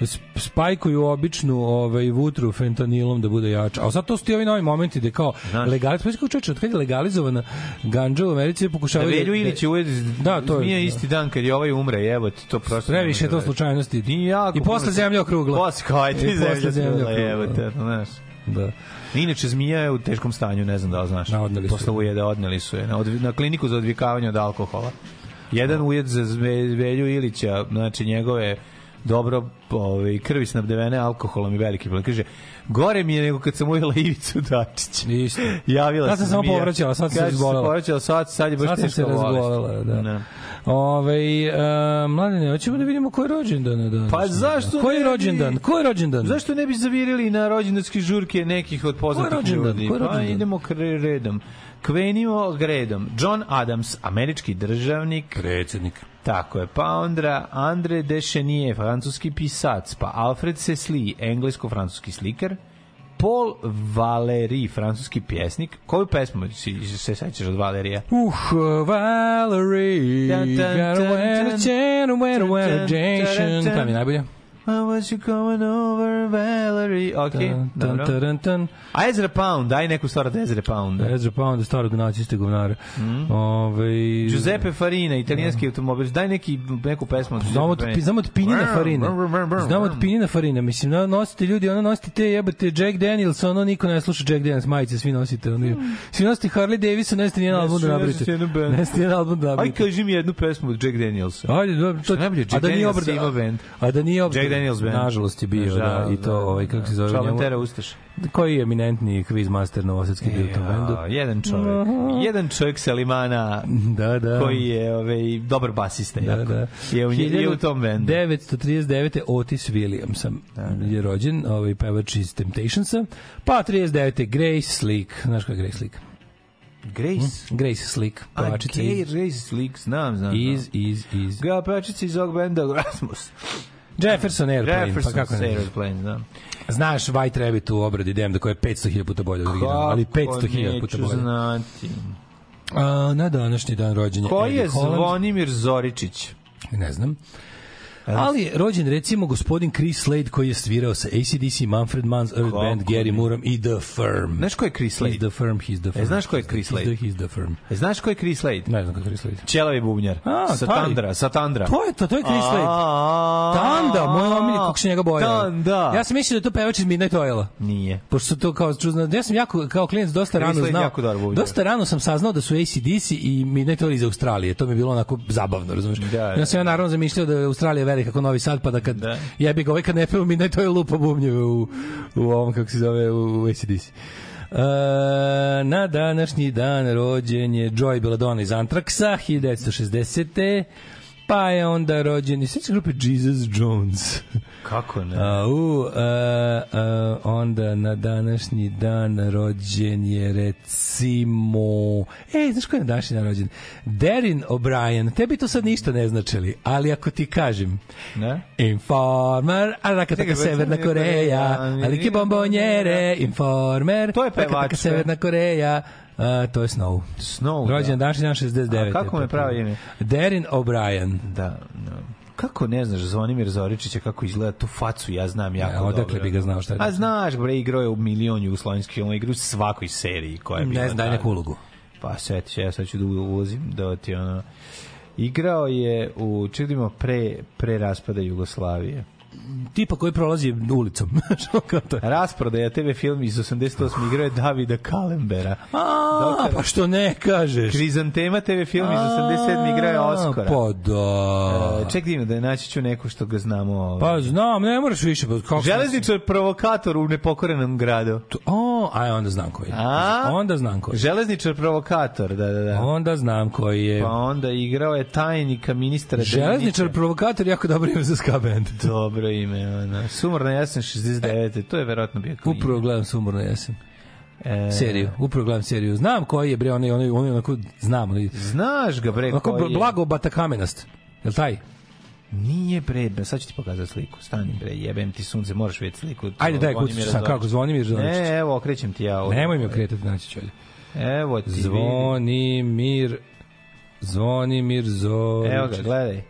Speaker 6: da.
Speaker 5: sp- spajkuju običnu ovaj, vutru fentanilom da bude jača. A sad to su ti ovi novi momenti gde kao
Speaker 6: Znaš.
Speaker 5: legaliz... Pa kao čeče, od kada je legalizovana ganđa u Americi
Speaker 6: Da
Speaker 5: pokušavaju...
Speaker 6: Velju ili će ujede
Speaker 5: Da, to je-
Speaker 6: zmija isti dan kad je ovaj umre, jebote, to prosto. ne
Speaker 5: Previše je
Speaker 6: može
Speaker 5: to
Speaker 6: da-
Speaker 5: slučajnosti.
Speaker 6: Nije jako
Speaker 5: I posle
Speaker 6: puno-
Speaker 5: zemlja okrugla.
Speaker 6: Posle, kao ajde,
Speaker 5: I
Speaker 6: i zemlja
Speaker 5: posle zemlja
Speaker 6: okrugla,
Speaker 5: okrugla.
Speaker 6: jebote, znaš.
Speaker 5: Da.
Speaker 6: Inače, zmija je u teškom stanju, ne znam da li znaš.
Speaker 5: Da, odneli su
Speaker 6: Posle
Speaker 5: je.
Speaker 6: ujede, odneli su je. Na, odvi- na kliniku za odvikavanje od alkohola. Jedan
Speaker 5: Da.
Speaker 6: ujet za Zve- Velju Ilića, znači njegove dobro ovaj, krvi snabdevene alkoholom i veliki problem. Kaže, gore mi je nego kad sam ujela Ivicu Dačić.
Speaker 5: Isto.
Speaker 6: Javila
Speaker 5: Sad sam
Speaker 6: se
Speaker 5: samo
Speaker 6: zmija.
Speaker 5: povraćala, sad sam se
Speaker 6: Kaže,
Speaker 5: razbolela.
Speaker 6: povraćala, sad, sad je baš
Speaker 5: Sad sam se
Speaker 6: teška bolest.
Speaker 5: razbolala, da.
Speaker 6: Ne.
Speaker 5: Ovaj e, mladene, hoćemo da vidimo ko je rođendan danas.
Speaker 6: Pa zašto
Speaker 5: Ko je
Speaker 6: ne bi?
Speaker 5: rođendan? Ko je rođendan?
Speaker 6: Zašto ne bi zavirili na rođendanske žurke nekih od
Speaker 5: Ko je
Speaker 6: poznatih
Speaker 5: rođendan?
Speaker 6: ljudi?
Speaker 5: Ko je
Speaker 6: Pa
Speaker 5: rođendan?
Speaker 6: idemo kre- redom. Krenimo redom. John Adams, američki državnik.
Speaker 5: Predsednik.
Speaker 6: Tako je. Pa onda Andre Dechenier, francuski pisac. Pa Alfred Sesli, englesko-francuski slikar. Paul Valéry, francuski pjesnik. Koju pesmu si, se sećaš od Valerija?
Speaker 5: Uh, Valerie,
Speaker 6: Dun, dun,
Speaker 5: got a
Speaker 6: dun,
Speaker 5: weather
Speaker 6: dun.
Speaker 5: chan, a weather,
Speaker 6: Dun,
Speaker 5: weather
Speaker 6: dun,
Speaker 5: station.
Speaker 6: dun, dun.
Speaker 5: Tam je najbolje.
Speaker 6: How was you coming over, Valerie? Ok,
Speaker 5: Dun, dun,
Speaker 6: dobro.
Speaker 5: dun, dun.
Speaker 6: A Ezra Pound, daj neku stvar od Ezra Pounda.
Speaker 5: Ezra Pound, starog naciste govnara. Ovaj,
Speaker 6: Giuseppe Farina, italijanski automobil. Daj neki, neku pesmu. od
Speaker 5: Znamo od,
Speaker 6: Giuseppe
Speaker 5: Da. pi- znamo od pinjina
Speaker 6: Brr,
Speaker 5: farina.
Speaker 6: brr, brr, brr,
Speaker 5: Znamo od
Speaker 6: brr.
Speaker 5: pinjina farina. Mislim, no, nosite ljudi, ono nosite te jebate Jack Daniels, ono niko ne sluša Jack Daniels majice, svi nosite. Ono, svi nosite Harley Davidson, ne ste nijedan
Speaker 6: Ne
Speaker 5: album da
Speaker 6: su- ne
Speaker 5: nabrite.
Speaker 6: su jednu band.
Speaker 5: Ne ste nijedan album da
Speaker 6: Aj,
Speaker 5: nabrite.
Speaker 6: kaži mi jednu pesmu od Jack Danielsa.
Speaker 5: Ajde, dobro, to,
Speaker 6: je najbolje,
Speaker 5: a
Speaker 6: Jack
Speaker 5: da nije
Speaker 6: Daniels
Speaker 5: obrada,
Speaker 6: je imao band.
Speaker 5: a da nije obrada,
Speaker 6: Jack Daniels band.
Speaker 5: nažalost je bio, da,
Speaker 6: Nažalost,
Speaker 5: i to,
Speaker 6: da,
Speaker 5: ovaj, kako se zove, njemu,
Speaker 6: Čalantera Ustaš.
Speaker 5: koji je eminentni quizmaster novosadski bio u tom bendu.
Speaker 6: Ja, jedan čovjek. Jedan čovjek sa limana
Speaker 5: Da, Mhm. da.
Speaker 6: koji je ovaj, dobar basista.
Speaker 5: Da,
Speaker 6: jako.
Speaker 5: da.
Speaker 6: Je, u, nje- je u tom bendu. Da,
Speaker 5: 939. Otis Williams je rođen, ovaj pevač iz Temptationsa. Pa 39. Grace Slick. Znaš koja je Grace Slick? Hm?
Speaker 6: Grace.
Speaker 5: Grace Slick,
Speaker 6: A,
Speaker 5: pevačica
Speaker 6: Gay
Speaker 5: Mhm. iz...
Speaker 6: Race Slick, znam, znam.
Speaker 5: Iz, iz, iz.
Speaker 6: Ga pevačica iz ovog benda Rasmus.
Speaker 5: Jefferson Airplane,
Speaker 6: Jefferson
Speaker 5: pa kako ne.
Speaker 6: Airplane, da.
Speaker 5: Znaš White Rabbit u obradi Demda koja je 500.000 puta bolja od originala, ali
Speaker 6: Kako
Speaker 5: 500.000 puta
Speaker 6: neću
Speaker 5: bolja.
Speaker 6: znati.
Speaker 5: A, na današnji dan rođenja
Speaker 6: Koji
Speaker 5: Eddie
Speaker 6: je
Speaker 5: Holland.
Speaker 6: Zvonimir Zoričić?
Speaker 5: Ne znam. Ali rođen recimo gospodin Chris Slade koji je svirao sa ACDC, Manfred Mann's, Earth
Speaker 6: Kako
Speaker 5: Band, Gary
Speaker 6: ne?
Speaker 5: Moorom i The Firm.
Speaker 6: Znaš ko je Chris
Speaker 5: He's
Speaker 6: Slade? E,
Speaker 5: the firm, he's the firm.
Speaker 6: znaš ko je Chris
Speaker 5: He's the-
Speaker 6: Lade?
Speaker 5: He's the firm.
Speaker 6: E, Znaš ko je Chris Slade?
Speaker 5: Ne znam kako je Slade.
Speaker 6: Ćelavi bubnjar.
Speaker 5: A, taj.
Speaker 6: Satandra, Satandra.
Speaker 5: To je to, to je Chris Lade.
Speaker 6: A,
Speaker 5: Tanda, moj omiljeni, kako se njega bojao.
Speaker 6: Tanda.
Speaker 5: Ja sam mislio da je to pevač iz Midnight Oila.
Speaker 6: Nije.
Speaker 5: Pošto su to kao čuzno, ja sam jako kao klijent dosta
Speaker 6: Chris
Speaker 5: rano
Speaker 6: Lade
Speaker 5: znao.
Speaker 6: jako dobar bubnjar.
Speaker 5: Dosta rano sam saznao da su ACDC i Midnight Oil iz Australije. To mi je bilo onako zabavno, razumeš?
Speaker 6: Da, da.
Speaker 5: Ja sam ja naravno zamišljao da je Australija velika kao Novi Sad, pa da kad
Speaker 6: Da.
Speaker 5: jebi ga ovaj kad ne peva u Midnight Oil lupa bubnjeve u, u ovom, kako se zove, u ACDC. Uh, E, na današnji dan rođen je Joy Belladonna iz Antraksa 1960. Pa je onda rođen iz sveće grupe Jesus Jones.
Speaker 6: Kako ne?
Speaker 5: A, u, a, a, onda na današnji dan rođen je recimo... E, znaš ko je na današnji dan rođen? Derin O'Brien. Tebi to sad ništa ne značili, ali ako ti kažem...
Speaker 6: Ne?
Speaker 5: Informer,
Speaker 6: Čekaj,
Speaker 5: Arakataka Severna
Speaker 6: Severna
Speaker 5: Koreja,
Speaker 6: Koreja,
Speaker 5: Aliki Bombonjere, Informer,
Speaker 6: To je pevač,
Speaker 5: Arakataka
Speaker 6: ne?
Speaker 5: Severna Koreja, a, to je Snow.
Speaker 6: Snow.
Speaker 5: Rođen
Speaker 6: da.
Speaker 5: današnji dan 69.
Speaker 6: A kako mu je pravo ime?
Speaker 5: Derin O'Brien.
Speaker 6: Da, da. Kako ne znaš Zvonimir Zoričića kako izgleda tu facu, ja znam jako
Speaker 5: E,
Speaker 6: dobro.
Speaker 5: odakle bi ga znao šta je
Speaker 6: A
Speaker 5: to?
Speaker 6: znaš, bre, igrao je u milion jugoslovenskih, ono igra u svakoj seriji koja je bila.
Speaker 5: Ne znam, daj
Speaker 6: tada.
Speaker 5: neku ulogu.
Speaker 6: Pa seti se, ja sad ću da ulazim da ti ono... Igrao je u, čekajmo, pre, pre raspada Jugoslavije.
Speaker 5: Tipa koji prolazi ulicom. Što kao to je?
Speaker 6: Rasprodaja TV film iz 88. igrao je Davida Kalembera.
Speaker 5: A,
Speaker 6: Doktor-
Speaker 5: pa što ne kažeš?
Speaker 6: Krizantema TV film iz 87. igrao je Oskara.
Speaker 5: Pa da.
Speaker 6: E, Ček divno da je naći ću neko što ga znamo. ovaj.
Speaker 5: Pa znam, ne moraš više. Pa kako
Speaker 6: Železničar provokator u nepokorenom gradu.
Speaker 5: To- O, aj, onda znam koji je.
Speaker 6: A?
Speaker 5: Onda znam koji je.
Speaker 6: Železničar provokator, da, da, da.
Speaker 5: Onda znam koji je.
Speaker 6: Pa onda igrao je tajnika ministra
Speaker 5: Železničar
Speaker 6: Denića.
Speaker 5: provokator, jako dobro ime za ska band.
Speaker 6: Dobro ime, ona. Sumorna jesen 69. To je verovatno bio klin.
Speaker 5: Upravo gledam Sumorno jesen.
Speaker 6: E,
Speaker 5: Seriju, upravo gledam seriju. Znam koji je, bre, onaj, onaj, onaj, onako, znam, onaj,
Speaker 6: Znaš ga, bre,
Speaker 5: onako
Speaker 6: koji je?
Speaker 5: blago batakamenast. Jel taj?
Speaker 6: Nije, bre, bre, sad ću ti pokazati sliku. Stani, bre, jebem ti sunce, moraš vidjeti sliku.
Speaker 5: Ajde, daj,
Speaker 6: Zvonimira
Speaker 5: kućiš sam, kako,
Speaker 6: Zorčića.
Speaker 5: Zvonimir Zvoničić.
Speaker 6: Ne, E, evo, okrećem ti ja ovo.
Speaker 5: Nemoj mi okretati, naći ću ovdje.
Speaker 6: Evo ti. ovaj. vidi.
Speaker 5: Zvonimir Zvonimir Zorić.
Speaker 6: Evo ga, gledaj.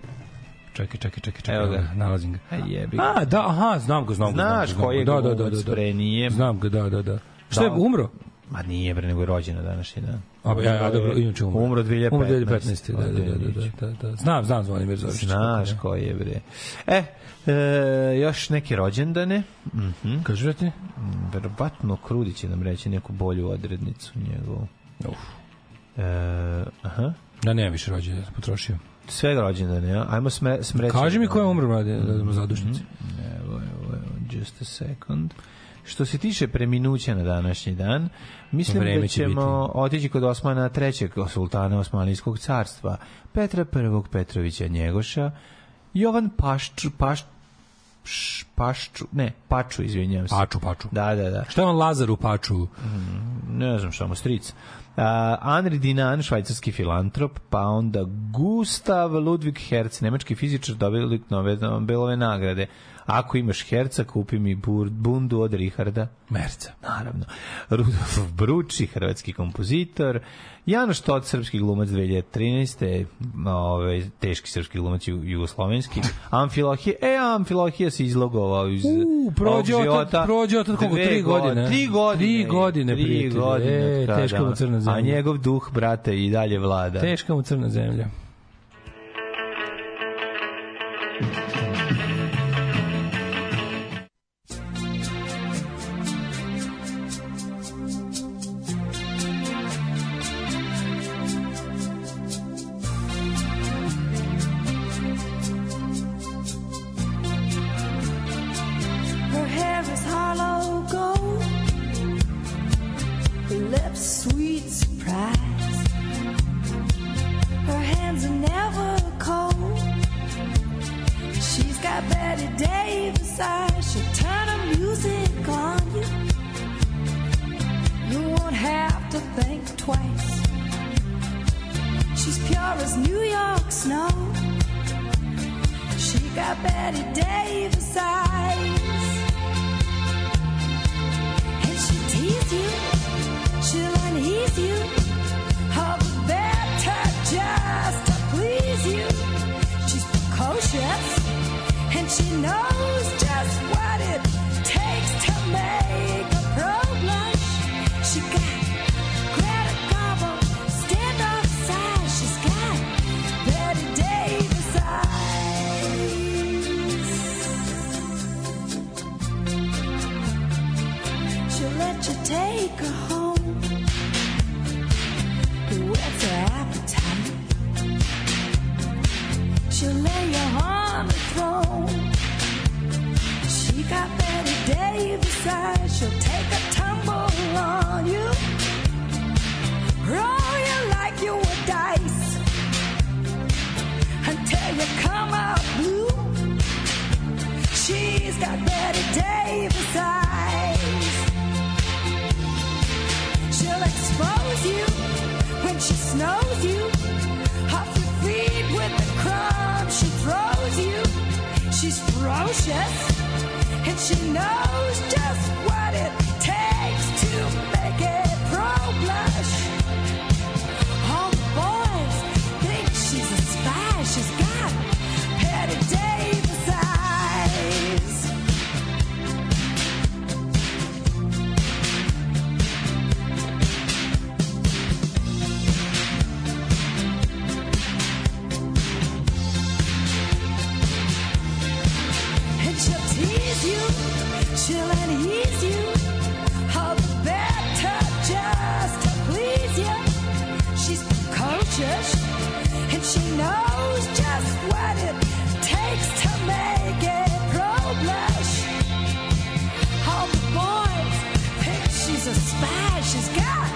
Speaker 5: Čekaj, čekaj, čekaj, čekaj.
Speaker 6: Evo ga.
Speaker 5: Nalazim ga.
Speaker 6: Aj, jebi ga.
Speaker 5: A, da, aha, znam ga, znam ga.
Speaker 6: Znaš
Speaker 5: znam ga,
Speaker 6: koji je
Speaker 5: znam ga. da, da, da,
Speaker 6: glumac,
Speaker 5: da, da.
Speaker 6: bre, nije-
Speaker 5: Znam ga, da, da, da. Šta je,
Speaker 6: Da.
Speaker 5: umro?
Speaker 6: Ma nije, bre, nego je rođena današnji dan.
Speaker 5: A, ja, ja, dobro, inače umro.
Speaker 6: Umro 2015.
Speaker 5: Umro 2015. Da, da, da, da, da, da. Znam, znam Zvonimir Zorić.
Speaker 6: Znaš ko je, bre. E, e, još neke rođendane. Mhm.
Speaker 5: Kažu da ti?
Speaker 6: Verovatno Krudi će nam reći neku bolju odrednicu njegovu.
Speaker 5: Uf.
Speaker 6: E, aha.
Speaker 5: Da, nema više rođenja, potrošio.
Speaker 6: Sve rođendane, ja? Ajmo sme, smreći.
Speaker 5: Kaži mi ko je umro, mlade, da
Speaker 6: Mhm.
Speaker 5: smo zadušnici.
Speaker 6: Evo, evo, evo, just a second. Što se tiše preminuća na današnji dan, mislim
Speaker 5: Vreme
Speaker 6: da
Speaker 5: će
Speaker 6: ćemo otići kod Osmana III. sultana Osmanijskog carstva, Petra I. Petrovića Njegoša, Jovan Pašču, Pašč, Pašču, ne, Paču, izvinjam se.
Speaker 5: Paču, paču.
Speaker 6: Da, da, da.
Speaker 5: Šta je on Lazar u paču?
Speaker 6: ne znam šta mu stric. Uh, Henri Dinan, švajcarski filantrop, pa onda Gustav Ludwig Herz, nemački fizičar, dobili nove Nobelove nagrade. Ako imaš Herca, kupi mi bur- bundu od Richarda.
Speaker 5: Merca.
Speaker 6: Naravno. Rudolf Bruči, hrvatski kompozitor. Janoš Tot, srpski glumac 2013. Ove, teški srpski glumac ju- jugoslovenski. Amfilohije. E, Amfilohije se izlogovao iz
Speaker 5: U, prođe
Speaker 6: ovog
Speaker 5: otac,
Speaker 6: života.
Speaker 5: prođe otac koliko?
Speaker 6: Dve
Speaker 5: Tri godine.
Speaker 6: go- Tri godine.
Speaker 5: Tri godine,
Speaker 6: Tri
Speaker 5: prijatelju.
Speaker 6: godine,
Speaker 5: E,
Speaker 6: da,
Speaker 5: teška
Speaker 6: da.
Speaker 5: mu crna zemlja.
Speaker 6: A njegov duh, brate, i dalje vlada.
Speaker 5: Teška mu crna zemlja.
Speaker 4: Her hair is hollow gold. Her lips sweet surprise. Her hands are never cold. She's got Betty Davis eyes. She'll turn the music on you. You won't have to think twice. She's pure as New York snow. She got Betty Davis eyes. And she tease you, she'll unease you. All the better just to please you. She's precocious, and she knows just what it takes to make a pro blush. She got Greta Garbo, standoff size. She's got Betty Davis eyes. She'll let you take her home. It whets her appetite. She'll lay you on the throne. She got Betty Davis eyes. She'll take a tumble on you. Roll you like you were dice until you come out blue. She's got Betty Davis eyes. She'll expose you when she snows you. Off your feet with the crumbs she throws you. She's ferocious and she knows just what it takes to make it pro blush. All the boys think she's a spy. She's got Betty Davis eyes. And she'll tease you, she'll unease you. All the better just to please you. She's precocious, and she knows just what it takes to make a pro blush. All the boys think she's a spy. She's got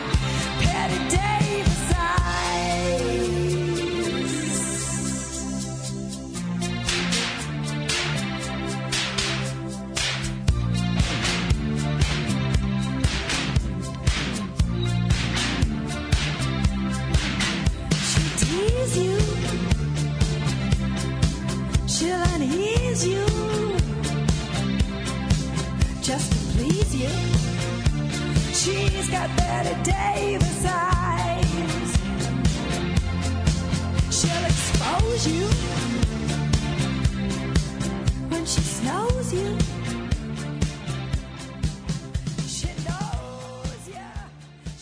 Speaker 4: Betty Davis eyes. She'll tease you. She'll unease you. Just to please you. She's got Betty Davis eyes. She'll expose you. When she snows you. She knows you.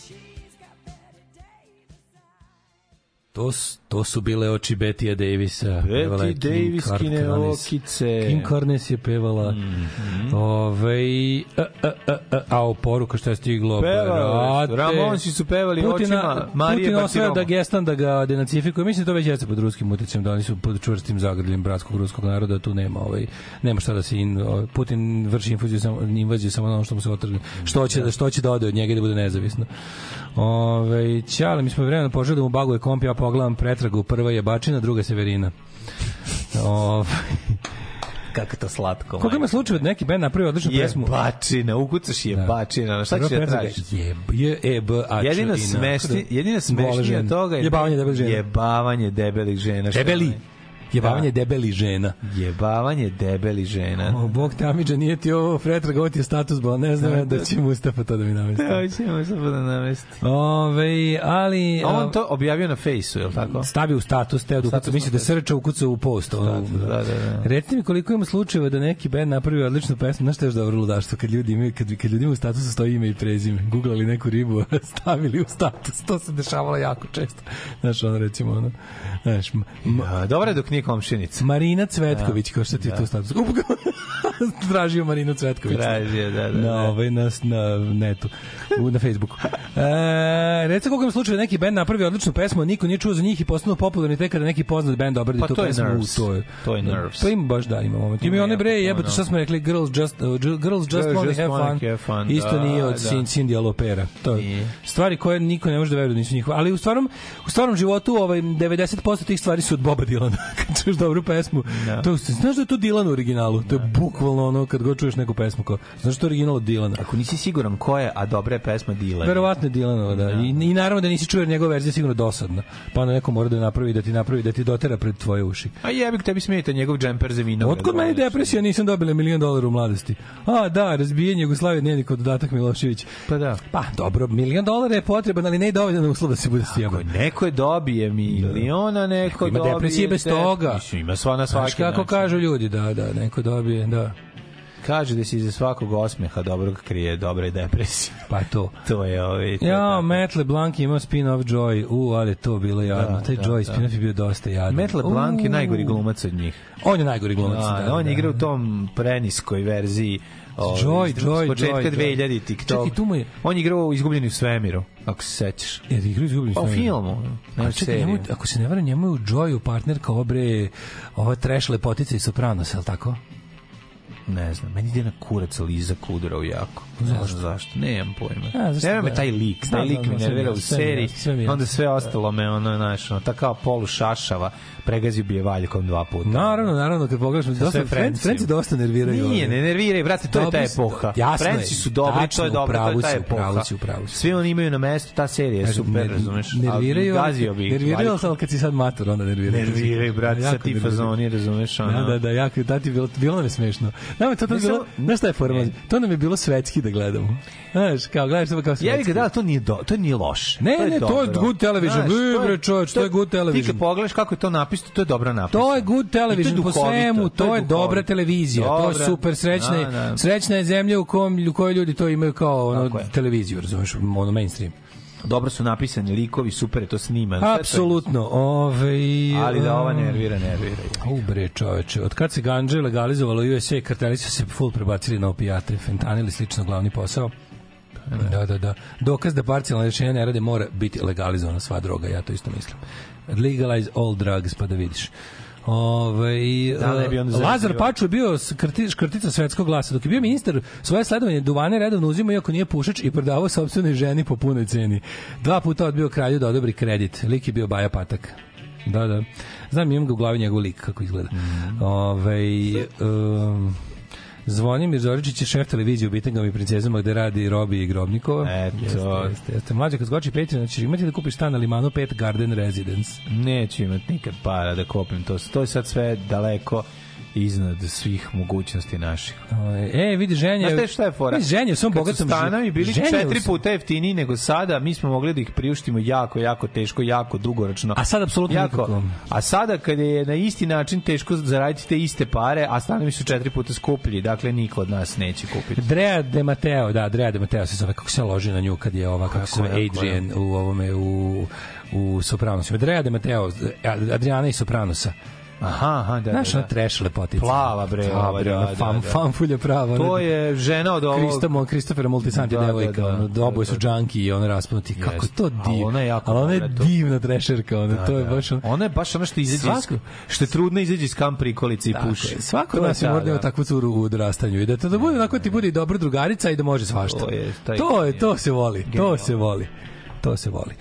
Speaker 4: She's got Betty Davis eyes.
Speaker 5: To, s- to su bile oči Betija Davisa. Pevala je
Speaker 6: Betty
Speaker 5: Kim
Speaker 6: Daviskine
Speaker 5: Karnes.
Speaker 6: okice.
Speaker 5: Kim Karnes je pevala. Mm -hmm. Ove, a, a, a, a, e, a o poruka što je stiglo.
Speaker 6: Pevali su.
Speaker 5: brate.
Speaker 6: Ramonsi su pevali očima Marije
Speaker 5: Putina osvaja
Speaker 6: Bartiromo.
Speaker 5: da gestan da ga denacifikuje. Mislim da to već jeste pod ruskim utjecem, da oni su pod čvrstim zagrljem bratskog ruskog naroda, tu nema ovaj nema šta da se in, ovaj, Putin vrši infuziju samo invaziju samo na ono što mu se otrgne. Što će da što će da ode od njega i da bude nezavisno. Ovaj ćale mi smo vremena poželi da mu baguje komp, ja pogledam pretragu, prva je Bačina, druga Severina. Ovaj
Speaker 6: Kako to slatko.
Speaker 5: Koliko ima slučajeva da neki bend napravi odličnu
Speaker 6: je pa,
Speaker 5: pesmu?
Speaker 6: bačina, ukucaš je bačina, šta
Speaker 5: Prva
Speaker 6: ćeš da
Speaker 5: pretraga
Speaker 6: tražiš?
Speaker 5: Je, je, e, b, a,
Speaker 6: Jedino
Speaker 5: čudina.
Speaker 6: smešni, jedino
Speaker 5: da Vole
Speaker 6: smešnije od
Speaker 5: žene.
Speaker 6: toga je da-
Speaker 5: Jebavanje debelih žena.
Speaker 6: Jebavanje debelih žena. što
Speaker 5: Debeli.
Speaker 6: je-
Speaker 5: Jebavanje
Speaker 6: Da.
Speaker 5: debeli žena.
Speaker 6: Jebavanje debelih žena.
Speaker 5: O, Bog te Amidža, nije ti ovo pretrag, ovo ti je status, bo ne znam ja da će Mustafa to da mi namesti.
Speaker 6: ćemo se da namesti.
Speaker 5: Ove, ali...
Speaker 6: On to objavio na fejsu, je li tako?
Speaker 5: stavi u status, teo da ukuca,
Speaker 6: Pa. Status na
Speaker 5: misli da srča ukuca u post. Ono,
Speaker 6: Status, da, da, da.
Speaker 5: Recite mi koliko ima slučajeva da neki band napravi odličnu pesmu, znaš što je još dobro ludaštvo, kad ljudi imaju, kad, kad ljudima u statusu stoji ime i prezime, googlali neku ribu, a stavili u status, to se dešavalo jako često. Znaš, ono recimo, ono, znaš, m- m-
Speaker 6: A, Dobro Da, je dok nije komšinica.
Speaker 5: Marina
Speaker 6: Da.
Speaker 5: Cvetković, kao što ti je tu status. Up, Tražio Marinu Cvetković.
Speaker 6: Traži je, da, da.
Speaker 5: Na
Speaker 6: da.
Speaker 5: ovaj, na, na netu, u, na Facebooku. E, recimo koliko im slučaju neki band napravi odličnu pesmu, a niko nije čuo za njih i postanu popularni tek kada neki poznat band obradi
Speaker 6: Pa
Speaker 5: tu
Speaker 6: to je
Speaker 5: pesmu.
Speaker 6: Nerves.
Speaker 5: u, To je,
Speaker 6: To je Nerves.
Speaker 5: Pa ima baš da, ima moment. Ima i
Speaker 6: Ima
Speaker 5: one bre,
Speaker 6: jako puno,
Speaker 5: jebote,
Speaker 6: da.
Speaker 5: šta smo rekli, Girls Just, uh, Girls just
Speaker 6: Girls
Speaker 5: Wanna
Speaker 6: Just
Speaker 5: Have
Speaker 6: Wanna
Speaker 5: Fun.
Speaker 6: Have Fun,
Speaker 5: Isto
Speaker 6: da,
Speaker 5: nije od
Speaker 6: da.
Speaker 5: Sin- Cindy Alopera. To je
Speaker 6: Nije.
Speaker 5: stvari koje niko ne može da veruje da nisu njihove. Ali u stvarnom, u stvarnom životu ovaj, 90% tih stvari su od Boba Dilana. kad čuješ dobru pesmu.
Speaker 6: Da.
Speaker 5: To, znaš da je to Dilan u originalu? To je bukvalno ono kad god čuješ neku pesmu. Kao, znaš što je original od Dilana?
Speaker 6: Ako nisi siguran ko je, a dobra je pesma Dila.
Speaker 5: Verovatno je Dilanova, da. I, I naravno da nisi čuo jer njegova verzija je sigurno dosadna. Pa onda neko mora da je napravi, da ti napravi, da ti dotera pred tvoje uši.
Speaker 6: A jebik, tebi smeta njegov džemper za vino.
Speaker 5: Otkud meni depresija, nisam dobila milion dolara u mladosti. A, da, razbijenje Jugoslavije nije kod dodatak Milošević.
Speaker 6: Pa da.
Speaker 5: Pa, dobro, milion dolara je potreban, ali ne i dovoljan uslov da se bude
Speaker 6: Ako
Speaker 5: sjeban.
Speaker 6: neko je dobije miliona, neko
Speaker 5: Da. Ima
Speaker 6: dobije...
Speaker 5: depresije bez
Speaker 6: te-
Speaker 5: toga.
Speaker 6: Mislim, ima sva na svaki
Speaker 5: Znaš kako
Speaker 6: način.
Speaker 5: kažu ljudi, da, da, neko dobije, da.
Speaker 6: Kaže da se iza svakog osmeha dobrog krije dobra je depresija.
Speaker 5: Pa to.
Speaker 6: To je ovaj... to je
Speaker 5: Ja,
Speaker 6: tako.
Speaker 5: Matt LeBlanc je imao spin-off Joy. U, ali je to bilo jadno.
Speaker 6: Da,
Speaker 5: Taj
Speaker 6: da,
Speaker 5: Joy
Speaker 6: da.
Speaker 5: spin-off je bio dosta jadno.
Speaker 6: Matt LeBlanc je
Speaker 5: U.
Speaker 6: najgori glumac od njih.
Speaker 5: On je najgori glumac.
Speaker 6: Da, da, on da. igra u tom preniskoj verziji ovaj,
Speaker 5: Joy,
Speaker 6: iz-
Speaker 5: Joy,
Speaker 6: s početka
Speaker 5: Joy, Joy.
Speaker 6: 2000 TikTok.
Speaker 5: Čekaj, tu mu je-
Speaker 6: On igrao u Izgubljeni u svemiru, ako se sećaš.
Speaker 5: Jer igra da izgubljeni
Speaker 6: Pa u
Speaker 5: snajper.
Speaker 6: filmu. Ne,
Speaker 5: A
Speaker 6: u
Speaker 5: čekaj,
Speaker 6: seriji.
Speaker 5: njemu, ako se ne varam, njemu je u Joyu partner kao bre ova trash lepotica i Sopranos, je li tako?
Speaker 6: Ne znam, meni ide na kurac Liza Kudarov jako. Ne znam zašto, nemam pojma.
Speaker 5: A, zašto
Speaker 6: Nema me
Speaker 5: da?
Speaker 6: taj lik,
Speaker 5: Znam,
Speaker 6: taj lik
Speaker 5: znam,
Speaker 6: mi
Speaker 5: sve mi
Speaker 6: nervira u
Speaker 5: jasno, sve mi
Speaker 6: seriji,
Speaker 5: jasno, sve mi jasno.
Speaker 6: onda sve ostalo me ono, znaš, ono, ta kao polu šašava, pregazio bi je valjkom dva puta.
Speaker 5: Naravno, naravno, kad pogledaš, dosta, Da, Frenci,
Speaker 6: Franciju.
Speaker 5: Frenci dosta nerviraju.
Speaker 6: Nije,
Speaker 5: ove.
Speaker 6: ne nerviraj, brate, to je ta
Speaker 5: Dobri su,
Speaker 6: epoha.
Speaker 5: jasno je,
Speaker 6: Franci su dobri,
Speaker 5: tačno,
Speaker 6: to je dobro, to
Speaker 5: upravu
Speaker 6: je ta
Speaker 5: si, upravu
Speaker 6: epoha.
Speaker 5: si, upravu si.
Speaker 6: Svi oni imaju na mestu, ta serija je
Speaker 5: Kažem,
Speaker 6: super,
Speaker 5: ner-
Speaker 6: razumeš?
Speaker 5: Nerviraju,
Speaker 6: Ali gazio bi. ih,
Speaker 5: nerviraju,
Speaker 6: valjkom.
Speaker 5: ali kad si sad mator, onda nerviraju.
Speaker 6: Nerviraj, brate,
Speaker 5: Jako
Speaker 6: sa ti
Speaker 5: nerviraju.
Speaker 6: fazoni, razumeš, ono.
Speaker 5: Da, da, da, jako, da ti je bilo, bilo nam je smešno. Nama je to, to
Speaker 6: Ne
Speaker 5: bilo,
Speaker 6: samo-
Speaker 5: znaš šta je forma?
Speaker 6: Ne.
Speaker 5: To nam je bilo svetski da gledamo. Znaš, kao gledaš to kao
Speaker 6: Jevi
Speaker 5: svetski.
Speaker 6: ga, da, to nije, do, to nije loše.
Speaker 5: Ne, ne, to
Speaker 6: dobro.
Speaker 5: je
Speaker 6: da.
Speaker 5: good television.
Speaker 6: Znaš,
Speaker 5: Vi,
Speaker 6: to je-
Speaker 5: bre, čoveč, to je good
Speaker 6: Ti
Speaker 5: television.
Speaker 6: kad pogledaš kako je to napisano, to je dobro napisano.
Speaker 5: To je good television
Speaker 6: I
Speaker 5: po
Speaker 6: duhovito,
Speaker 5: svemu, to je
Speaker 6: duhovito.
Speaker 5: dobra televizija, to
Speaker 6: Dobra.
Speaker 5: je super srećna,
Speaker 6: Da, da.
Speaker 5: je- srećna je zemlja u kom u kojoj ljudi to imaju kao ono
Speaker 6: Tako je.
Speaker 5: televiziju, razumeš, ono mainstream.
Speaker 6: Dobro su napisani likovi, super je to snimano. sve to je-
Speaker 5: Apsolutno, ovaj
Speaker 6: Ali da ova
Speaker 5: um,
Speaker 6: nervira, nervira.
Speaker 5: Au bre, čoveče, od kad se ganđe legalizovalo u USA, karteli su se full prebacili na opijate, fentanil i slično glavni posao. Da, da, da. Dokaz da parcijalna rešenja ne rade mora biti legalizovana sva droga, ja to isto mislim. Legalize all drugs, pa da vidiš. Ove,
Speaker 6: Da, ne bi onda zarađivao.
Speaker 5: Lazar Paču je bio skrti, škrtica svetskog glasa. Dok je bio ministar, svoje sledovanje duvane redovno uzimao iako nije pušač i prodavao sobstvenoj ženi po punoj ceni. Dva puta odbio kralju da odobri kredit. Lik je bio Baja Patak. Da, da. Znam, imam ga u glavi njegov lik kako izgleda.
Speaker 6: Mhm.
Speaker 5: Ovaj um, Zvonimir Zoričić je šef televizije u Bitangama i princezama gde radi Robi i Grobnikova.
Speaker 6: Eto.
Speaker 5: Jeste, jeste, jeste. Mlađe, kad skoči Patreon, ćeš imati da kupiš stan na Limanu 5 Garden Residence.
Speaker 6: Neću imati nikad para da kupim to. To je sad sve daleko iznad svih mogućnosti naših.
Speaker 5: E, vidi, ženje...
Speaker 6: Znaš te šta je fora?
Speaker 5: Vidi, ženje u svom
Speaker 6: Kad su
Speaker 5: bogatom živ-
Speaker 6: stanovi bili
Speaker 5: ženje u
Speaker 6: četiri
Speaker 5: svom-
Speaker 6: puta jeftiniji nego sada, mi smo mogli da ih priuštimo jako, jako teško, jako dugoročno.
Speaker 5: A sad apsolutno nikako.
Speaker 6: A sada kad je na isti način teško zaraditi te iste pare, a stanovi su četiri puta skuplji, dakle niko od nas neće kupiti.
Speaker 5: Drea De Mateo, da, Drea De Mateo se zove, kako se loži na nju kad je ova, kako se zove, Adrian u ovome, u, u Sopranosima. Drea De Mateo, Adriana i Sopranosa.
Speaker 6: Aha, aha, da,
Speaker 5: Znaš,
Speaker 6: da,
Speaker 5: ona
Speaker 6: da.
Speaker 5: treš lepotica.
Speaker 6: Plava, bre,
Speaker 5: Ta,
Speaker 6: ova,
Speaker 5: bre,
Speaker 6: da,
Speaker 5: ona
Speaker 6: da,
Speaker 5: fam,
Speaker 6: da.
Speaker 5: famfulja prava. ona-
Speaker 6: To je žena od ovog...
Speaker 5: Kristo Mo, Kristofera Multisanti
Speaker 6: Da, da,
Speaker 5: devojka,
Speaker 6: da,
Speaker 5: ono,
Speaker 6: da,
Speaker 5: oboje su
Speaker 6: da, da.
Speaker 5: džanki i ona raspunuti. Kako je to
Speaker 6: Jeste.
Speaker 5: divno.
Speaker 6: Ali ona je jako Da,
Speaker 5: Ali ona je
Speaker 6: dobra, to.
Speaker 5: divna trešerka, ona, to je baš ono.
Speaker 6: Ona je baš ona što izađe iz,
Speaker 5: Svako-
Speaker 6: što je trudna izađe iz kamp prikolice i
Speaker 5: Tako
Speaker 6: puši.
Speaker 5: je. Svako
Speaker 6: To
Speaker 5: od
Speaker 6: je
Speaker 5: nas je
Speaker 6: ta,
Speaker 5: mora da ima
Speaker 6: da.
Speaker 5: takvu curu u odrastanju i da to da bude onako ti bude i dobra drugarica i da može svašta.
Speaker 6: To je taj-
Speaker 5: to, je, to se voli,
Speaker 6: Genijalno.
Speaker 5: to se voli. To se voli.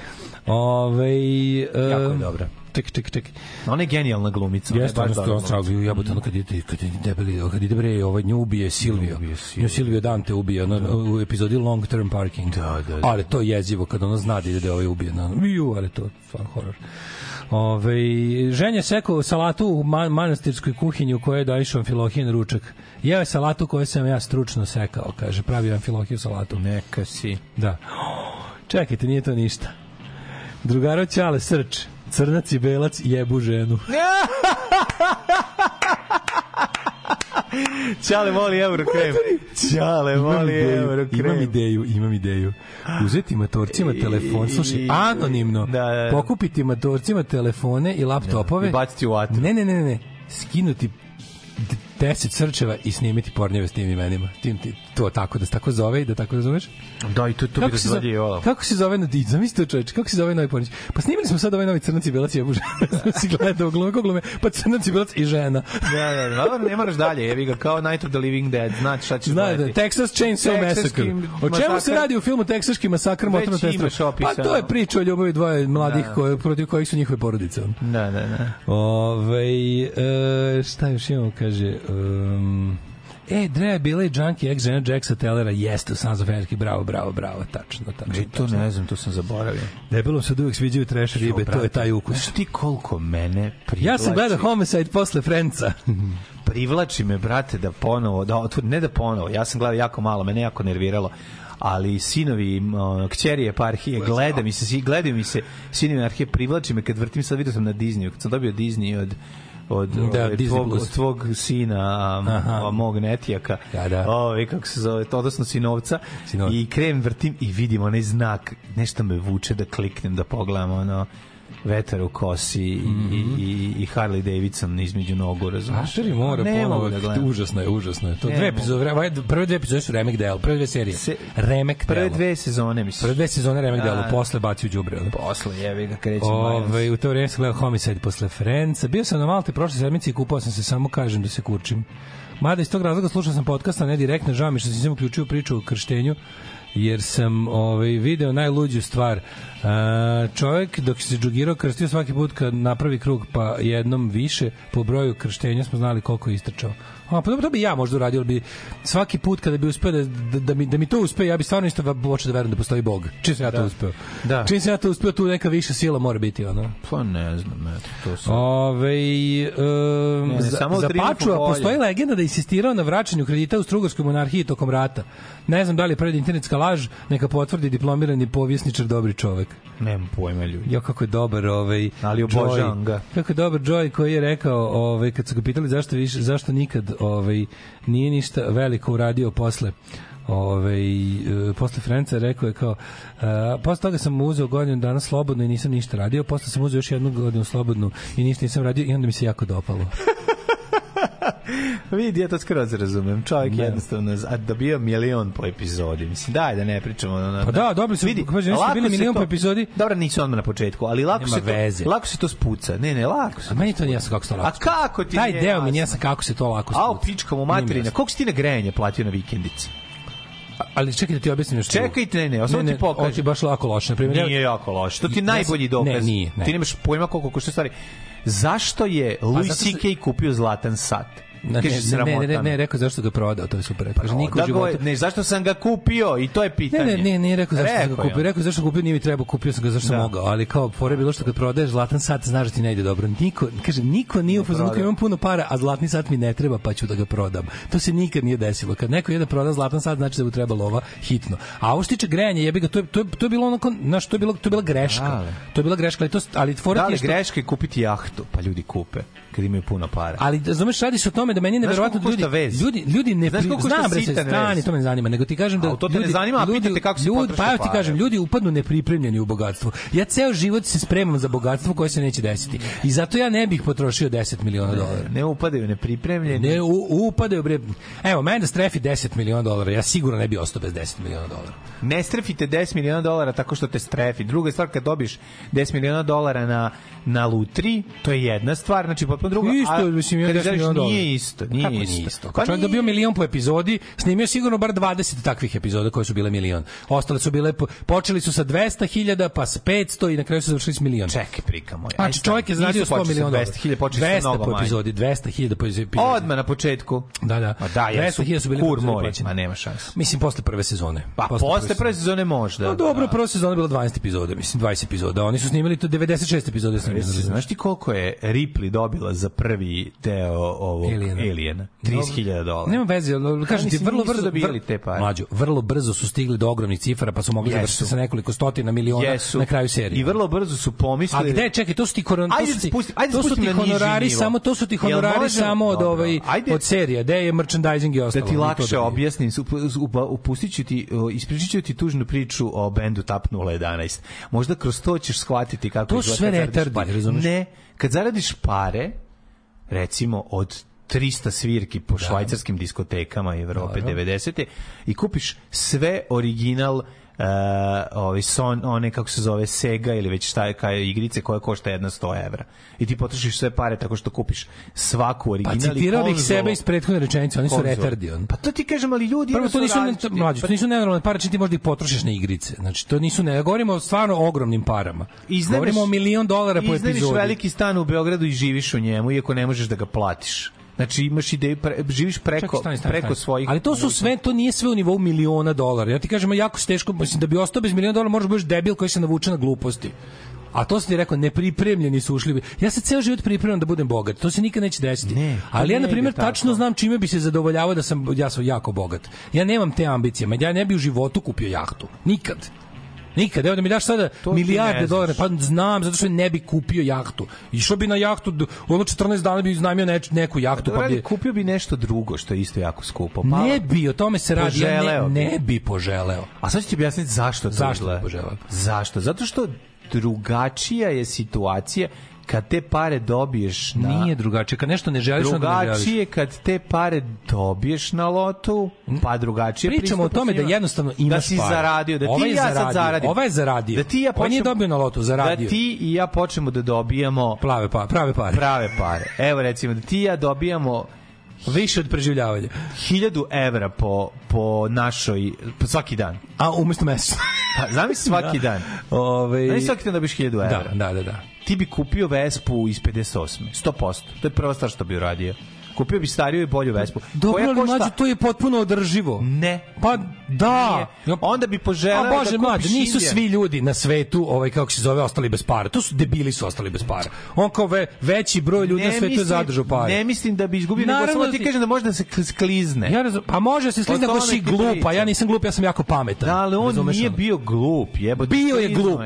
Speaker 5: Ove,
Speaker 6: Jako je
Speaker 5: em,
Speaker 6: dobra.
Speaker 5: Ček, ček, ček.
Speaker 6: da. Ona je genijalna glumica. ona je
Speaker 5: Jeste,
Speaker 6: baš
Speaker 5: ono
Speaker 6: dobra
Speaker 5: što on
Speaker 6: glumica.
Speaker 5: stragu, jebote, ono kad je, kad je debeli, kad ide bre, ovaj nju ubije Silvio. Nju Silvio Dante ubije, ono, u epizodi Long Term Parking.
Speaker 6: Da, da, da.
Speaker 5: Ali to je jezivo, kad ono zna da ide da je ovaj ubije. Na, ju, ali to je fan horror. Ove, ženja seko salatu u man, manastirskoj kuhinji u kojoj je daišao Amfilohin ručak. Jeo je salatu koju sam ja stručno sekao, kaže, pravi Amfilohiju salatu.
Speaker 6: Neka si.
Speaker 5: Da. Čekajte, nije to ništa. Drugaro Ćale Srč, crnac i belac jebu ženu.
Speaker 6: Ćale voli euro krem. Ćale
Speaker 5: Imam
Speaker 6: voli euro
Speaker 5: ideju,
Speaker 6: krem.
Speaker 5: imam ideju, imam ideju. Uzeti matorcima telefon, slušaj,
Speaker 6: da I-
Speaker 5: anonimno,
Speaker 6: Da, da, da.
Speaker 5: pokupiti matorcima telefone i laptopove.
Speaker 6: I baciti u vatru.
Speaker 5: Ne, ne, ne, ne, ne, skinuti d- 10 srčeva i snimiti pornjeve s tim imenima. Tim, ti, to tako da se tako zove i da tako razumeš.
Speaker 6: Da, i to, to bi
Speaker 5: se zove,
Speaker 6: razvaljivalo.
Speaker 5: kako se zove na diđ? Zamislite čoveče, kako se zove novi pornić? Pa snimili smo sad ovaj novi crnac i belac je buže. si gledao glume, ko glume, pa crnac i belac i žena.
Speaker 6: Da, da, da. Dobro, Ne moraš dalje, jevi ga kao Night of the Living Dead. Znači šta ćeš
Speaker 5: Zna, da,
Speaker 6: gledati.
Speaker 5: Texas Chainsaw
Speaker 6: Texaski
Speaker 5: Massacre. O čemu se
Speaker 6: masakr.
Speaker 5: radi u filmu Teksaški masakr
Speaker 6: Već
Speaker 5: motorno
Speaker 6: imaš
Speaker 5: testo?
Speaker 6: opisano.
Speaker 5: Pa to je priča o ljubavi dvoje mladih koje, protiv kojih su njihove porodice.
Speaker 6: Da, da, da.
Speaker 5: Ove, e, šta još imamo, kaže... Um, E, Drea bila i Junkie ex žena Jacksa Tellera, jeste u Sons of Anarchy, bravo, bravo, bravo, tačno, tačno.
Speaker 6: E, to ne znam, to sam zaboravio.
Speaker 5: Debelom se uvijek sviđaju trash ribe, to je taj ukus.
Speaker 6: Znaš ti koliko mene privlači?
Speaker 5: Ja sam gledao Homicide posle Frenca.
Speaker 6: privlači me brate da ponovo da otvor, ne da ponovo ja sam gledao jako malo mene jako nerviralo ali sinovi m, ono, kćeri eparhije gleda mi se si- gledaju mi se sinovi eparhije privlači me kad vrtim sad video sam na Disneyu kad sam dobio Disney od od,
Speaker 5: Da,
Speaker 6: ovaj,
Speaker 5: Disney
Speaker 6: tvog,
Speaker 5: Plus.
Speaker 6: od tvog sina a, m,
Speaker 5: Aha.
Speaker 6: a, mog netijaka
Speaker 5: Da, da.
Speaker 6: Ovaj, kako se zove to odnosno sinovca
Speaker 5: Sinovac.
Speaker 6: i krenem vrtim i vidim onaj znak nešto me vuče da kliknem da pogledam ono vetar u kosi i-
Speaker 5: Mhm.
Speaker 6: i, i, i Harley Davidson između nogu, razumiješ?
Speaker 5: Ašeri mora
Speaker 6: Ne
Speaker 5: ponovo,
Speaker 6: mogu da gledam.
Speaker 5: užasno je, užasno je. To
Speaker 6: Ne
Speaker 5: dve
Speaker 6: mogu.
Speaker 5: epizode, ovaj, prve dve epizode su remek del, prve dve serije.
Speaker 6: Se-
Speaker 5: remek
Speaker 6: Prve
Speaker 5: delo.
Speaker 6: dve sezone, mislim.
Speaker 5: Prve dve sezone remek
Speaker 6: Da,
Speaker 5: delo,
Speaker 6: da.
Speaker 5: posle baci u đubre. ono. Ovaj,
Speaker 6: Posle, jevi ga krećemo.
Speaker 5: Ove, u to vreme sam gledao Homicide posle Frenca. Bio sam na Malte prošle sedmice i kupao sam se, samo kažem da se kurčim. Mada iz tog razloga slušao sam podcast, a ne direktno, žao mi što sam se uključio u priču o krštenju, jer sam ovaj, video najluđu stvar. E, čovjek dok se džugirao krstio svaki put kad napravi krug pa jednom više po broju krštenja smo znali koliko je istrčao. A, pa dobro, to bi ja možda uradio, ali bi svaki put kada bi uspeo da, da, da, mi, da mi to uspe, ja bi stvarno isto počeo da verujem da postoji Bog. Čim sam ja to uspeo.
Speaker 6: Da.
Speaker 5: Čim sam ja to uspeo, tu neka viša sila mora biti, ono.
Speaker 6: Pa ne znam, eto, to su...
Speaker 5: Ove, um,
Speaker 6: Ne, ne,
Speaker 5: za,
Speaker 6: samo u
Speaker 5: za
Speaker 6: Triumfu
Speaker 5: Pačua
Speaker 6: volje.
Speaker 5: postoji legenda da je insistirao na vraćanju kredita u Strugarskoj monarhiji tokom rata. Ne znam da li je pred internetska laž, neka potvrdi diplomirani povjesničar dobri čovek.
Speaker 6: Nemam pojma ljudi.
Speaker 5: Jo, kako je dobar ovaj
Speaker 6: Ali obožavam
Speaker 5: Joy.
Speaker 6: ga.
Speaker 5: Kako je dobar Joy koji je rekao, ovaj kad su ga pitali zašto više, zašto nikad ovaj nije ništa veliko uradio posle Ove, posle Franca rekao je kao a, posle toga sam uzeo godinu dana slobodno i nisam ništa radio, posle sam uzeo još jednu godinu slobodnu i ništa nisam radio i onda mi se jako dopalo.
Speaker 6: Vidi, ja to skroz razumem. Čovjek
Speaker 5: Da.
Speaker 6: jednostavno, a dobio milion po epizodi. Mislim, daj da ne pričamo. Na, na,
Speaker 5: Pa da, dobili su-
Speaker 6: Vidi,
Speaker 5: pazi, oni su
Speaker 6: lako se
Speaker 5: bili milion
Speaker 6: to-
Speaker 5: po epizodi.
Speaker 6: Dobro, nisu odmah na početku, ali lako
Speaker 5: Nema
Speaker 6: se, to,
Speaker 5: veze.
Speaker 6: lako se to spuca. Ne, ne, lako se.
Speaker 5: A meni to nije jasno kako se to lako
Speaker 6: A kako ti
Speaker 5: Taj
Speaker 6: nije
Speaker 5: deo mi
Speaker 6: jasno?
Speaker 5: nije jasno kako se to lako
Speaker 6: A u
Speaker 5: spuca.
Speaker 6: pičkom u
Speaker 5: Nije mi
Speaker 6: materina.
Speaker 5: jasno.
Speaker 6: Koliko si ti na grejanje platio na vikendici?
Speaker 5: Ali čekaj da ti objasnim nešto. drugo.
Speaker 6: Čekajte, ne, ne, a samo ti pokažem.
Speaker 5: ovo ti je baš lako loše. Na primjer, ja-
Speaker 6: Nije jako loše. To ti je
Speaker 5: Ne,
Speaker 6: najbolji
Speaker 5: ne,
Speaker 6: dokaz.
Speaker 5: nije, ne. Pa
Speaker 6: Ti nemaš pojma koliko košta stvari. Zašto je Louis
Speaker 5: zato što-
Speaker 6: CK kupio zlatan sat?
Speaker 5: Da, Ne,
Speaker 6: Kaže,
Speaker 5: ne, ne, ne, ne,
Speaker 6: sramotan.
Speaker 5: ne, rekao zašto ga prodao, to je super. Kaže, niko u
Speaker 6: da go,
Speaker 5: životu...
Speaker 6: ne, zašto sam ga kupio i to je pitanje.
Speaker 5: Ne, ne, ne, ne, rekao zašto sam
Speaker 6: Rekao
Speaker 5: ga
Speaker 6: je.
Speaker 5: kupio, rekao zašto ga kupio, nije mi trebao, kupio sam ga zašto sam
Speaker 6: Da.
Speaker 5: mogao, ali kao fore je bilo što kad prodaješ zlatan sat, znaš da ti ne ide dobro. Niko, kaže, niko nije u fazonu kao, imam puno para, a zlatni sat mi ne treba, pa ću da ga prodam. To se nikad nije desilo. Kad neko je da proda zlatan sat, znači da mu treba lova hitno. A ovo što tiče grejanja, jebi ga, to je, to je, to je bilo ono, kao, znaš, to je bilo, to je bila greška.
Speaker 6: Da, Ali.
Speaker 5: To je bila greška, ali to ali fora
Speaker 6: Da
Speaker 5: ti
Speaker 6: li
Speaker 5: je što-
Speaker 6: greške kupiti jahtu, pa ljudi kupe, kad imaju puno para.
Speaker 5: Ali razumeš radi se o tome da meni je
Speaker 6: Znaš
Speaker 5: neverovatno da
Speaker 6: koliko
Speaker 5: ljudi,
Speaker 6: košta vez?
Speaker 5: ljudi ljudi ne
Speaker 6: Znaš
Speaker 5: pri...
Speaker 6: koliko košta
Speaker 5: znam bre se
Speaker 6: sitan
Speaker 5: stani,
Speaker 6: vez?
Speaker 5: to me ne zanima, nego ti kažem da
Speaker 6: A, to te ne
Speaker 5: ljudi-
Speaker 6: zanima, a
Speaker 5: ljudi-
Speaker 6: pitate kako si
Speaker 5: ljudi,
Speaker 6: potrošio
Speaker 5: pa ja ti
Speaker 6: pare.
Speaker 5: kažem, ljudi upadnu nepripremljeni u bogatstvo. Ja ceo život se spremam za bogatstvo koje se neće desiti. I zato ja ne bih potrošio 10 miliona dolara.
Speaker 6: Ne upadaju, ne pripremljeni.
Speaker 5: Ne u, upadaju bre. Evo, mene da strefi 10 miliona dolara, ja sigurno ne bih ostao bez 10 miliona dolara.
Speaker 6: ne strefite 10 miliona dolara tako što te strefi. Druga je stvar, kad dobiš 10 miliona dolara na, na lutri, to je jedna stvar, znači potpuno druga.
Speaker 5: Isto,
Speaker 6: a
Speaker 5: mislim, ja
Speaker 6: kad
Speaker 5: 10
Speaker 6: izdaviš,
Speaker 5: miliona dolara. Pa
Speaker 6: Nije isto, nije
Speaker 5: Kako
Speaker 6: isto. Pa
Speaker 5: nije isto? Kad čovjek dobio
Speaker 6: nije.
Speaker 5: milion po epizodi, snimio sigurno bar 20 takvih epizoda koje su bile milion. Ostale su bile, po- počeli su sa 200.000, pa sa 500 i na kraju su završili s milion.
Speaker 6: Čekaj, prika moja.
Speaker 5: Znači, čovjek je zaradio 100 miliona dolara.
Speaker 6: 200.000 počeli sa
Speaker 5: 200
Speaker 6: mnogo
Speaker 5: po
Speaker 6: manje.
Speaker 5: epizodi, 200.000 po epizodi.
Speaker 6: Odmah na početku.
Speaker 5: Da, da.
Speaker 6: A da, jer su
Speaker 5: 200.000 su bili
Speaker 6: kur
Speaker 5: epizode
Speaker 6: mori.
Speaker 5: plaćene.
Speaker 6: Ma nema šanse.
Speaker 5: Mislim, posle prve sezone.
Speaker 6: Pa posle prve sezone možda.
Speaker 5: No, dobro,
Speaker 6: da.
Speaker 5: prva sezona je bila 12 epizoda, mislim, 20 epizoda. Oni su snimili to 96 epizoda. snimili.
Speaker 6: Jesi, znaš ti koliko je Ripley dobila za prvi deo ovog
Speaker 5: Aliena.
Speaker 6: Aliena? 30.000 dolara.
Speaker 5: Nema veze, ali kažem ti,
Speaker 6: mislim,
Speaker 5: vrlo
Speaker 6: nisu
Speaker 5: brzo
Speaker 6: dobijali
Speaker 5: vr-
Speaker 6: te pare.
Speaker 5: Mlađo, vrlo brzo su stigli do ogromnih cifara, pa su mogli
Speaker 6: Jesu.
Speaker 5: završiti sa nekoliko stotina miliona
Speaker 6: Jesu.
Speaker 5: na kraju serije.
Speaker 6: I vrlo brzo su
Speaker 5: A
Speaker 6: pomislili...
Speaker 5: gde, čekaj, to su ti, koron, to
Speaker 6: Ajde
Speaker 5: su ti,
Speaker 6: spusti- ajde
Speaker 5: to su
Speaker 6: spusti
Speaker 5: ti
Speaker 6: na niži
Speaker 5: honorari
Speaker 6: nivo.
Speaker 5: samo, to su ti
Speaker 6: Jel
Speaker 5: honorari
Speaker 6: možemo?
Speaker 5: samo od,
Speaker 6: Dobro,
Speaker 5: ovaj,
Speaker 6: ajde.
Speaker 5: od serija, gde je merchandising i ostalo.
Speaker 6: Da ti
Speaker 5: ni to
Speaker 6: lakše
Speaker 5: nije.
Speaker 6: objasnim, up- up- upustit ću ti, o, ispričat ću ti tužnu priču o bendu TAP 011. Možda kroz to ćeš shvatiti kako
Speaker 5: To su
Speaker 6: izgleda
Speaker 5: sve
Speaker 6: kad zaradiš
Speaker 5: retardi,
Speaker 6: pare.
Speaker 5: razumeš?
Speaker 6: Ne, kad zaradiš pare, recimo od 300 svirki po
Speaker 5: Da.
Speaker 6: švajcarskim diskotekama Evrope 90. i kupiš sve original Uh, ovaj son, one kako se zove Sega ili već šta je kaj igrice koja košta jedna 100 evra. I ti potrošiš sve pare tako što kupiš svaku
Speaker 5: Pa
Speaker 6: original i
Speaker 5: citirao bih
Speaker 6: konzolu.
Speaker 5: sebe iz prethodne rečenice, oni su
Speaker 6: Konzol.
Speaker 5: retardi. On.
Speaker 6: Pa to ti kažem, ali ljudi...
Speaker 5: Prvo,
Speaker 6: ono
Speaker 5: to
Speaker 6: su
Speaker 5: nisu,
Speaker 6: različiti.
Speaker 5: mlađe, to nisu nenormalne pare, čim ti možda ih potrošiš na igrice. Znači, to nisu, ne, ja govorimo o stvarno ogromnim parama.
Speaker 6: Iznajmiš-
Speaker 5: govorimo o milion dolara po
Speaker 6: iznajmiš
Speaker 5: epizodi.
Speaker 6: veliki stan u Beogradu i živiš u njemu, iako ne možeš da ga platiš. Znači imaš ideju, pre, živiš preko,
Speaker 5: Čekaj, stani, stani,
Speaker 6: preko
Speaker 5: stani.
Speaker 6: svojih...
Speaker 5: Ali to su sve, to nije sve u nivou miliona dolara. Ja ti kažem, jako se teško, mislim, da bi ostao bez miliona dolara, možeš budeš debil koji se navuče na gluposti. A to sam ti rekao, nepripremljeni su ušli. Ja se ceo život pripremam da budem bogat. To se nikad neće desiti.
Speaker 6: Ne, pa
Speaker 5: Ali ja,
Speaker 6: ne
Speaker 5: na
Speaker 6: ide
Speaker 5: primjer,
Speaker 6: tako.
Speaker 5: tačno znam čime bi se zadovoljavao da sam, ja sam jako bogat. Ja nemam te ambicije. ma Ja ne bi u životu kupio jahtu. Nikad. Nikad, evo da mi daš sada
Speaker 6: To ti
Speaker 5: milijarde
Speaker 6: ne znaš.
Speaker 5: dolara, pa znam, zato što ne bi kupio jahtu. Išao bi na jahtu, d- ono 14 dana bi iznajmio neč, neku jahtu,
Speaker 6: Dobro,
Speaker 5: pa
Speaker 6: ali
Speaker 5: bi...
Speaker 6: kupio bi nešto drugo što je isto jako skupo. Pa,
Speaker 5: Ne bi, o tome se radi. Ja ne,
Speaker 6: Poželeo bi.
Speaker 5: ne bi poželeo.
Speaker 6: A sad ću ti objasniti zašto to
Speaker 5: Zašto
Speaker 6: izgleda.
Speaker 5: bi poželeo?
Speaker 6: Zašto? Zato što drugačija je situacija kad te pare dobiješ na...
Speaker 5: Nije drugačije. Kad nešto ne želiš, onda ne želiš.
Speaker 6: Da. drugačije kad te pare dobiješ na lotu, pa drugačije
Speaker 5: Mhm. Pričamo o
Speaker 6: pristupaš
Speaker 5: tome da
Speaker 6: njima.
Speaker 5: jednostavno imaš
Speaker 6: da si
Speaker 5: para.
Speaker 6: zaradio, da
Speaker 5: Ovaj
Speaker 6: ti
Speaker 5: je
Speaker 6: i ja
Speaker 5: zaradio,
Speaker 6: sad zaradim.
Speaker 5: ovaj je zaradio.
Speaker 6: Da ti i ja
Speaker 5: On nije
Speaker 6: počnemo-
Speaker 5: dobio na lotu, zaradio je.
Speaker 6: Da ti i ja počnemo da dobijamo
Speaker 5: Plave pa, prave pare.
Speaker 6: prave pare. Evo recimo da ti i ja dobijamo
Speaker 5: Više od preživljavanja.
Speaker 6: 1000 evra po, po našoj, po svaki dan.
Speaker 5: A umesto mesečno.
Speaker 6: Pa, zamisli svaki dan.
Speaker 5: Ove...
Speaker 6: Znači svaki dan dobiješ 1000 evra.
Speaker 5: Da, da, da, da.
Speaker 6: ti bi kupio Vespu iz 58. 100%. To je prva stvar što bi uradio. Kupio bi stariju i bolju Vespu.
Speaker 5: Dobro,
Speaker 6: koja
Speaker 5: ali
Speaker 6: košta-
Speaker 5: mlađe, to je potpuno održivo.
Speaker 6: Ne.
Speaker 5: Pa da.
Speaker 6: Nije. Onda bi poželeo
Speaker 5: A bože
Speaker 6: da kupiš
Speaker 5: mlad, nisu
Speaker 6: Indian.
Speaker 5: svi ljudi na svetu, ovaj kako se zove, ostali bez para. To su debili su ostali bez para. On kao ve, veći broj ljudi na svetu je zadržao pare.
Speaker 6: Ne mislim da bi izgubio, nego
Speaker 5: Naravno
Speaker 6: samo
Speaker 5: da
Speaker 6: ti
Speaker 5: ti-
Speaker 6: kažem da možda se kl- sklizne.
Speaker 5: Ja razum, pa može da se slizne
Speaker 6: O
Speaker 5: ako
Speaker 6: tome
Speaker 5: si
Speaker 6: ti
Speaker 5: glupa,
Speaker 6: pričam.
Speaker 5: ja nisam glup, ja sam jako pametan.
Speaker 6: Da, ali on
Speaker 5: Razumeš
Speaker 6: nije
Speaker 5: ono?
Speaker 6: bio glup, jebote.
Speaker 5: Bio je
Speaker 6: klizno
Speaker 5: glup.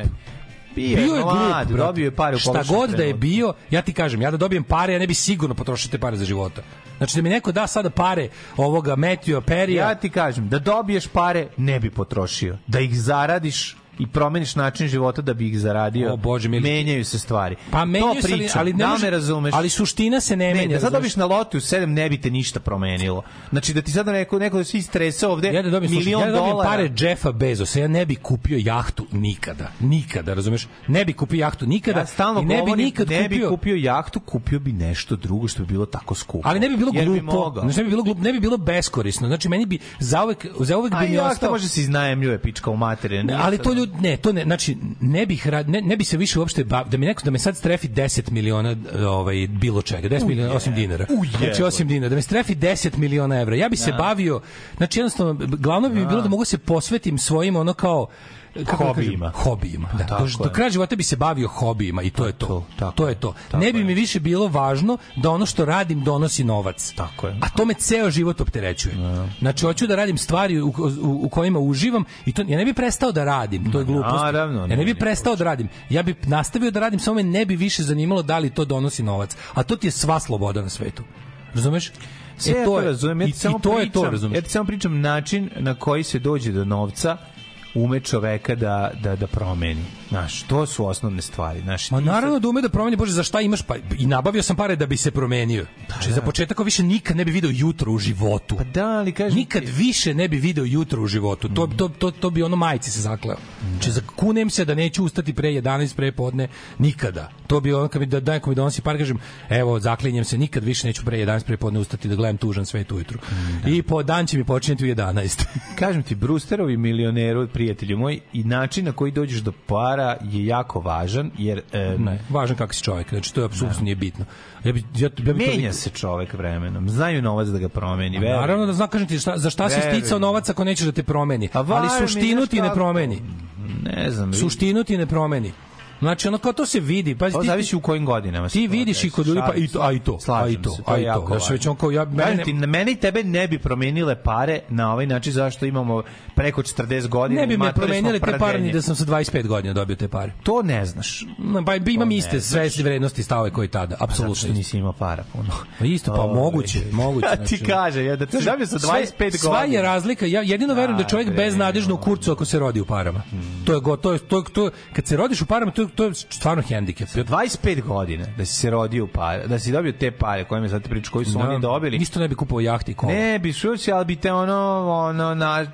Speaker 6: Bio,
Speaker 5: bio je
Speaker 6: mlad,
Speaker 5: glup, brate.
Speaker 6: dobio je pare u
Speaker 5: Šta
Speaker 6: pogrešnom
Speaker 5: god da je
Speaker 6: trenutku.
Speaker 5: bio, ja ti kažem, ja da dobijem pare, ja ne bi sigurno potrošio te pare za života. Znači da mi neko da sada pare ovoga Matthew Perija,
Speaker 6: Ja ti kažem, da dobiješ pare, ne bi potrošio. Da ih zaradiš i promeniš način života da bi ih zaradio.
Speaker 5: O, Bože mili.
Speaker 6: menjaju se stvari.
Speaker 5: pa menjaju
Speaker 6: to
Speaker 5: se, ali,
Speaker 6: pričam,
Speaker 5: ali ne
Speaker 6: da
Speaker 5: može,
Speaker 6: me razumeš.
Speaker 5: Ali suština se ne,
Speaker 6: Ne,
Speaker 5: menja.
Speaker 6: da sad
Speaker 5: razumeš?
Speaker 6: dobiš na lotu 7 ne bi te ništa promenilo. Znači da ti sada neko neko da se istrese ovde
Speaker 5: ja da dobijem, slušaj,
Speaker 6: milion
Speaker 5: ja da dobijem
Speaker 6: dolara.
Speaker 5: pare Jeffa Bezosa, ja ne bi kupio jahtu nikada. Nikada, razumeš? Ne bi kupio jahtu nikada.
Speaker 6: ja Da, stalno
Speaker 5: i ne bi
Speaker 6: govorim,
Speaker 5: nikad
Speaker 6: ne bi
Speaker 5: kupio,
Speaker 6: kupio jahtu, kupio bi nešto drugo što bi bilo tako skupo.
Speaker 5: Ali ne bi bilo
Speaker 6: Jer bi
Speaker 5: glupo,
Speaker 6: mogao.
Speaker 5: znači ne bi bilo glupo, ne bi bilo beskorisno. Znači meni bi zauvek zauvek
Speaker 6: A
Speaker 5: bi mi
Speaker 6: jahta
Speaker 5: ostao
Speaker 6: može se iznajemljuje pička u materine.
Speaker 5: Ne, ali to ljudi ne, to ne, znači ne bih rad, ne, ne bi se više uopšte bav, da mi neko da me sad strefi 10 miliona ovaj bilo čega, 10 miliona osim dinara. Znači osim dinara, da me strefi 10 miliona evra. Ja bi
Speaker 6: Da.
Speaker 5: se bavio, znači jednostavno glavno bi mi bilo da mogu se posvetim svojim ono kao kako da kažem,
Speaker 6: Hobijima.
Speaker 5: hobijima. Da,
Speaker 6: tako
Speaker 5: do, do
Speaker 6: je.
Speaker 5: kraja života bi se bavio hobijima i to je to. To,
Speaker 6: tako
Speaker 5: je to.
Speaker 6: je, tako
Speaker 5: ne bi
Speaker 6: je.
Speaker 5: mi više bilo važno da ono što radim donosi novac.
Speaker 6: Tako je.
Speaker 5: A to me ceo život opterećuje. Znači, hoću da radim stvari u, u, u kojima uživam i to, ja ne bi prestao da radim, to je glupost.
Speaker 6: naravno,
Speaker 5: ja
Speaker 6: ne,
Speaker 5: ne bi
Speaker 6: ne,
Speaker 5: prestao da radim. Ja bi nastavio da radim, samo me ne bi više zanimalo da li to donosi novac. A to ti je sva sloboda na svetu. Razumeš?
Speaker 6: Sve ja to razumem, ja ti
Speaker 5: e, i,
Speaker 6: samo
Speaker 5: i to je
Speaker 6: pričam,
Speaker 5: to, razumeš?
Speaker 6: Ja ti samo pričam način na koji se dođe do novca ume čoveka da, da, da promeni. Znaš, to su osnovne stvari. Znaš,
Speaker 5: Ma
Speaker 6: ti
Speaker 5: naravno da ume da promeni, bože, za šta imaš pa i nabavio sam pare da bi se promenio.
Speaker 6: Da,
Speaker 5: Znači, za početak ako više nikad ne bi video jutro u životu.
Speaker 6: sad- Da, ali kažem...
Speaker 5: Nikad više ne bi video jutro u životu. To, to, to, to bi ono majici se zakleo. Znači, zakunem se da neću ustati pre 11, pre podne, nikada. To bi ono, kad mi, da, da neko mi donosi par, kažem, evo, zaklinjem se, nikad više neću pre 11, pre podne ustati da gledam tužan svet ujutru.
Speaker 6: Mm, da.
Speaker 5: I po dan će mi počinjeti u 11.
Speaker 6: kažem ti, Brewsterovi milioneru, prijatelju moj, i način na koji dođeš do para je jako važan, jer e,
Speaker 5: ne, važno kako si čovjek, znači to je apsolutno nije bitno. Ja bi, ja, ja bi to
Speaker 6: menja Da. se čovek vremenom. Znaju novac da ga promeni.
Speaker 5: Pa
Speaker 6: veruj.
Speaker 5: Naravno da znam, kažem ti, šta, za šta si
Speaker 6: Verujem.
Speaker 5: sticao novac ako nećeš da te promeni.
Speaker 6: A varuj
Speaker 5: Ali
Speaker 6: mi,
Speaker 5: suštinu
Speaker 6: znaš
Speaker 5: ti ne
Speaker 6: kako?
Speaker 5: promeni.
Speaker 6: Da. Ne znam. vidi.
Speaker 5: Suštinu ti ne promeni. Znači, ono kao to se vidi. Pazi,
Speaker 6: To
Speaker 5: ti,
Speaker 6: Pa zavisi u kojim godinama. se
Speaker 5: ti
Speaker 6: to
Speaker 5: vidiš i
Speaker 6: desi.
Speaker 5: kod ljudi, pa i to, a i to, a
Speaker 6: Slažem
Speaker 5: i to,
Speaker 6: se,
Speaker 5: a
Speaker 6: je
Speaker 5: i to.
Speaker 6: jako
Speaker 5: Znači, već
Speaker 6: važno.
Speaker 5: on kao, ja,
Speaker 6: Kažem
Speaker 5: mene,
Speaker 6: ti, na mene i tebe ne bi promenile pare na ovaj način zašto imamo preko 40 godina.
Speaker 5: ne bi
Speaker 6: i
Speaker 5: me
Speaker 6: matori smo
Speaker 5: promenili te pare ni
Speaker 6: prdenje.
Speaker 5: da sam sa 25 godina dobio te pare.
Speaker 6: To ne znaš.
Speaker 5: Ma, Pa bi imam
Speaker 6: To ne
Speaker 5: iste sve vrednosti i stavove koji tada,
Speaker 6: Zato što
Speaker 5: apsolutno. iste.
Speaker 6: nisi imao para puno.
Speaker 5: Pa isto, pa
Speaker 6: Ovaj.
Speaker 5: moguće, moguće. znači,
Speaker 6: A ti kaže, ja, da ti zabio sa 25
Speaker 5: sve,
Speaker 6: godina.
Speaker 5: Sva je razlika. Ja jedino verujem da čovjek
Speaker 6: bre,
Speaker 5: beznadežno u kurcu ako se rodi u parama. To je go, to je to, je- to je- kad se rodiš u parama to je, to je stvarno hendikep.
Speaker 6: 25 godina da si se rodio u pare, da si dobio te pare koje me sad pričaš, koji su
Speaker 5: Da.
Speaker 6: oni dobili.
Speaker 5: Isto ne bi kupovao jahti i kola.
Speaker 6: Pa Ne bi šući, ali bi te ono, ono, na,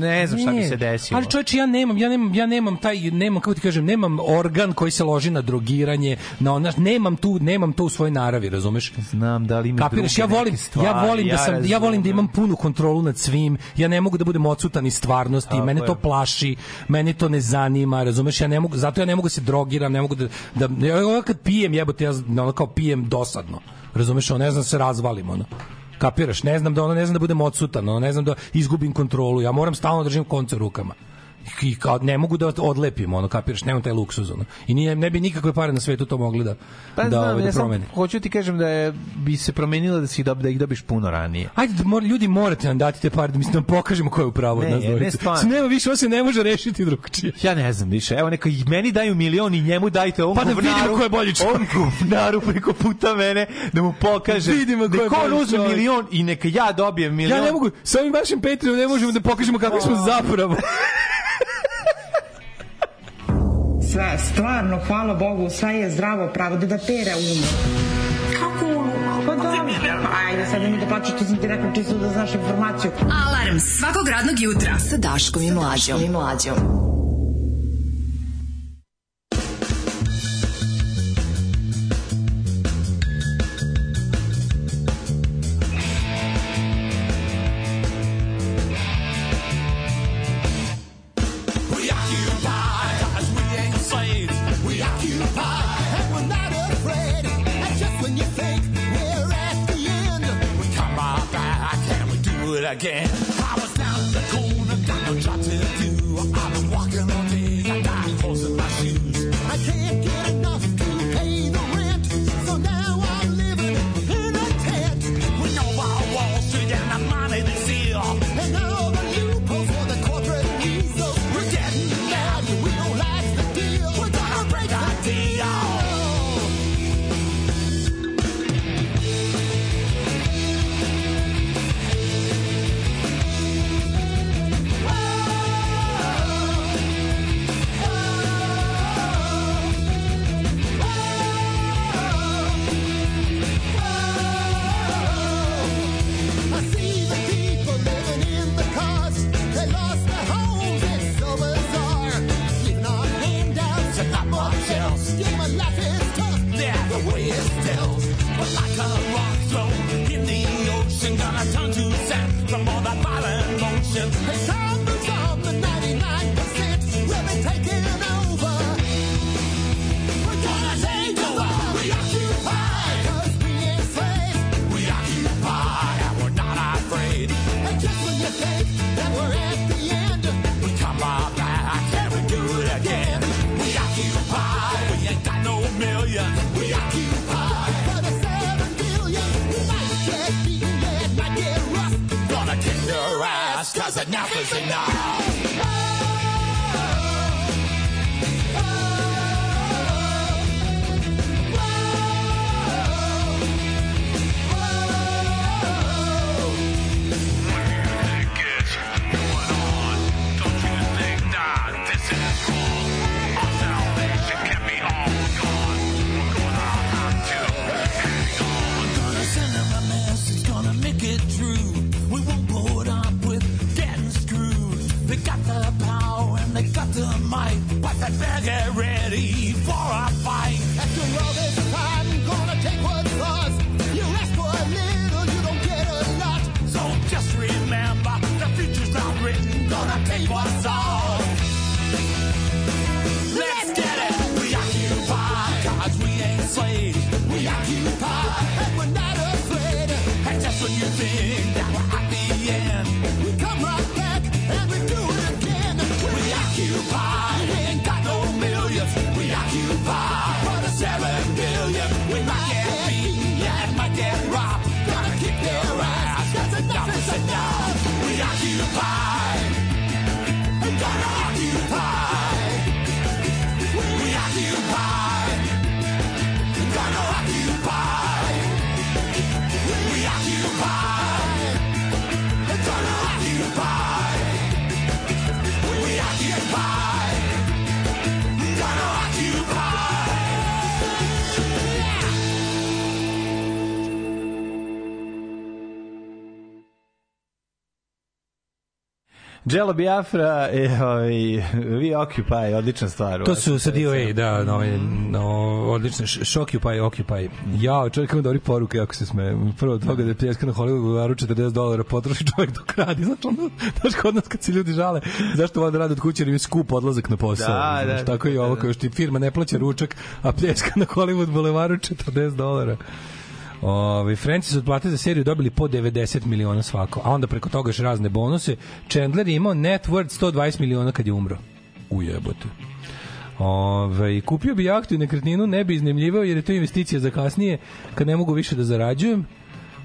Speaker 6: ne znam šta bi
Speaker 5: Ne,
Speaker 6: se desilo.
Speaker 5: Ali čoveče ja nemam, ja nemam, ja nemam taj nemam kako ti kažem, nemam organ koji se loži na drogiranje, na onaš, nemam tu, nemam to u svojoj naravi, razumeš?
Speaker 6: Znam da li ima
Speaker 5: Kapiraš, ja
Speaker 6: druge
Speaker 5: volim,
Speaker 6: neke stvari,
Speaker 5: ja volim da sam, ja
Speaker 6: razumem.
Speaker 5: volim da imam punu kontrolu nad svim. Ja ne mogu da budem odsutan iz stvarnosti,
Speaker 6: Tako
Speaker 5: mene to
Speaker 6: je.
Speaker 5: plaši, mene to ne zanima, razumeš? Ja ne mogu, zato ja ne mogu da se drogiram, ne mogu da da ja ono kad pijem, jebote, ja ono kao pijem dosadno. Razumeš, ono, ne znam da se razvalim ono. Kapiraš, ne znam da ono ne znam da budem odsutan, ono, ne znam da izgubim kontrolu. Ja moram stalno da držim konce u rukama. I kao, ne mogu da odlepim, ono, kapiraš, nemam taj luksuz, ono. I nije, ne bi nikakve pare na svetu to mogli da,
Speaker 6: Pa
Speaker 5: da,
Speaker 6: znam,
Speaker 5: ovaj, da
Speaker 6: ja sam,
Speaker 5: promene.
Speaker 6: hoću ti kažem da je, bi se promenilo da, si, ih dob- da ih dobiš puno ranije.
Speaker 5: Ajde, da mora, ljudi, morate nam dati te pare da mislim da vam pokažemo ko je u pravu od
Speaker 6: Ne,
Speaker 5: nas
Speaker 6: ne,
Speaker 5: dvojice.
Speaker 6: stvarno.
Speaker 5: S Nema više, ovo se ne može rešiti drugčije.
Speaker 6: Ja ne znam više. Evo neka i meni daju milion i njemu dajte ovom
Speaker 5: Pa da
Speaker 6: guvnaru.
Speaker 5: vidimo ko je bolji čovjek.
Speaker 6: Ovom guvnaru preko puta mene da mu pokaže.
Speaker 5: Da vidimo ko je
Speaker 6: Neka on
Speaker 5: bolji
Speaker 6: uzme
Speaker 5: čovjek.
Speaker 6: milion i neka ja dobijem milion.
Speaker 5: Ja ne mogu, sa ovim vašim Patreonom ne možemo da pokažemo kakvi smo zapravo.
Speaker 2: Sve, stvarno, hvala Bogu, sve je zdravo pravo, da da pere umu. Kako umu? Pa da, ajde, sad
Speaker 9: да
Speaker 2: nemoj da plaću, to sam ti rekao čisto da znaš informaciju.
Speaker 4: Alarm svakog radnog jutra sa Daškom i Mlađom. I Mlađom.
Speaker 1: From all that violent motion, it's time to solve the 99%. We'll be taking.
Speaker 7: dollars an hour. Gonna send him a message, gonna make it through. We won't put up with getting screwed. They got the power and they got the might, but they better get ready for a fight. After all this time, gonna take what's yours. You ask for a little, you don't get a lot. So just remember, the future's not written. Gonna take what's ours. Let's get it. We occupy, cause we ain't slaves. We occupy, and we're not afraid. And just when you think that we're at the end, we come right back and we do it again. We occupy, we ain't got no millions. We occupy for the seven billion. We might get beat, yeah, it might get robbed. Gotta kick their ass, cause enough is enough. We occupy, we gotta occupy. We occupy. Gotta occupy. We occupy. Gotta occupy. We occupy. Gotta occupy.
Speaker 6: Jello Biafra, e, ovaj, vi Occupy, odlična stvar.
Speaker 5: To su sa DOA, da, no, no, odlično, Š- Shockupy, Occupy. Ja, čovjek ima dobri poruke, jako se smeje. Prvo od toga da je pljeska na Hollywood Boulevardu 40 dolara, potroši čovjek dok radi. Znači, ono, znaš, kod nas kad se ljudi žale, zašto vode rade od kuće, jer im je skup odlazak na posao.
Speaker 6: Da,
Speaker 5: znaš,
Speaker 6: da,
Speaker 5: tako i
Speaker 6: da,
Speaker 5: ovo,
Speaker 6: da.
Speaker 5: kao što ti firma ne plaća ručak, a pljeska na Hollywood Boulevardu 40 dolara. Ovi, Franci su odplate za seriju dobili po 90 miliona svako, a onda preko toga još razne bonuse. Chandler je imao net worth 120 miliona kad je umro. Ujebote. Ove, kupio bi jahtu i nekretninu, ne bi iznemljivao jer je to investicija za kasnije, kad ne mogu više da zarađujem.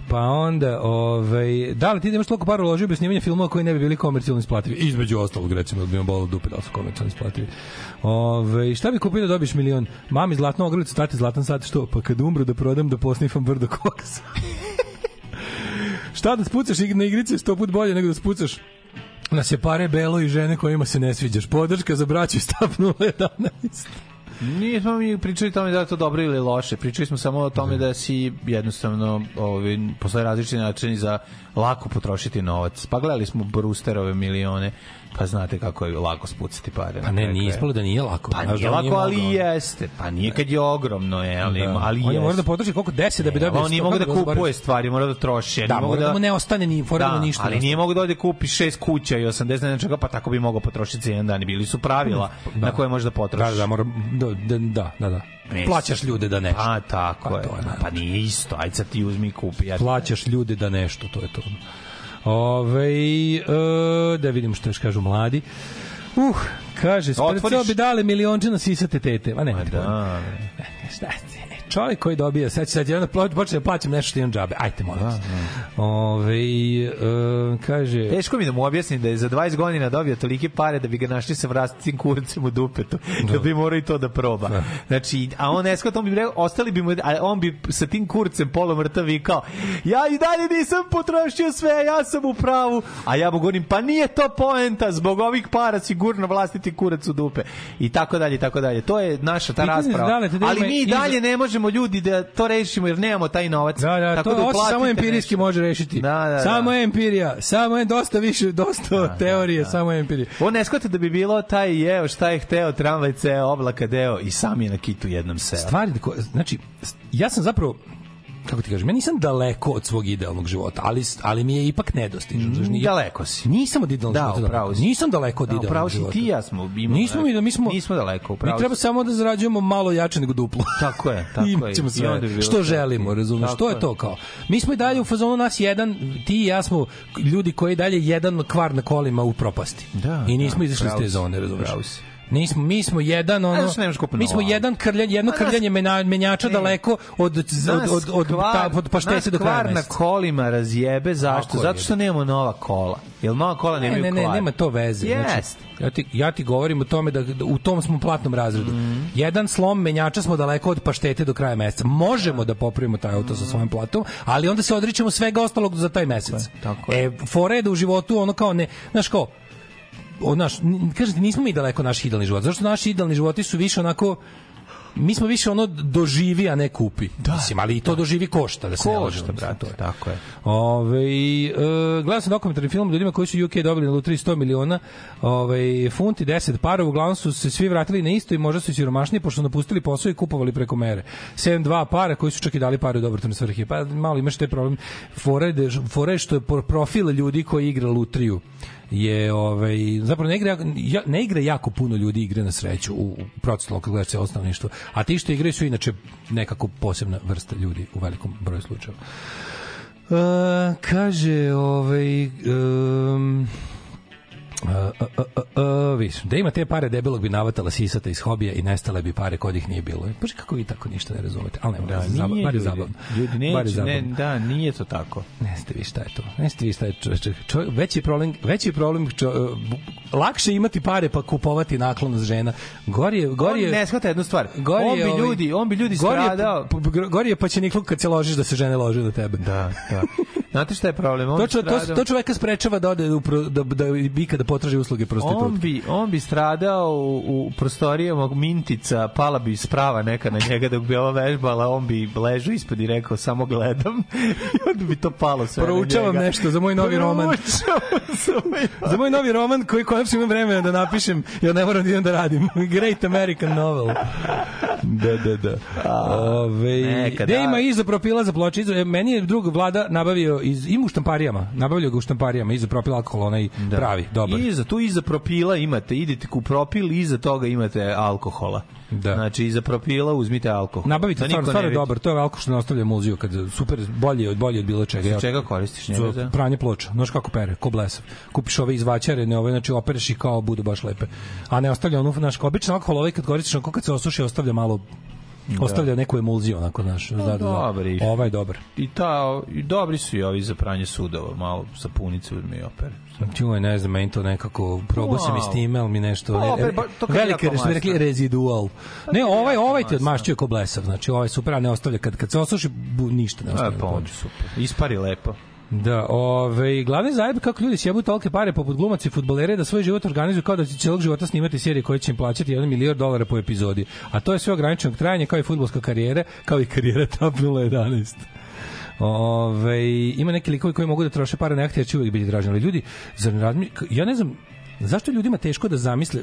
Speaker 5: Pa onda, ovaj, da li ti da imaš toliko para uložio bi snimanje filmova koji ne bi bili komercijalno isplativi? Između ostalog, recimo, bi vam bolo dupe da li su komercijalno isplativi. Ove, šta bi kupio da dobiš milion? Mami zlatnu ogrlicu, tati zlatan sat, što? Pa kad umru da prodam da posnifam brdo koksa. šta da spucaš ig- na igrice sto put bolje nego da spucaš na se pare belo i žene kojima se ne sviđaš. Podrška za braću iz TAP 011.
Speaker 6: Nismo mi pričali o tome da je to dobro ili loše, pričali smo samo o tome da si jednostavno ovaj, postoje različiti načini za lako potrošiti novac. Pa gledali smo Brewsterove milione, pa znate kako je lako spucati pare.
Speaker 5: Pa ne, nije ispalo da nije lako.
Speaker 6: Pa nije lako, ali jeste. Pa nije kad je ogromno, je, ali, da. ali
Speaker 5: on je
Speaker 6: jeste.
Speaker 5: mora da potroši koliko 10 da bi dobio.
Speaker 6: on nije
Speaker 5: sto-
Speaker 6: mogu da
Speaker 5: kako ga
Speaker 6: kupuje
Speaker 5: zbaraš?
Speaker 6: stvari, mora da troši. a
Speaker 5: Da,
Speaker 6: nije mogao
Speaker 5: mora da mu ne ostane ni formalno ništa.
Speaker 6: ali
Speaker 5: da
Speaker 6: nije mogao da ode kupi šest kuća i 80 nečega, pa tako bi mogao potrošiti da za jedan dan. I bili su pravila na koje možeš da
Speaker 5: Da,
Speaker 6: potrošiš.
Speaker 5: da, mora, da, da, da, da, da.
Speaker 6: Mislim.
Speaker 5: Plaćaš ljude da nešto.
Speaker 6: A, tako
Speaker 5: Pa
Speaker 6: je.
Speaker 5: to je najbolje.
Speaker 6: Pa nije isto, ajde sad ti uzmi i kupi. Ja.
Speaker 5: Plaćaš ljude da nešto, to je to. Ove, e, da vidim što još kažu mladi. Uh, kaže, sprcao
Speaker 6: Otvoriš-
Speaker 5: bi dale miliončina sisate tete. Ma ne,
Speaker 6: Pa Da,
Speaker 5: šta ti, ne, čovjek koji dobija, sad ću sad jedan počne da plaćam nešto što imam džabe. Ajte, molim vas. da. Ove, e, kaže...
Speaker 6: Teško mi da mu objasnim da je za 20 godina dobio tolike pare da bi ga našli sa vrastitim kurcem u dupetu, da bi morao i to da proba. Znači, a on ne shvata, on bi rekao, ostali bi mu, a on bi sa tim kurcem polomrtav vikao, ja i dalje nisam potrošio sve, ja sam u pravu, a ja mu govorim, pa nije to poenta, zbog ovih para sigurno vlastiti kurac u dupe. I tako dalje, i tako dalje. To je naša ta
Speaker 5: Pitanje je da
Speaker 6: rasprava.
Speaker 5: li te da ima
Speaker 6: Ali mi i
Speaker 5: iza-
Speaker 6: dalje ne možemo ljudi da to rešimo jer nemamo taj novac.
Speaker 5: Da, da,
Speaker 6: Tako
Speaker 5: to ovo se
Speaker 6: uplatite
Speaker 5: samo
Speaker 6: nešto.
Speaker 5: empirijski može rešiti.
Speaker 6: Da, da,
Speaker 5: samo
Speaker 6: da.
Speaker 5: je empirija, samo je dosta više, dosta teorije, samo je empirija.
Speaker 6: On ne shvata da bi bilo taj jeo šta je hteo, tramvaj ceo, oblaka deo i sam je na kitu jednom seo.
Speaker 5: Stvari, da ko- znači, ja sam zapravo kako ti kažem, ja nisam daleko od svog idealnog života, ali, ali mi je ipak nedostižan. znaš, nije-
Speaker 6: daleko si.
Speaker 5: Nisam od idealnog
Speaker 6: Da,
Speaker 5: života.
Speaker 6: upravo si.
Speaker 5: Nisam daleko od
Speaker 6: Da,
Speaker 5: idealnog
Speaker 6: upravo si,
Speaker 5: života.
Speaker 6: ti i ja smo, imamo-
Speaker 5: nismo mi, da mi smo...
Speaker 6: nismo daleko, upravo
Speaker 5: Mi treba
Speaker 6: si.
Speaker 5: samo da zarađujemo malo jače nego duplo.
Speaker 6: Tako je, tako je.
Speaker 5: Imaćemo
Speaker 6: I
Speaker 5: sve
Speaker 6: onda bi bilo
Speaker 5: što
Speaker 6: tako.
Speaker 5: želimo, razumeš?
Speaker 6: Tako
Speaker 5: To je
Speaker 6: je.
Speaker 5: to kao. Mi smo i dalje u fazonu nas jedan, ti i ja smo ljudi koji dalje jedan kvar na kolima u propasti.
Speaker 6: Da,
Speaker 5: I nismo
Speaker 6: da,
Speaker 5: izašli iz
Speaker 6: upravo
Speaker 5: te
Speaker 6: si,
Speaker 5: zone, razumeš?
Speaker 6: upravo si.
Speaker 5: Nismo, mi smo jedan ono.
Speaker 6: zato što nemaš kupno
Speaker 5: mi smo
Speaker 6: novo.
Speaker 5: jedan krljan, jedno
Speaker 6: A nas-
Speaker 5: krljanje mena, menjača
Speaker 6: E,
Speaker 5: daleko od od od od, od, pa- ta, od paštete do kraja.
Speaker 6: kvar na
Speaker 5: meseca.
Speaker 6: kolima razjebe, zašto?
Speaker 5: Tako je,
Speaker 6: Zato što nemamo nova kola. Jel nova kola
Speaker 5: Ne,
Speaker 6: nemaju
Speaker 5: ne, ne,
Speaker 6: kvar?
Speaker 5: nema to veze.
Speaker 6: Jest.
Speaker 5: Znači, ja, ti, ja ti govorim o tome da, da u tom smo platnom razredu.
Speaker 6: Mhm.
Speaker 5: Jedan slom menjača smo daleko od paštete do kraja meseca. Možemo da popravimo taj auto sa svojom platom, ali onda se odričemo svega ostalog za taj mesec.
Speaker 6: tako je.
Speaker 5: E, fora je da u životu ono kao ne, znaš kao, od naš, n- kažete, nismo mi daleko naš idealni život. Zašto naši idealni životi su više onako mi smo više ono doživi, a ne kupi. Da, Mislim, ali i to doživi košta, da se ne lažemo,
Speaker 6: Košta,
Speaker 5: mislim,
Speaker 6: brate,
Speaker 5: to je.
Speaker 6: tako je.
Speaker 5: Ove, e, gledao sam dokumentarni film o ljudima koji su UK dobili na lutriji 100 miliona ove, funti 10 parova, uglavnom su se svi vratili na isto i možda su i siromašniji pošto su napustili posao i kupovali preko mere 7-2 para koji su čak i dali pare u dobrotvorne svrhe pa malo imaš taj problem fora je da- fora je što je pro- profil ljudi koji igra lutriju je ovaj zapravo ne igra ja, ne igra jako puno ljudi igre na sreću u, u procentualno kad gledaš celo stanovništvo a ti što igraju su inače nekako posebna vrsta ljudi u velikom broju slučajeva E, kaže, ovaj... e, Um, a, a, a, a, viš, da ima te pare debelog bi navatala sisata iz hobija i nestale bi pare kod ih nije bilo. Pa kako vi tako ništa ne razumete? Ali nema, da, zaba, bar je zabavno.
Speaker 6: Ljudi,
Speaker 5: Bar je
Speaker 6: neće, ne,
Speaker 5: zabavno.
Speaker 6: da, nije to tako.
Speaker 5: Ne ste vi šta je to. Ne ste vi šta je čoveče. Čovjek, veći je problem, veći je problem čo, e, bu- lakše je imati pare pa kupovati naklonost žena. Gori je, gori
Speaker 6: Gori
Speaker 5: je,
Speaker 6: ne shvata jednu stvar.
Speaker 5: gori
Speaker 6: on
Speaker 5: je,
Speaker 6: bi
Speaker 5: ovaj-
Speaker 6: ljudi, on bi ljudi
Speaker 5: gori je-
Speaker 6: stradao.
Speaker 5: p- p- Gori je pa će nikluk kad se ložiš da se žene lože na tebe.
Speaker 6: Da, da. Znate šta je problem? On
Speaker 5: To,
Speaker 6: bi
Speaker 5: čo, to,
Speaker 6: stradao-
Speaker 5: to čoveka sprečava da ode u pro, da, da ikada potraži usluge
Speaker 6: On
Speaker 5: prostitutke.
Speaker 6: bi, on bi stradao u, u prostorijama Mintica, pala bi sprava neka na njega dok bi ova vežbala, on bi ležao ispod i rekao samo gledam i onda bi to palo sve na
Speaker 5: Proučavam
Speaker 6: njega.
Speaker 5: nešto za moj novi roman.
Speaker 6: Proučavam za moj
Speaker 5: Za moj novi roman koji konačno imam vremena da napišem, jer ne moram da idem da radim. Great American novel. Da, da, da. Ove,
Speaker 6: neka,
Speaker 5: gde
Speaker 6: da.
Speaker 5: ima izopropila za ploče? Izo, e, meni je drug vlada nabavio, iz, ima u štamparijama, nabavio ga u štamparijama, izopropil alkohol, onaj da. pravi, dobar.
Speaker 6: Iza, tu iza propila imate, idete ku propil, iza toga imate alkohola.
Speaker 5: Da.
Speaker 6: Znači, iza propila uzmite alkohol.
Speaker 5: Nabavite,
Speaker 6: Da
Speaker 5: stvarno,
Speaker 6: niko ne
Speaker 5: stvarno je
Speaker 6: vidi.
Speaker 5: dobar, to je alkohol što ne ostavlja muziju, kad super, bolje od bolje od bilo čega. Ja-
Speaker 6: Za čega koristiš njega? da?
Speaker 5: Za
Speaker 6: Za...
Speaker 5: pranje ploča. Znaš kako pere, ko blesav. Kupiš ove izvaćare, ne ove, znači opereš i kao budu baš lepe. A ne ostavlja onu, znaš, kao obično alkohol ovaj kad koristiš, onako kad se osuši, ostavlja malo
Speaker 6: Da.
Speaker 5: ostavlja neku emulziju onako znaš
Speaker 6: Pa
Speaker 5: da, da, da.
Speaker 6: dobar je.
Speaker 5: ovaj je dobar
Speaker 6: I, ta, I dobri su i ovi za pranje sudova, malo sapunice uzme i opere.
Speaker 5: čuj Znači, ovaj, ne znam meni to nekako probao sam i s
Speaker 6: Wow.
Speaker 5: time ali mi nešto
Speaker 6: Pa,
Speaker 5: re-
Speaker 6: opet,
Speaker 5: re-
Speaker 6: ba- to kad je
Speaker 5: velika
Speaker 6: jako Pa
Speaker 5: što bi rekli
Speaker 6: masno.
Speaker 5: rezidual ne ovaj ovaj te odmašćuje ko blesav znači ovaj super a ne ostavlja kad kad se osuši bu, ništa ne
Speaker 6: E,
Speaker 5: ostavlja
Speaker 6: pa
Speaker 5: na
Speaker 6: onda super. Ispari lepo.
Speaker 5: Da, ovaj glavni zajeb kako ljudi sjebu tolke pare poput glumaca i fudbalera da svoj život organizuju kao da će celog života snimati serije koje će im plaćati 1 milion dolara po epizodi. A to je sve ograničenog trajanja kao i fudbalska karijera, kao i karijera Top 011. Ove, ima neki likovi koji mogu da troše pare na akte, jer će uvijek biti draženi. Ali ljudi, zar ne razmi... ja ne znam, zašto je ljudima teško da zamisle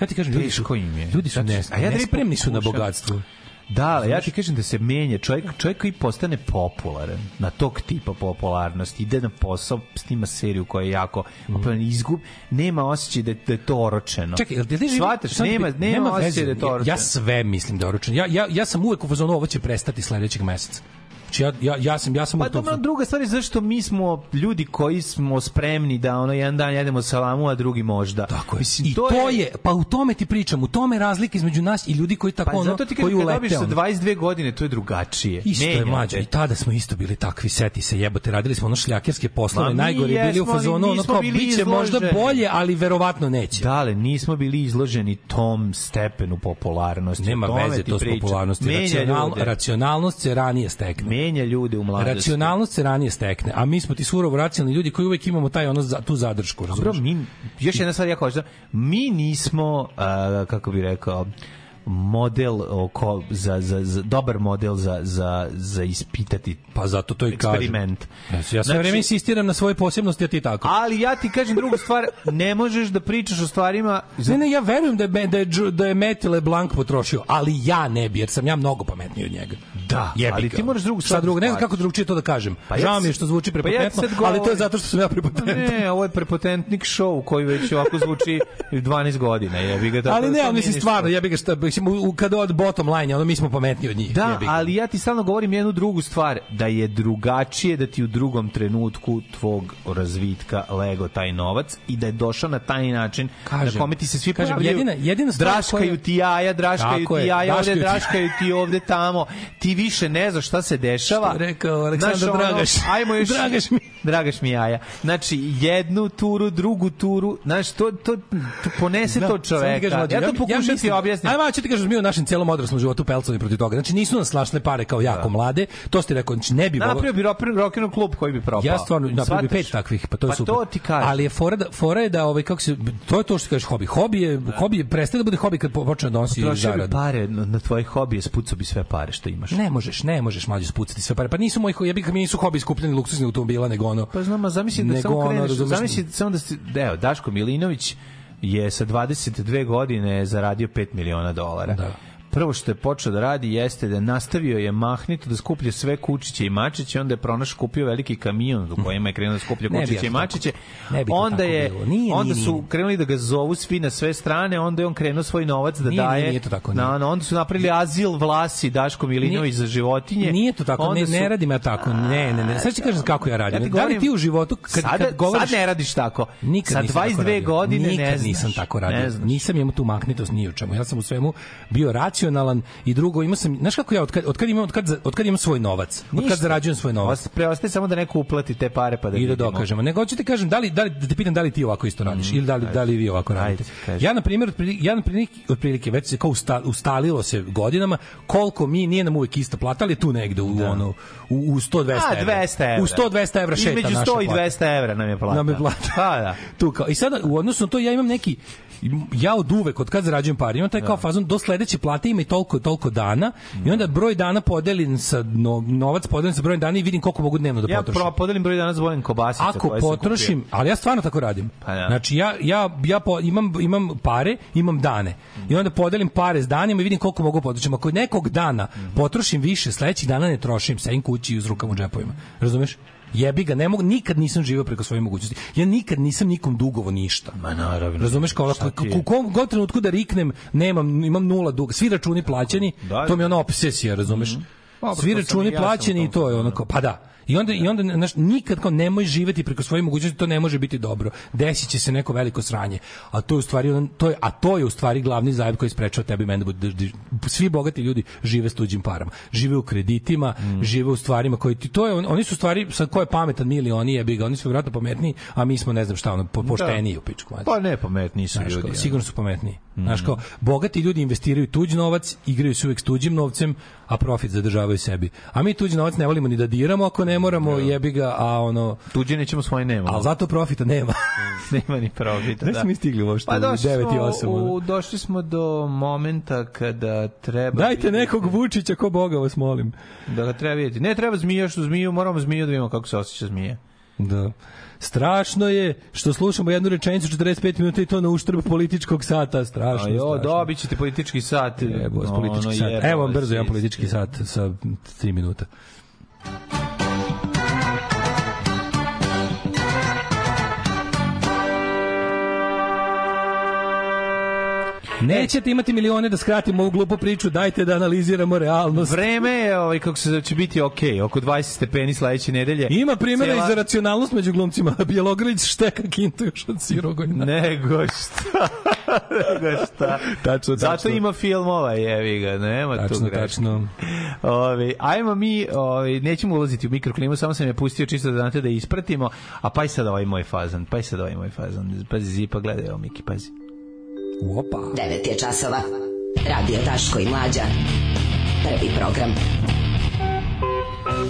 Speaker 5: Ja ti kažem, ljudi su,
Speaker 6: Teško im je.
Speaker 5: ljudi su
Speaker 6: Zato-
Speaker 5: ne,
Speaker 6: a ja da
Speaker 5: nespremni su na
Speaker 6: pokušam-
Speaker 5: bogatstvo.
Speaker 6: Da, ali ja ti kažem da se menja čovjek, čovjek koji postane popularan, na tog tipa popularnosti, ide na posao, snima seriju koja je jako
Speaker 5: Mhm.
Speaker 6: mm. izgub, nema osjećaj da, da je to oročeno.
Speaker 5: Čekaj, jel ti živi-
Speaker 6: Shvataš,
Speaker 5: sad bi-
Speaker 6: nema, nema,
Speaker 5: veze.
Speaker 6: osjećaj da je to
Speaker 5: Ja,
Speaker 6: oročeno.
Speaker 5: ja sve mislim da je oročeno. Ja, ja, ja sam uvek u fazonu ovo će prestati sledećeg meseca. Znači ja, ja, ja sam, ja sam
Speaker 6: Pa
Speaker 5: u tom
Speaker 6: dobro, druga stvar je zašto mi smo ljudi koji smo spremni da ono jedan dan jedemo salamu, a drugi možda.
Speaker 5: Tako je.
Speaker 6: Mislim,
Speaker 5: I to, je... pa u tome ti pričam, u tome je razlika između nas i ljudi koji tako
Speaker 6: Pa
Speaker 5: ono,
Speaker 6: zato ti
Speaker 5: koji
Speaker 6: kažem, kad dobiš
Speaker 5: ulete.
Speaker 6: sa
Speaker 5: ono.
Speaker 6: 22 godine, to je drugačije.
Speaker 5: Isto je
Speaker 6: Menja
Speaker 5: mlađe.
Speaker 6: te.
Speaker 5: I tada smo isto bili takvi, seti se jebote, radili smo ono šljakerske poslove,
Speaker 6: Ma, mi
Speaker 5: najgore je bili u
Speaker 6: jesmo, ali
Speaker 5: fazonu, ono
Speaker 6: nismo
Speaker 5: kao
Speaker 6: bili
Speaker 5: biće možda
Speaker 6: izloženi." Da,
Speaker 5: bolje, ali verovatno neće.
Speaker 6: Dale, nismo bili izloženi tom stepenu popularnosti.
Speaker 5: Nema
Speaker 6: O tome
Speaker 5: veze
Speaker 6: ti
Speaker 5: to s
Speaker 6: pričam.
Speaker 5: popularnosti.
Speaker 6: Menja
Speaker 5: Racional,
Speaker 6: ljude.
Speaker 5: racionalnost se ranije stekne.
Speaker 6: Menja ljude u mladosti.
Speaker 5: Racionalnost se ranije stekne, a mi smo ti surovo racionalni ljudi koji uvek imamo taj ono za, tu zadršku,
Speaker 6: Bro,
Speaker 5: razumeš?
Speaker 6: mi, još jedna stvar ja kažem, mi nismo, a, kako bi rekao, model oko, za, za, za, dobar model za, za, za ispitati
Speaker 5: Pa zato to i kažem.
Speaker 6: eksperiment.
Speaker 5: Ja sve znači, vreme insistiram na svoje posebnosti, a ti tako.
Speaker 6: Ali ja ti kažem drugu stvar, ne možeš da pričaš o stvarima
Speaker 5: Ne, ne, ja verujem da je, da je, Džu- da je Matty LeBlanc potrošio, ali ja ne bi, jer sam ja mnogo pametniji od njega.
Speaker 6: Da,
Speaker 5: jebi
Speaker 6: ali
Speaker 5: ga.
Speaker 6: ti moraš drugu
Speaker 5: Šta
Speaker 6: stvar da
Speaker 5: drugo, ne znam
Speaker 6: shvatiš.
Speaker 5: kako drugčije to da kažem.
Speaker 6: Pa ja
Speaker 5: Žao mi je
Speaker 6: sad-
Speaker 5: što zvuči
Speaker 6: pa ja ti
Speaker 5: prepotentno,
Speaker 6: sad
Speaker 5: ali to je
Speaker 6: govorim-
Speaker 5: zato što sam ja prepotentan.
Speaker 6: Ne, ovo je prepotentnik show koji već ovako zvuči 12 godina. Jebi ga, tako
Speaker 5: ali
Speaker 6: da
Speaker 5: ne,
Speaker 6: to nije
Speaker 5: ali mislim
Speaker 6: ništa.
Speaker 5: stvarno, ja bih ga šta, mislim, u- u- kada od bottom line, ono mi smo pametniji od njih.
Speaker 6: Da,
Speaker 5: jebi ga.
Speaker 6: ali ja ti stalno govorim jednu drugu stvar, da je drugačije da ti u drugom trenutku tvog razvitka lego taj novac i da je došao na taj način
Speaker 5: Kažem,
Speaker 6: na kome ti se svi
Speaker 5: kažem,
Speaker 6: pojavljuju.
Speaker 5: jedina- jedina stvar
Speaker 6: draškaju
Speaker 5: koja-
Speaker 6: ti jaja, draškaju
Speaker 5: Tako
Speaker 6: ti
Speaker 5: je,
Speaker 6: jaja, ovde
Speaker 5: draškaju ti-
Speaker 6: draškaju ti ovde tamo. Ti više ne znaš šta se dešava.
Speaker 5: Što je rekao Aleksandar
Speaker 6: Znaš,
Speaker 5: Dragaš.
Speaker 6: Ajmo još,
Speaker 5: Dragaš mi.
Speaker 6: Dragaš mi jaja. Znači, jednu turu, drugu turu, znaš, to, to, to ponese to
Speaker 5: Samo ti
Speaker 6: čoveka.
Speaker 5: kažem, mlađe,
Speaker 6: ja to
Speaker 5: Da, mi-
Speaker 6: pokušam ti
Speaker 5: mislim-
Speaker 6: objasniti.
Speaker 5: Ajmo, ja ću ti kažem, mi u našem celom odraslom životu pelcovi protiv toga. Znači, nisu nas slašle pare kao jako mlade, to ste rekao, znači ne bi moglo-
Speaker 6: Da. Napravio bi rock- rock and roll klub koji bi propao.
Speaker 5: Ja stvarno napravio
Speaker 6: Shvataš?
Speaker 5: bi pet takvih, pa to je
Speaker 6: pa
Speaker 5: super.
Speaker 6: to ti kažem.
Speaker 5: Ali je fora da fora je da ovaj kako se to je to što kažeš hobi. Hobi je hobi je prestaje da bude hobi kad po- počne da donosi
Speaker 6: Trošio bi pa-
Speaker 5: zaradu.
Speaker 6: pare na, na tvoje hobije, spucao bi sve pare što imaš.
Speaker 5: Ne možeš, ne možeš mlađe spucati sve pare. Pa nisu moji, ja bih mi nisu hobi skupljeni luksuzni automobila nego ono.
Speaker 6: Pa znam, a zamisli da
Speaker 5: Nego
Speaker 6: samo
Speaker 5: ono,
Speaker 6: kreneš,
Speaker 5: razumeš,
Speaker 6: zamisli samo da si, da, evo, Daško Milinović je sa 22 godine zaradio 5 miliona dolara.
Speaker 5: Da.
Speaker 6: Prvo što je počeo da radi jeste da nastavio je mahnito da skuplja sve kučiće i mačiće, onda je pronašao kupio veliki kamion u kojem je krenuo da skuplja
Speaker 5: Ne bi ja
Speaker 6: kučiće i
Speaker 5: to tako-
Speaker 6: mačiće.
Speaker 5: ne bi to
Speaker 6: Onda
Speaker 5: tako
Speaker 6: je
Speaker 5: bilo. Nije, nije,
Speaker 6: onda
Speaker 5: nije,
Speaker 6: su
Speaker 5: nije.
Speaker 6: krenuli da ga zovu svi na sve strane, onda je on krenuo svoj novac da
Speaker 5: Nije, nije,
Speaker 6: daje.
Speaker 5: nije to tako,
Speaker 6: Na,
Speaker 5: nije.
Speaker 6: na, onda su napravili azil vlasi Daško Milinović
Speaker 5: Nije-
Speaker 6: za životinje.
Speaker 5: Nije to tako,
Speaker 6: da Onda
Speaker 5: ne,
Speaker 6: su-
Speaker 5: ne radim ja tako. Ne, ne, ne. Sad ću kažem kako ja radim.
Speaker 6: Ja ti
Speaker 5: da li
Speaker 6: govorim-
Speaker 5: ti u životu kad,
Speaker 6: Sad,
Speaker 5: kad govoriš
Speaker 6: sad ne radiš tako.
Speaker 5: Nikad
Speaker 6: Sa
Speaker 5: nisam tako
Speaker 6: 22
Speaker 5: radio.
Speaker 6: godine
Speaker 5: Nikad
Speaker 6: ne znaš.
Speaker 5: nisam tako
Speaker 6: Ne
Speaker 5: radio.
Speaker 6: znaš.
Speaker 5: Nisam imao tu magnetost ni u čemu. Ja sam u svemu bio racionalan i drugo imao sam, znaš kako ja od kad, od kad imam od kad, za- od kad imam svoj novac, od kad
Speaker 6: Ništa.
Speaker 5: zarađujem svoj novac.
Speaker 6: Osta- Preostaje samo da neko uplati te pare pa da
Speaker 5: I da
Speaker 6: vidimo. Mm,
Speaker 5: dokažemo. Nego hoću ti kažem, da li, da li, da te pitam da li ti ovako isto radiš ili da li, da li vi ovako
Speaker 6: Ajde,
Speaker 5: radite.
Speaker 6: kaži.
Speaker 5: ja, na primjer, otprilike, ja na primjer, otprilike već se kao usta, ustalilo se godinama koliko mi, nije nam uvek ista plata, ali tu negde u, ono, u, u 100-200
Speaker 6: Da. A,
Speaker 5: evra.
Speaker 6: 200 evra.
Speaker 5: U 100-200 evra šeta
Speaker 6: Između
Speaker 5: naša
Speaker 6: 100 i
Speaker 5: plata.
Speaker 6: 200 evra nam je plata.
Speaker 5: Nam je plata.
Speaker 6: Pa da.
Speaker 5: tu kao. I sada u odnosu na to ja imam neki ja od uvek, od kad zarađujem pare, imam taj
Speaker 6: Da.
Speaker 5: kao fazon, do sledeće plate ima i toliko i toliko dana i onda broj dana podelim sa, no, novac podelim sa brojem dana i vidim koliko mogu dnevno da
Speaker 6: Ja
Speaker 5: potrošim.
Speaker 6: pro, podelim broj danas volim kobasice.
Speaker 5: Ako
Speaker 6: koje sam
Speaker 5: potrošim, ali ja stvarno tako radim.
Speaker 6: Pa da.
Speaker 5: Znači ja ja ja po, imam imam pare, imam dane. I onda podelim pare s danima i vidim koliko mogu potrošim. Ako nekog dana potrošim više, sledećih dana ne trošim, sedim kući i uz rukama u džepovima. Razumeš? Jebi ga, ne mogu, nikad nisam živeo preko svoje mogućnosti. Ja nikad nisam nikom dugovo ništa.
Speaker 6: Ma Pa, naravno.
Speaker 5: Razumeš kao
Speaker 6: Šta ti je?
Speaker 5: u kom god trenutku da riknem, nemam, imam nula duga. Svi računi plaćeni,
Speaker 6: Da, Mhm.
Speaker 5: to mi je ona obsesija, razumeš?
Speaker 6: Dobro,
Speaker 5: Svi
Speaker 6: to sam i
Speaker 5: računi
Speaker 6: ja sam
Speaker 5: plaćeni
Speaker 6: u
Speaker 5: i
Speaker 6: tom
Speaker 5: to je onako, pa da. I onda, i onda znaš, nikad kao nemoj živeti preko svoje mogućnosti, to ne može biti dobro. Desit će se neko veliko sranje. A to je u stvari, on- to je, a to je u stvari glavni zajeb koji sprečava tebi i mene da bude, svi bogati ljudi žive s tuđim parama. Žive u kreditima,
Speaker 6: Mhm.
Speaker 5: žive u stvarima koji ti, to je, on- oni su stvari, sa ko je pametan mi ili oni jebi ga, oni su vjerojatno pametniji, a mi smo ne znam šta, ono, po, pošteniji u pičku.
Speaker 6: kupio.
Speaker 5: mati.
Speaker 6: Da. Pa ne, pametni su
Speaker 5: Znaš,
Speaker 6: ljudi. Mhm.
Speaker 5: kao,
Speaker 6: ja.
Speaker 5: sigurno su pametniji. Znaš, kao, bogati ljudi investiraju tuđ novac, igraju se uvek s tuđim novcem, a profit zadržavaju sebi. A mi tuđi novac ne volimo ni da diramo ako ne moramo, jebi ga, a ono...
Speaker 6: Tuđe nećemo svoje nema.
Speaker 5: Ali zato profita nema.
Speaker 6: Nema ni probita.
Speaker 5: Gde smo mi stigli uopšte?
Speaker 6: Da. Pa došli,
Speaker 5: 9 i 8,
Speaker 6: smo, u, došli smo do momenta kada treba...
Speaker 5: Dajte
Speaker 6: vidjeti-
Speaker 5: nekog Vučića, ko Boga vas molim.
Speaker 6: Da ga treba vidjeti. Ne, treba zmija što zmiju, moramo zmiju da vidimo kako se osjeća zmija.
Speaker 5: Da. Strašno je što slušamo jednu rečenicu 45 minuta i to na uštrb političkog sata. Strašno,
Speaker 6: A jo,
Speaker 5: strašno.
Speaker 6: Pa dobit ćete politički sat.
Speaker 5: Evo,
Speaker 6: Ono,
Speaker 5: politički sat.
Speaker 6: jebalo
Speaker 5: Evo vam brzo
Speaker 6: se
Speaker 5: jedan
Speaker 6: isti.
Speaker 5: politički sat sa 3 minuta. Nećete imati milione da skratimo ovu glupu priču, dajte da analiziramo realnost.
Speaker 6: Vreme je, ovaj, kako se zove, će biti okej, oko 20 stepeni sledeće nedelje.
Speaker 5: Ima primjera
Speaker 6: Cela-
Speaker 5: i za racionalnost među glumcima. Bjelogrlić šteka kintu još od Sirogonja.
Speaker 6: Nego šta? Nego šta?
Speaker 5: Tačno,
Speaker 6: Zato
Speaker 5: tačno.
Speaker 6: ima filmova, jevi ga, nema tu
Speaker 5: Tačno,
Speaker 6: greške.
Speaker 5: tačno.
Speaker 6: Ovi, ajmo mi, ovi, nećemo ulaziti u mikroklimu, samo sam je pustio čisto da znate da je ispratimo, a pa i sad ovaj moj fazan, pa i sad ovaj moj fazan, pazi zipa, gledaj ovo Miki, pazi.
Speaker 5: Opa.
Speaker 4: 9 je časova. Radio Daško i Mlađa. Prvi program.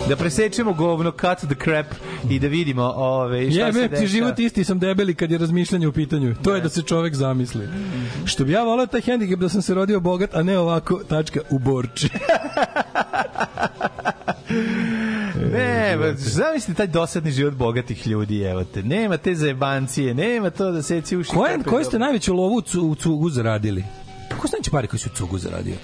Speaker 6: Da presečemo govno, cut the crap i da vidimo ove, šta se
Speaker 5: Jebe
Speaker 6: dešava.
Speaker 5: ti život isti sam debeli kad je razmišljanje u pitanju. To je da se čovek zamisli. Što bi ja volao taj hendikep da sam se rodio bogat, a ne ovako, tačka, u borči.
Speaker 6: Ne, ba, zamislite taj dosadni život bogatih ljudi, evo te. Nema te zajebancije, nema to da seci uši.
Speaker 5: Koje,
Speaker 6: kako je
Speaker 5: koje ste
Speaker 6: dobro.
Speaker 5: najveću lovu u, cu, u cugu zaradili? Kako ste najveće pare koje si u cugu zaradio?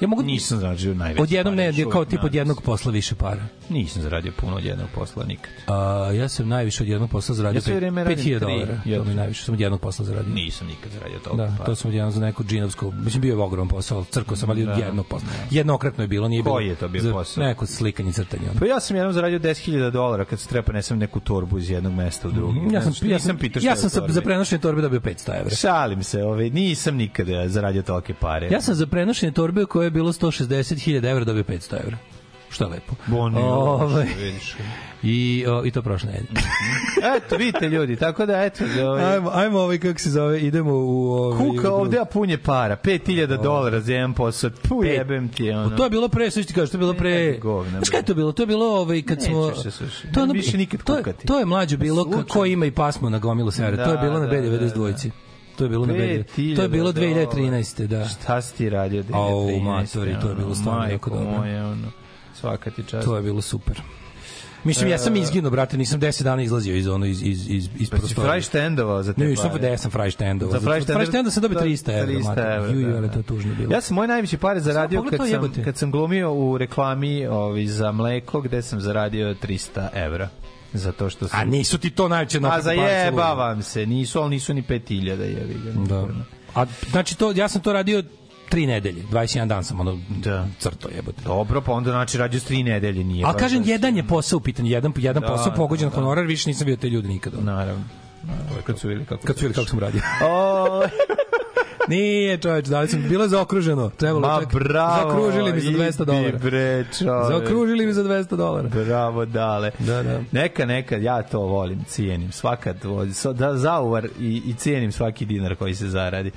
Speaker 5: Ja mogu...
Speaker 6: Nisam zarađio najveći.
Speaker 5: Odjednom
Speaker 6: pare,
Speaker 5: ne,
Speaker 6: još uvek
Speaker 5: kao tip
Speaker 6: nadam
Speaker 5: od jednog posla više para.
Speaker 6: se. Nisam zaradio puno od jednog posla nikad.
Speaker 5: A, ja sam najviše od jednog posla zaradio
Speaker 6: Ja sve vreme
Speaker 5: 5000
Speaker 6: radim tri,
Speaker 5: dolara. To
Speaker 6: jedno.
Speaker 5: mi je najviše, sam od jednog posla zaradio.
Speaker 6: Nisam nikad zaradio toliko
Speaker 5: Da,
Speaker 6: para.
Speaker 5: to sam odjedno za neku džinovsku, mislim bio je ogroman posao, crko sam, ali da. jedno posao. Jednokratno je bilo, nije bilo.
Speaker 6: Koji je to bio
Speaker 5: za
Speaker 6: posao?
Speaker 5: Neko slikanje, crtanje. ono.
Speaker 6: Pa ja sam jednom zaradio 10.000 dolara kad se treba ponesem neku torbu iz jednog mesta u drugo.
Speaker 5: Mm, Ja sam, ja sam,
Speaker 6: nisam pitao šta
Speaker 5: ja
Speaker 6: je
Speaker 5: sam
Speaker 6: u
Speaker 5: sa,
Speaker 6: torbi.
Speaker 5: za prenošenje torbe dobio 500 evra.
Speaker 6: Šalim se, ovaj, nisam nikada zaradio tolike pare.
Speaker 5: Ja sam za prenošenje torbe koje je bilo 160.000 evra dobio 500 evra. Što je lepo.
Speaker 6: Boni,
Speaker 5: Ovaj,
Speaker 6: vidiš.
Speaker 5: i, o, I to prošle nedelje.
Speaker 6: Eto, vidite ljudi, tako da, eto, ovaj,
Speaker 5: Ajmo, ajmo ovaj, kako se zove, idemo u... Ovaj,
Speaker 6: kuka ovde, a punje para. 5000 dolara za jedan posao. Pu jebem ti, ono.
Speaker 5: Pa To je bilo pre, sve što ti kažeš, to je bilo pre...
Speaker 6: Ne, govna,
Speaker 5: Znaš kada je to bilo? To je bilo ovaj, kad
Speaker 6: Nećeš
Speaker 5: smo...
Speaker 6: se slušati.
Speaker 5: je
Speaker 6: Ne više nikad
Speaker 5: to, je-
Speaker 6: kukati. Pa
Speaker 5: to je mlađe bilo,
Speaker 6: Slučajno.
Speaker 5: ko ima i pasmo na gomilu sere. to je
Speaker 6: Da,
Speaker 5: bilo na
Speaker 6: da, da,
Speaker 5: B92
Speaker 6: da.
Speaker 5: dvojici. To je bilo na B92. To je bilo 2013. Da.
Speaker 6: ovaj. Šta si ti radio?
Speaker 5: Au,
Speaker 6: 2013,
Speaker 5: matori, to je bilo
Speaker 6: ono,
Speaker 5: stvarno
Speaker 6: majko
Speaker 5: jako dobro.
Speaker 6: Moje, ono, svaka ti čast.
Speaker 5: To je bilo super. Mislim, ja sam izginuo, brate, nisam 10 dana izlazio iz ono, iz, iz, iz, iz
Speaker 6: E. Pa si
Speaker 5: prostorije.
Speaker 6: frajštendovao za te
Speaker 5: Ne,
Speaker 6: pare.
Speaker 5: nisam, da ja sam frajštendovao.
Speaker 6: Za
Speaker 5: Za
Speaker 6: frajštender-
Speaker 5: frajštendovao sam dobio
Speaker 6: da,
Speaker 5: 300 evra.
Speaker 6: 300
Speaker 5: 300 evra,
Speaker 6: evra,
Speaker 5: Ju,
Speaker 6: da,
Speaker 5: ju, ali
Speaker 6: da.
Speaker 5: to je tužno bilo.
Speaker 6: Ja sam moje najveće pare zaradio
Speaker 5: pogledaj
Speaker 6: kad
Speaker 5: to
Speaker 6: sam,
Speaker 5: jebote.
Speaker 6: kad sam glumio u reklami ovi, za mleko gde sam zaradio 300 evra. Zato što sam...
Speaker 5: A nisu ti to najveće na
Speaker 6: A Pa zajebavam se, nisu, ali nisu ni 5000 jebi ga.
Speaker 5: Da. A znači to ja sam to radio tri nedelje, 21 dan sam ono
Speaker 6: Da.
Speaker 5: crto jebote.
Speaker 6: Dobro, pa onda znači radio s tri nedelje nije.
Speaker 5: Ali
Speaker 6: baš
Speaker 5: kažem,
Speaker 6: da se-
Speaker 5: jedan je posao u pitanju, jedan, jedan
Speaker 6: Da,
Speaker 5: posao
Speaker 6: da,
Speaker 5: pogođen
Speaker 6: da.
Speaker 5: honorar, više nisam bio te ljude nikada.
Speaker 6: Naravno. Naravno, Kad su vidjeli kako...
Speaker 5: Kad su vidjeli kako sam radio.
Speaker 6: O,
Speaker 5: Nije, čoveč, da li sam, bilo je zaokruženo. Trebalo je
Speaker 6: ma
Speaker 5: čak,
Speaker 6: bravo!
Speaker 5: zaokružili mi za 200
Speaker 6: idi
Speaker 5: dolara.
Speaker 6: bre, čoveč.
Speaker 5: Zaokružili mi za 200 dolara.
Speaker 6: Bravo, dale.
Speaker 5: Da, da.
Speaker 6: Neka, neka, ja to volim, cijenim. Svaka, tvo- so- da, zauvar i, i cijenim svaki dinar koji se zaradi.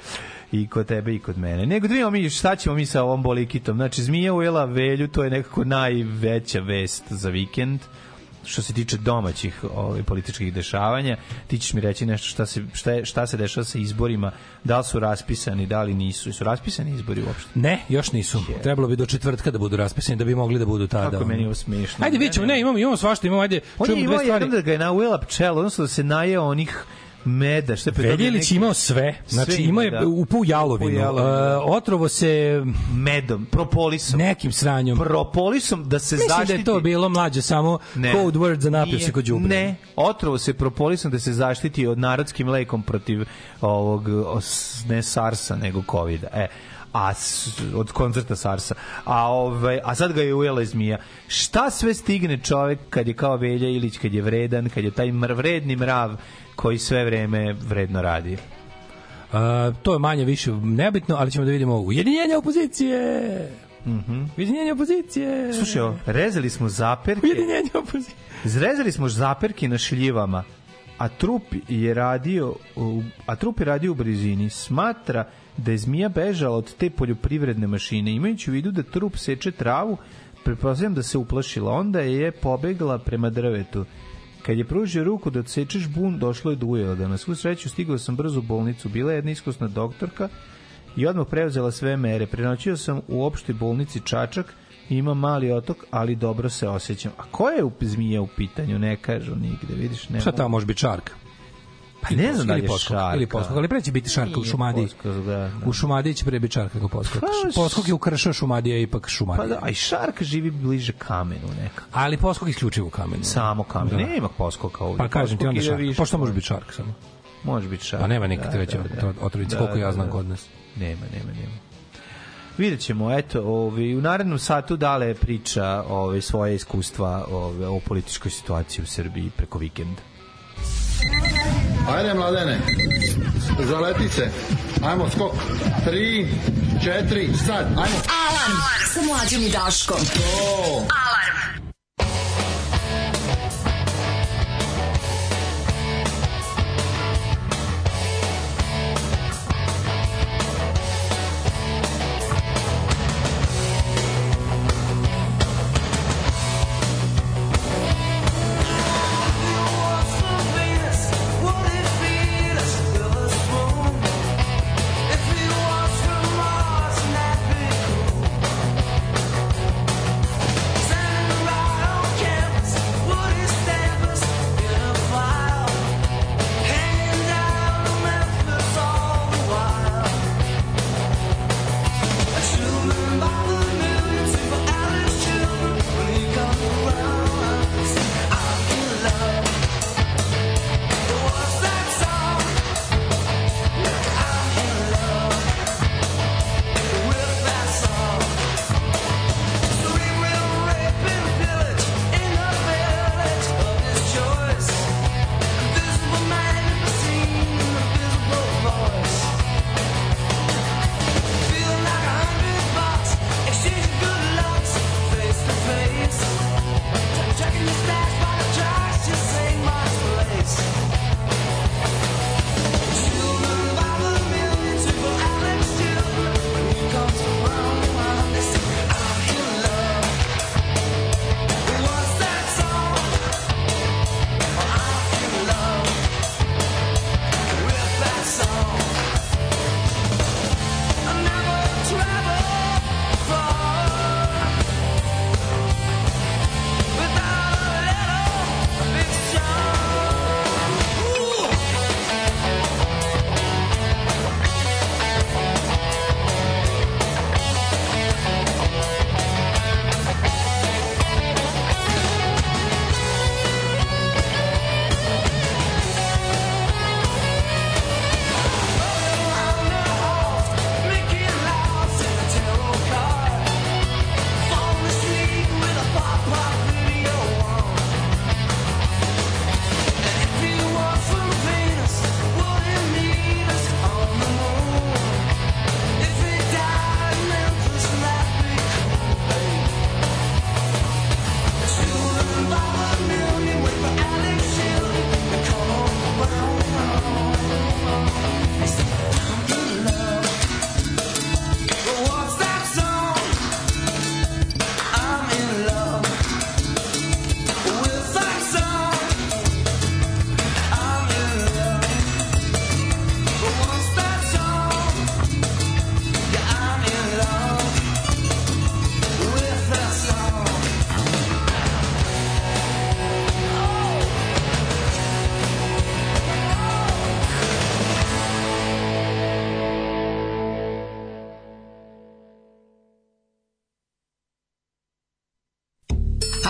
Speaker 6: I kod tebe i kod mene. Nego da vidimo mi šta ćemo mi sa ovom bolikitom. Znači, zmija ujela velju, to je nekako najveća vest za vikend što se tiče domaćih ovaj, političkih dešavanja, ti ćeš mi reći nešto šta se, šta, je, šta se dešava sa izborima, da li su raspisani, da li nisu. Su raspisani izbori uopšte?
Speaker 5: Ne, još nisu. Trebalo bi do četvrtka da budu raspisani, da bi mogli da budu tada.
Speaker 6: Kako je meni ovo smiješno.
Speaker 5: Ajde, vidimo, ne, imamo, imamo svašta, imamo, ajde,
Speaker 6: On je
Speaker 5: čujemo dve
Speaker 6: imao
Speaker 5: stvari.
Speaker 6: jednom da ga je naujela pčela, odnosno da se najeo onih meda. Šta je pre toga
Speaker 5: Veljilić
Speaker 6: neki-
Speaker 5: imao sve. Znači,
Speaker 6: Sve ima,
Speaker 5: imao je
Speaker 6: da.
Speaker 5: upao
Speaker 6: Upao
Speaker 5: jalovinu.
Speaker 6: jalovinu, da.
Speaker 5: E, otrovo se
Speaker 6: Medom, propolisom.
Speaker 5: nekim sranjom.
Speaker 6: Propolisom da se
Speaker 5: Mislim
Speaker 6: zaštiti.
Speaker 5: da je to bilo mlađe, samo code word za napio
Speaker 6: Nije.
Speaker 5: se kod džubre.
Speaker 6: Ne, otrovo se propolisom da se zaštiti od narodskim lekom protiv ovog, os- ne Sarsa, nego Covida. E, a s- od koncerta Sarsa. A ovaj a sad ga je ujela zmija. Šta sve stigne čovek kad je kao Velja Ilić, kad je vredan, kad je taj mr- vredni mrav koji sve vreme vredno radi.
Speaker 5: A, to je manje više nebitno, ali ćemo da vidimo ujedinjenje opozicije. Mhm. Ujedinjenje opozicije.
Speaker 6: Slušaj, ovo, rezali smo zaperke,
Speaker 5: Ujedinjenje opozicije.
Speaker 6: zrezali smo zaperke na šljivama, a trup je radio, u- a trup je radio u blizini. Smatra da je zmija bežala od te poljoprivredne mašine, imajući u vidu da trup seče travu, pretpostavljam da se uplašila. Onda je pobegla prema drvetu. Kad je pružio ruku da odsečeš bun, došlo je do ujela. Na svu sreću stigao sam brzo u bolnicu. Bila je jedna iskusna doktorka i odmah preuzela sve mere. Prenoćio sam u opštoj bolnici Čačak, ima mali otok, ali dobro se osjećam. A ko je u- zmija u pitanju? Ne kažu nigde, vidiš? Ne
Speaker 5: Šta
Speaker 6: mogu.
Speaker 5: tamo može biti šark?
Speaker 6: Pa ne znam da li
Speaker 5: Ili
Speaker 6: je
Speaker 5: poskok,
Speaker 6: šarka.
Speaker 5: Ili poskok, ali pre će biti šarka u
Speaker 6: Nije
Speaker 5: Šumadiji.
Speaker 6: poskok, da, da.
Speaker 5: U Šumadiji će pre biti šarka nego poskok.
Speaker 6: Pa, s-
Speaker 5: Poskok je ukršao Šumadija je ipak
Speaker 6: Pa
Speaker 5: Šumadija.
Speaker 6: da, a i šarka živi bliže kamenu nekako.
Speaker 5: Ali poskok je isključivo u kamenu.
Speaker 6: Samo kamen.
Speaker 5: Da.
Speaker 6: Nema poskoka ovdje.
Speaker 5: Pa kažem ti
Speaker 6: Poskok
Speaker 5: onda
Speaker 6: ide
Speaker 5: šark.
Speaker 6: više.
Speaker 5: Pošto može biti šark samo.
Speaker 6: Može biti šarka.
Speaker 5: Pa nema nikad
Speaker 6: da,
Speaker 5: veće
Speaker 6: da, da.
Speaker 5: otrovice,
Speaker 6: Da,
Speaker 5: koliko ja
Speaker 6: da,
Speaker 5: znam
Speaker 6: da.
Speaker 5: kod nas.
Speaker 6: Nema, nema, nema. Vidjet ćemo, eto, ovi, u narednom satu dale priča ove, svoje iskustva ove, o političkoj situaciji u Srbiji preko vikenda.
Speaker 11: Ajde, mladene, zaleti se. Ajmo, skok. Tri, četiri, sad, ajmo.
Speaker 4: Alarm sa mlađom i Daškom. Alarm.
Speaker 1: Send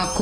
Speaker 12: Ako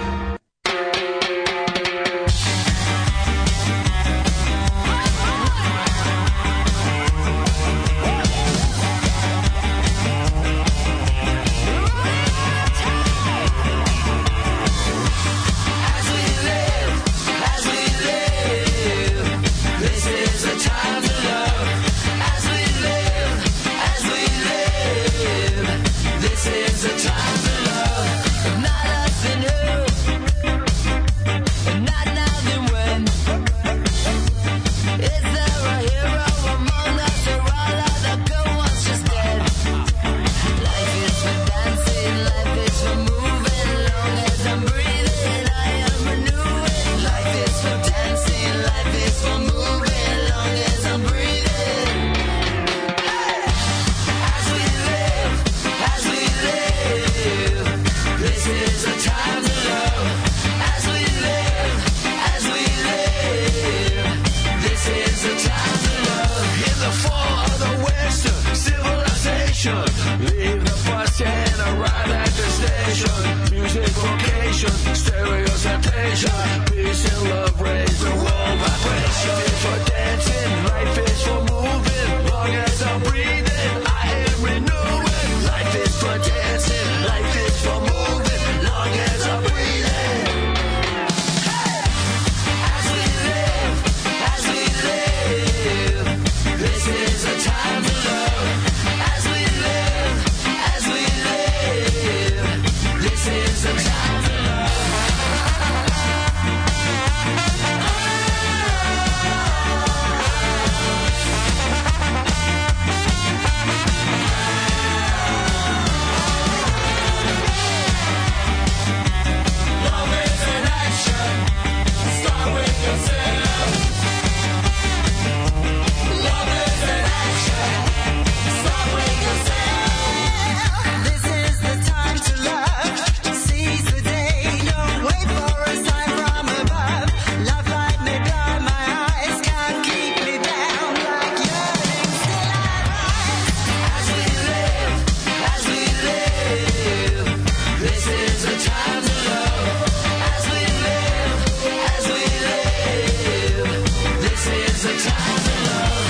Speaker 1: Leave the bus and arrive at the station. Music vocation, stereo sensation. Peace and love raise the world vibration. Life is for dancing, life is for moving. Long as I'm breathing, I am renewing. Life is for dancing, life is for moving. Long as I'm breathing. Hey! As we live, as we live, this is a time to love. As we live, as we live, this is a time to love. Love is an action. Start with yourself. Love is an action. Start with yourself. This is the time to love. Seize the day. Don't wait for a sign from above. Love light may blind my eyes. Can't keep me down like yearning. Still I rise. As we live, as we live, this is the time to love. As we live, as we live, this is the time to love.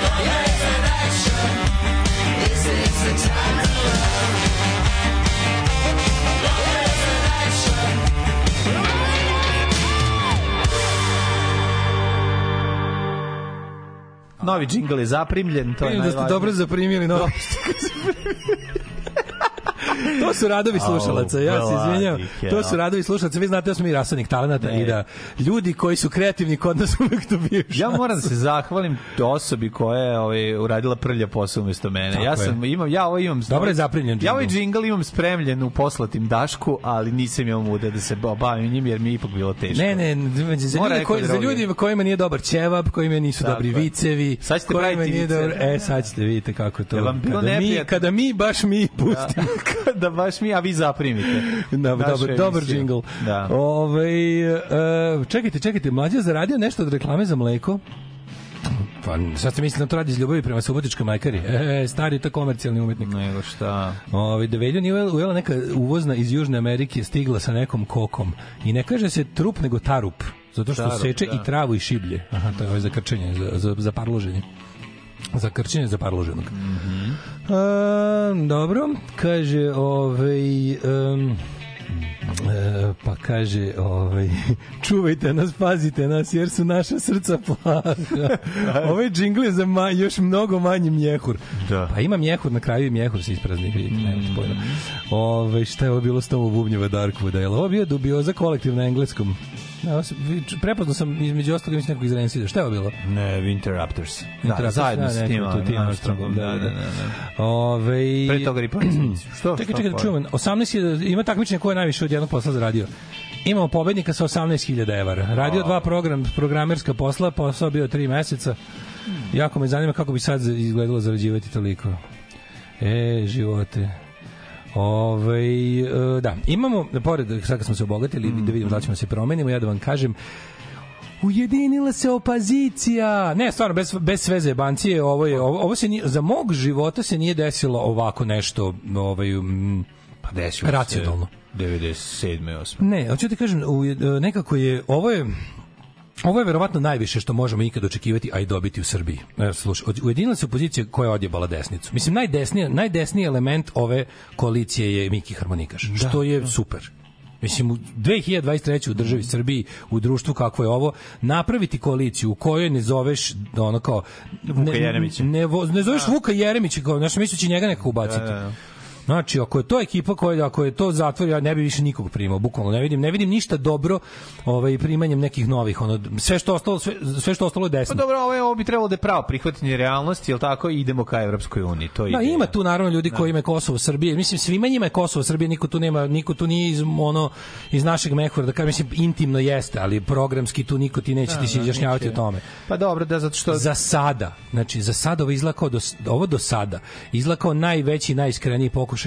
Speaker 1: Love is an action. This is the time to love. Love is an action.
Speaker 6: Pa. Novi džingl je zaprimljen, to je
Speaker 5: Vidim da ste
Speaker 6: najvažnije. Da.
Speaker 5: dobro zaprimili novi. to su radovi slušalaca, ja se
Speaker 6: Au,
Speaker 5: izvinjam.
Speaker 6: vladike,
Speaker 5: To su
Speaker 6: a.
Speaker 5: radovi slušalaca, vi znate da smo mi rasadnik talenata i da ljudi koji su kreativni kod nas uvek dobiju
Speaker 6: Ja moram da se zahvalim osobi koja je ovaj, uradila prlja posao umesto mene.
Speaker 5: Tako
Speaker 6: ja
Speaker 5: je.
Speaker 6: sam imam ja ovo imam.
Speaker 5: Dobro je zaprimljen
Speaker 6: Ja
Speaker 5: džingl.
Speaker 6: ovaj džingl imam spremljen u poslatim Dašku, ali nisam imao muda da se ba- bavim njim jer mi je ipak bilo teško.
Speaker 5: Ne, ne, za
Speaker 6: Mora
Speaker 5: ljude,
Speaker 6: neko
Speaker 5: koji, za
Speaker 6: drugi.
Speaker 5: ljude kojima nije dobar ćevap, kojima nisu
Speaker 6: Tako
Speaker 5: dobri
Speaker 6: je.
Speaker 5: vicevi,
Speaker 6: Sad ćete
Speaker 5: kojima
Speaker 6: praviti
Speaker 5: nije
Speaker 6: viceve.
Speaker 5: dobro... E, sad ćete vidite kako to...
Speaker 6: Jel vam bilo
Speaker 5: kada, mi,
Speaker 6: neprijatno?
Speaker 5: kada mi, baš mi, pustimo.
Speaker 6: Da, da baš mi, a vi zaprimite.
Speaker 5: Da,
Speaker 6: Našu
Speaker 5: dobar, dobar
Speaker 6: emisiju.
Speaker 5: džingl.
Speaker 6: Da.
Speaker 5: Ovaj, e, čekajte, čekajte, mlađa je zaradio nešto od reklame za mleko? Pa, sad se mislim da to radi iz ljubavi prema subotičkoj majkari. E, stari to komercijalni umetnik.
Speaker 6: Nego šta?
Speaker 5: Ovaj da Velju nije ujela- ujela neka uvozna iz Južne Amerike stigla sa nekom kokom. I ne kaže se trup nego tarup, zato što
Speaker 6: Tarup,
Speaker 5: seče
Speaker 6: da.
Speaker 5: i travu i šiblje. Aha, to je ovaj za krčenje, za, za, za parloženje. Za krčenje za parloženog. E, dobro, kaže ovaj em, e, pa kaže ovaj čuvajte nas, pazite nas jer su naša srca plaha. Ovaj džingl je za ma, još mnogo manji mjehur.
Speaker 6: Da. Mm.
Speaker 5: Pa ima mjehur na kraju i mjehur se isprazni, vidite, nemate pojma. Ovaj šta je ovo bilo s tom bubnjeva Darkwooda? Je li ovo bio dubioza kolektiv na engleskom? Ja, ovo se- vi- prepoznao sam između ostalog mislim nekog iz Rancida. Šta je ovo bilo?
Speaker 6: Ne, Winterrupters.
Speaker 5: Interrupters,
Speaker 6: zajedno
Speaker 5: da,
Speaker 6: s
Speaker 5: neko
Speaker 6: tim
Speaker 5: tu, Tim Armstrongom,
Speaker 6: Armstrongom. Da, da,
Speaker 5: da,
Speaker 6: da. da.
Speaker 5: Ovaj
Speaker 6: Pre toga Ripanic. Što? pa?
Speaker 5: Čekaj,
Speaker 6: šta
Speaker 5: čekaj da
Speaker 6: fali?
Speaker 5: čujem. 18 je, ima takmičenje ko je najviše od jednog posla zaradio. Imamo pobednika sa 18.000 evra. Radio dva program, programerska posla, posao bio tri meseca. Jako me zanima kako bi sad izgledalo zarađivati toliko. E, živote. Ove, e, da, imamo, pored, sad kad smo se obogatili,
Speaker 6: Mm.
Speaker 5: da vidimo da li ćemo da se promenimo, ja da vam kažem, Ujedinila se opozicija. Ne, stvarno bez bez sve zebancije, ovo je ovo, ovo se nije, za mog života se nije desilo ovako nešto, ovaj mm,
Speaker 6: Pa desilo se
Speaker 5: racionalno.
Speaker 6: 97. 8.
Speaker 5: Ne, hoću ti kažem, u, e, nekako je, ovo je, Ovo je verovatno najviše što možemo ikad očekivati, a i dobiti u Srbiji. E, slušaj, od- ujedinila se opozicija koja je odjebala desnicu. Mislim, najdesniji, najdesniji element ove koalicije je Miki Harmonikaš, da, što je da. super. Mislim, u 2023. u državi Srbiji, u društvu kako je ovo, napraviti koaliciju u kojoj ne zoveš ono kao... Vuka
Speaker 6: Jeremića.
Speaker 5: Ne, vo- ne zoveš Vuka Jeremića, kao, znaš, mislići njega neko ubaciti.
Speaker 6: Da, da, da.
Speaker 5: Znači, ako je to ekipa koja, ako je to zatvor, ja ne bi više nikog primao, bukvalno ne vidim, ne vidim ništa dobro ovaj, primanjem nekih novih, ono, sve što ostalo, sve, sve što ostalo je
Speaker 6: Pa
Speaker 5: desno.
Speaker 6: dobro, ovo, je, ovo bi trebalo da je pravo prihvatanje realnosti, jel tako, i idemo ka Evropskoj uniji. To je
Speaker 5: Da,
Speaker 6: ideja.
Speaker 5: ima tu naravno ljudi koji imaju Kosovo Srbije. Mislim svima njima je Kosovo Srbije, niko tu nema, niko tu nije iz ono iz našeg mehura, da kažem, mislim intimno jeste, ali programski tu niko ti neće
Speaker 6: Da,
Speaker 5: ti se
Speaker 6: da,
Speaker 5: izjašnjavati o
Speaker 6: neće.
Speaker 5: tome.
Speaker 6: Pa dobro, da, zato što...
Speaker 5: Za sada, znači za sada ovo izlako do, ovo do sada, izlako najveći, najiskreniji pokušaj.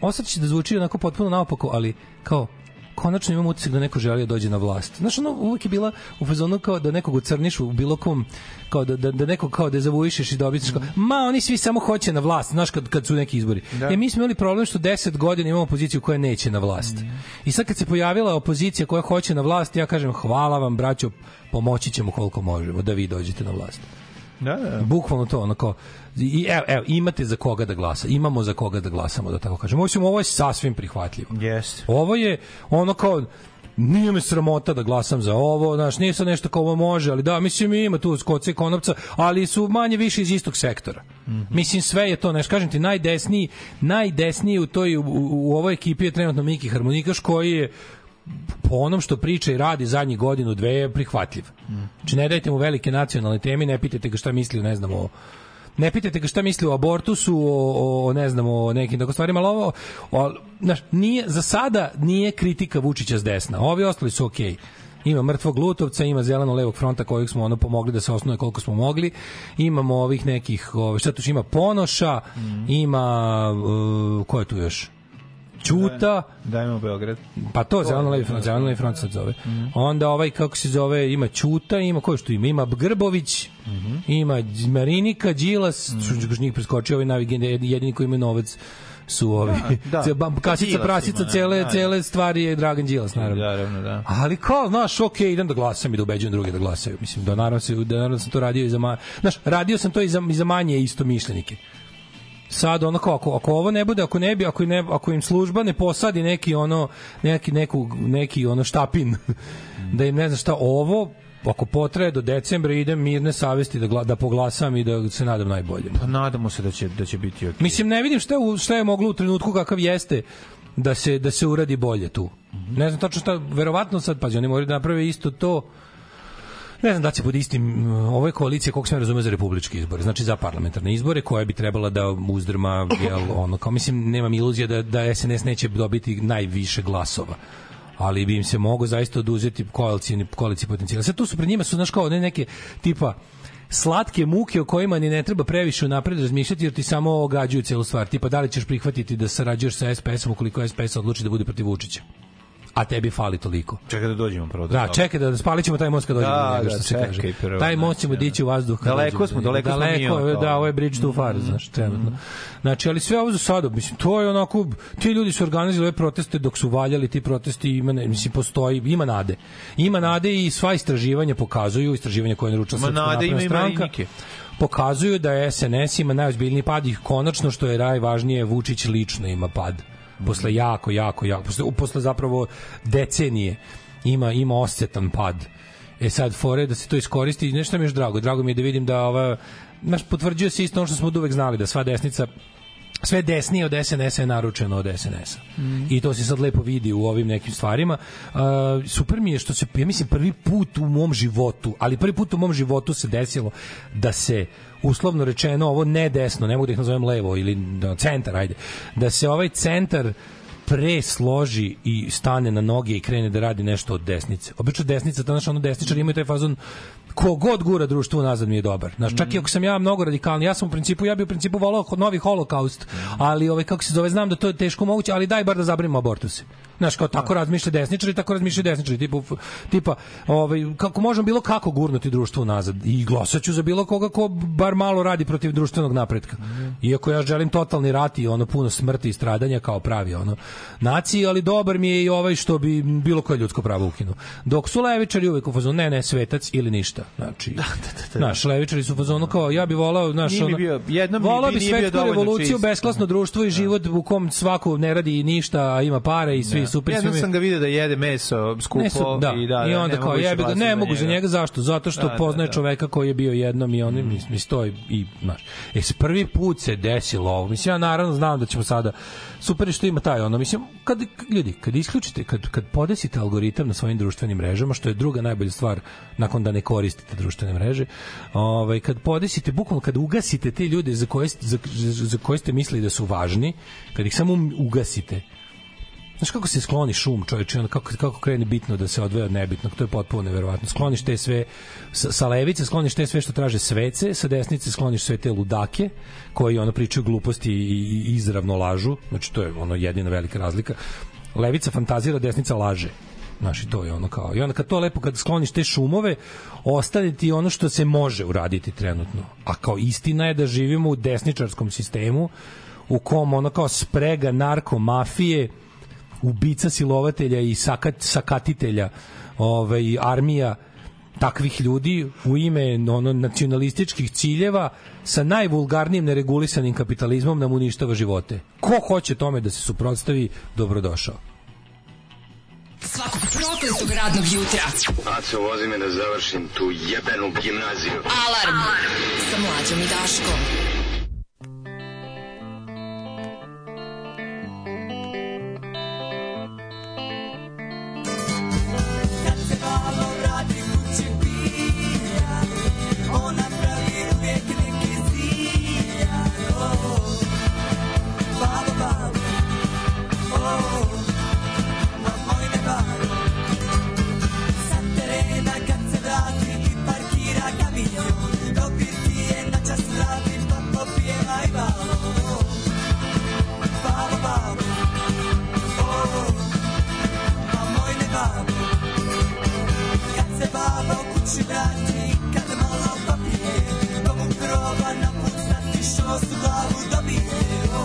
Speaker 5: Ostati će da zvuči onako potpuno naopako, ali kao konačno imam utisak da neko želi da dođe na vlast. Znaš, ono uvek je bila u fazonu kao da nekog ucrniš u bilo kom, kao da, da, da nekog kao da zavujišeš i dobićeš kao, ma oni svi samo hoće na vlast, znaš kad, kad su neki izbori. Da. E, mi smo imali problem što 10 godina imamo opoziciju koja neće na vlast. I sad kad se pojavila opozicija koja hoće na vlast, ja kažem hvala vam braćo, pomoći ćemo koliko možemo da vi dođete na vlast.
Speaker 6: Da, da.
Speaker 5: Bukvalno to, ono kao, i, evo, evo, imate za koga da glasa, imamo za koga da glasamo, da tako kažemo. Osim, ovo je sasvim prihvatljivo.
Speaker 6: Yes.
Speaker 5: Ovo je ono kao, nije me sramota da glasam za ovo, znaš, nije sad nešto kao ovo može, ali da, mislim, ima tu skoce i konopca, ali su manje više iz istog sektora. Mm -hmm. Mislim, sve je to, znaš, kažem ti, najdesniji, najdesniji u, toj, u, u ovoj ekipi je trenutno Miki Harmonikaš, koji je po onom što priča i radi zadnjih godinu, dve je prihvatljiv. Znači ne dajte mu velike nacionalne teme, ne pitajte ga šta misli, ne znam, o ne pitajte ga šta misli o abortusu, o, o, o ne znam, o nekim tako stvarima, ali ovo, o, znaš, nije, za sada nije kritika Vučića s desna, ovi ostali su okej. Okay. Ima mrtvog Lutovca, ima zeleno-levog fronta kojeg smo ono pomogli da se osnuje koliko smo mogli. Imamo ovih nekih, ove, šta tu još ima Ponoša, ima, uh, ko je tu još? Ćuta,
Speaker 6: Dajmo Beograd.
Speaker 5: Pa to, zeleno levi front, zeleno levi front se zove.
Speaker 6: Mhm.
Speaker 5: Onda ovaj, kako se zove, ima Ćuta, ima ko još tu ima, ima Grbović,
Speaker 6: Mhm.
Speaker 5: ima Đ- Marinika, Đilas, mm -hmm. njih preskočio, ovaj navigend, jedini koji ima novac su ovi.
Speaker 6: Da,
Speaker 5: Da,
Speaker 6: da.
Speaker 5: da. Kasica,
Speaker 6: Đilas
Speaker 5: prasica,
Speaker 6: ima,
Speaker 5: cele,
Speaker 6: da, da.
Speaker 5: cele stvari je Dragan Đilas, naravno.
Speaker 6: Naravno, da.
Speaker 5: Ali kao, znaš, ok, idem da glasam i da ubeđujem druge da glasaju. Mislim, da naravno, se, da naravno sam to radio i za manje. Znaš, radio sam to i za, i za manje isto mišljenike. Sad ono kao ako, ako ovo ne bude, ako ne bi, ako, ne, ako im služba ne posadi neki ono neki neku neki ono štapin da im ne znam šta ovo ako potraje do decembra idem mirne savesti da gla, da poglasam i da se nadam najbolje.
Speaker 6: Pa nadamo se da će, da će biti ok.
Speaker 5: Mislim ne vidim šta je, u- šta je moglo u trenutku kakav jeste da se da se uradi bolje tu. Ne znam tačno šta, verovatno sad pazi, oni moraju da naprave isto to. Ne znam da će pod istim ove koalicije koliko sam razumeo za republičke izbore, znači za parlamentarne izbore koja bi trebala da uzdrma jel ono kao mislim nemam iluzija da da SNS neće dobiti najviše glasova ali bi im se mogo zaista oduzeti koalicijni koalicijni potencijal. Sad tu su pred njima su znaš kao ne neke tipa slatke muke o kojima ni ne treba previše unapred razmišljati jer ti samo ogađuju celu stvar. Tipa da li ćeš prihvatiti da sarađuješ sa SPS-om ukoliko SPS odluči da bude protiv Vučića. A tebi fali toliko.
Speaker 6: Čekaj da dođemo prvo.
Speaker 5: Da, čekaj da spalit ćemo taj most kad dođemo
Speaker 6: Da,
Speaker 5: do njega,
Speaker 6: da,
Speaker 5: što se
Speaker 6: čekaj
Speaker 5: kaže.
Speaker 6: prvo,
Speaker 5: taj most
Speaker 6: znači,
Speaker 5: ćemo
Speaker 6: ono.
Speaker 5: dići u vazduh. kad
Speaker 6: Daleko
Speaker 5: dođemo
Speaker 6: smo,
Speaker 5: do njega.
Speaker 6: daleko smo mi od
Speaker 5: daleko, je,
Speaker 6: toga. Mhm.
Speaker 5: Da, ovo je bridge too far, znaš, trenutno. Znači, ali sve ovo za sada, mislim, to je onako, ti ljudi su organizovali ove proteste dok su valjali ti protesti, ima, ne- mislim, postoji, ima nade. Ima nade i sva istraživanja pokazuju, istraživanja koje je naručila
Speaker 6: Ma
Speaker 5: Srpska
Speaker 6: nade ima
Speaker 5: napredna
Speaker 6: i
Speaker 5: stranka,
Speaker 6: Marinike.
Speaker 5: pokazuju da je SNS ima najozbiljniji pad i konačno što je najvažnije, Vučić lično ima pad. Posle jako, jako, jako, posle, posle zapravo decenije ima, ima osjetan pad. E sad, fore da se to iskoristi, nešto mi je još drago. Drago mi je da vidim da ova, znaš, potvrđuje se isto ono što smo od uvek znali, da sva desnica sve desnije od SNS-a je naručeno od SNS-a. Mm. I to se sad lepo vidi u ovim nekim stvarima. Uh, super mi je što se, ja mislim, prvi put u mom životu, ali prvi put u mom životu se desilo da se uslovno rečeno ovo ne desno, ne mogu da ih nazovem levo ili da, centar, ajde, da se ovaj centar pre složi i stane na noge i krene da radi nešto od desnice. Obično desnica, to znaš, ono desničar imaju taj fazon kogod gura društvo nazad mi je dobar. Znaš, čak i ako sam ja mnogo radikalni, ja sam u principu, ja bi u principu volao kod novi holokaust, ali ovaj, kako se zove, znam da to je teško moguće, ali daj bar da zabranimo abortuse. Znaš, kao tako
Speaker 6: Da.
Speaker 5: razmišlja desničari, tako razmišlja desničari, tipa, f- tipa ovaj, kako možemo bilo kako gurnuti društvo nazad i glasaću za bilo koga ko bar malo radi protiv društvenog napretka.
Speaker 6: Mhm.
Speaker 5: Iako ja želim totalni rat i ono puno smrti i stradanja kao pravi ono naciji, ali dobar mi je i ovaj što bi bilo koje ljudsko pravo ukinuo. Dok su levičari uvek u fazonu, ne, ne, svetac ili ništa. Znači, da, da, da, Naš, levičari su u fazonu kao, ja bi volao, znaš,
Speaker 6: Nije mi bio- jednom mi
Speaker 5: volao
Speaker 6: bi-
Speaker 5: bi
Speaker 6: nije bio
Speaker 5: svetsku
Speaker 6: dovoljno
Speaker 5: revoluciju,
Speaker 6: čist.
Speaker 5: besklasno društvo i život u kom svako ne radi ništa, a ima pare i svi super.
Speaker 6: Jednom
Speaker 5: svi mi-
Speaker 6: sam ga video da jede meso skupo
Speaker 5: Ne su- da.
Speaker 6: i da, da,
Speaker 5: I onda
Speaker 6: ne
Speaker 5: kao
Speaker 6: mogu više
Speaker 5: jebi ga,
Speaker 6: glasati
Speaker 5: ne mogu za njega, zašto? Zato što
Speaker 6: Da, da,
Speaker 5: poznaje
Speaker 6: da. Mm.
Speaker 5: čoveka koji je bio jednom i on mi, mi stoji i, znaš. E, s prvi put se desilo ovo. Mislim, ja naravno znam da ćemo sada, super je što ima taj ono, mislim, kad, ljudi, kad isključite, kad, kad podesite algoritam na svojim društvenim mrežama, što je druga najbolja stvar nakon da ne koristite društvene mreže, ovaj, kad podesite, bukvalno kad ugasite te ljude za koje, ste- za, za, za koje ste mislili da su važni, kad ih samo ugasite, Znaš kako se skloni šum, čoveče, onda kako, kako krene bitno da se odvoje od nebitnog, to je potpuno neverovatno. Skloniš te sve, sa, sa levice skloniš te sve što traže svece, sa desnice skloniš sve te ludake, koji ono pričaju gluposti i, i izravno lažu, znači to je ono jedina velika razlika. Levica fantazira, desnica laže. Znaš, i to je ono kao. I onda kad to lepo, kad skloniš te šumove, ostane ti ono što se može uraditi trenutno. A kao istina je da živimo u desničarskom sistemu u kom ono kao sprega narkomafije, ubica silovatelja i sakat, sakatitelja ovaj, armija takvih ljudi u ime ono nacionalističkih ciljeva sa najvulgarnijim neregulisanim kapitalizmom nam uništava živote. Ko hoće tome da se suprotstavi, dobrodošao.
Speaker 4: Svakog prokletog radnog jutra.
Speaker 3: Aco, vozi me da završim tu jebenu gimnaziju.
Speaker 4: Alarm. Sa mlađom i Daškom.
Speaker 1: Kad se baba vrati kući pija, ona pravi uvijek neki zijaj. O, babo, babo, o, Oh, ma moj ne babo. Sa terena kad se vrati i parkira kamion, do birtije na čas vrati pa popijeva i babo. Babo, babo, o, Oh, ma moj ne babo. Kad se baba u kući vrati, kad malo popije, dom u groba napucati što su glavu dobije. O,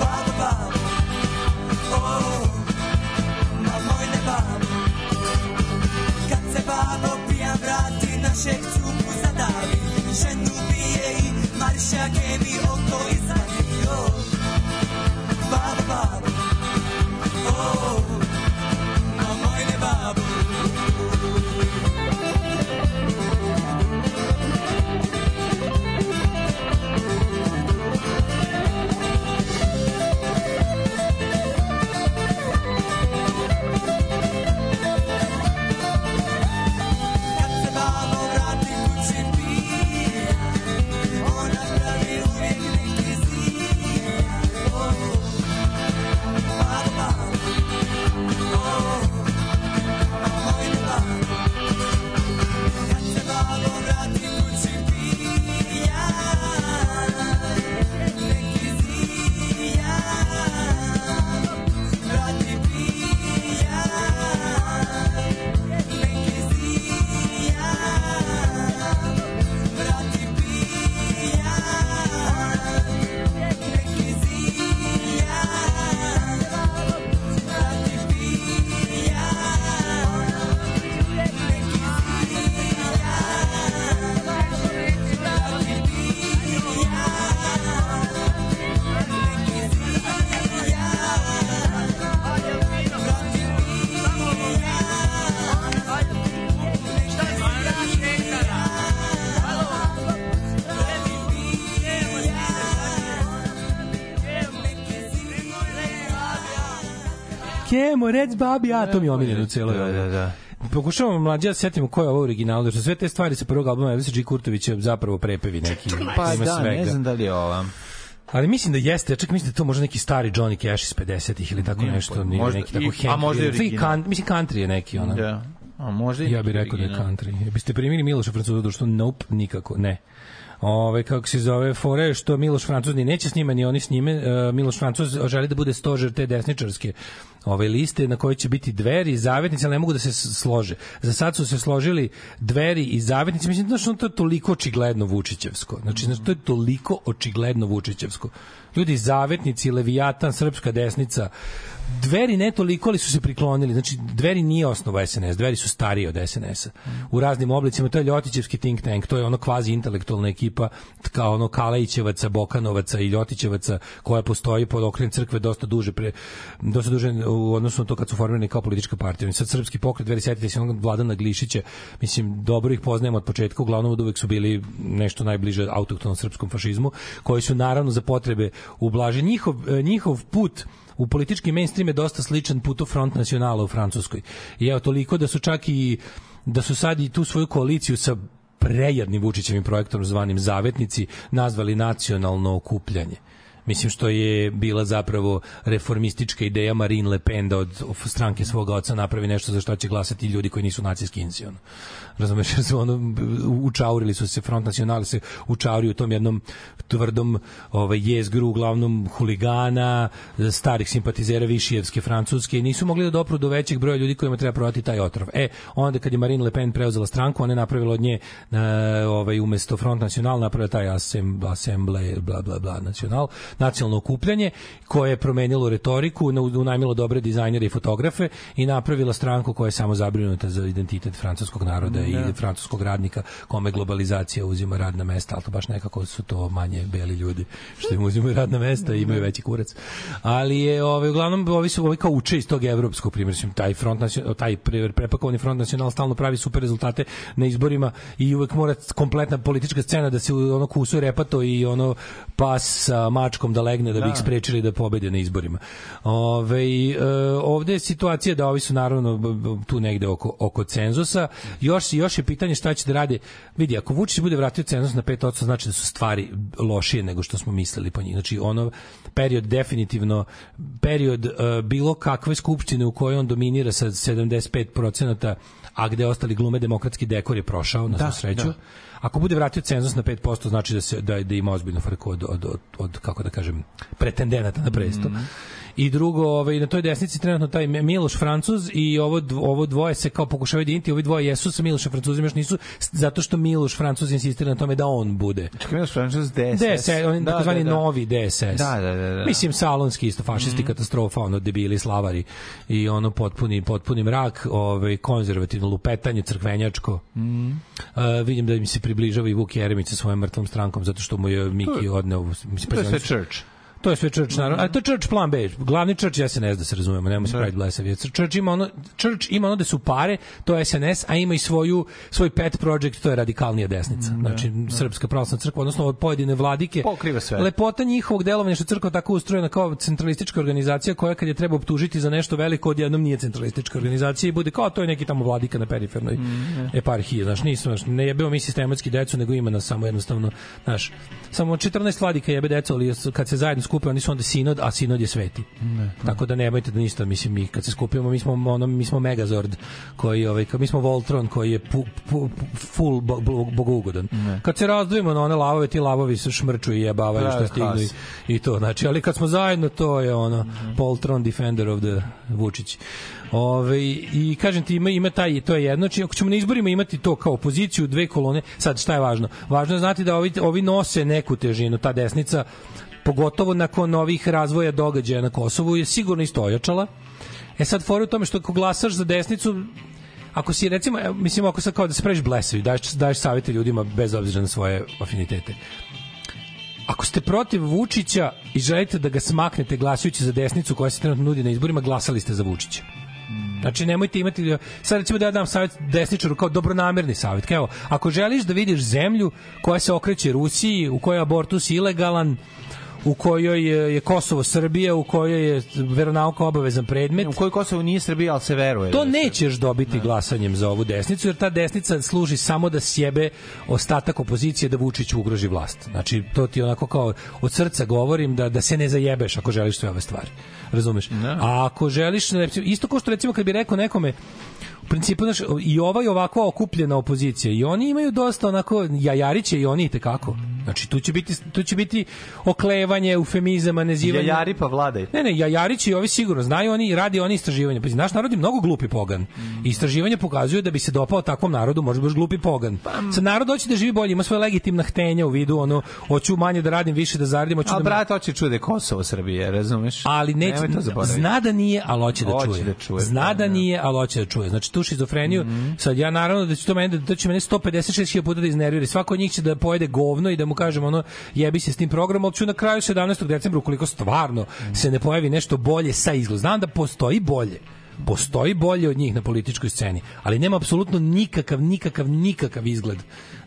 Speaker 1: babo, babo, o, ma moj ne babo. Kad se baba pijan vrati, našeg cupu zadavi, ženu bije i marša gebi oko i zadi. O, babo, babo, o, ma moj ne babo. Kad se babo vrati kući pija, ona pravi uvijek neki zijaj. O, babo, babo, o, a moj ne babo. Kad se babo vrati kući pija, neki zijaj. Vrati pija,
Speaker 5: Kemo, rec babi, a to mi je omiljeno u celoj. Da, da, da. Pokušavamo mlađe da se setimo ko je ovo original, da su sve te stvari sa prvog albuma Elvisa G. Kurtovića zapravo prepevi neki.
Speaker 6: Pa
Speaker 5: Ima
Speaker 6: da, ne znam da li je ova.
Speaker 5: Ali mislim da jeste, ja čak mislim da je to možda neki stari Johnny Cash iz 50-ih ili tako
Speaker 6: Nemam
Speaker 5: nešto,
Speaker 6: pojma.
Speaker 5: nije
Speaker 6: pa Možda
Speaker 5: neki
Speaker 6: i-
Speaker 5: tako
Speaker 6: a
Speaker 5: Hank.
Speaker 6: možda i
Speaker 5: ili- ili
Speaker 6: original.
Speaker 5: kan- Mislim country je neki ono.
Speaker 6: Da. A možda i
Speaker 5: ja bih
Speaker 6: neki
Speaker 5: rekao da je
Speaker 6: original.
Speaker 5: country. Biste primili Miloša Francuza do što nope nikako, ne. Ove, kako se zove, fore, što Miloš Francuz ni neće s njima, ni oni s njime. E, Miloš Francuz želi da bude stožer te desničarske ove liste na kojoj će biti dveri i zavetnici, ali ne mogu da se s- slože. Za sad su se složili dveri i zavetnici. Mislim, znaš, ono, to je toliko očigledno Vučićevsko. Znači, znaš, to je toliko očigledno Vučićevsko. Ljudi, zavetnici, Leviatan, srpska desnica, Dveri ne toliko, ali su se priklonili. Znači, Dveri nije osnova SNS, Dveri su stariji od SNS-a. U raznim oblicima, to je Ljotićevski think tank, to je ono kvazi intelektualna ekipa, kao ono Kalajićevaca, Bokanovaca i Ljotićevaca, koja postoji pod okriljem crkve dosta duže, pre, dosta duže u odnosu na to kad su formirani kao politička partija. Oni sad srpski pokret, Dveri, setite se onog Vladana Glišića, mislim, dobro ih poznajemo od početka, uglavnom od uvek su bili nešto najbliže autoktonom srpskom fašizmu, koji su naravno za potrebe ublaže. Njihov, njihov put u politički mainstream je dosta sličan putu Front Nacionala u Francuskoj. I evo, toliko da su čak i da su sad i tu svoju koaliciju sa prejadnim Vučićevim projektom zvanim Zavetnici nazvali nacionalno okupljanje. Mislim što je bila zapravo reformistička ideja Marine Le Pen da od stranke svoga oca napravi nešto za što će glasati ljudi koji nisu nacijski inci. Ono. Razumeš, jer su ono, učaurili su se, Front Nacional se učaurio u tom jednom tvrdom ovaj, jezgru, uglavnom huligana, starih simpatizera Višijevske, Francuske, i nisu mogli da dopru do većeg broja ljudi kojima treba prodati taj otrov. E, onda kad je Marine Le Pen preuzela stranku, ona je napravila od nje e, ovaj, umesto Front Nacional napravila taj asem, Assemble, bla, bla, bla, Nacional, nacionalno okupljanje, koje je promenilo retoriku, na- unajmilo dobre dizajnere i fotografe i napravila stranku koja je samo zabrinuta za identitet francuskog naroda i francuskog radnika, kome globalizacija uzima radna mesta, ali to baš nekako su to manje beli ljudi, što im uzimaju radna mesta i imaju veći kurac. Ali je, ovaj, uglavnom, ovi su ovi kao uče iz tog evropskog primjera, mislim, taj front nacional, taj pre- prepakovani front nacional stalno pravi super rezultate na izborima i uvek mora kompletna politička scena da se u- ono kusuje repato i ono pas sa mačkom da legne da bi
Speaker 6: Da.
Speaker 5: ih sprečili da pobede na izborima. Ove, e, ovde je situacija da ovi su naravno b- b- tu negde oko, oko cenzusa. Još, još je pitanje šta će da rade. Vidi, ako Vučić bude vratio cenzus na 5%, znači da su stvari lošije nego što smo mislili po njih. Znači, ono period definitivno, period e, bilo kakve skupštine u kojoj on dominira sa 75%, a gde ostali glume demokratski dekor je prošao, na
Speaker 6: Da,
Speaker 5: da, sreću.
Speaker 6: da.
Speaker 5: Da. Ako bude vratio cenzus na 5%, znači da se da, da ima ozbiljnu frku od, od, od, od kako da kažem pretendenata na presto. Mm. I drugo, ovaj na toj desnici trenutno taj Miloš Francuz i ovo dv- ovo dvoje se kao pokušavaju jediniti, ovi dvoje jesu sa Milošem Francuzom još nisu s- zato što Miloš Francuz insistira na tome da on bude.
Speaker 6: Čekaj, znači imaš franšiz DSS.
Speaker 5: DSS, on je da, takozvani da, da. novi DSS.
Speaker 6: Da, da, da, Mhm. da.
Speaker 5: Mislim, salonski isto fašisti, mm. katastrofa, ono, debili, slavari i ono potpuni, potpuni mrak, ovaj, konzervativno lupetanje, crkvenjačko.
Speaker 6: Mhm.
Speaker 5: Mm. Uh, vidim da im se približava i Vuk Jeremić sa svojom mrtvom strankom, zato što mu je Miki odneo... Mislim,
Speaker 6: To je
Speaker 5: pazi,
Speaker 6: sve
Speaker 5: oni su-
Speaker 6: church.
Speaker 5: To je sve
Speaker 6: Mhm.
Speaker 5: church, naravno. A to je church plan B. Glavni church je SNS, da se razumemo, nemojmo se praviti blesavi. Jer Church ima ono, church ima ono da su pare, to je SNS, a ima i svoju, svoj pet project, to je radikalnija desnica. Znači, Srpska pravoslavna crkva, odnosno od pojedine vladike.
Speaker 6: Mhm, da, Pokriva sve.
Speaker 5: Lepota njihovog delovanja je što je crkva tako ustrojena kao centralistička organizacija koja kad je treba optužiti za nešto veliko, odjednom nije centralistička organizacija i bude kao to je neki tamo vladika na perifernoj eparhiji. Znaš, nisam, znaš, ne jebemo mi sistematski decu, nego ima nas samo jednostavno, znaš, samo 14 vladika jebe decu, ali kad se zajedno skupe, oni su onda sinod, a sinod je sveti. Tako da nemojte da ništa, mislim, mi kad se skupimo, mi smo, ono, mi smo Megazord, koji, ovaj, ka- mi smo Voltron, koji je pu, pu, pu- full bo- bo- bogougodan. Kad se razdvojimo na one lavove, ti lavovi se šmrču i jebavaju
Speaker 6: Prave
Speaker 5: Ovaj, što stignu i,
Speaker 6: klas.
Speaker 5: i to. Znači, ali kad smo zajedno, to je ono, mm -hmm. Poltron Defender of the Vučić. Ove, I kažem ti, ima, ima taj, to je jedno. Či, ako ćemo na izborima imati to kao opoziciju, dve kolone, sad šta je važno? Važno je znati da ovi, ovi nose neku težinu, ta desnica, pogotovo nakon ovih razvoja događaja na Kosovu, je sigurno isto ojačala. E sad, fora je u tome što ako glasaš za desnicu, ako si recimo, e, mislim ako sad kao da se praviš blesavi, daješ, daješ savete ljudima bez obzira na svoje afinitete. Ako ste protiv Vučića i želite da ga smaknete glasujući za desnicu koja se trenutno nudi na izborima, glasali ste za Vučića. Znači nemojte imati sad recimo da ja dam savet desničaru kao dobronamerni savet. Kao, evo, ako želiš da vidiš zemlju koja se okreće Rusiji, u kojoj je abortus ilegalan, u kojoj je- je Kosovo Srbija, u kojoj je veronauka obavezan predmet. U kojoj
Speaker 6: Kosovo nije Srbija, ali se veruje. da
Speaker 5: To nećeš dobiti glasanjem za ovu desnicu, jer ta desnica služi samo da sjebe ostatak opozicije da Vučić ugroži vlast. Znači, to ti onako kao od srca govorim da, da se ne zajebeš ako želiš sve ove stvari. Razumeš? A ako želiš, recimo, isto kao što recimo kad bi rekao nekome, u principu, znaš, i ova i ovakva okupljena opozicija, i oni imaju dosta onako, jajariće i oni i tekako. Znači, tu će biti, tu će biti oklevanje, eufemizama, nezivanje.
Speaker 6: Jajari pa vladaj.
Speaker 5: Ne, ne, Jajarić i ovi sigurno znaju, oni radi oni istraživanja. Pa naš narod je mnogo glupi pogan. Istraživanja pokazuju da bi se dopao takvom narodu, može baš glupi pogan. Sa narod hoće da živi bolje, ima svoje legitimna htenja u vidu, ono, hoću manje da radim, više da zaradim, hoću
Speaker 6: A
Speaker 5: da...
Speaker 6: brat hoće čude Kosovo Srbije, razumeš?
Speaker 5: ali neće,
Speaker 6: Nemoj to zaboraviti.
Speaker 5: zna da nije, ali hoće da
Speaker 6: Hoće
Speaker 5: čuje.
Speaker 6: da Mhm. čuje,
Speaker 5: Zna da nije, ali hoće da čuje. Znači tu šizofreniju, sad ja naravno da će to mene, da će mene 156.000 puta da iznervira. i Svako od njih će da pojede govno i da mu kažem ono, jebi se s tim programom, ali ću na kraju 17. decembra, ukoliko stvarno se ne pojavi nešto bolje sa izgled. Znam da postoji bolje postoji bolje od njih na političkoj sceni, ali nema apsolutno nikakav, nikakav, nikakav izgled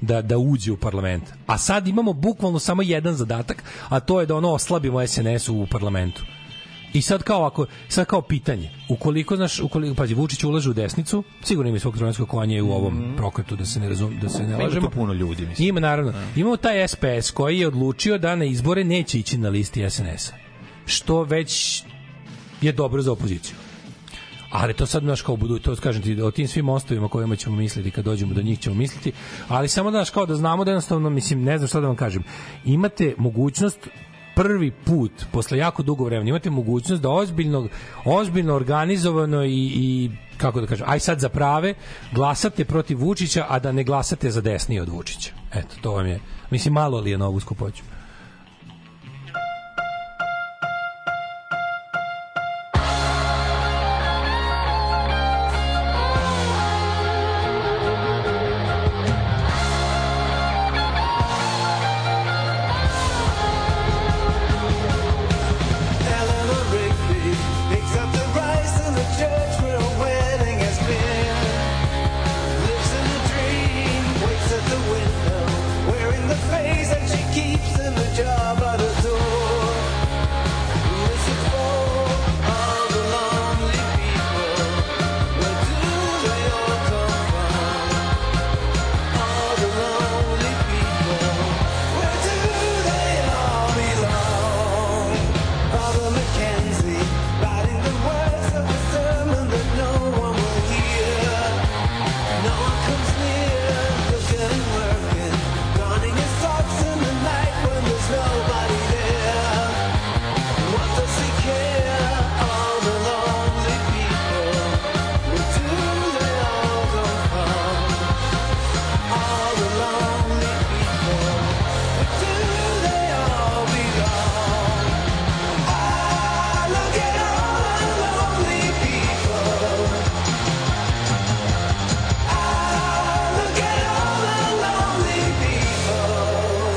Speaker 5: da, da uđe u parlament. A sad imamo bukvalno samo jedan zadatak, a to je da ono oslabimo SNS u parlamentu. I sad kao ako sad kao pitanje, ukoliko znaš, ukoliko pazi Vučić ulaže u desnicu, sigurno ima svog trojanskog konja i u ovom prokletu da se ne razum, da se
Speaker 6: Mhm.
Speaker 5: ne
Speaker 6: Pa Ima tu Mhm.
Speaker 5: lažemo.
Speaker 6: puno ljudi,
Speaker 5: mislim. Ima naravno. Imamo taj SPS koji je odlučio da na izbore neće ići na listi SNS-a. Što već je dobro za opoziciju. Ali to sad naš kao budu, to kažem ti, o tim svim mostovima kojima ćemo misliti kad dođemo do njih ćemo misliti, ali samo da naš kao da znamo da jednostavno, mislim, ne znam šta da vam kažem, imate mogućnost prvi put, posle jako dugo vremena, imate mogućnost da ozbiljno, ozbiljno organizovano i, i kako da kažem, aj sad za prave, glasate protiv Vučića, a da ne glasate za desnije od Vučića. Eto, to vam je, mislim, malo li je na ovu skupoću.
Speaker 1: Eleanor Rigby picks up the rice in the church where a wedding has been. Lives in a dream, waits at the window, wearing the face that she keeps in the jar by the door. Who is it for? All the lonely people. Where do they all come from? All the lonely people. Where do they all belong? Father Mackenzie writing the words of a sermon that no one will hear. No one comes near, looking and working, darning his socks in the night when there's nobody there. What does he care? All the lonely people, where do they all come from? All the lonely people, where do they all belong? Look at all the lonely people. Ah, look at all the lonely people.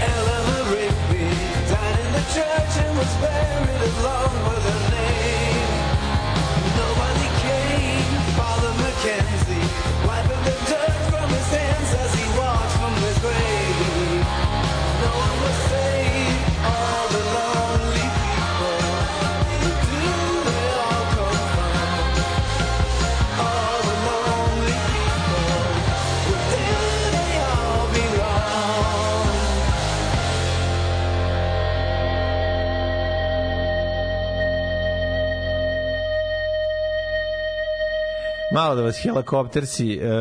Speaker 1: Eleanor Rigby died in the church and was buried along with her name. Nobody came. Father Mackenzie wiping the dirt from his hands as he walked from the grave. No one was saved. All the lonely people. Where do they all come from? All the lonely people. Where do they all belong?
Speaker 6: Malo da vas helikopterci e,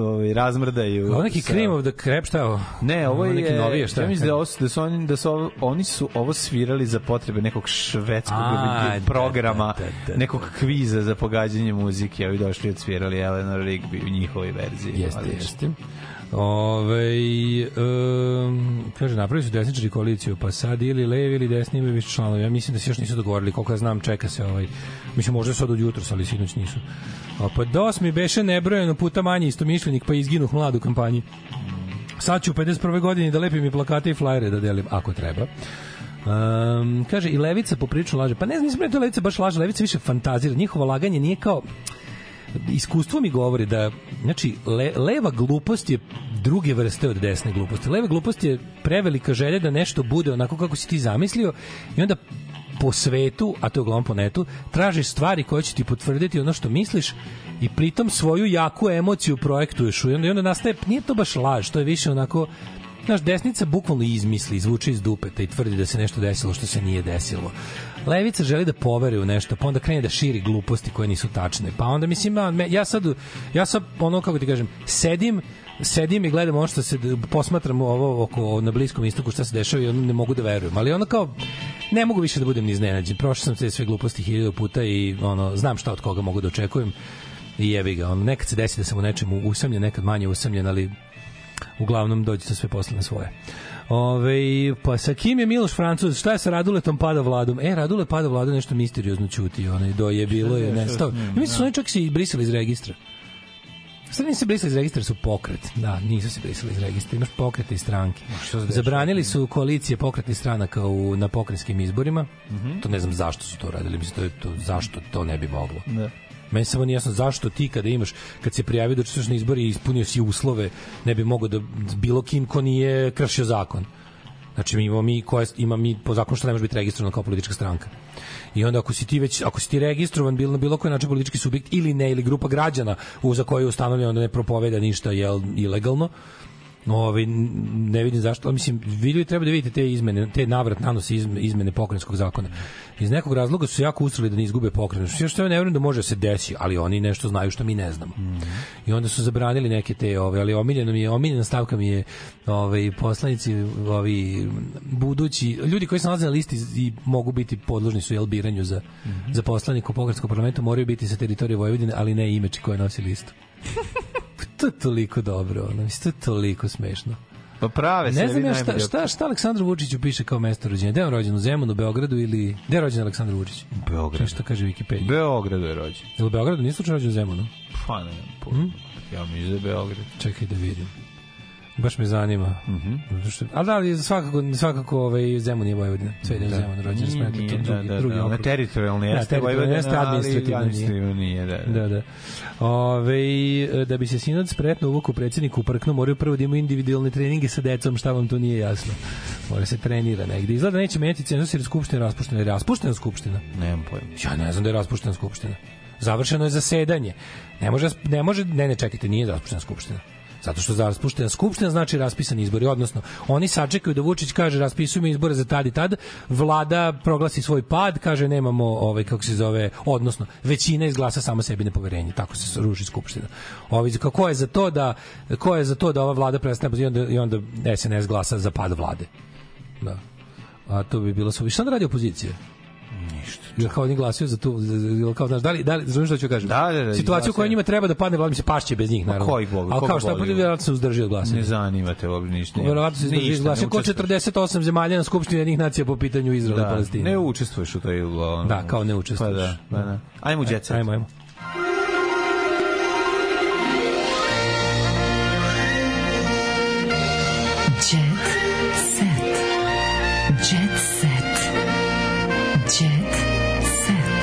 Speaker 6: ovaj, razmrdaju.
Speaker 5: Ovo neki
Speaker 6: sa-
Speaker 5: Cream of the Crap, šta je ovo?
Speaker 6: Ne, ovo je
Speaker 5: neki novije, šta
Speaker 6: Ja mislim da, ovo, su- da su oni da su ovo, oni su ovo svirali za potrebe nekog švedskog
Speaker 5: A, da,
Speaker 6: ili programa, nekog kviza za pogađanje muzike, ovi došli i odsvirali Eleanor Rigby u njihovoj verziji.
Speaker 5: Jeste,
Speaker 6: Odlično.
Speaker 5: jeste. Ove, um, kaže, napravili su desničari koaliciju, pa sad ili levi ili desni imaju više članova. Ja mislim da se još nisu dogovorili, koliko ja znam, čeka se ovaj. Mislim, možda sad od jutros, ali sinoć nisu. A, pa DOS mi beše nebrojeno puta manji istomišljenik, pa izginuh mlad u kampanji. Sad ću u 51. godini da lepim i plakate i flajere da delim, ako treba. Um, kaže, i levica poprično laže. Pa ne znam, mislim da je to levica baš laže, levica više fantazira. Njihovo laganje nije kao iskustvo mi govori da znači le, leva glupost je druge vrste od desne gluposti. Leva glupost je prevelika želja da nešto bude onako kako si ti zamislio i onda po svetu, a to je uglavnom po netu, tražiš stvari koje će ti potvrditi ono što misliš i pritom svoju jaku emociju projektuješ i onda, i onda nastaje, nije to baš laž, to je više onako Naš desnica bukvalno izmisli, izvuče iz dupeta i tvrdi da se nešto desilo što se nije desilo. Levica želi da povere u nešto, pa onda krene da širi gluposti koje nisu tačne. Pa onda mislim, ja- me- ja sad, ja sad ono, kako ti kažem, sedim sedim i gledam ono što se posmatram ovo oko na bliskom istoku šta se dešava i ono ne mogu da verujem ali ono kao ne mogu više da budem ni iznenađen prošao sam te sve gluposti hiljadu puta i ono znam šta od koga mogu da očekujem i jebi ga ono nekad se desi da sam u nečemu usamljen nekad manje usamljen ali uglavnom dođe sa sve posle na svoje. Ove, pa sa kim je Miloš Francuz? Šta je sa Raduletom pada vladom? E, Radule pada vladu nešto misteriozno ćuti. Onaj do je bilo je
Speaker 6: Šta je
Speaker 5: nestao.
Speaker 6: s njim,
Speaker 5: Ja mislim, da su oni čak se i brisali iz registra. Sad nisu se brisali iz registra, su pokret. Da, nisu se brisali iz registra. Imaš pokrete i stranke. Zabranili su koalicije pokretnih stranaka u, na pokrajinskim izborima.
Speaker 6: Mhm.
Speaker 5: To ne znam zašto su to radili. Mislim, to je to, zašto to ne bi moglo.
Speaker 6: Da.
Speaker 5: Meni samo nije jasno zašto ti kada imaš, kad se prijavio da učestvuješ na izbori i ispunio si uslove, ne bi mogao da bilo kim ko nije kršio zakon. Znači mi imamo mi koje ima mi po zakonu što ne može biti registrovan kao politička stranka. I onda ako si ti već ako si ti registrovan bilo na bilo koji način politički subjekt ili ne ili grupa građana u za koju je ustanovljeno da ne propoveda ništa jel ilegalno, Ovaj n- ne vidim zašto, ali mislim videli treba da vidite te izmene, te navrat nanos izme- izmene pokrenjskog zakona. Iz nekog razloga su jako usrali da ne izgube pokrenje. Što što ja ne verujem da može da se desi, ali oni nešto znaju što mi ne znamo. I onda su zabranili neke te ove, ali omiljeno mi je, omiljena stavka mi je ovaj poslanici, ovi budući ljudi koji se nalaze na listi i mogu biti podložni su jel biranju za za poslanika u pokrajinskom parlamentu moraju biti sa teritorije Vojvodine, ali ne imeči koje nosi listu. to je toliko dobro, ono, mislim, to je toliko smešno.
Speaker 6: Pa prave se.
Speaker 5: Ne znam
Speaker 6: vi
Speaker 5: ja šta,
Speaker 6: najbolje.
Speaker 5: šta, šta Aleksandru Vučiću piše kao mesto rođenja. Gde je on rođen? U Zemunu, Beogradu ili... Gde je rođen Aleksandar Vučić?
Speaker 6: Beograd.
Speaker 5: Šta kaže Wikipedia?
Speaker 6: Beogradu je rođen.
Speaker 5: Jel u Beogradu nije slučajno rođen u Zemunu?
Speaker 6: Pa ne,
Speaker 5: Hm?
Speaker 6: hmm? ja mislim da je Beograd.
Speaker 5: Čekaj da vidim. Baš me zanima.
Speaker 6: Mhm.
Speaker 5: Zato što- A da, ali svakako, svakako ovaj, Zemun je Vojvodina. Sve ide u Zemun rođen.
Speaker 6: Da. Nije,
Speaker 5: smetli, to
Speaker 6: nije,
Speaker 5: drugi,
Speaker 6: da, da,
Speaker 5: drugi
Speaker 6: da,
Speaker 5: okrug.
Speaker 6: ona teritorijalno
Speaker 5: Da,
Speaker 6: jeste
Speaker 5: teritorijalno
Speaker 6: Vojvodina,
Speaker 5: jeste,
Speaker 6: ali
Speaker 5: administrativno nije.
Speaker 6: administrativno nije, da, da.
Speaker 5: da, da. Ove, da bi se sinac spretno uvuk u predsjedniku uprknu, moraju prvo da imaju individualne treninge sa decom, šta vam tu nije jasno. Mora se trenira negde. Izgleda da neće menjati cenzus jer je skupština raspuštena. Je raspuštena skupština?
Speaker 6: Nemam pojma.
Speaker 5: Ja ne znam da je raspuštena skupština. Završeno je zasedanje. Ne može, ne može, ne, ne, čekajte, nije raspuštena skupština. Zato što za raspuštena skupština znači raspisan izbori, odnosno oni sačekaju da Vučić kaže raspisujemo izbore za tad i tad, vlada proglasi svoj pad, kaže nemamo ovaj kako se zove, odnosno većina izglasa sama sebi nepoverenje, tako se ruši skupština. Ovi kako je za to da ko je za to da ova vlada prestane i onda i onda SNS glasa za pad vlade. Da. A to bi bilo suvišno. Šta da radi opozicija? Jel kao oni glasaju za tu, za- za- jel kao, znaš, da li, da li, razumiješ što ću kažem?
Speaker 6: Da, da, da,
Speaker 5: Situaciju koja
Speaker 6: glasaju.
Speaker 5: njima treba da padne, vlada mi se pašće bez njih,
Speaker 6: Ma
Speaker 5: naravno.
Speaker 6: koji Bog,
Speaker 5: Ali
Speaker 6: koga
Speaker 5: kao šta,
Speaker 6: boli
Speaker 5: pa
Speaker 6: ovo?
Speaker 5: vjerojatno se uzdrži od glasa.
Speaker 6: Ne zanima te ovdje ništa.
Speaker 5: Verovatno se izdrži iz
Speaker 6: Ništa,
Speaker 5: glasa.
Speaker 6: ne
Speaker 5: Ko
Speaker 6: učestvuješ.
Speaker 5: 48 zemalja na Skupštini jednih nacija po pitanju Izraela i
Speaker 6: Da,
Speaker 5: Palestine.
Speaker 6: ne učestvuješ u toj... ono,
Speaker 5: Da, kao ne učestvuješ.
Speaker 6: Pa da, da, da. Ajmo u jet set.
Speaker 5: Ajmo, ajmo.
Speaker 4: Jet set. Jet set. Jet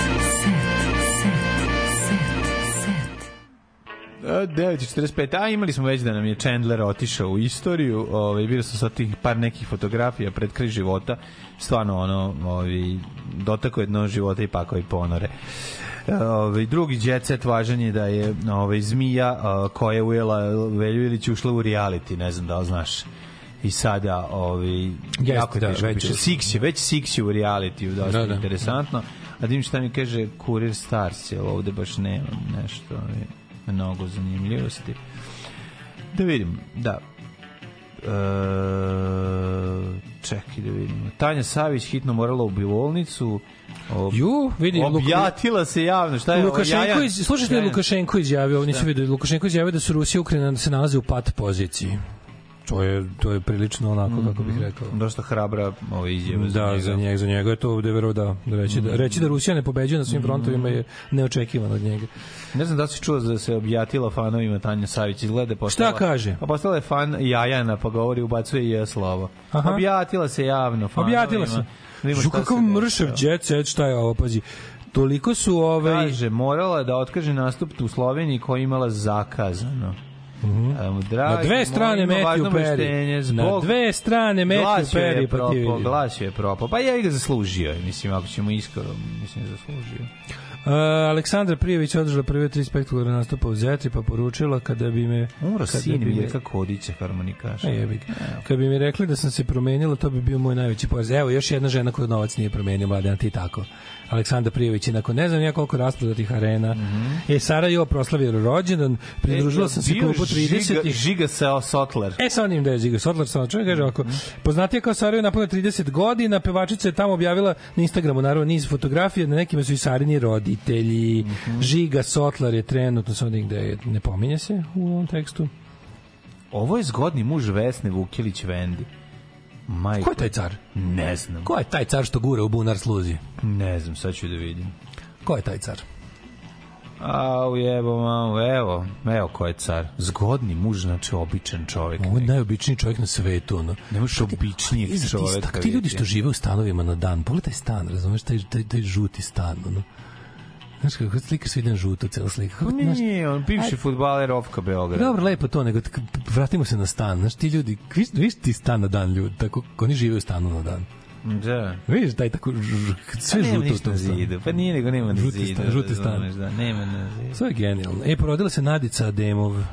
Speaker 6: A, 9.45, a imali smo već da nam je Chandler otišao u istoriju, ovaj, bilo sam sad tih par nekih fotografija pred kraj života, stvarno ono, ovaj, dotako jedno života i pakao i ponore. E, Ovaj, drugi jet set važan je da je ovaj, zmija a, koja je ujela Velju Ilić ušla u reality, ne znam da li znaš. I sada ovaj, jako je
Speaker 5: da,
Speaker 6: teško
Speaker 5: već
Speaker 6: piše.
Speaker 5: je.
Speaker 6: Six je, već Six je u reality, dosta
Speaker 5: Da, da.
Speaker 6: interesantno. A dim šta mi kaže Kurir Stars, je ovde baš nemam nešto ovaj, mnogo zanimljivosti. Da vidim, da. E, čekaj da vidimo. Tanja Savić hitno morala u bivolnicu. Ob,
Speaker 5: Ju, vidi, Luka-
Speaker 6: objatila se javno. Šta je ovo,
Speaker 5: Lukašenko,
Speaker 6: Jajan?
Speaker 5: iz, slušaj što je
Speaker 6: Jajan.
Speaker 5: Lukašenko izjavio, ovo nisi vidio, Lukašenko izjavio da su Rusija i Ukrajina da se nalaze u pat poziciji. Mhm. To je, to je prilično onako, kako bih rekao.
Speaker 6: Dosta hrabra ova izjava.
Speaker 5: Da, za njega, za njega je to ovde vero da, da reći,
Speaker 6: Mm.
Speaker 5: da, reći da Rusija ne pobeđuje na svim frontovima je neočekivano od njega.
Speaker 6: Ne znam da li si čuo da se objatila fanovima Tanja Savić izgleda da je postala,
Speaker 5: Šta kaže?
Speaker 6: Pa postala je fan Jajana, pa govori, ubacuje i je slovo.
Speaker 5: Aha.
Speaker 6: Objatila se javno fanovima.
Speaker 5: Objatila se.
Speaker 6: Pa, Da vidimo
Speaker 5: Žu
Speaker 6: šta
Speaker 5: kakav
Speaker 6: se dešava.
Speaker 5: mršav jet set, šta je ovo, pazi. Toliko su ovaj- ove...
Speaker 6: Kaže, morala je da otkaže nastup u Sloveniji koja je imala zakazano. Mm
Speaker 5: Mhm. Na dve strane Matthew Perry. Na dve strane Matthew Perry, pa ti vidi.
Speaker 6: Glas je propao. Pa ja ga zaslužio, je, mislim, ako ćemo iskoro, mislim, zaslužio.
Speaker 5: Uh, Aleksandra Prijević održala prve tri spektakularne nastupa u Zetri, pa poručila kada bi me...
Speaker 6: Umro
Speaker 5: kada
Speaker 6: sin
Speaker 5: bi me-
Speaker 6: Mirka Kodića, harmonikaša.
Speaker 5: E, jebi ga. Kad bi mi rekli da sam se promenila, to bi bio moj najveći poraz. Evo, još jedna žena koja novac nije promenila, mladena ti tako. Aleksandar Prijević je nakon ne znam ja koliko rasprodatih arena. E, Sarajevo proslavio rođendan, pridružila sam se
Speaker 6: Bio
Speaker 5: klubu 30
Speaker 6: E, Žiga, žiga se Sotler.
Speaker 5: E, sa onim da je Žiga Sotlar, sa čovjek kaže ovako, poznatija kao Sarajevo napune 30 godina, pevačica je tamo objavila na Instagramu, naravno, niz fotografija, na nekima su i Sarini roditelji, Žiga Sotlar je trenutno, sa negde da je, ne pominje se u ovom tekstu.
Speaker 6: Ovo je zgodni muž Vesne Vukilić Vendi. Majko.
Speaker 5: Ko je taj car?
Speaker 6: Ne znam.
Speaker 5: Ko je taj car što gura u bunar sluzi?
Speaker 6: Ne znam, sad ću da vidim.
Speaker 5: Ko je taj car?
Speaker 6: A, ujebo, mamu, evo, evo ko je car. Zgodni muž, znači običan čovjek.
Speaker 5: Ovo je najobičniji čovjek na svetu, ono.
Speaker 6: Ne možeš običnijeg
Speaker 5: Ti, ti,
Speaker 6: čovjeka
Speaker 5: tak, ti ljudi što
Speaker 6: vidjeti.
Speaker 5: žive u stanovima na dan, pogledaj stan, razumeš, taj, taj, taj žuti stan, ono. Znaš kako slika svi dan žuto, cela slika. Kako, znaš,
Speaker 6: Pa Nije, on bivši fudbaler Ofka Beograd.
Speaker 5: Dobro, lepo to, nego tak- vratimo se na stan. Znaš, ti ljudi, viš, viš ti stan na dan ljudi, tako, oni žive u stanu na dan.
Speaker 6: Da.
Speaker 5: Vidiš, taj tako, ž- sve
Speaker 6: Pa nema
Speaker 5: žuto u
Speaker 6: ništa
Speaker 5: tom
Speaker 6: na
Speaker 5: stanu.
Speaker 6: zidu. Pa nije nego nema na
Speaker 5: Žuti
Speaker 6: zidu.
Speaker 5: stan, žuti stan.
Speaker 6: razumeš, Da, nema na zidu.
Speaker 5: Sve je genijalno. E, porodila se Nadica Ademov.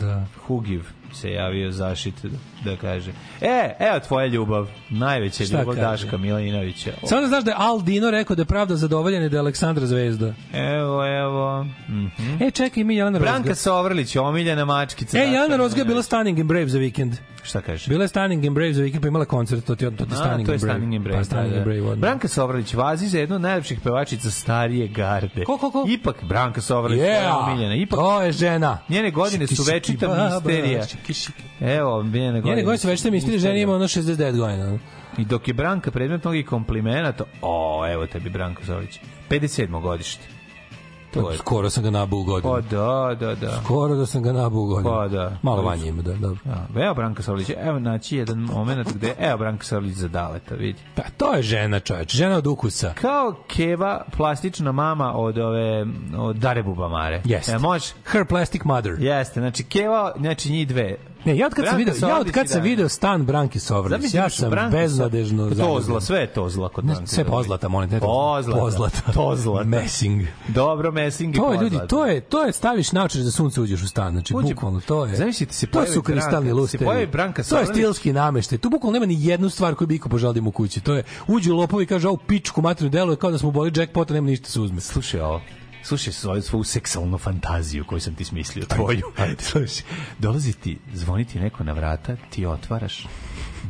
Speaker 5: Da.
Speaker 6: Hugiv se javio zašit da, da kaže. E, evo tvoja ljubav. Najveća
Speaker 5: Šta
Speaker 6: ljubav
Speaker 5: kaže?
Speaker 6: Daška Milinovića. O,
Speaker 5: Samo da znaš da je Al Dino rekao da je pravda zadovoljena i da je Aleksandra zvezda.
Speaker 6: Evo, evo. Mhm.
Speaker 5: E, čekaj, mi Jelena Rozga.
Speaker 6: Branka Sovrlić, omiljena mačkica.
Speaker 5: E,
Speaker 6: Daška
Speaker 5: Jelena Rozga je bila
Speaker 6: Milinovića.
Speaker 5: Stunning in Brave za vikend.
Speaker 6: Šta kaže?
Speaker 5: Bila je Stunning in Brave za vikend, pa imala koncert, to ti, to ti
Speaker 6: A,
Speaker 5: Stunning,
Speaker 6: to je
Speaker 5: in Brave.
Speaker 6: Stunning in Brave.
Speaker 5: Pa, Stunning
Speaker 6: da, da.
Speaker 5: in Brave, odmah.
Speaker 6: Branka Sovrlić vazi za jednu od najlepših pevačica starije garde.
Speaker 5: Ko, ko, ko?
Speaker 6: Ipak Branka Sovrlić yeah.
Speaker 5: Yeah!
Speaker 6: omiljena. Ipak
Speaker 5: To je žena.
Speaker 6: njene godine su
Speaker 5: Šiki, šiki,
Speaker 6: večita
Speaker 5: baba,
Speaker 6: misterija.
Speaker 5: šiki, šiki.
Speaker 6: Evo, njene godine.
Speaker 5: Njene godine su već te mislili, žena ima ono 69 godina.
Speaker 6: I dok je Branka predmet mnogih komplimenata, o, evo tebi Branka Sovrlić. 57. godište. To je-
Speaker 5: Skoro sam ga nabao u godinu.
Speaker 6: Pa da, da, da.
Speaker 5: Skoro da sam ga nabao u godinu.
Speaker 6: Pa da.
Speaker 5: Malo manje ima, da, dobro.
Speaker 6: Da, Evo Branka Sovrlić, evo naći jedan moment gde, evo Branka Sovrlić za daleta, vidi.
Speaker 5: Pa to je žena, čoveč, žena od ukusa.
Speaker 6: Kao Keva, plastična mama od ove od Dare Bubamare.
Speaker 5: Jeste.
Speaker 6: Jel može?
Speaker 5: Her plastic mother.
Speaker 6: Jeste, znači Keva, znači njih dve.
Speaker 5: Ne, ja od kad sam
Speaker 6: Branka
Speaker 5: video, ja od
Speaker 6: Sovrlić
Speaker 5: kad
Speaker 6: i
Speaker 5: sam
Speaker 6: Dare.
Speaker 5: video stan Branke Sovrlić,
Speaker 6: Zamisli da
Speaker 5: ja
Speaker 6: imaš
Speaker 5: sam
Speaker 6: Branku
Speaker 5: beznadežno
Speaker 6: Sovrlić.
Speaker 5: zaljubljen.
Speaker 6: Tozla, sve je Tozla kod
Speaker 5: Ne,
Speaker 6: Branke
Speaker 5: sve
Speaker 6: Sovrlić.
Speaker 5: pozlata, molim te.
Speaker 6: Pozlata.
Speaker 5: Pozlata.
Speaker 6: Pozlata.
Speaker 5: Messing.
Speaker 6: Dobro, Messing i
Speaker 5: To je
Speaker 6: Pozlata.
Speaker 5: ljudi, to je to je staviš naočare za sunce uđeš u stan, znači
Speaker 6: Uđe-
Speaker 5: bukvalno to je.
Speaker 6: Zamislite, se
Speaker 5: to
Speaker 6: pojavi
Speaker 5: su kristalni
Speaker 6: Branka-
Speaker 5: lusteri.
Speaker 6: se pojavi Branka
Speaker 5: to je
Speaker 6: Sovrlić.
Speaker 5: stilski nameštaj. Tu bukvalno nema ni jednu stvar koju bi iko poželio da ima u kući. To je uđu lopovi i kažu au pičku materinu deluje kao da smo boli jackpota, nema ništa da se uzme.
Speaker 6: Slušaj ovo. Slušaj svoju, svoju seksualnu fantaziju koju sam ti smislio, tvoju. Slušaj, dolazi ti, zvoni ti neko na vrata, ti otvaraš,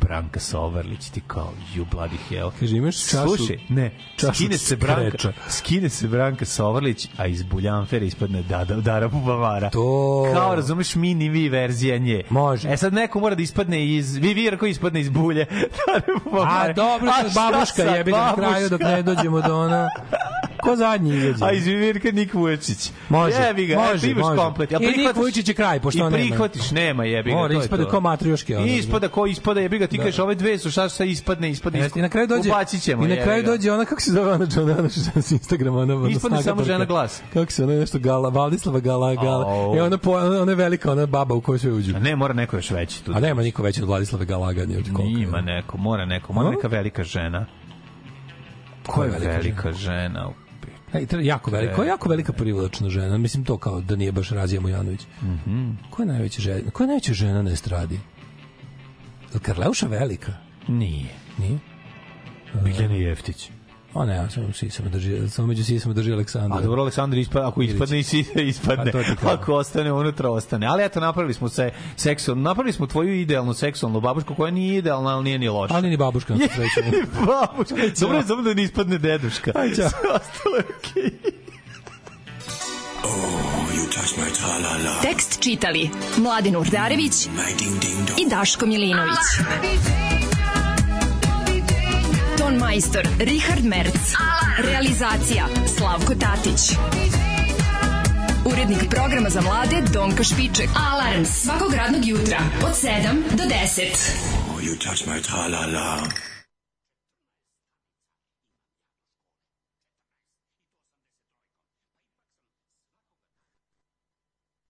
Speaker 6: Branka Sovrlić, ti kao, you bloody hell.
Speaker 5: Kaže imaš čašu.
Speaker 6: Slušaj, ne,
Speaker 5: čašu
Speaker 6: skine se Branka,
Speaker 5: kreča.
Speaker 6: skine se Branka Sovrlić, a iz Buljanfera ispadne Dada, Dara Bubamara.
Speaker 5: To.
Speaker 6: Kao, razumeš, mini vi verzija nje.
Speaker 5: Može.
Speaker 6: E sad neko mora da ispadne iz, vi virko ispadne iz bulje. Dara Bubamare.
Speaker 5: A dobro,
Speaker 6: A šta
Speaker 5: babuška
Speaker 6: sad,
Speaker 5: jebi ga na kraju dok ne
Speaker 6: babuška?
Speaker 5: dođemo do ona. Ko zadnji izađe?
Speaker 6: A iz Vivirka Nik Vučić.
Speaker 5: Može,
Speaker 6: jebi ga,
Speaker 5: može,
Speaker 6: eto, imaš
Speaker 5: može.
Speaker 6: komplet. Jel
Speaker 5: I Nik
Speaker 6: prihvataš?
Speaker 5: Vučić je kraj, pošto
Speaker 6: I
Speaker 5: on nema.
Speaker 6: prihvatiš, nema jebi ga.
Speaker 5: Mora,
Speaker 6: to je
Speaker 5: ispada
Speaker 6: to.
Speaker 5: kao matrioške, ono. Da.
Speaker 6: I ispada ko ispada, jebi ga, ti kažeš ove dve su, šta se ispadne, ispadne.
Speaker 5: Jeste, I na kraju dođe
Speaker 6: Ubacit ćemo,
Speaker 5: I na
Speaker 6: jebi
Speaker 5: kraju
Speaker 6: ga.
Speaker 5: dođe ona kako se zove ona žena ona žena sa Instagrama ona ona
Speaker 6: Ispadne
Speaker 5: snaga
Speaker 6: samo
Speaker 5: tolika.
Speaker 6: žena glas.
Speaker 5: Kako se ona nešto Gala Valdislava Gala Gala.
Speaker 6: Au.
Speaker 5: I ona po, ona ona je velika ona baba u koju sve uđu.
Speaker 6: A ne, mora neko još veći tu.
Speaker 5: A nema niko veći od Vladislave Galaga ni od koga.
Speaker 6: Ima neko, mora neko, mora
Speaker 5: A?
Speaker 6: neka velika žena.
Speaker 5: Ko
Speaker 6: Koja
Speaker 5: je
Speaker 6: je
Speaker 5: velika
Speaker 6: velika žena?
Speaker 5: E, tre- jako velika, koja je jako velika privlačna žena. Mislim to kao da nije baš Razija Mujanović. Mhm. Ko je najveća žena? Ko je najveća žena na estradi? Jel Karleuša velika?
Speaker 6: Nije.
Speaker 5: Nije?
Speaker 6: Biljana Jeftić.
Speaker 5: O ne, samo sisama drži, samo među sisama drži Aleksandar.
Speaker 6: A dobro, Aleksandar, ispa, ako ispadne, isi- ispadne.
Speaker 5: da. Pa to ti kažem.
Speaker 6: ako ostane, unutra ostane. Ali eto, napravili smo se seksualno, napravili smo tvoju idealnu seksualnu babušku, koja nije idealna, ali nije ni loša.
Speaker 5: Ali ni babuška na sreću.
Speaker 6: Babuška. Dobro je samo da ne ispadne deduška.
Speaker 5: Aj,
Speaker 6: Sve
Speaker 5: ćao.
Speaker 6: ostalo je okej.
Speaker 4: Tekst čitali Mladin Urdarević i Daško Milinović. Ton majstor Richard Merc. Realizacija Slavko Tatić. Urednik programa za mlade Donka Špiček. Alarms svakog radnog jutra od 7 do 10.
Speaker 7: Oh, you touch my tra-la-la.